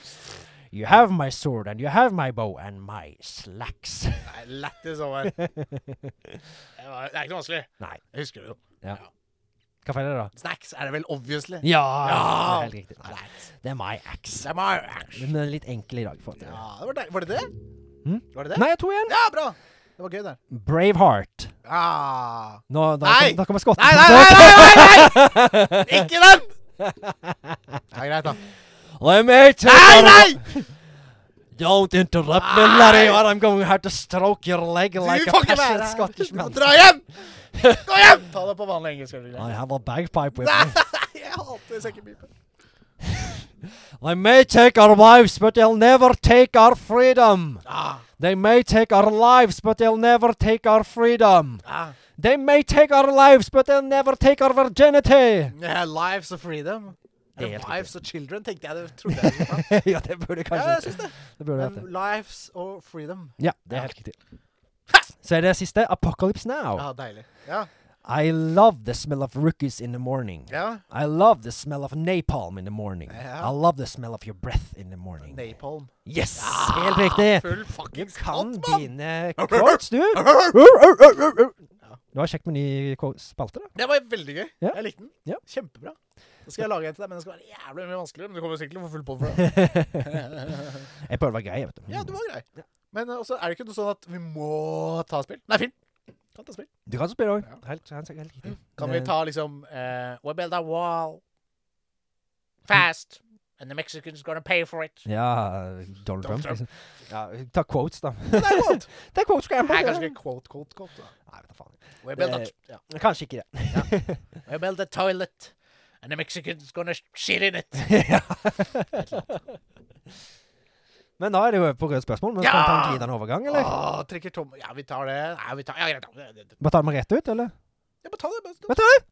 [SPEAKER 2] You have my sword, and you have my bow, and my slacks.
[SPEAKER 1] nei, lættis over. Det, var, det er ikke noe vanskelig.
[SPEAKER 2] Nei.
[SPEAKER 1] Jeg husker det jo.
[SPEAKER 2] Hva feil er det, da?
[SPEAKER 1] Snacks er det vel obviously.
[SPEAKER 2] Ja!
[SPEAKER 1] Ja.
[SPEAKER 2] Det er helt riktig. Nei,
[SPEAKER 1] Snacks.
[SPEAKER 2] det er my axe.
[SPEAKER 1] Det er my action.
[SPEAKER 2] Men den er litt enkel i dag. For
[SPEAKER 1] Ja, det var, deilig. var det det?
[SPEAKER 2] Mm.
[SPEAKER 1] Var det det?
[SPEAKER 2] Nei, jeg tror igjen.
[SPEAKER 1] Ja, bra! Det var gøy, der.
[SPEAKER 2] Braveheart.
[SPEAKER 1] Ah.
[SPEAKER 2] Nå, da,
[SPEAKER 1] Nei!
[SPEAKER 2] Da kommer skotten.
[SPEAKER 1] Nei, nei, nei, nei, nei, nei! Ikke den! Ja, greit, da.
[SPEAKER 2] Let me tell
[SPEAKER 1] Nei,
[SPEAKER 2] you-
[SPEAKER 1] nei!
[SPEAKER 2] Don't interrupt me,
[SPEAKER 1] Nei!
[SPEAKER 2] laddie, or I'm going to have to stroke your leg like
[SPEAKER 1] du
[SPEAKER 2] a
[SPEAKER 1] får ikke være
[SPEAKER 2] passionate
[SPEAKER 1] her!
[SPEAKER 2] Scottish
[SPEAKER 1] Du må
[SPEAKER 2] man.
[SPEAKER 1] dra hjem! Gå hjem! Ta det på vanlig engelsk. er det greit?
[SPEAKER 2] I have a bagpipe with me.
[SPEAKER 1] Nei, jeg hater sekkepipe.
[SPEAKER 2] They may take our lives, but they'll never take our freedom.
[SPEAKER 1] Ah,
[SPEAKER 2] They may take our lives, but they'll never take our freedom.
[SPEAKER 1] ah.
[SPEAKER 2] They may take our lives, but they'll never take our virginity.
[SPEAKER 1] Yeah, lives of freedom.
[SPEAKER 2] Det er
[SPEAKER 1] Eh,
[SPEAKER 2] helt riktig.
[SPEAKER 1] Wives of children, tenkte jeg. Det trodde jeg. det var.
[SPEAKER 2] ja, det burde
[SPEAKER 1] Ja,
[SPEAKER 2] kanskje
[SPEAKER 1] jeg syns det.
[SPEAKER 2] Det burde vært det.
[SPEAKER 1] Men lives of freedom.
[SPEAKER 2] Ja, det er
[SPEAKER 1] Ja.
[SPEAKER 2] helt riktig. Så er det siste. Apocalypse Now.
[SPEAKER 1] Ja, deilig. Ja.
[SPEAKER 2] I love the smell of rookies in the morning.
[SPEAKER 1] ja.
[SPEAKER 2] I love the smell of napalm in the morning.
[SPEAKER 1] Ja.
[SPEAKER 2] I love the smell of your breath in the morning.
[SPEAKER 1] Napalm.
[SPEAKER 2] Yes!
[SPEAKER 1] Ja,
[SPEAKER 2] Helt riktig.
[SPEAKER 1] Full
[SPEAKER 2] Du
[SPEAKER 1] fuckings
[SPEAKER 2] kan
[SPEAKER 1] kant, mann!
[SPEAKER 2] dine quotes, du. Du har kjekt med ny quote- spalte, da.
[SPEAKER 1] Det var veldig gøy.
[SPEAKER 2] Ja.
[SPEAKER 1] Jeg likte den.
[SPEAKER 2] Ja.
[SPEAKER 1] Kjempebra. Da skal jeg lage en til deg, men den skal være jævlig mye vanskeligere. Men du kommer sikkert til å få full på for det.
[SPEAKER 2] Jeg prøver å være grei, vet du.
[SPEAKER 1] Ja, du var grei. Men eh, også er det ikke noe sånn at vi må ta spill? Nei, film. Kan ta spill.
[SPEAKER 2] Du kan spille òg.
[SPEAKER 1] Ja. Mm.
[SPEAKER 2] Helt, helt, helt riktig.
[SPEAKER 1] Kan vi ta liksom eh, We build a wall fast And the Mexicans gonna pay for it.
[SPEAKER 2] Ja, Donald Trump.
[SPEAKER 1] Trump.
[SPEAKER 2] Liksom. Ja, ta quotes, da.
[SPEAKER 1] Det er godt.
[SPEAKER 2] Det er quotes scramble.
[SPEAKER 1] Nei,
[SPEAKER 2] ja.
[SPEAKER 1] kanskje ikke quote, quote, quote. da.
[SPEAKER 2] Nei, vet da faen.
[SPEAKER 1] We build, a,
[SPEAKER 2] Eh.
[SPEAKER 1] yeah.
[SPEAKER 2] Kanskje ikke det.
[SPEAKER 1] We build a toilet. And the Mexicans gonna shit in it.
[SPEAKER 2] ja. Men da er det jo over på røde spørsmål. Men
[SPEAKER 1] Ja! Ah.
[SPEAKER 2] Skal vi ta en glidende overgang, eller?
[SPEAKER 1] Åh, trekker tomme. Ja, vi tar det. Nei, vi tar Ja, greit. da. Det- det-
[SPEAKER 2] Bare ta dem rett ut, eller?
[SPEAKER 1] Ja, bare ta det. Bare.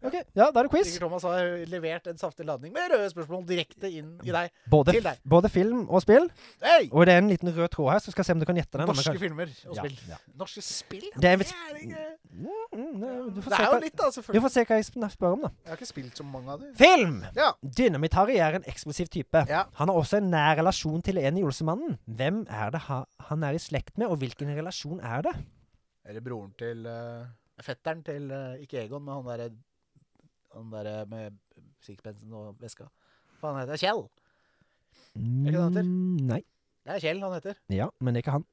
[SPEAKER 2] Ok, Ja, da er det quiz.
[SPEAKER 1] Trekker Thomas har levert en saftig ladning med røde spørsmål direkte inn i deg.
[SPEAKER 2] Både,
[SPEAKER 1] Til deg.
[SPEAKER 2] f- både film og spill.
[SPEAKER 1] Hei!
[SPEAKER 2] Og det er en liten rød tråd her, så skal jeg se om du kan gjette den. men
[SPEAKER 1] Norske
[SPEAKER 2] kan-
[SPEAKER 1] filmer og
[SPEAKER 2] Ja,
[SPEAKER 1] spill.
[SPEAKER 2] ja.
[SPEAKER 1] Norske spill?
[SPEAKER 2] Det er-
[SPEAKER 1] ikke-
[SPEAKER 2] Mm, mm, Du
[SPEAKER 1] Det
[SPEAKER 2] får se
[SPEAKER 1] er jo
[SPEAKER 2] hva-
[SPEAKER 1] litt, da,
[SPEAKER 2] du
[SPEAKER 1] selvfølgelig.
[SPEAKER 2] får se hva jeg sp- spør om, da.
[SPEAKER 1] Jeg har ikke spilt så mange av dem.
[SPEAKER 2] Film!
[SPEAKER 1] Ja.
[SPEAKER 2] Dynamitt-Harry er en eksplosiv type.
[SPEAKER 1] Ja.
[SPEAKER 2] Han har også en nær relasjon til en i Olsemannen. Hvem er det ha han er i slekt med, og hvilken relasjon er det?
[SPEAKER 1] Er det broren til eh, Fetteren til eh, Ikke Egon, men han derre Han derre med sixpensen og veska. Hva han heter Kjell. Er ikke det han heter?
[SPEAKER 2] Mm, Nei.
[SPEAKER 1] Det er Kjell han heter.
[SPEAKER 2] Ja, men det er ikke han.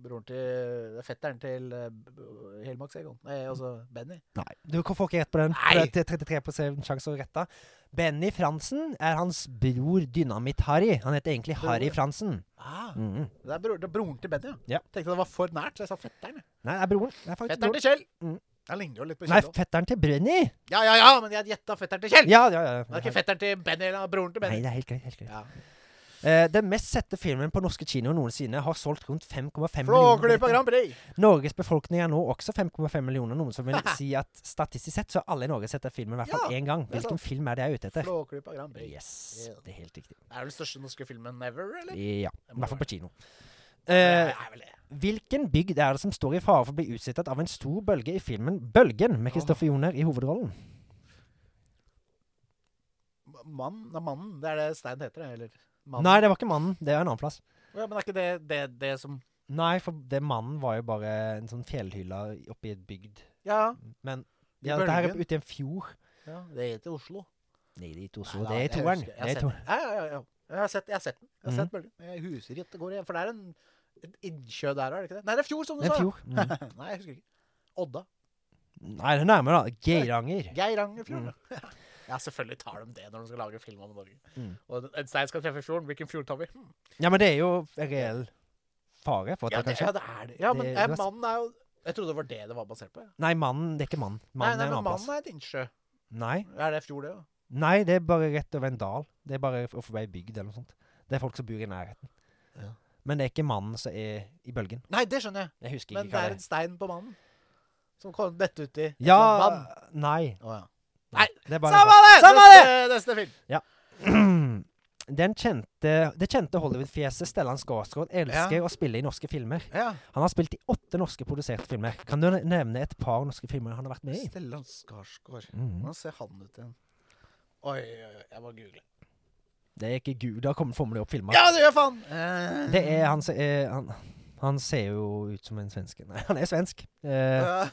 [SPEAKER 1] Broren til det er Fetteren til eh, B- B- Helmaks Egon. Nei, altså Benny.
[SPEAKER 2] Nei. Du får ikke rett på den.
[SPEAKER 1] Nei.
[SPEAKER 2] Det er 33 sjanse å rette. Benny Fransen er hans bror Dynamitt-Harry. Han heter egentlig Harry
[SPEAKER 1] Bror.
[SPEAKER 2] Fransen.
[SPEAKER 1] Ah,
[SPEAKER 2] Mm.
[SPEAKER 1] det, er bror, det er broren til Benny,
[SPEAKER 2] Ja.
[SPEAKER 1] Tenkte det var for nært, så jeg sa fetteren. jeg.
[SPEAKER 2] Nei, det er broren. Det er faktisk
[SPEAKER 1] Fetteren
[SPEAKER 2] broren.
[SPEAKER 1] til Kjell.
[SPEAKER 2] Mm.
[SPEAKER 1] Han ligner jo litt på
[SPEAKER 2] Nei,
[SPEAKER 1] Kjell. også.
[SPEAKER 2] fetteren til Brenny.
[SPEAKER 1] Ja, ja, ja, men jeg gjetta fetteren til Kjell!
[SPEAKER 2] Ja, ja, ja.
[SPEAKER 1] Det er ikke fetteren til Benny eller broren til
[SPEAKER 2] Nei,
[SPEAKER 1] Benny.
[SPEAKER 2] det er helt greit. Helt greit.
[SPEAKER 1] Ja.
[SPEAKER 2] Eh, den mest sette filmen på norske kinoer noensinne har solgt rundt 5,5 millioner.
[SPEAKER 1] Flåklypa Grand Prix!
[SPEAKER 2] Norges befolkning er nå også 5,5 millioner, noen som vil si at statistisk sett så har alle i Norge sett den filmen i hvert fall
[SPEAKER 1] Ja,
[SPEAKER 2] én gang.
[SPEAKER 1] det er
[SPEAKER 2] Hvilken
[SPEAKER 1] sant.
[SPEAKER 2] film er det jeg er ute etter?
[SPEAKER 1] Flåklypa Grand Prix.
[SPEAKER 2] Yes,
[SPEAKER 1] Ja.
[SPEAKER 2] det er helt riktig.
[SPEAKER 1] Det er vel den største norske filmen ever, eller?
[SPEAKER 2] Ja, i hvert fall på kino.
[SPEAKER 1] Det
[SPEAKER 2] Eh,
[SPEAKER 1] er vel det.
[SPEAKER 2] hvilken bygd er det som står i fare for å bli utsettet av en stor bølge i filmen 'Bølgen' med Kristoffer Joner i hovedrollen?
[SPEAKER 1] Mann? Nei, mannen. Det er det Stein heter, det, eller? Mannen.
[SPEAKER 2] Nei, det var ikke mannen. Det er en annen plass.
[SPEAKER 1] Å Ja, men er ikke det det, det som
[SPEAKER 2] Nei, for det mannen var jo bare en sånn fjellhylle oppi et bygd.
[SPEAKER 1] Ja.
[SPEAKER 2] Men
[SPEAKER 1] I
[SPEAKER 2] ja, dette her er
[SPEAKER 1] Bølgen.
[SPEAKER 2] ute i en fjord.
[SPEAKER 1] ja det heter Oslo.
[SPEAKER 2] Nei, det er ikke
[SPEAKER 1] Nei,
[SPEAKER 2] Oslo.
[SPEAKER 1] da,
[SPEAKER 2] Det er i
[SPEAKER 1] jeg
[SPEAKER 2] toeren.
[SPEAKER 1] husker-
[SPEAKER 2] Det
[SPEAKER 1] jeg har
[SPEAKER 2] er i
[SPEAKER 1] sett
[SPEAKER 2] toeren.
[SPEAKER 1] den. Ja, ja, ja. Jeg har sett, jeg har sett den. Jeg har
[SPEAKER 2] Mhm.
[SPEAKER 1] sett bølgen. Jeg husker ikke at det går igjen, for det er en et innsjø der, er det ikke det? Nei, det er fjord, som du
[SPEAKER 2] Det er
[SPEAKER 1] sa!
[SPEAKER 2] en fjord. Mm.
[SPEAKER 1] Nei, jeg husker ikke. Odda.
[SPEAKER 2] Nei, det er nærmere, da. Geiranger.
[SPEAKER 1] Geirangerfjorden. ja, selvfølgelig tar de det når de skal lage film om Norge.
[SPEAKER 2] Mm.
[SPEAKER 1] Og en stein skal treffe fjorden. Hvilken fjord tar vi? Hm.
[SPEAKER 2] Ja, men det er jo en reell fare for at
[SPEAKER 1] Ja,
[SPEAKER 2] det
[SPEAKER 1] det,
[SPEAKER 2] kan skje.
[SPEAKER 1] ja, det er det. Ja, men
[SPEAKER 2] Det-
[SPEAKER 1] eh,
[SPEAKER 2] du har s-
[SPEAKER 1] mannen er jo Jeg trodde det var det det var basert på. Ja.
[SPEAKER 2] Nei, mannen. Det er ikke mann.
[SPEAKER 1] Nei,
[SPEAKER 2] Mannen
[SPEAKER 1] nei,
[SPEAKER 2] er en
[SPEAKER 1] men
[SPEAKER 2] annen plass.
[SPEAKER 1] mannen er et innsjø.
[SPEAKER 2] Nei.
[SPEAKER 1] Er det fjord, det òg?
[SPEAKER 2] Nei, det er bare rett over en dal. Det er bare f- forbi ei bygd eller noe sånt. Det er folk som bor i nærheten.
[SPEAKER 1] Ja.
[SPEAKER 2] Men det er ikke mannen som er i bølgen.
[SPEAKER 1] Nei, det skjønner jeg.
[SPEAKER 2] Jeg husker
[SPEAKER 1] Men
[SPEAKER 2] ikke
[SPEAKER 1] det
[SPEAKER 2] hva
[SPEAKER 1] er en stein på mannen. Som kom dette uti. et
[SPEAKER 2] Ja
[SPEAKER 1] eller annet vann.
[SPEAKER 2] Nei.
[SPEAKER 1] Å, ja. Nei,
[SPEAKER 2] Det er
[SPEAKER 1] Samme det!
[SPEAKER 2] Samme
[SPEAKER 1] neste, neste film.
[SPEAKER 2] Den kjente, det kjente Hollywood-fjeset Stellan Skarsgård elsker å spille i norske filmer.
[SPEAKER 1] Ja.
[SPEAKER 2] Han har spilt i åtte norske produserte filmer. Kan du ne- nevne et par norske filmer han har vært med i?
[SPEAKER 1] Stellan Skarsgård.
[SPEAKER 2] Mhm.
[SPEAKER 1] Hvordan ser han ut igjen? Oi, oi, oi. Jeg må google.
[SPEAKER 2] Det er ikke Gud, da kommer formelig opp filmer.
[SPEAKER 1] Ja, det gjør faen! Eh,
[SPEAKER 2] Det er han som er han, han ser jo ut som en svenske. Nei, han er svensk. Eh,
[SPEAKER 1] Ja.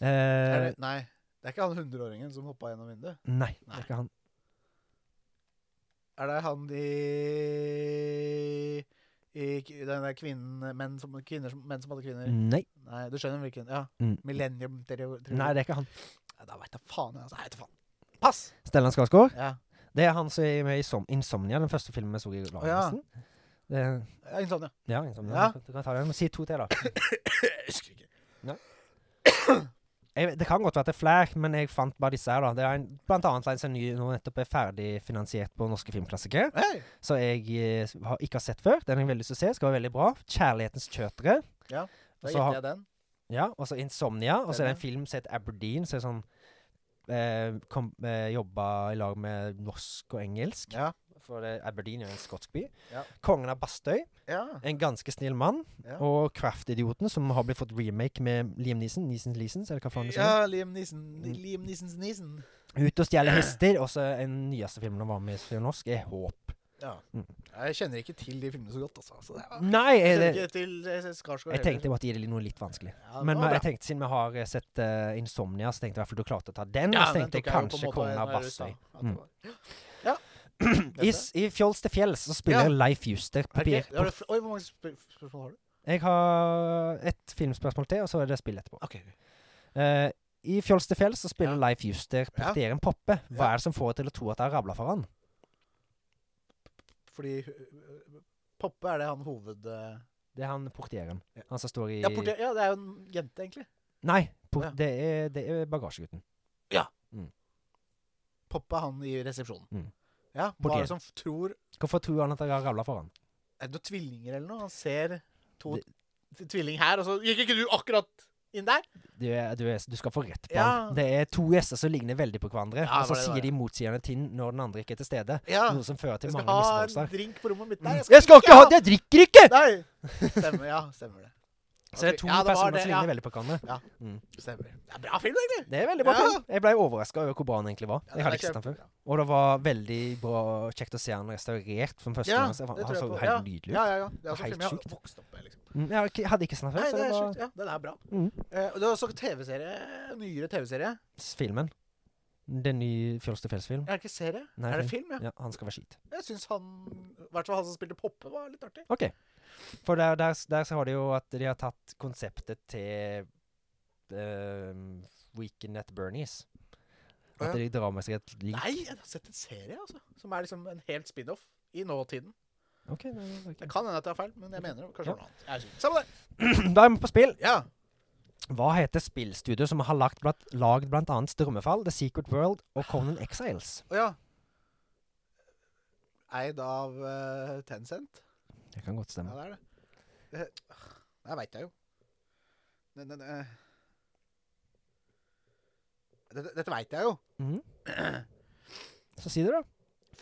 [SPEAKER 1] Er
[SPEAKER 2] eh,
[SPEAKER 1] det- Nei. Det er ikke han hundreåringen som hoppa gjennom vinduet.
[SPEAKER 2] nei, det
[SPEAKER 1] Nei.
[SPEAKER 2] er ikke han.
[SPEAKER 1] Er det han i, i k- Den der kvinnen Menn som, kvinner, som- menn som hadde kvinner.
[SPEAKER 2] Nei,
[SPEAKER 1] Nei, du skjønner hvilken? Ja.
[SPEAKER 2] Mm.
[SPEAKER 1] Millennium Trio.
[SPEAKER 2] nei, det er ikke han.
[SPEAKER 1] Da veit jeg faen. jeg, Altså. Jeg vet da faen. Pass!
[SPEAKER 2] Stellan Skarsgård.
[SPEAKER 1] Ja.
[SPEAKER 2] Det er han som er med i Som Insomnia, den første filmen vi så i lag.
[SPEAKER 1] Å, ja.
[SPEAKER 2] nesten. Det er-
[SPEAKER 1] Ja, Insomnia.
[SPEAKER 2] Ja, Insomnia.
[SPEAKER 1] Ja.
[SPEAKER 2] Du kan ta den. Si to til, da.
[SPEAKER 1] Jeg husker ikke.
[SPEAKER 2] Jeg, vet- det kan godt være at det er flere, men jeg fant bare disse her. da. Det er en, blant annet en som ny, nå nettopp er ferdig finansiert på Norske Filmklassikere.
[SPEAKER 1] Hei!
[SPEAKER 2] Så jeg eh, har ikke har sett før. Den har jeg veldig lyst til å se. Skal være veldig bra. 'Kjærlighetens kjøtere'.
[SPEAKER 1] Ja,
[SPEAKER 2] Og
[SPEAKER 1] Da
[SPEAKER 2] så har-
[SPEAKER 1] gjetter jeg den.
[SPEAKER 2] ja, og så 'Insomnia'. Og så er det
[SPEAKER 1] Stemmer.
[SPEAKER 2] en film som heter Aberdeen, som er sånn eh, kom, eh, Jobba i lag med norsk og engelsk.
[SPEAKER 1] Ja.
[SPEAKER 2] For det, Aberdeen er jo en skotsk by.
[SPEAKER 1] Ja.
[SPEAKER 2] 'Kongen av Bastøy'.
[SPEAKER 1] ja.
[SPEAKER 2] En ganske snill mann.
[SPEAKER 1] Ja.
[SPEAKER 2] Og 'Craft-idioten', som har blitt fått remake med Liam Neeson. Neesons Leesons, eller hva faen det heter.
[SPEAKER 1] Ja, Liam Neeson.
[SPEAKER 2] Mm.
[SPEAKER 1] Liam Neesons Neeson.
[SPEAKER 2] Ut og stjele hester. Og så en nyeste film han var med i som er norsk, er 'Håp'.
[SPEAKER 1] Ja.
[SPEAKER 2] Mm.
[SPEAKER 1] Jeg kjenner ikke til de filmene så godt, altså. Så det er,
[SPEAKER 2] Nei,
[SPEAKER 1] jeg kjenner
[SPEAKER 2] Mm. er det,
[SPEAKER 1] ikke til eh, Skarsgård
[SPEAKER 2] jeg tenkte jeg måtte gi det noe litt vanskelig.
[SPEAKER 1] ja, det var
[SPEAKER 2] Men men
[SPEAKER 1] bra.
[SPEAKER 2] jeg tenkte, siden vi har eh, sett eh, Insomnia, så tenkte jeg i hvert fall du klarte å ta den.
[SPEAKER 1] Ja,
[SPEAKER 2] og så
[SPEAKER 1] den tok jo
[SPEAKER 2] tenkte jeg
[SPEAKER 1] på en
[SPEAKER 2] kanskje
[SPEAKER 1] måte
[SPEAKER 2] Kongen
[SPEAKER 1] når jeg
[SPEAKER 2] av
[SPEAKER 1] sa
[SPEAKER 2] Bastøy.
[SPEAKER 1] at det
[SPEAKER 2] Mm.
[SPEAKER 1] var- Ja.
[SPEAKER 2] I,
[SPEAKER 1] Dette.
[SPEAKER 2] s- I Fjols til fjells så spiller
[SPEAKER 1] Ja.
[SPEAKER 2] Leif Juster.
[SPEAKER 1] Er
[SPEAKER 2] På,
[SPEAKER 1] det
[SPEAKER 2] bir-
[SPEAKER 1] ikke- har
[SPEAKER 2] på,
[SPEAKER 1] du fl- Oi, hvor mange sp- spørsmål har du?
[SPEAKER 2] jeg har et filmspørsmål til, og så er det spill etterpå.
[SPEAKER 1] Ok.
[SPEAKER 2] Eh, i Fjols til fjells så spiller
[SPEAKER 1] Ja.
[SPEAKER 2] Leif Juster portieren Poppe. Hva er det som får til å tro at det har rabla for han?
[SPEAKER 1] Fordi øh, Poppe er det han hoved... øh,
[SPEAKER 2] Det er han portieren.
[SPEAKER 1] Ja.
[SPEAKER 2] Han som står i
[SPEAKER 1] Ja, portier, ja, det er jo en jente, egentlig.
[SPEAKER 2] Nei, port
[SPEAKER 1] Ja.
[SPEAKER 2] det, er, det er bagasjegutten.
[SPEAKER 1] Poppe er han i resepsjonen.
[SPEAKER 2] Mm.
[SPEAKER 1] Ja, hva
[SPEAKER 2] Portier.
[SPEAKER 1] er det som f- tror
[SPEAKER 2] Hvorfor tror han at det har rabla for han?
[SPEAKER 1] Er det noen tvillinger eller noe? Han ser to t- tvilling her, og så gikk ikke du akkurat inn der?
[SPEAKER 2] Du, er, du, er, du skal få rett på
[SPEAKER 1] Ja.
[SPEAKER 2] han. Det er to gjester som ligner veldig på hverandre,
[SPEAKER 1] Ja,
[SPEAKER 2] og så
[SPEAKER 1] det var det.
[SPEAKER 2] sier de motsigende ting når den andre ikke er til stede.
[SPEAKER 1] Ja.
[SPEAKER 2] Noe som fører til
[SPEAKER 1] Jeg skal
[SPEAKER 2] mange
[SPEAKER 1] ha en
[SPEAKER 2] misforståelser.
[SPEAKER 1] drink på rommet mitt
[SPEAKER 2] Mm.
[SPEAKER 1] der.
[SPEAKER 2] Jeg skal ikke ha det! Jeg drikker ikke!
[SPEAKER 1] Nei! Stemmer, ja. Stemmer det.
[SPEAKER 2] Så det er to
[SPEAKER 1] Ja, det var
[SPEAKER 2] personer
[SPEAKER 1] det,
[SPEAKER 2] som
[SPEAKER 1] ja.
[SPEAKER 2] ligner veldig på hverandre.
[SPEAKER 1] Stemmer. Det er bra film, egentlig.
[SPEAKER 2] Det er veldig bra.
[SPEAKER 1] Ja.
[SPEAKER 2] film. Jeg ble overraska over hvor bra den egentlig var. jeg hadde ikke sett den før. Og det var veldig bra, kjekt å se han restaurert for den første
[SPEAKER 1] Ja,
[SPEAKER 2] gang. Så
[SPEAKER 1] det
[SPEAKER 2] han
[SPEAKER 1] tror
[SPEAKER 2] han
[SPEAKER 1] jeg
[SPEAKER 2] så
[SPEAKER 1] på.
[SPEAKER 2] helt nydelig ut.
[SPEAKER 1] Ja, ja, ja. Det er
[SPEAKER 2] Helt
[SPEAKER 1] også film jeg
[SPEAKER 2] sjukt.
[SPEAKER 1] har vokst opp med. liksom.
[SPEAKER 2] Mm, Jeg har ikke- hadde ikke sett den før,
[SPEAKER 1] Nei, det
[SPEAKER 2] så
[SPEAKER 1] er
[SPEAKER 2] det var
[SPEAKER 1] sjukt. Ja, den er bra.
[SPEAKER 2] Mm.
[SPEAKER 1] Eh, og det er også TV-serie. Nyere TV-serie.
[SPEAKER 2] s- filmen. Den nye Fjols til fjells-film.
[SPEAKER 1] Er det ikke serie?
[SPEAKER 2] Nei,
[SPEAKER 1] er det film, ja?
[SPEAKER 2] Ja, han skal være skit.
[SPEAKER 1] Jeg syns han I hvert fall han som spilte Poppe, var litt artig.
[SPEAKER 2] OK. For der, der, der så har de jo at de har tatt konseptet til eh, Weekend at Bernies.
[SPEAKER 1] Å, ja.
[SPEAKER 2] At de drar med seg et lik.
[SPEAKER 1] Nei, jeg har sett en serie, altså. Som er liksom en helt spin-off i nåtiden.
[SPEAKER 2] OK. Nei, nei,
[SPEAKER 1] Det
[SPEAKER 2] ok.
[SPEAKER 1] kan hende at jeg har feil, men jeg mener det kanskje
[SPEAKER 2] Ja.
[SPEAKER 1] var noe annet. Jeg er usikker. Samme det.
[SPEAKER 2] Da er vi på spill.
[SPEAKER 1] Ja.
[SPEAKER 2] Hva heter spillstudio som har lagd blant, lagd blant annet Strømmefall, The Secret World og Conan Exiles?
[SPEAKER 1] Og ja. Eid av uh, Tencent.
[SPEAKER 2] Det kan godt
[SPEAKER 1] Ja,
[SPEAKER 2] stemme.
[SPEAKER 1] det er det. Det, det veit jeg jo. Den, den, eh. dette dette veit jeg jo.
[SPEAKER 2] Mhm. Så si det, da.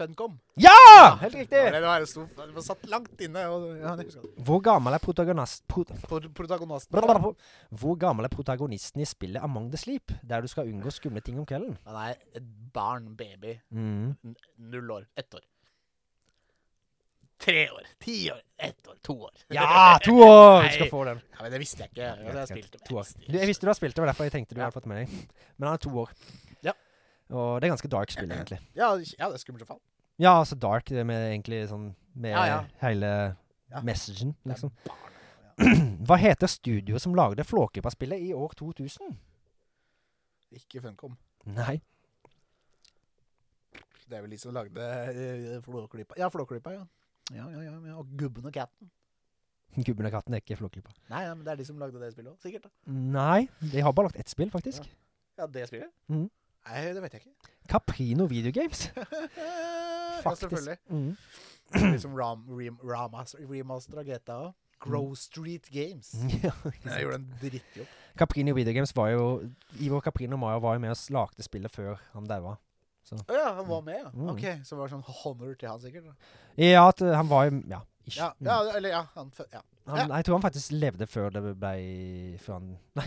[SPEAKER 1] Funcom.
[SPEAKER 2] Ja! Helt
[SPEAKER 1] Det
[SPEAKER 2] riktig.
[SPEAKER 1] var, det var en stor, det var satt langt inne. Og, ja, jeg husker det.
[SPEAKER 2] Hvor gammel er protagonist... Pro
[SPEAKER 1] Pro- protagonisten
[SPEAKER 2] Blablabla. Hvor gammel er protagonisten i spillet Among the Sleep, der du skal unngå skumle ting om kvelden?
[SPEAKER 1] Han er et barn, baby.
[SPEAKER 2] Mm.
[SPEAKER 1] N- Null år. Ett år. Tre år. Ti år. Ett år. To år.
[SPEAKER 2] Ja, to år! Du skal
[SPEAKER 1] Nei.
[SPEAKER 2] få den.
[SPEAKER 1] Ja, men det visste jeg ikke. Jeg, jeg,
[SPEAKER 2] Greit, greit.
[SPEAKER 1] spilte
[SPEAKER 2] To år.
[SPEAKER 1] mest.
[SPEAKER 2] Du, jeg visste du har spilt det, det var derfor jeg tenkte du
[SPEAKER 1] Ja.
[SPEAKER 2] hadde fått med deg. Men han er to år.
[SPEAKER 1] Ja.
[SPEAKER 2] Og det er ganske dark spill, egentlig.
[SPEAKER 1] Ja, ja, det er skummelt som faen.
[SPEAKER 2] Ja, altså dark det med egentlig sånn Med
[SPEAKER 1] Ja, ja.
[SPEAKER 2] hele
[SPEAKER 1] Ja.
[SPEAKER 2] messagen,
[SPEAKER 1] Det er
[SPEAKER 2] liksom.
[SPEAKER 1] barn.
[SPEAKER 2] Hva heter studioet som lagde Flåklypa-spillet i år 2000?
[SPEAKER 1] Ikke Funcom.
[SPEAKER 2] Nei.
[SPEAKER 1] Det er vel de som lagde eh, Flåklypa. Ja, Flåklypa, ja. Ja, ja, ja, ja. Og Gubben og Catten.
[SPEAKER 2] Gubben og katten er ikke Flåklypa.
[SPEAKER 1] Nei, ja, men det er de som lagde det spillet òg, sikkert. da.
[SPEAKER 2] Nei, de har bare lagt ett spill, faktisk.
[SPEAKER 1] Ja, det spillet?
[SPEAKER 2] Mhm.
[SPEAKER 1] Nei, det vet jeg ikke.
[SPEAKER 2] Caprino Videogames.
[SPEAKER 1] ja,
[SPEAKER 2] Faktisk.
[SPEAKER 1] selvfølgelig.
[SPEAKER 2] Mm.
[SPEAKER 1] Liksom Ram, rem, Ramas, remaster av GTA òg. Grow Street Games.
[SPEAKER 2] Mm. Ja.
[SPEAKER 1] Jeg gjorde en drittjobb.
[SPEAKER 2] Caprino Videogames var jo Ivor Caprino Mayo var jo med og lagde spillet før han daua.
[SPEAKER 1] Å ja, han var med, ja.
[SPEAKER 2] Mhm.
[SPEAKER 1] Ok, Så var det sånn honor til han, sikkert. da.
[SPEAKER 2] Mm. Ja, at eh, han var jo Ja, ish.
[SPEAKER 1] Ja,
[SPEAKER 2] Mm.
[SPEAKER 1] ja eller ja. Han, fø- ja.
[SPEAKER 2] Han, Jeg tror han faktisk levde før det ble Før han Nei,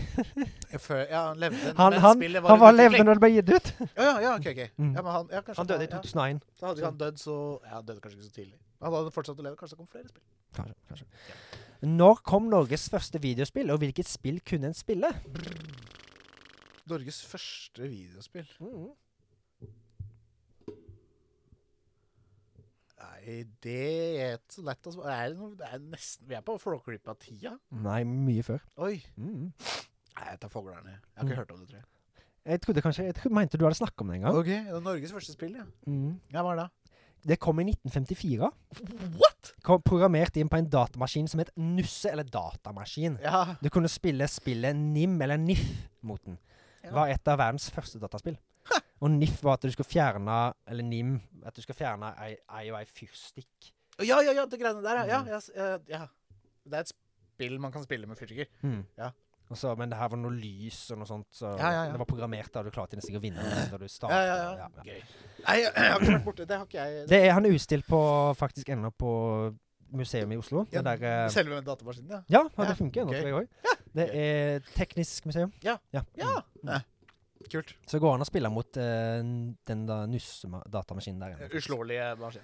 [SPEAKER 1] Før, ja, han levde,
[SPEAKER 2] han,
[SPEAKER 1] men
[SPEAKER 2] han,
[SPEAKER 1] spillet
[SPEAKER 2] han var
[SPEAKER 1] under
[SPEAKER 2] levende
[SPEAKER 1] utvikling.
[SPEAKER 2] når det ble gitt ut!
[SPEAKER 1] Å ja, ja, ok, ok.
[SPEAKER 2] Mm.
[SPEAKER 1] Ja, men han, ja, kanskje
[SPEAKER 2] Han døde i Mm.
[SPEAKER 1] ja.
[SPEAKER 2] 2001.
[SPEAKER 1] Så hadde ikke han dødd så ja, Han døde kanskje ikke så tidlig. Han hadde fortsatt å leve. Kanskje det kom flere spill.
[SPEAKER 2] Kanskje, kanskje. Når kom Norges første videospill, og hvilket spill kunne en spille?
[SPEAKER 1] Norges første videospill
[SPEAKER 2] Mm.
[SPEAKER 1] Nei, det er ikke så lett å svare. Er det, noe, det er nesten Vi er på Flåklypa-tida.
[SPEAKER 2] Nei, mye før.
[SPEAKER 1] Oi.
[SPEAKER 2] Mm.
[SPEAKER 1] Nei, jeg tar fuglerne. Jeg har ikke
[SPEAKER 2] Mm.
[SPEAKER 1] hørt om det, tror jeg.
[SPEAKER 2] Jeg trodde kanskje Jeg trodde, mente du hadde snakket om det en gang.
[SPEAKER 1] Ok, det er Norges første spill, ja.
[SPEAKER 2] Mm.
[SPEAKER 1] Ja, Hva er det?
[SPEAKER 2] Det kom i 1954.
[SPEAKER 1] What?!
[SPEAKER 2] Kom, programmert inn på en datamaskin som het Nusse, eller Datamaskin.
[SPEAKER 1] Ja.
[SPEAKER 2] Du kunne spille spillet NIM, eller NIF, mot den.
[SPEAKER 1] Ja.
[SPEAKER 2] Var et av verdens første dataspill. Og NIF var at du skulle fjerne Eller NIM At du skulle fjerne ei, ei og ei fyrstikk.
[SPEAKER 1] ja, ja, ja, det greiene der, ja.
[SPEAKER 2] Mm.
[SPEAKER 1] Ja, ja, ja. Det er et spill man kan spille med fyrstikker. Ja.
[SPEAKER 2] Og så, men det her var noe lys og noe sånt, så
[SPEAKER 1] Hmm. Ja, ja, ja.
[SPEAKER 2] det var programmert da du klarte nesten ikke å vinne. Da du
[SPEAKER 1] Ja,
[SPEAKER 2] startet,
[SPEAKER 1] ja, ja. Gøy. Nei, jeg har ikke vært borte. Det har ikke jeg.
[SPEAKER 2] Det er han er utstilt på faktisk ennå på museum i Oslo.
[SPEAKER 1] Ja,
[SPEAKER 2] Ja, der, eh,
[SPEAKER 1] Selve datamaskinen, ja.
[SPEAKER 2] ja, ja,
[SPEAKER 1] Ja,
[SPEAKER 2] det funker ennå,
[SPEAKER 1] gøy.
[SPEAKER 2] tror jeg òg. Det er teknisk museum.
[SPEAKER 1] Ja.
[SPEAKER 2] Mm.
[SPEAKER 1] Ja. Nei. Kult.
[SPEAKER 2] Så går det an å spille mot eh, den da nusse-datamaskinen der ennå.
[SPEAKER 1] Uslåelige maskin.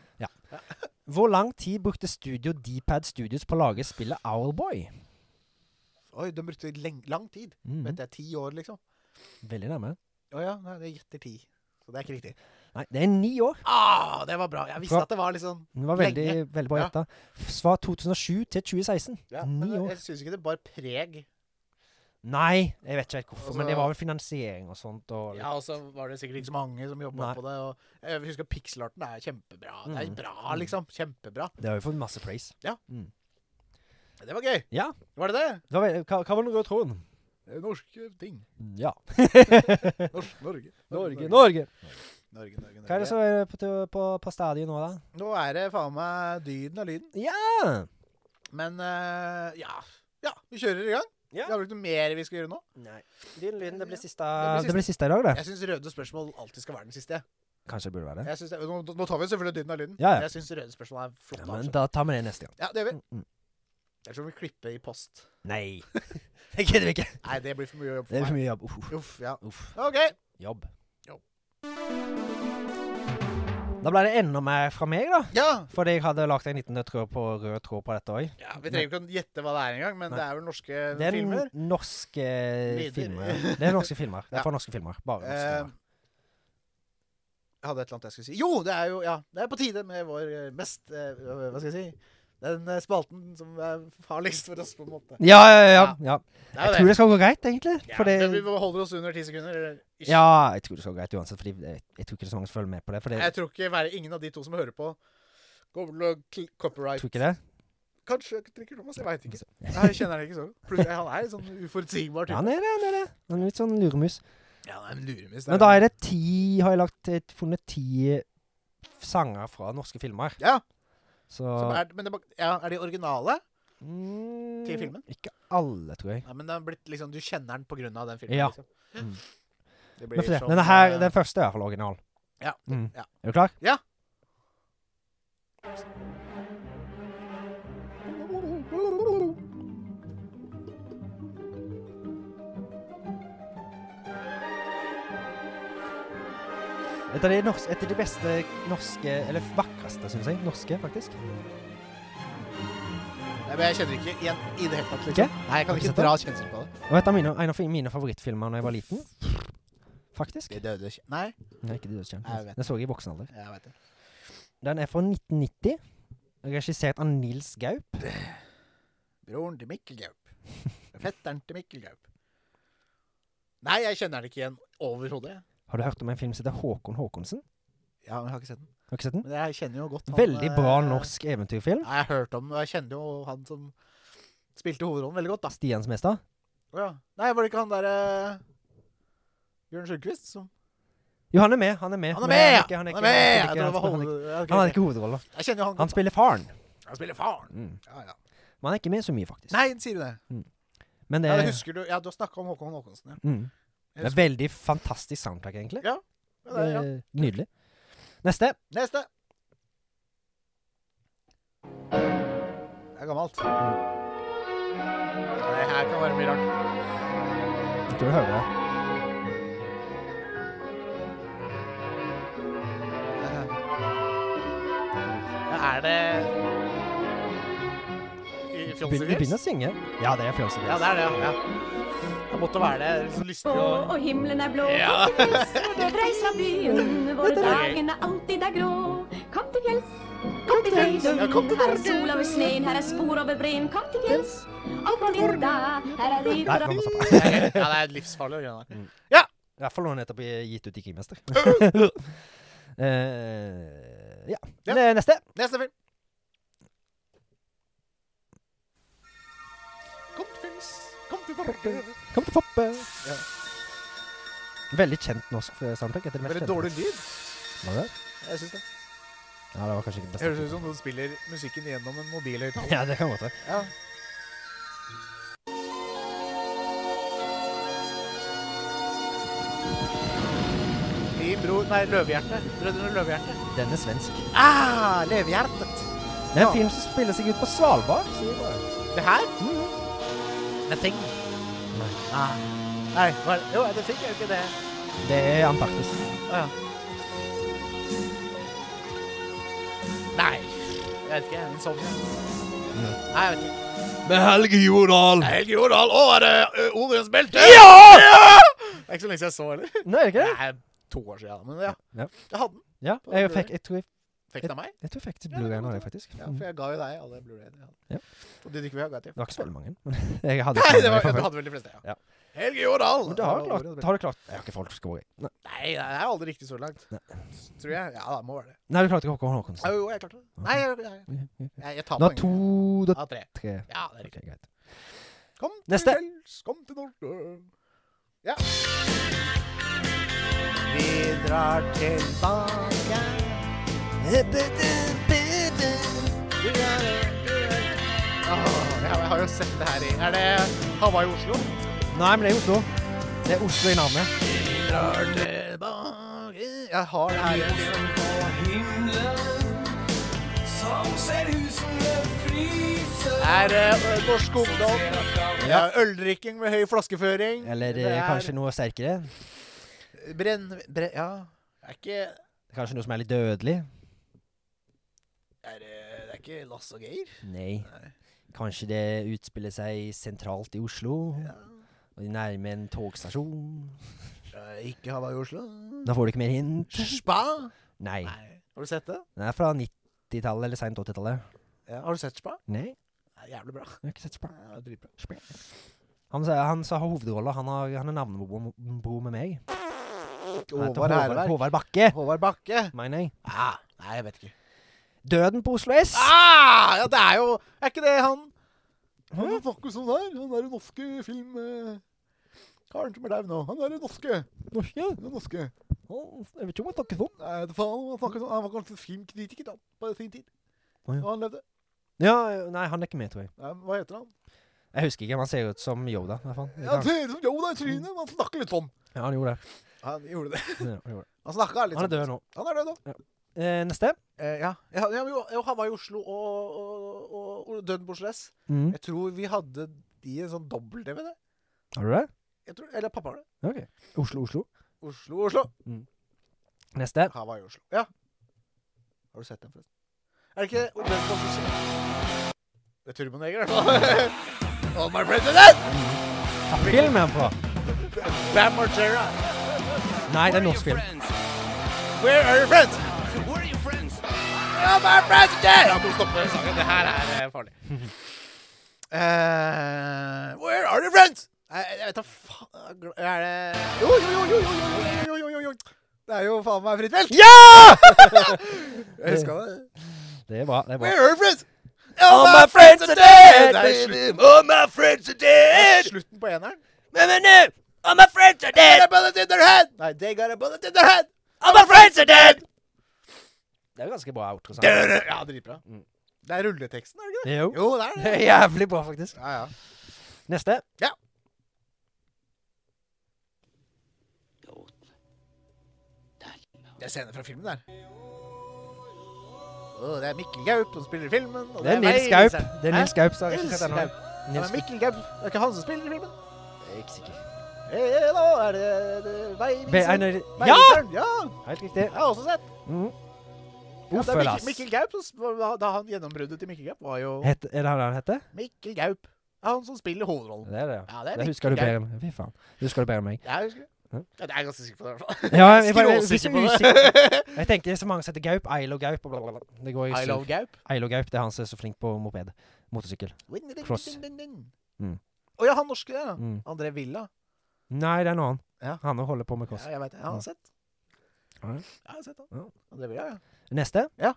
[SPEAKER 2] Hvor lang tid brukte studio Dpad Studios på å lage spillet Owlboy?
[SPEAKER 1] Oi, de brukte leng lang tid.
[SPEAKER 2] Mm.
[SPEAKER 1] Vet jeg, ti år, liksom.
[SPEAKER 2] Veldig nærme.
[SPEAKER 1] Å ja, nei, det gjetter ti. Så det er ikke riktig.
[SPEAKER 2] Nei, det er ni år.
[SPEAKER 1] Ah, det var bra. Jeg visste
[SPEAKER 2] Fra-
[SPEAKER 1] at det var liksom
[SPEAKER 2] Den var
[SPEAKER 1] Lenge.
[SPEAKER 2] veldig, veldig bra
[SPEAKER 1] Ja.
[SPEAKER 2] gjetta. Svar 2007 til 2016.
[SPEAKER 1] ja,
[SPEAKER 2] ni
[SPEAKER 1] Men jeg-
[SPEAKER 2] år.
[SPEAKER 1] jeg syns ikke det bar preg
[SPEAKER 2] Nei, jeg vet ikke helt hvorfor, men
[SPEAKER 1] Altså-
[SPEAKER 2] det var vel finansiering og sånt. Og
[SPEAKER 1] Ja, og så var det sikkert ikke så mange som jobba
[SPEAKER 2] Nei.
[SPEAKER 1] på det. Og jeg husker pixelarten er kjempebra. Det er
[SPEAKER 2] Mm.
[SPEAKER 1] bra, liksom. Kjempebra.
[SPEAKER 2] Det har jo fått masse praise.
[SPEAKER 1] Det var gøy.
[SPEAKER 2] Ja.
[SPEAKER 1] Var det det?
[SPEAKER 2] Det var ve- Hva, hva var den røde tråden?
[SPEAKER 1] Norske ting.
[SPEAKER 2] Ja.
[SPEAKER 1] Norsk, Norge.
[SPEAKER 2] Norge, Norge.
[SPEAKER 1] Norge, Norge,
[SPEAKER 2] Hva er det som er på, tu- på, på stadion nå, da?
[SPEAKER 1] Nå er det faen meg dyden av lyden.
[SPEAKER 2] Ja.
[SPEAKER 1] Men eh, ja. ja, vi kjører i gang.
[SPEAKER 2] Ja.
[SPEAKER 1] Vi har vel ikke noe mer vi skal gjøre nå.
[SPEAKER 2] Nei. Din lyden, det blir siste
[SPEAKER 1] blir
[SPEAKER 2] Det blir siste i dag, det.
[SPEAKER 1] Jeg syns røde spørsmål alltid skal være den siste.
[SPEAKER 2] Kanskje det burde være det.
[SPEAKER 1] Jeg synes det, nå, nå tar vi selvfølgelig dyden av lyden.
[SPEAKER 2] Ja, ja.
[SPEAKER 1] men Jeg syns røde spørsmål er flott. å
[SPEAKER 2] Ja,
[SPEAKER 1] ha,
[SPEAKER 2] men
[SPEAKER 1] altså.
[SPEAKER 2] da tar vi det neste gang.
[SPEAKER 1] ja, det gjør vi.
[SPEAKER 2] Mm, mm.
[SPEAKER 1] Jeg tror vi klipper i post.
[SPEAKER 2] Nei. Det gidder vi ikke.
[SPEAKER 1] Nei, det blir for mye jobb
[SPEAKER 2] Det er
[SPEAKER 1] for
[SPEAKER 2] for
[SPEAKER 1] meg.
[SPEAKER 2] mye jobb. Uff.
[SPEAKER 1] Uff, ja.
[SPEAKER 2] Uff.
[SPEAKER 1] OK.
[SPEAKER 2] Jobb.
[SPEAKER 1] Jobb.
[SPEAKER 2] Da ble det enda mer fra meg, da.
[SPEAKER 1] Ja.
[SPEAKER 2] Fordi jeg hadde lagt en liten rød tråd på, rød tråd på dette òg.
[SPEAKER 1] ja. Vi trenger ikke å gjette hva det er engang, men
[SPEAKER 2] Nei.
[SPEAKER 1] det er vel norske
[SPEAKER 2] Det er
[SPEAKER 1] filmer.
[SPEAKER 2] norske
[SPEAKER 1] Lyder.
[SPEAKER 2] filmer. Det er norske filmer. Det
[SPEAKER 1] Ja.
[SPEAKER 2] er fra norske filmer. Bare norske
[SPEAKER 1] Eh,
[SPEAKER 2] filmer.
[SPEAKER 1] jeg hadde et eller annet jeg skulle si. Jo, det er jo ja, det er på tide med vår eh, mest eh, Hva skal jeg si? Den eh, spalten som er farligst for oss, på en måte.
[SPEAKER 2] Ja, ja, ja. ja.
[SPEAKER 1] Det er
[SPEAKER 2] Jeg
[SPEAKER 1] jo
[SPEAKER 2] tror
[SPEAKER 1] det.
[SPEAKER 2] det skal gå greit, egentlig.
[SPEAKER 1] Ja,
[SPEAKER 2] For det,
[SPEAKER 1] så Vi holder oss under ti sekunder. Eller, ish.
[SPEAKER 2] ja, jeg tror det skal gå greit uansett, Fordi jeg, jeg tror ikke det er så mange som følger med på det. For det,
[SPEAKER 1] Jeg tror ikke være ingen av de to som hører på, kommer til å kl- copyright
[SPEAKER 2] tror ikke det.
[SPEAKER 1] Kanskje Trikker Thomas, jeg veit ikke. Nei, jeg kjenner han ikke så godt. Plutselig- Han er litt sånn uforutsigbar
[SPEAKER 2] Ja,
[SPEAKER 1] type.
[SPEAKER 2] han er det, han er det. Han er litt sånn luremus.
[SPEAKER 1] Ja, han er en luremus.
[SPEAKER 2] Men da er det ti Har jeg lagt, eh, funnet ti sanger fra norske filmer.
[SPEAKER 1] Ja,
[SPEAKER 2] Så
[SPEAKER 1] som er, men det, må- ja, er de originale?
[SPEAKER 2] mm,
[SPEAKER 1] til filmen?
[SPEAKER 2] Ikke alle, tror jeg.
[SPEAKER 1] Nei, men det har blitt liksom, du kjenner den på grunn av den filmen.
[SPEAKER 2] Ja.
[SPEAKER 1] Liksom.
[SPEAKER 2] Mm.
[SPEAKER 1] Det
[SPEAKER 2] Men for det,
[SPEAKER 1] som,
[SPEAKER 2] denne her,
[SPEAKER 1] eh,
[SPEAKER 2] den første er iallfall original.
[SPEAKER 1] Ja,
[SPEAKER 2] Mm.
[SPEAKER 1] ja.
[SPEAKER 2] Er du klar?
[SPEAKER 1] Ja.
[SPEAKER 2] Et av de, nors- et av de beste norske Eller vakreste, syns jeg. Norske, faktisk.
[SPEAKER 1] Nei, men jeg kjenner ikke igjen i det hele tatt. Liksom.
[SPEAKER 2] Ikke?
[SPEAKER 1] Nei, jeg kan
[SPEAKER 2] Har du
[SPEAKER 1] ikke
[SPEAKER 2] sett
[SPEAKER 1] dra kjensel på det.
[SPEAKER 2] Og et av mine, en av fi- mine favorittfilmer da jeg var liten. Faktisk.
[SPEAKER 1] Det døde ikke. Nei,
[SPEAKER 2] Nei, ikke det,
[SPEAKER 1] Jeg vet.
[SPEAKER 2] Den så jeg i voksen alder.
[SPEAKER 1] jeg vet det.
[SPEAKER 2] Den er fra 1990. Regissert av Nils Gaup.
[SPEAKER 1] Broren til Mikkel Gaup. Fetteren til Mikkel Gaup. Nei, jeg kjenner den ikke igjen overhodet.
[SPEAKER 2] Har du hørt om en film som heter Håkon Håkonsen?
[SPEAKER 1] Ja, men jeg har ikke sett den.
[SPEAKER 2] Har du ikke sett den?
[SPEAKER 1] Men jeg kjenner jo godt han,
[SPEAKER 2] Veldig bra
[SPEAKER 1] eh,
[SPEAKER 2] norsk eventyrfilm.
[SPEAKER 1] Ja, jeg har hørt om den, og jeg kjenner jo han som spilte hovedrollen veldig godt, da.
[SPEAKER 2] Stians mester.
[SPEAKER 1] Å Ja. Nei, var det ikke han derre Bjørn Sjøquist som
[SPEAKER 2] Jo, han er med. Han er med.
[SPEAKER 1] Han er
[SPEAKER 2] Men
[SPEAKER 1] med!
[SPEAKER 2] han
[SPEAKER 1] ja!
[SPEAKER 2] er ikke- han er ikke-
[SPEAKER 1] Han er med!
[SPEAKER 2] han
[SPEAKER 1] Jeg
[SPEAKER 2] spiller
[SPEAKER 1] tror det var
[SPEAKER 2] ikke- han er ikke-
[SPEAKER 1] hoved... ja, ok,
[SPEAKER 2] Han har
[SPEAKER 1] ok.
[SPEAKER 2] ikke hovedrolla.
[SPEAKER 1] Jeg kjenner jo han
[SPEAKER 2] Han
[SPEAKER 1] godt.
[SPEAKER 2] spiller faren.
[SPEAKER 1] Han spiller faren.
[SPEAKER 2] Mm.
[SPEAKER 1] Ja, ja.
[SPEAKER 2] Men han er ikke med så mye, faktisk.
[SPEAKER 1] Nei, sier du det?
[SPEAKER 2] Men det
[SPEAKER 1] Ja,
[SPEAKER 2] er,
[SPEAKER 1] det husker du. Ja, du har snakka om Håkon Håkonsen, ja.
[SPEAKER 2] mm.
[SPEAKER 1] Jeg
[SPEAKER 2] det er veldig fantastisk soundtrack, egentlig.
[SPEAKER 1] Ja, det er, ja.
[SPEAKER 2] Eh, Nydelig. Neste.
[SPEAKER 1] Neste. Det er gammelt.
[SPEAKER 2] Mm.
[SPEAKER 1] Det her kan være mye rart.
[SPEAKER 2] Jeg tror du hører det.
[SPEAKER 1] Ja, er det I
[SPEAKER 2] Du
[SPEAKER 1] Fjollsy
[SPEAKER 2] begynner, du begynner å synge. Ja, det er Fjols og
[SPEAKER 1] Ja, det er det. ja. Ja. Det måtte være det. Jeg er så lystig
[SPEAKER 3] blå,
[SPEAKER 1] og
[SPEAKER 3] og himmelen er blå.
[SPEAKER 1] Ja.
[SPEAKER 3] Når det breiser byen, hvor dagen alltid er grå. Kom til fjells, kom til
[SPEAKER 1] Ja, kom
[SPEAKER 3] Frøydum.
[SPEAKER 1] til
[SPEAKER 3] Her er sol over sneen, her er spor over breen. Kom til fjells, opp på vidda, her er
[SPEAKER 2] Nei,
[SPEAKER 3] river
[SPEAKER 2] la
[SPEAKER 3] og
[SPEAKER 2] meg stoppe.
[SPEAKER 1] Ja, det er livsfarlig. å gjøre
[SPEAKER 2] Mm.
[SPEAKER 1] det.
[SPEAKER 2] I hvert fall når han nettopp er gitt ut i Krimester. Eh, ja.
[SPEAKER 1] Ja.
[SPEAKER 2] Ne- Neste.
[SPEAKER 1] Neste film. Kom til fjells, kom til Norge.
[SPEAKER 2] Kom til Foppe.
[SPEAKER 1] Ja.
[SPEAKER 2] eh. Veldig kjent norsk eh, soundtrack. Etter det mest
[SPEAKER 1] Veldig
[SPEAKER 2] kjente.
[SPEAKER 1] dårlig lyd.
[SPEAKER 2] Var det?
[SPEAKER 1] Jeg synes det.
[SPEAKER 2] Ja, det var kanskje ikke det
[SPEAKER 1] Høres ut
[SPEAKER 2] beste.
[SPEAKER 1] som noen spiller musikken gjennom en mobilhøyttaler.
[SPEAKER 2] Ja, det kan godt være.
[SPEAKER 1] Ja. Min bror Nei, Løvehjerte. Brødrene Løvehjerte.
[SPEAKER 2] Den er svensk.
[SPEAKER 1] Ah, Løvehjertet.
[SPEAKER 2] Det er en
[SPEAKER 1] Ja.
[SPEAKER 2] film som spiller seg ut på Svalbard. sier jeg bare.
[SPEAKER 1] Det her?
[SPEAKER 2] Mhm.
[SPEAKER 1] The Thing.
[SPEAKER 2] Nei.
[SPEAKER 1] Ah. Nei, hva er det? Jo, The Thing er jo ikke det.
[SPEAKER 2] Det er Antarktis.
[SPEAKER 1] Å ja. Nei. Jeg vet ikke. Insomnia. Nei, jeg vet ikke.
[SPEAKER 2] Med Helge Jordal.
[SPEAKER 1] Helge Jordal. Å, er det eh, Odens belte?
[SPEAKER 2] Ja!
[SPEAKER 1] Det er ikke så lenge siden jeg så heller.
[SPEAKER 2] Nei, er det ikke det?
[SPEAKER 1] Det er to år siden, men ja.
[SPEAKER 2] Ja.
[SPEAKER 1] Jeg hadde den.
[SPEAKER 2] Ja,
[SPEAKER 1] På
[SPEAKER 2] jeg,
[SPEAKER 1] Blu-ray.
[SPEAKER 2] fikk, jeg, tror jeg,
[SPEAKER 1] Fikk den av meg.
[SPEAKER 2] jeg tror jeg fikk til
[SPEAKER 1] Ja, det kan
[SPEAKER 2] Blu-rayen av
[SPEAKER 1] godt
[SPEAKER 2] det, faktisk.
[SPEAKER 1] Ja,
[SPEAKER 2] Mm.
[SPEAKER 1] for jeg ga jo deg alle Blu-rayene jeg hadde.
[SPEAKER 2] Ja.
[SPEAKER 1] Og de du ikke vil ha, ga jeg til.
[SPEAKER 2] Det var ikke så veldig mange. Men jeg hadde
[SPEAKER 1] Nei,
[SPEAKER 2] ikke
[SPEAKER 1] det var,
[SPEAKER 2] mange, for
[SPEAKER 1] du
[SPEAKER 2] faen.
[SPEAKER 1] hadde vel de fleste, ja.
[SPEAKER 2] Ja.
[SPEAKER 1] Helge Jordal!
[SPEAKER 2] Men det har, klart, har det klart Jeg har ikke folk som skal våge. Nei,
[SPEAKER 1] Nei, det er aldri riktig så langt. Tror jeg. Ja, det må være det.
[SPEAKER 2] Nei, du klarte ikke Håkon Håkonsen.
[SPEAKER 1] Jo, jo, jeg klarte det. Nei, jeg, jeg, jeg, jeg tar
[SPEAKER 2] Du har
[SPEAKER 1] poeng.
[SPEAKER 2] to Du har
[SPEAKER 1] Ja, tre.
[SPEAKER 2] tre.
[SPEAKER 1] Ja, det er
[SPEAKER 2] Ok,
[SPEAKER 1] riktig.
[SPEAKER 2] greit.
[SPEAKER 1] Kom til
[SPEAKER 2] Neste.
[SPEAKER 1] fjells, kom til Norge. Ja. Vi drar tilbake. Du er du er Åh, jeg, jeg har jo sett det her i Er det Hawaii-Oslo?
[SPEAKER 2] Nei, men det er Oslo. Det er Oslo i navnet.
[SPEAKER 1] Vi drar tilbake Jeg har det her. igjen. Er eh, norsk ungdom. Ja. Øldrikking med høy flaskeføring.
[SPEAKER 2] Eller det er kanskje noe sterkere.
[SPEAKER 1] Brenn... Brenn... Ja. Det er ikke
[SPEAKER 2] Kanskje noe som er litt dødelig.
[SPEAKER 1] er, det- det er ikke Lasse og Geir?
[SPEAKER 2] Nei. Kanskje det utspiller seg sentralt i Oslo. Og nærme en togstasjon.
[SPEAKER 1] Eh, Ikke Hawaii Oslo?
[SPEAKER 2] Da får du ikke mer hint.
[SPEAKER 1] Spa?
[SPEAKER 2] Nei.
[SPEAKER 1] Nei. Har du sett det?
[SPEAKER 2] Den er fra 90-tallet eller seint 80-tallet.
[SPEAKER 1] Ja. Har du sett Spa?
[SPEAKER 2] Nei,
[SPEAKER 1] Det er jævlig bra.
[SPEAKER 2] jeg har ikke sett Spar.
[SPEAKER 1] Ja, det er dritbra.
[SPEAKER 2] Han sa, han sa hovedrolla. Han, har- han er navnebro med meg. Han heter
[SPEAKER 1] Håvard
[SPEAKER 2] Håvard,
[SPEAKER 1] Hærverk.
[SPEAKER 2] Håvard Bakke,
[SPEAKER 1] Håvard Bakke.
[SPEAKER 2] mener jeg.
[SPEAKER 1] Ah, nei, jeg vet ikke.
[SPEAKER 2] Døden på Oslo S.
[SPEAKER 1] Ah, ja, det er jo Er ikke det han Han er faktisk sånn der. Han er en norske film... eh, Karen som er der nå. Han er en norske.
[SPEAKER 2] Norge.
[SPEAKER 1] Han er norske.
[SPEAKER 2] Å, Jeg vet ikke om jeg takker sånn.
[SPEAKER 1] Nei, det faen, han, snakket sånn. han var kanskje filmkritiker da, på sin tid.
[SPEAKER 2] Å, ja.
[SPEAKER 1] Da han levde.
[SPEAKER 2] Ja, nei, han er ikke med, tror jeg.
[SPEAKER 1] Nei, hva heter han?
[SPEAKER 2] Jeg husker ikke, men han ser ut som Yoda. i hvert fall.
[SPEAKER 1] Ja, han ser ut som Yoda i trynet, men han snakker litt sånn.
[SPEAKER 2] Ja, han gjorde det.
[SPEAKER 1] Han gjorde det.
[SPEAKER 2] Ja, han, gjorde det.
[SPEAKER 1] Han snakka litt
[SPEAKER 2] han er
[SPEAKER 1] sånn.
[SPEAKER 2] død nå.
[SPEAKER 1] Han er død nå.
[SPEAKER 2] Eh, neste.
[SPEAKER 1] Eh, ja. Jeg, hadde- ja, men jo, jeg var i Oslo og, og, og, og Dødenborgs Les.
[SPEAKER 2] Mm.
[SPEAKER 1] Jeg tror vi hadde de i en sånn dobbel-DVD.
[SPEAKER 2] Har du det?
[SPEAKER 1] Jeg tror- Eller pappa har det.
[SPEAKER 2] Ok. Oslo, Oslo.
[SPEAKER 1] Oslo, Oslo.
[SPEAKER 2] Neste.
[SPEAKER 1] Hawaii, Oslo. Ja. Har du sett den, forresten? Er det ikke og Dødenborgs Les? Det er Turboneger, i hvert fall. All Oh, my president!
[SPEAKER 2] Hva film er han fra?
[SPEAKER 1] Bam Margera.
[SPEAKER 2] Nei, det er norsk film.
[SPEAKER 1] Where are your friends?
[SPEAKER 4] Where are your friends?
[SPEAKER 1] All my president! Jeg må stoppe sangen. Det her er eh, farlig. Eh, where are your friends? Nei, Jeg vet da faen Er det Jo, jo, jo, jo, jo, jo, jo, jo, jo, jo. Det er jo faen meg fritt felt. Ja! jeg huska det.
[SPEAKER 2] Det er bra. det er bra.
[SPEAKER 1] Where are your friends? All my friends are dead! Det er slutten,
[SPEAKER 4] All my friends are dead!
[SPEAKER 1] slutten på eneren.
[SPEAKER 4] No, no, no! All my friends are
[SPEAKER 1] They got
[SPEAKER 4] dead!
[SPEAKER 1] a bullet in their head! Nei, they got a bullet in their head!
[SPEAKER 4] All my friends are dead!
[SPEAKER 2] Det er ganske bra outro. sant?
[SPEAKER 1] Ja, dritbra.
[SPEAKER 2] Mm.
[SPEAKER 1] Det er rulleteksten, er det ikke det?
[SPEAKER 2] Jo.
[SPEAKER 1] Jo, det er
[SPEAKER 2] Det
[SPEAKER 1] det.
[SPEAKER 2] er jævlig bra, faktisk.
[SPEAKER 1] Ja, ja.
[SPEAKER 2] Neste.
[SPEAKER 1] Det er scener fra filmen der. Åh, det er Mikkel Gaup som spiller i filmen. Og
[SPEAKER 2] Det er Nils Gaup. Det er Nils
[SPEAKER 1] Hæ?
[SPEAKER 2] Gaup som har
[SPEAKER 1] Nils
[SPEAKER 2] regissert denne.
[SPEAKER 1] Gaup. Det
[SPEAKER 2] Nils
[SPEAKER 1] er Mikkel Gaup. Det er ikke han som spiller i filmen.
[SPEAKER 2] Jeg er ikke sikker.
[SPEAKER 1] Eh, da er det, det
[SPEAKER 2] Be- er
[SPEAKER 1] veiviseren.
[SPEAKER 2] det- Ja!
[SPEAKER 1] Veiviseren, Ja!
[SPEAKER 2] Helt riktig.
[SPEAKER 1] Jeg har også sett.
[SPEAKER 2] Mm.
[SPEAKER 1] Ja, det er
[SPEAKER 2] Uffe,
[SPEAKER 1] Mikkel,
[SPEAKER 2] lass.
[SPEAKER 1] Mikkel Gaup, som sp- da han gjennombruddet til Mikkel Gaup, var jo
[SPEAKER 2] Het- Er det han han heter?
[SPEAKER 1] Mikkel Gaup. Det er han som spiller hovedrollen.
[SPEAKER 2] Det er det, ja.
[SPEAKER 1] Ja, det er
[SPEAKER 2] Det
[SPEAKER 1] Mikkel
[SPEAKER 2] husker du
[SPEAKER 1] Gaup.
[SPEAKER 2] bedre enn Fy faen. Det husker du bedre enn meg.
[SPEAKER 1] Ja, jeg husker det.
[SPEAKER 2] Ja.
[SPEAKER 1] Ja, det er jeg ganske sikker på det, i hvert fall.
[SPEAKER 2] Ja, jeg, jeg, jeg, jeg,
[SPEAKER 1] Skråsikker på
[SPEAKER 2] jeg,
[SPEAKER 1] det.
[SPEAKER 2] jeg tenkte det er så mange som heter Gaup. Eilo Gaup. og bla, bla, bla. Det går i
[SPEAKER 1] I love Gaup.
[SPEAKER 2] Eilo Gaup, det er han som er så flink på moped. Motorsykkel.
[SPEAKER 1] Win, win, win,
[SPEAKER 2] Cross.
[SPEAKER 1] win, win.
[SPEAKER 2] Mm.
[SPEAKER 1] Å ja, han norske der, da.
[SPEAKER 2] Mm.
[SPEAKER 1] André Villa.
[SPEAKER 2] Nei, det er en annen.
[SPEAKER 1] Ja.
[SPEAKER 2] Han holder på med cross.
[SPEAKER 1] Ja, jeg vet det. Jeg har
[SPEAKER 2] Ja.
[SPEAKER 1] sett.
[SPEAKER 2] Har du?
[SPEAKER 1] Jeg har sett han.
[SPEAKER 2] Ja.
[SPEAKER 1] André Villa, ja.
[SPEAKER 2] Neste.
[SPEAKER 1] Ja.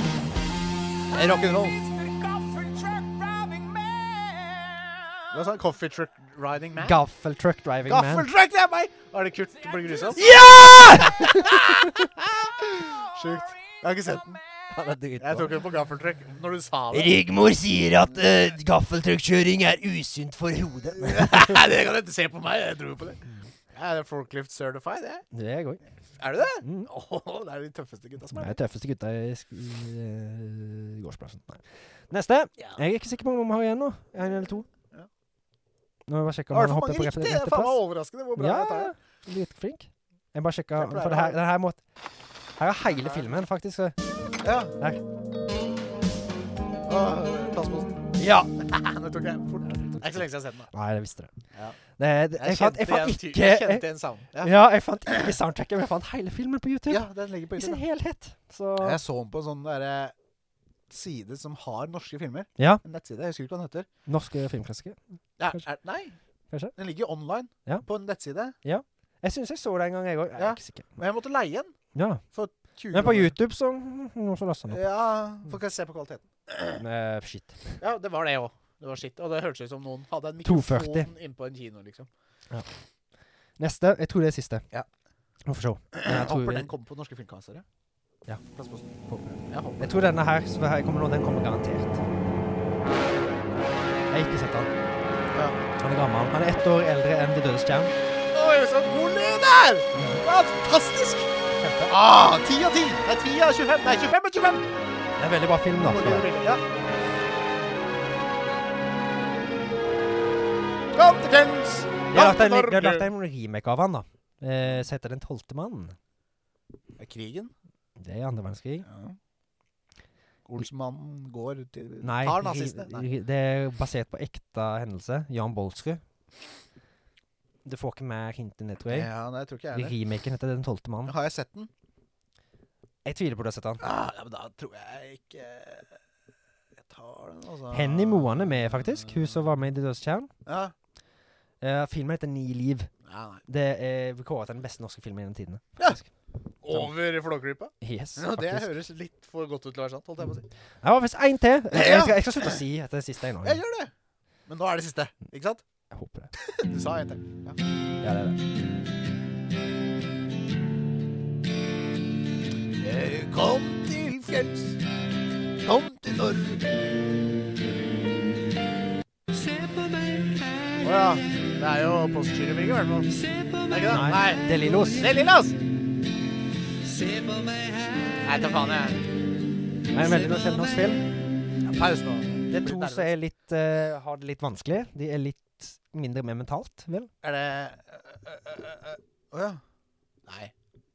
[SPEAKER 1] Eh, Rock'n'roll. Det var sånn coffee truck riding man.
[SPEAKER 2] Gaffel Truck Driving
[SPEAKER 1] Gaffel
[SPEAKER 2] Man.
[SPEAKER 1] truck, det er meg! Var det Kurt ble grusom?
[SPEAKER 2] Ja!
[SPEAKER 1] Sjukt. Jeg har ikke sett den.
[SPEAKER 2] Han er dritbra.
[SPEAKER 1] Jeg tok den på gaffel truck når du sa det.
[SPEAKER 2] Rigmor sier at uh, gaffeltruckkjøring er usunt for hodet.
[SPEAKER 1] det kan du ikke se på meg. Jeg tror på det. Jeg er forklift certified, jeg.
[SPEAKER 2] Det er godt.
[SPEAKER 1] Er du det?
[SPEAKER 2] Mm.
[SPEAKER 1] Åh, det er de tøffeste gutta som
[SPEAKER 2] Det
[SPEAKER 1] er
[SPEAKER 2] er
[SPEAKER 1] der.
[SPEAKER 2] de tøffeste gutta i sk eh, gårdsplassen. Nei. Neste.
[SPEAKER 1] Ja.
[SPEAKER 2] Jeg er ikke sikker på om vi har igjen nå. En eller to.
[SPEAKER 1] Ja.
[SPEAKER 2] Nå må jeg bare sjekke
[SPEAKER 1] Det
[SPEAKER 2] om
[SPEAKER 1] var i
[SPEAKER 2] han
[SPEAKER 1] hvert fall
[SPEAKER 2] hopper på
[SPEAKER 1] mange
[SPEAKER 2] rette,
[SPEAKER 1] riktige. Det er
[SPEAKER 2] rette
[SPEAKER 1] faen meg
[SPEAKER 2] plass.
[SPEAKER 1] overraskende hvor bra
[SPEAKER 2] Ja,
[SPEAKER 1] jeg tar det.
[SPEAKER 2] dritflink. Jeg bare sjekka,
[SPEAKER 1] Jeg pleier
[SPEAKER 2] for det
[SPEAKER 1] å ha-
[SPEAKER 2] her, det her må Her er hele filmen, faktisk. så-
[SPEAKER 1] Ja.
[SPEAKER 2] Der.
[SPEAKER 1] Åh, plastposen.
[SPEAKER 2] Ja!
[SPEAKER 1] Nå tok jeg fort. Det er ikke så lenge siden jeg har sett den. da.
[SPEAKER 2] Nei, jeg visste det.
[SPEAKER 1] Ja.
[SPEAKER 2] det, det jeg, fant, jeg fant
[SPEAKER 1] igjen-
[SPEAKER 2] ikke
[SPEAKER 1] jeg
[SPEAKER 2] jeg,
[SPEAKER 1] kjente igjen sound. Ja.
[SPEAKER 2] Ja, jeg fant ikke soundtracket, men jeg fant hele filmen på YouTube.
[SPEAKER 1] ja, den ligger på
[SPEAKER 2] I sin
[SPEAKER 1] YouTube.
[SPEAKER 2] helhet. Så
[SPEAKER 1] da. Jeg så den på en sånn derre side som har norske filmer.
[SPEAKER 2] Ja.
[SPEAKER 1] En nettside. Jeg husker ikke hva den heter.
[SPEAKER 2] Norske filmklassiker.
[SPEAKER 1] Ja,
[SPEAKER 2] Kanskje.
[SPEAKER 1] er, nei.
[SPEAKER 2] Kanskje.
[SPEAKER 1] Den ligger jo online
[SPEAKER 2] Ja.
[SPEAKER 1] på en nettside.
[SPEAKER 2] Jeg syns jeg så det en gang, jeg òg. Jeg
[SPEAKER 1] Ja.
[SPEAKER 2] er ikke sikker.
[SPEAKER 1] Men jeg måtte leie den.
[SPEAKER 2] Ja.
[SPEAKER 1] 20
[SPEAKER 2] Men på
[SPEAKER 1] kroner.
[SPEAKER 2] YouTube så Noen som lasta den opp.
[SPEAKER 1] Ja, får ikke se på kvaliteten.
[SPEAKER 2] Eh, shit.
[SPEAKER 1] Ja, det var det òg. Det var shit. Og det hørtes ut som noen hadde en
[SPEAKER 2] 240.
[SPEAKER 1] mikrofon innpå en kino, liksom.
[SPEAKER 2] Neste. Jeg tror det er siste.
[SPEAKER 1] Ja.
[SPEAKER 2] Vi får se. Men jeg tror,
[SPEAKER 1] Håper
[SPEAKER 2] vi-
[SPEAKER 1] den kommer på norske filmkassere.
[SPEAKER 2] Ja.
[SPEAKER 1] Plass på sånn. Jeg håper
[SPEAKER 2] jeg tror denne her, som her kommer nå, den kommer garantert. Jeg har ikke sett han.
[SPEAKER 1] ja.
[SPEAKER 2] Han er gammel. Han er ett år eldre enn De dødes stjerne.
[SPEAKER 1] Oi, så god lyd der! Fantastisk! Ah, 10 av 10. Det er 10 av 25. Nei, 25 av 25.
[SPEAKER 2] Det er en veldig bra film, da. skal jeg.
[SPEAKER 1] Ja. Kompetens!
[SPEAKER 2] De har lagt en, de har lagt en remake av han, da. Eh, som heter Den tolvte mannen.
[SPEAKER 1] Krigen?
[SPEAKER 2] Det er andre verdenskrig.
[SPEAKER 1] Ja. Olsmannen går til
[SPEAKER 2] Nei,
[SPEAKER 1] Tar
[SPEAKER 2] ri-
[SPEAKER 1] nazistene? Nei.
[SPEAKER 2] ri- det er basert på ekte hendelse. Jan Bolsrud. Du får ikke mer hint enn det, tror jeg.
[SPEAKER 1] Ja, nei, jeg tror ikke jeg heller.
[SPEAKER 2] Remaken heter Den tolvte mannen.
[SPEAKER 1] Har jeg sett den?
[SPEAKER 2] Jeg tviler på du har sett han.
[SPEAKER 1] Ah, ja, men da tror jeg ikke Jeg tar den, altså.
[SPEAKER 2] Henny Moan er med, faktisk. Hun som var med i De dødes tjern.
[SPEAKER 1] Ja.
[SPEAKER 2] Eh, filmen heter Ni liv.
[SPEAKER 1] ja nei.
[SPEAKER 2] Det er kåret til den beste norske filmen gjennom tidene.
[SPEAKER 1] Ja.
[SPEAKER 2] faktisk.
[SPEAKER 1] Over Flåklypa?
[SPEAKER 2] Yes,
[SPEAKER 1] Ja, det
[SPEAKER 2] faktisk.
[SPEAKER 1] høres litt for godt ut til å være sant, holdt jeg på å si.
[SPEAKER 2] Det var visst én til. Jeg
[SPEAKER 1] Ja.
[SPEAKER 2] skal, jeg skal slutte å si etter det siste. Jeg, nå.
[SPEAKER 1] Jeg gjør det! Men nå er det siste, ikke sant?
[SPEAKER 2] jeg håper det.
[SPEAKER 1] Du sa en til. Ja.
[SPEAKER 2] Ja, det, er det.
[SPEAKER 1] Eh, Kom til fjells, kom til Norge. Å ja. Det er jo Postgirobygget, i hvert fall. Er ikke det?
[SPEAKER 2] Nei. det er Lillos.
[SPEAKER 1] Det er Lillas! Nei, ta faen, jeg.
[SPEAKER 2] Det er en veldig bra norsk film.
[SPEAKER 1] Pause nå.
[SPEAKER 2] Det er to som er litt, eh, har det litt vanskelig. De er litt mindre med mentalt, vel?
[SPEAKER 1] Er det øh, Ø, ø, ø, ø. øh. Å ja. Nei.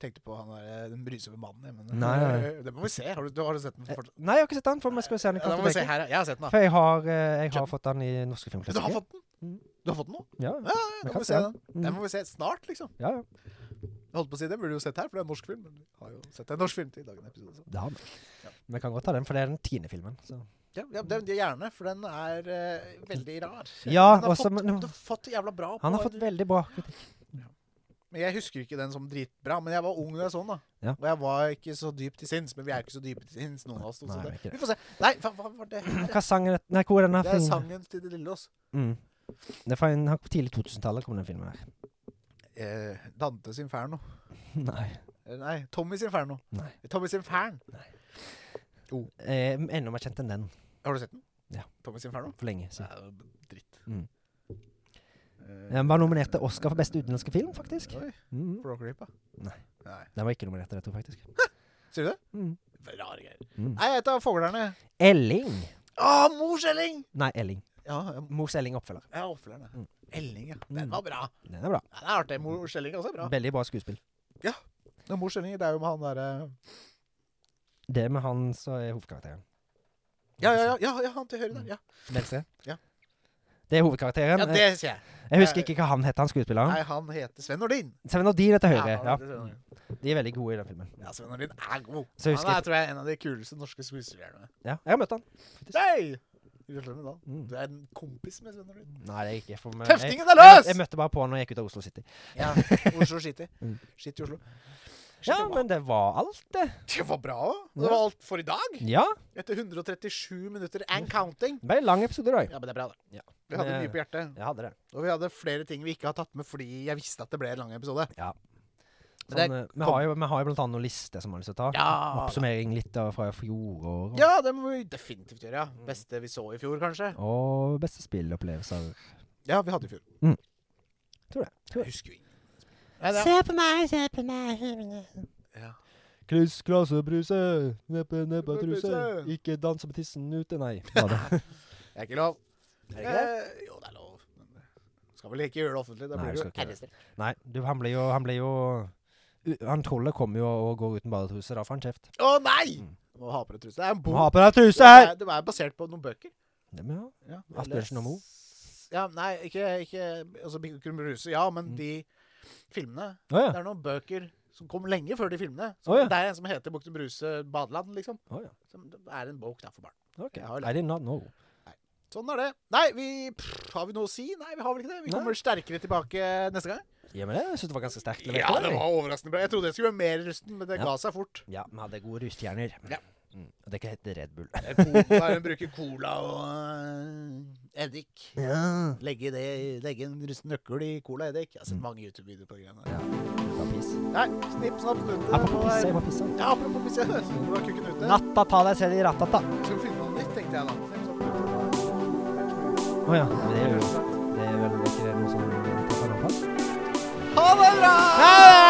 [SPEAKER 1] Tenkte på han der, eh, den brysete mannen. jeg, Men
[SPEAKER 2] Nei, nei.
[SPEAKER 1] Det må vi se. Har du, du har du sett den? fortsatt?
[SPEAKER 2] Eh, Nei, jeg har ikke sett den, for vi skal se den i
[SPEAKER 1] Ja, da må vi se
[SPEAKER 2] kartoteket.
[SPEAKER 1] her. ja. Jeg har sett den, da.
[SPEAKER 2] For jeg har, eh, jeg har
[SPEAKER 1] Kjøp.
[SPEAKER 2] fått den i norske
[SPEAKER 1] Du har
[SPEAKER 2] filmklassikere.
[SPEAKER 1] fått den? Du har fått den nå? Ja,
[SPEAKER 2] Ja,
[SPEAKER 1] ja,
[SPEAKER 2] Vi
[SPEAKER 1] da
[SPEAKER 2] kan
[SPEAKER 1] må vi
[SPEAKER 2] se
[SPEAKER 1] se
[SPEAKER 2] den.
[SPEAKER 1] den. Den
[SPEAKER 2] Mm.
[SPEAKER 1] må vi se snart, liksom.
[SPEAKER 2] ja, ja.
[SPEAKER 1] Jeg holdt på å si det, burde du jo sett her, for det er en norsk film. Men vi har jo sett en norsk film til i dagens episode. Så.
[SPEAKER 2] Det har vi. Vi kan godt ta den, for det er den tiende filmen. Så.
[SPEAKER 1] Ja, ja det, det gjerne, for den er eh, veldig rar.
[SPEAKER 2] Ja,
[SPEAKER 1] den har
[SPEAKER 2] også,
[SPEAKER 1] fått,
[SPEAKER 2] men-
[SPEAKER 1] den har fått jævla bra på
[SPEAKER 2] Han har fått veldig bra kritikk.
[SPEAKER 1] Men Jeg husker ikke den som dritbra, men jeg var ung da jeg så den. da.
[SPEAKER 2] Ja.
[SPEAKER 1] Og jeg var ikke så dyp til sinns, men vi er jo ikke så dype til sinns, noen av oss. to,
[SPEAKER 2] Nei,
[SPEAKER 1] så
[SPEAKER 2] vi er
[SPEAKER 1] det-
[SPEAKER 2] ikke det.
[SPEAKER 1] Vi får se. Nei, hva, hva var det her?
[SPEAKER 2] Hva sang er det? Nei, hvor er den her?
[SPEAKER 1] Det er
[SPEAKER 2] filmen?
[SPEAKER 1] sangen til De Lillås.
[SPEAKER 2] Mm. Det er fra en, tidlig 2000-tallet kom den filmen her.
[SPEAKER 1] Eh, Dantes Inferno.
[SPEAKER 2] Nei.
[SPEAKER 1] Eh, Nei, Tommys Inferno.
[SPEAKER 2] Nei.
[SPEAKER 1] Tommys Infern.
[SPEAKER 2] Eh, enda mer kjent enn den,
[SPEAKER 1] Har du sett den?
[SPEAKER 2] Ja.
[SPEAKER 1] Tommys Inferno?
[SPEAKER 2] for lenge
[SPEAKER 1] Det
[SPEAKER 2] siden.
[SPEAKER 1] er jo dritt.
[SPEAKER 2] Mm.
[SPEAKER 1] Eh,
[SPEAKER 2] Den var nominert til Oscar for beste utenlandske film, faktisk.
[SPEAKER 1] Oi,
[SPEAKER 2] Mm.
[SPEAKER 1] Flåklypa?
[SPEAKER 2] Nei.
[SPEAKER 1] Nei.
[SPEAKER 2] Den var ikke nominert til dette, faktisk.
[SPEAKER 1] Sier du det?
[SPEAKER 2] Mm.
[SPEAKER 1] Rare greier.
[SPEAKER 2] Mm.
[SPEAKER 1] Nei, jeg tar Foglerne.
[SPEAKER 2] Elling.
[SPEAKER 1] Å, Morselling!
[SPEAKER 2] Nei, Elling.
[SPEAKER 1] Ja, jeg-
[SPEAKER 2] Mors Elling oppfølger.
[SPEAKER 1] jeg er ofrerne.
[SPEAKER 2] Mm.
[SPEAKER 1] Elling, ja.
[SPEAKER 2] Mm.
[SPEAKER 1] Den var bra.
[SPEAKER 2] Den er bra.
[SPEAKER 1] Ja, det er artig. Morselling er også bra.
[SPEAKER 2] Veldig bra skuespill.
[SPEAKER 1] Ja, Morselling, det er jo med han derre
[SPEAKER 2] Det med han som er hovedkarakteren.
[SPEAKER 1] ja, ja, ja, ja, ja, han til høyre der. Ja,
[SPEAKER 2] Venstre.
[SPEAKER 1] Ja.
[SPEAKER 2] Det er hovedkarakteren.
[SPEAKER 1] ja det sier jeg.
[SPEAKER 2] jeg husker ikke hva han het, han skuespilleren.
[SPEAKER 1] Nei, han heter Sven Nordin.
[SPEAKER 2] Seven of Dean heter
[SPEAKER 1] Ja,
[SPEAKER 2] høyre.
[SPEAKER 1] han
[SPEAKER 2] Ja,
[SPEAKER 1] heter Sven Nordin.
[SPEAKER 2] De er veldig gode i den filmen.
[SPEAKER 1] ja, Sven Nordin er god.
[SPEAKER 2] Så husker
[SPEAKER 1] han
[SPEAKER 2] jeg-
[SPEAKER 1] er, tror jeg, en av de kuleste norske skuespillerne.
[SPEAKER 2] Ja, jeg har møtt han.
[SPEAKER 1] Hei! Gratulerer med dagen.
[SPEAKER 2] Mm.
[SPEAKER 1] Du er en kompis med Sven Nordin.
[SPEAKER 2] Nei, det er ikke for meg. Jeg,
[SPEAKER 1] Tøftingen er løs!
[SPEAKER 2] jeg møtte bare på han når jeg gikk ut av Oslo City.
[SPEAKER 1] Ja, Oslo City.
[SPEAKER 2] Mm.
[SPEAKER 1] Shit i Oslo. Shit,
[SPEAKER 2] Ja,
[SPEAKER 1] det var-
[SPEAKER 2] men det var alt, det.
[SPEAKER 1] Det var bra òg.
[SPEAKER 2] Ja.
[SPEAKER 1] Det var alt for i dag.
[SPEAKER 2] Ja.
[SPEAKER 1] Etter 137 minutter and counting.
[SPEAKER 2] Det ble en lang episode i dag.
[SPEAKER 1] Ja, eh, men det er bra, det.
[SPEAKER 2] Ja.
[SPEAKER 1] Vi hadde
[SPEAKER 2] Det-
[SPEAKER 1] mye på hjertet.
[SPEAKER 2] Jeg hadde det.
[SPEAKER 1] Og vi hadde flere ting vi ikke har tatt med fordi jeg visste at det ble en lang episode.
[SPEAKER 2] Ja.
[SPEAKER 1] Men det
[SPEAKER 2] Sånn, eh, vi,
[SPEAKER 1] kom-
[SPEAKER 2] har jo, vi har jo blant annet noen lister som vi har lyst til å ta.
[SPEAKER 1] Ja.
[SPEAKER 2] Oppsummering litt av fra fjoråret. og-
[SPEAKER 1] Ja, det må vi definitivt gjøre.
[SPEAKER 2] Mm.
[SPEAKER 1] ja. Beste vi så i fjor, kanskje.
[SPEAKER 2] Og beste spillopplevelser.
[SPEAKER 1] Ja, vi hadde i fjor.
[SPEAKER 2] Mm. Tror det. Tror det.
[SPEAKER 1] Jeg husker jo ingen. Nei, det er-
[SPEAKER 2] på meg, se på meg.
[SPEAKER 1] Ja.
[SPEAKER 2] Kluss, klasse, bruse. Neppe, neppe,
[SPEAKER 1] truse.
[SPEAKER 2] Ikke danse med tissen ute, nei. Ja, det.
[SPEAKER 1] Det er ikke lov.
[SPEAKER 2] Er det ikke
[SPEAKER 1] Eh, jo, det er lov. Men det- Skal vel ikke gjøre det offentlig. Da
[SPEAKER 2] Nei,
[SPEAKER 1] blir
[SPEAKER 2] vi
[SPEAKER 1] du jo
[SPEAKER 2] skal ikke gjøre
[SPEAKER 1] arrestert.
[SPEAKER 2] nei, du, han ble jo, han ble jo u- Han trollet kommer jo og går uten badetruse, da får han kjeft.
[SPEAKER 1] Å nei!
[SPEAKER 2] Mm.
[SPEAKER 1] Må ha på deg truse. Det er en
[SPEAKER 2] Må
[SPEAKER 1] bok.
[SPEAKER 2] ha på deg truse her!
[SPEAKER 1] Det er basert på noen bøker.
[SPEAKER 2] Det må jeg ha.
[SPEAKER 1] Ja,
[SPEAKER 2] Asbjørnsen og Moe.
[SPEAKER 1] Ja, nei, ikke, ikke altså, Mikkel Krumbruse. Ja, men de filmene
[SPEAKER 2] Å
[SPEAKER 1] Det
[SPEAKER 2] Mm. ja.
[SPEAKER 1] er noen bøker som kom lenge før de filmene. Så
[SPEAKER 2] Å, ja.
[SPEAKER 1] Det er en som heter Bukte Bruse Badeland, liksom.
[SPEAKER 2] Å, ja.
[SPEAKER 1] Som det er en bok da for barn.
[SPEAKER 2] Ok.
[SPEAKER 1] Jeg har lært.
[SPEAKER 2] I did not know.
[SPEAKER 1] Sånn er det. Nei, vi pff, Har vi noe å si? Nei, vi har vel ikke det. Vi
[SPEAKER 2] Nei.
[SPEAKER 1] kommer sterkere tilbake neste gang.
[SPEAKER 2] Ja, men det jeg synes det var ganske sterkt levert.
[SPEAKER 1] Ja,
[SPEAKER 2] eller?
[SPEAKER 1] det var overraskende bra. Jeg trodde jeg skulle være mer rusten, men det
[SPEAKER 2] Ja.
[SPEAKER 1] ga seg fort.
[SPEAKER 2] Ja, vi hadde gode rustjerner.
[SPEAKER 1] Ja.
[SPEAKER 2] Mm. Og det heter Red Bull.
[SPEAKER 1] Cola, hun bruker cola og øh, eddik.
[SPEAKER 2] Ja. Mm.
[SPEAKER 1] Legge, det, legge en rusten nøkkel i cola og eddik. Jeg har sett mange YouTube-videoer på det greiene der. Nei, snipp, snapp, snute. nå
[SPEAKER 2] Apropos
[SPEAKER 1] er-
[SPEAKER 2] pisse, jeg må pisse.
[SPEAKER 1] Ja, apropos pisse. Du har kukken ute.
[SPEAKER 2] Natta, ta deg selv i rattata.
[SPEAKER 1] Skal vi finne noe nytt, tenkte jeg da. Snipp, snapp, snute.
[SPEAKER 2] Å ja. Det er jo det er vel ikke noe som tar seg noe plass.
[SPEAKER 1] Ha det bra!
[SPEAKER 2] Ha det!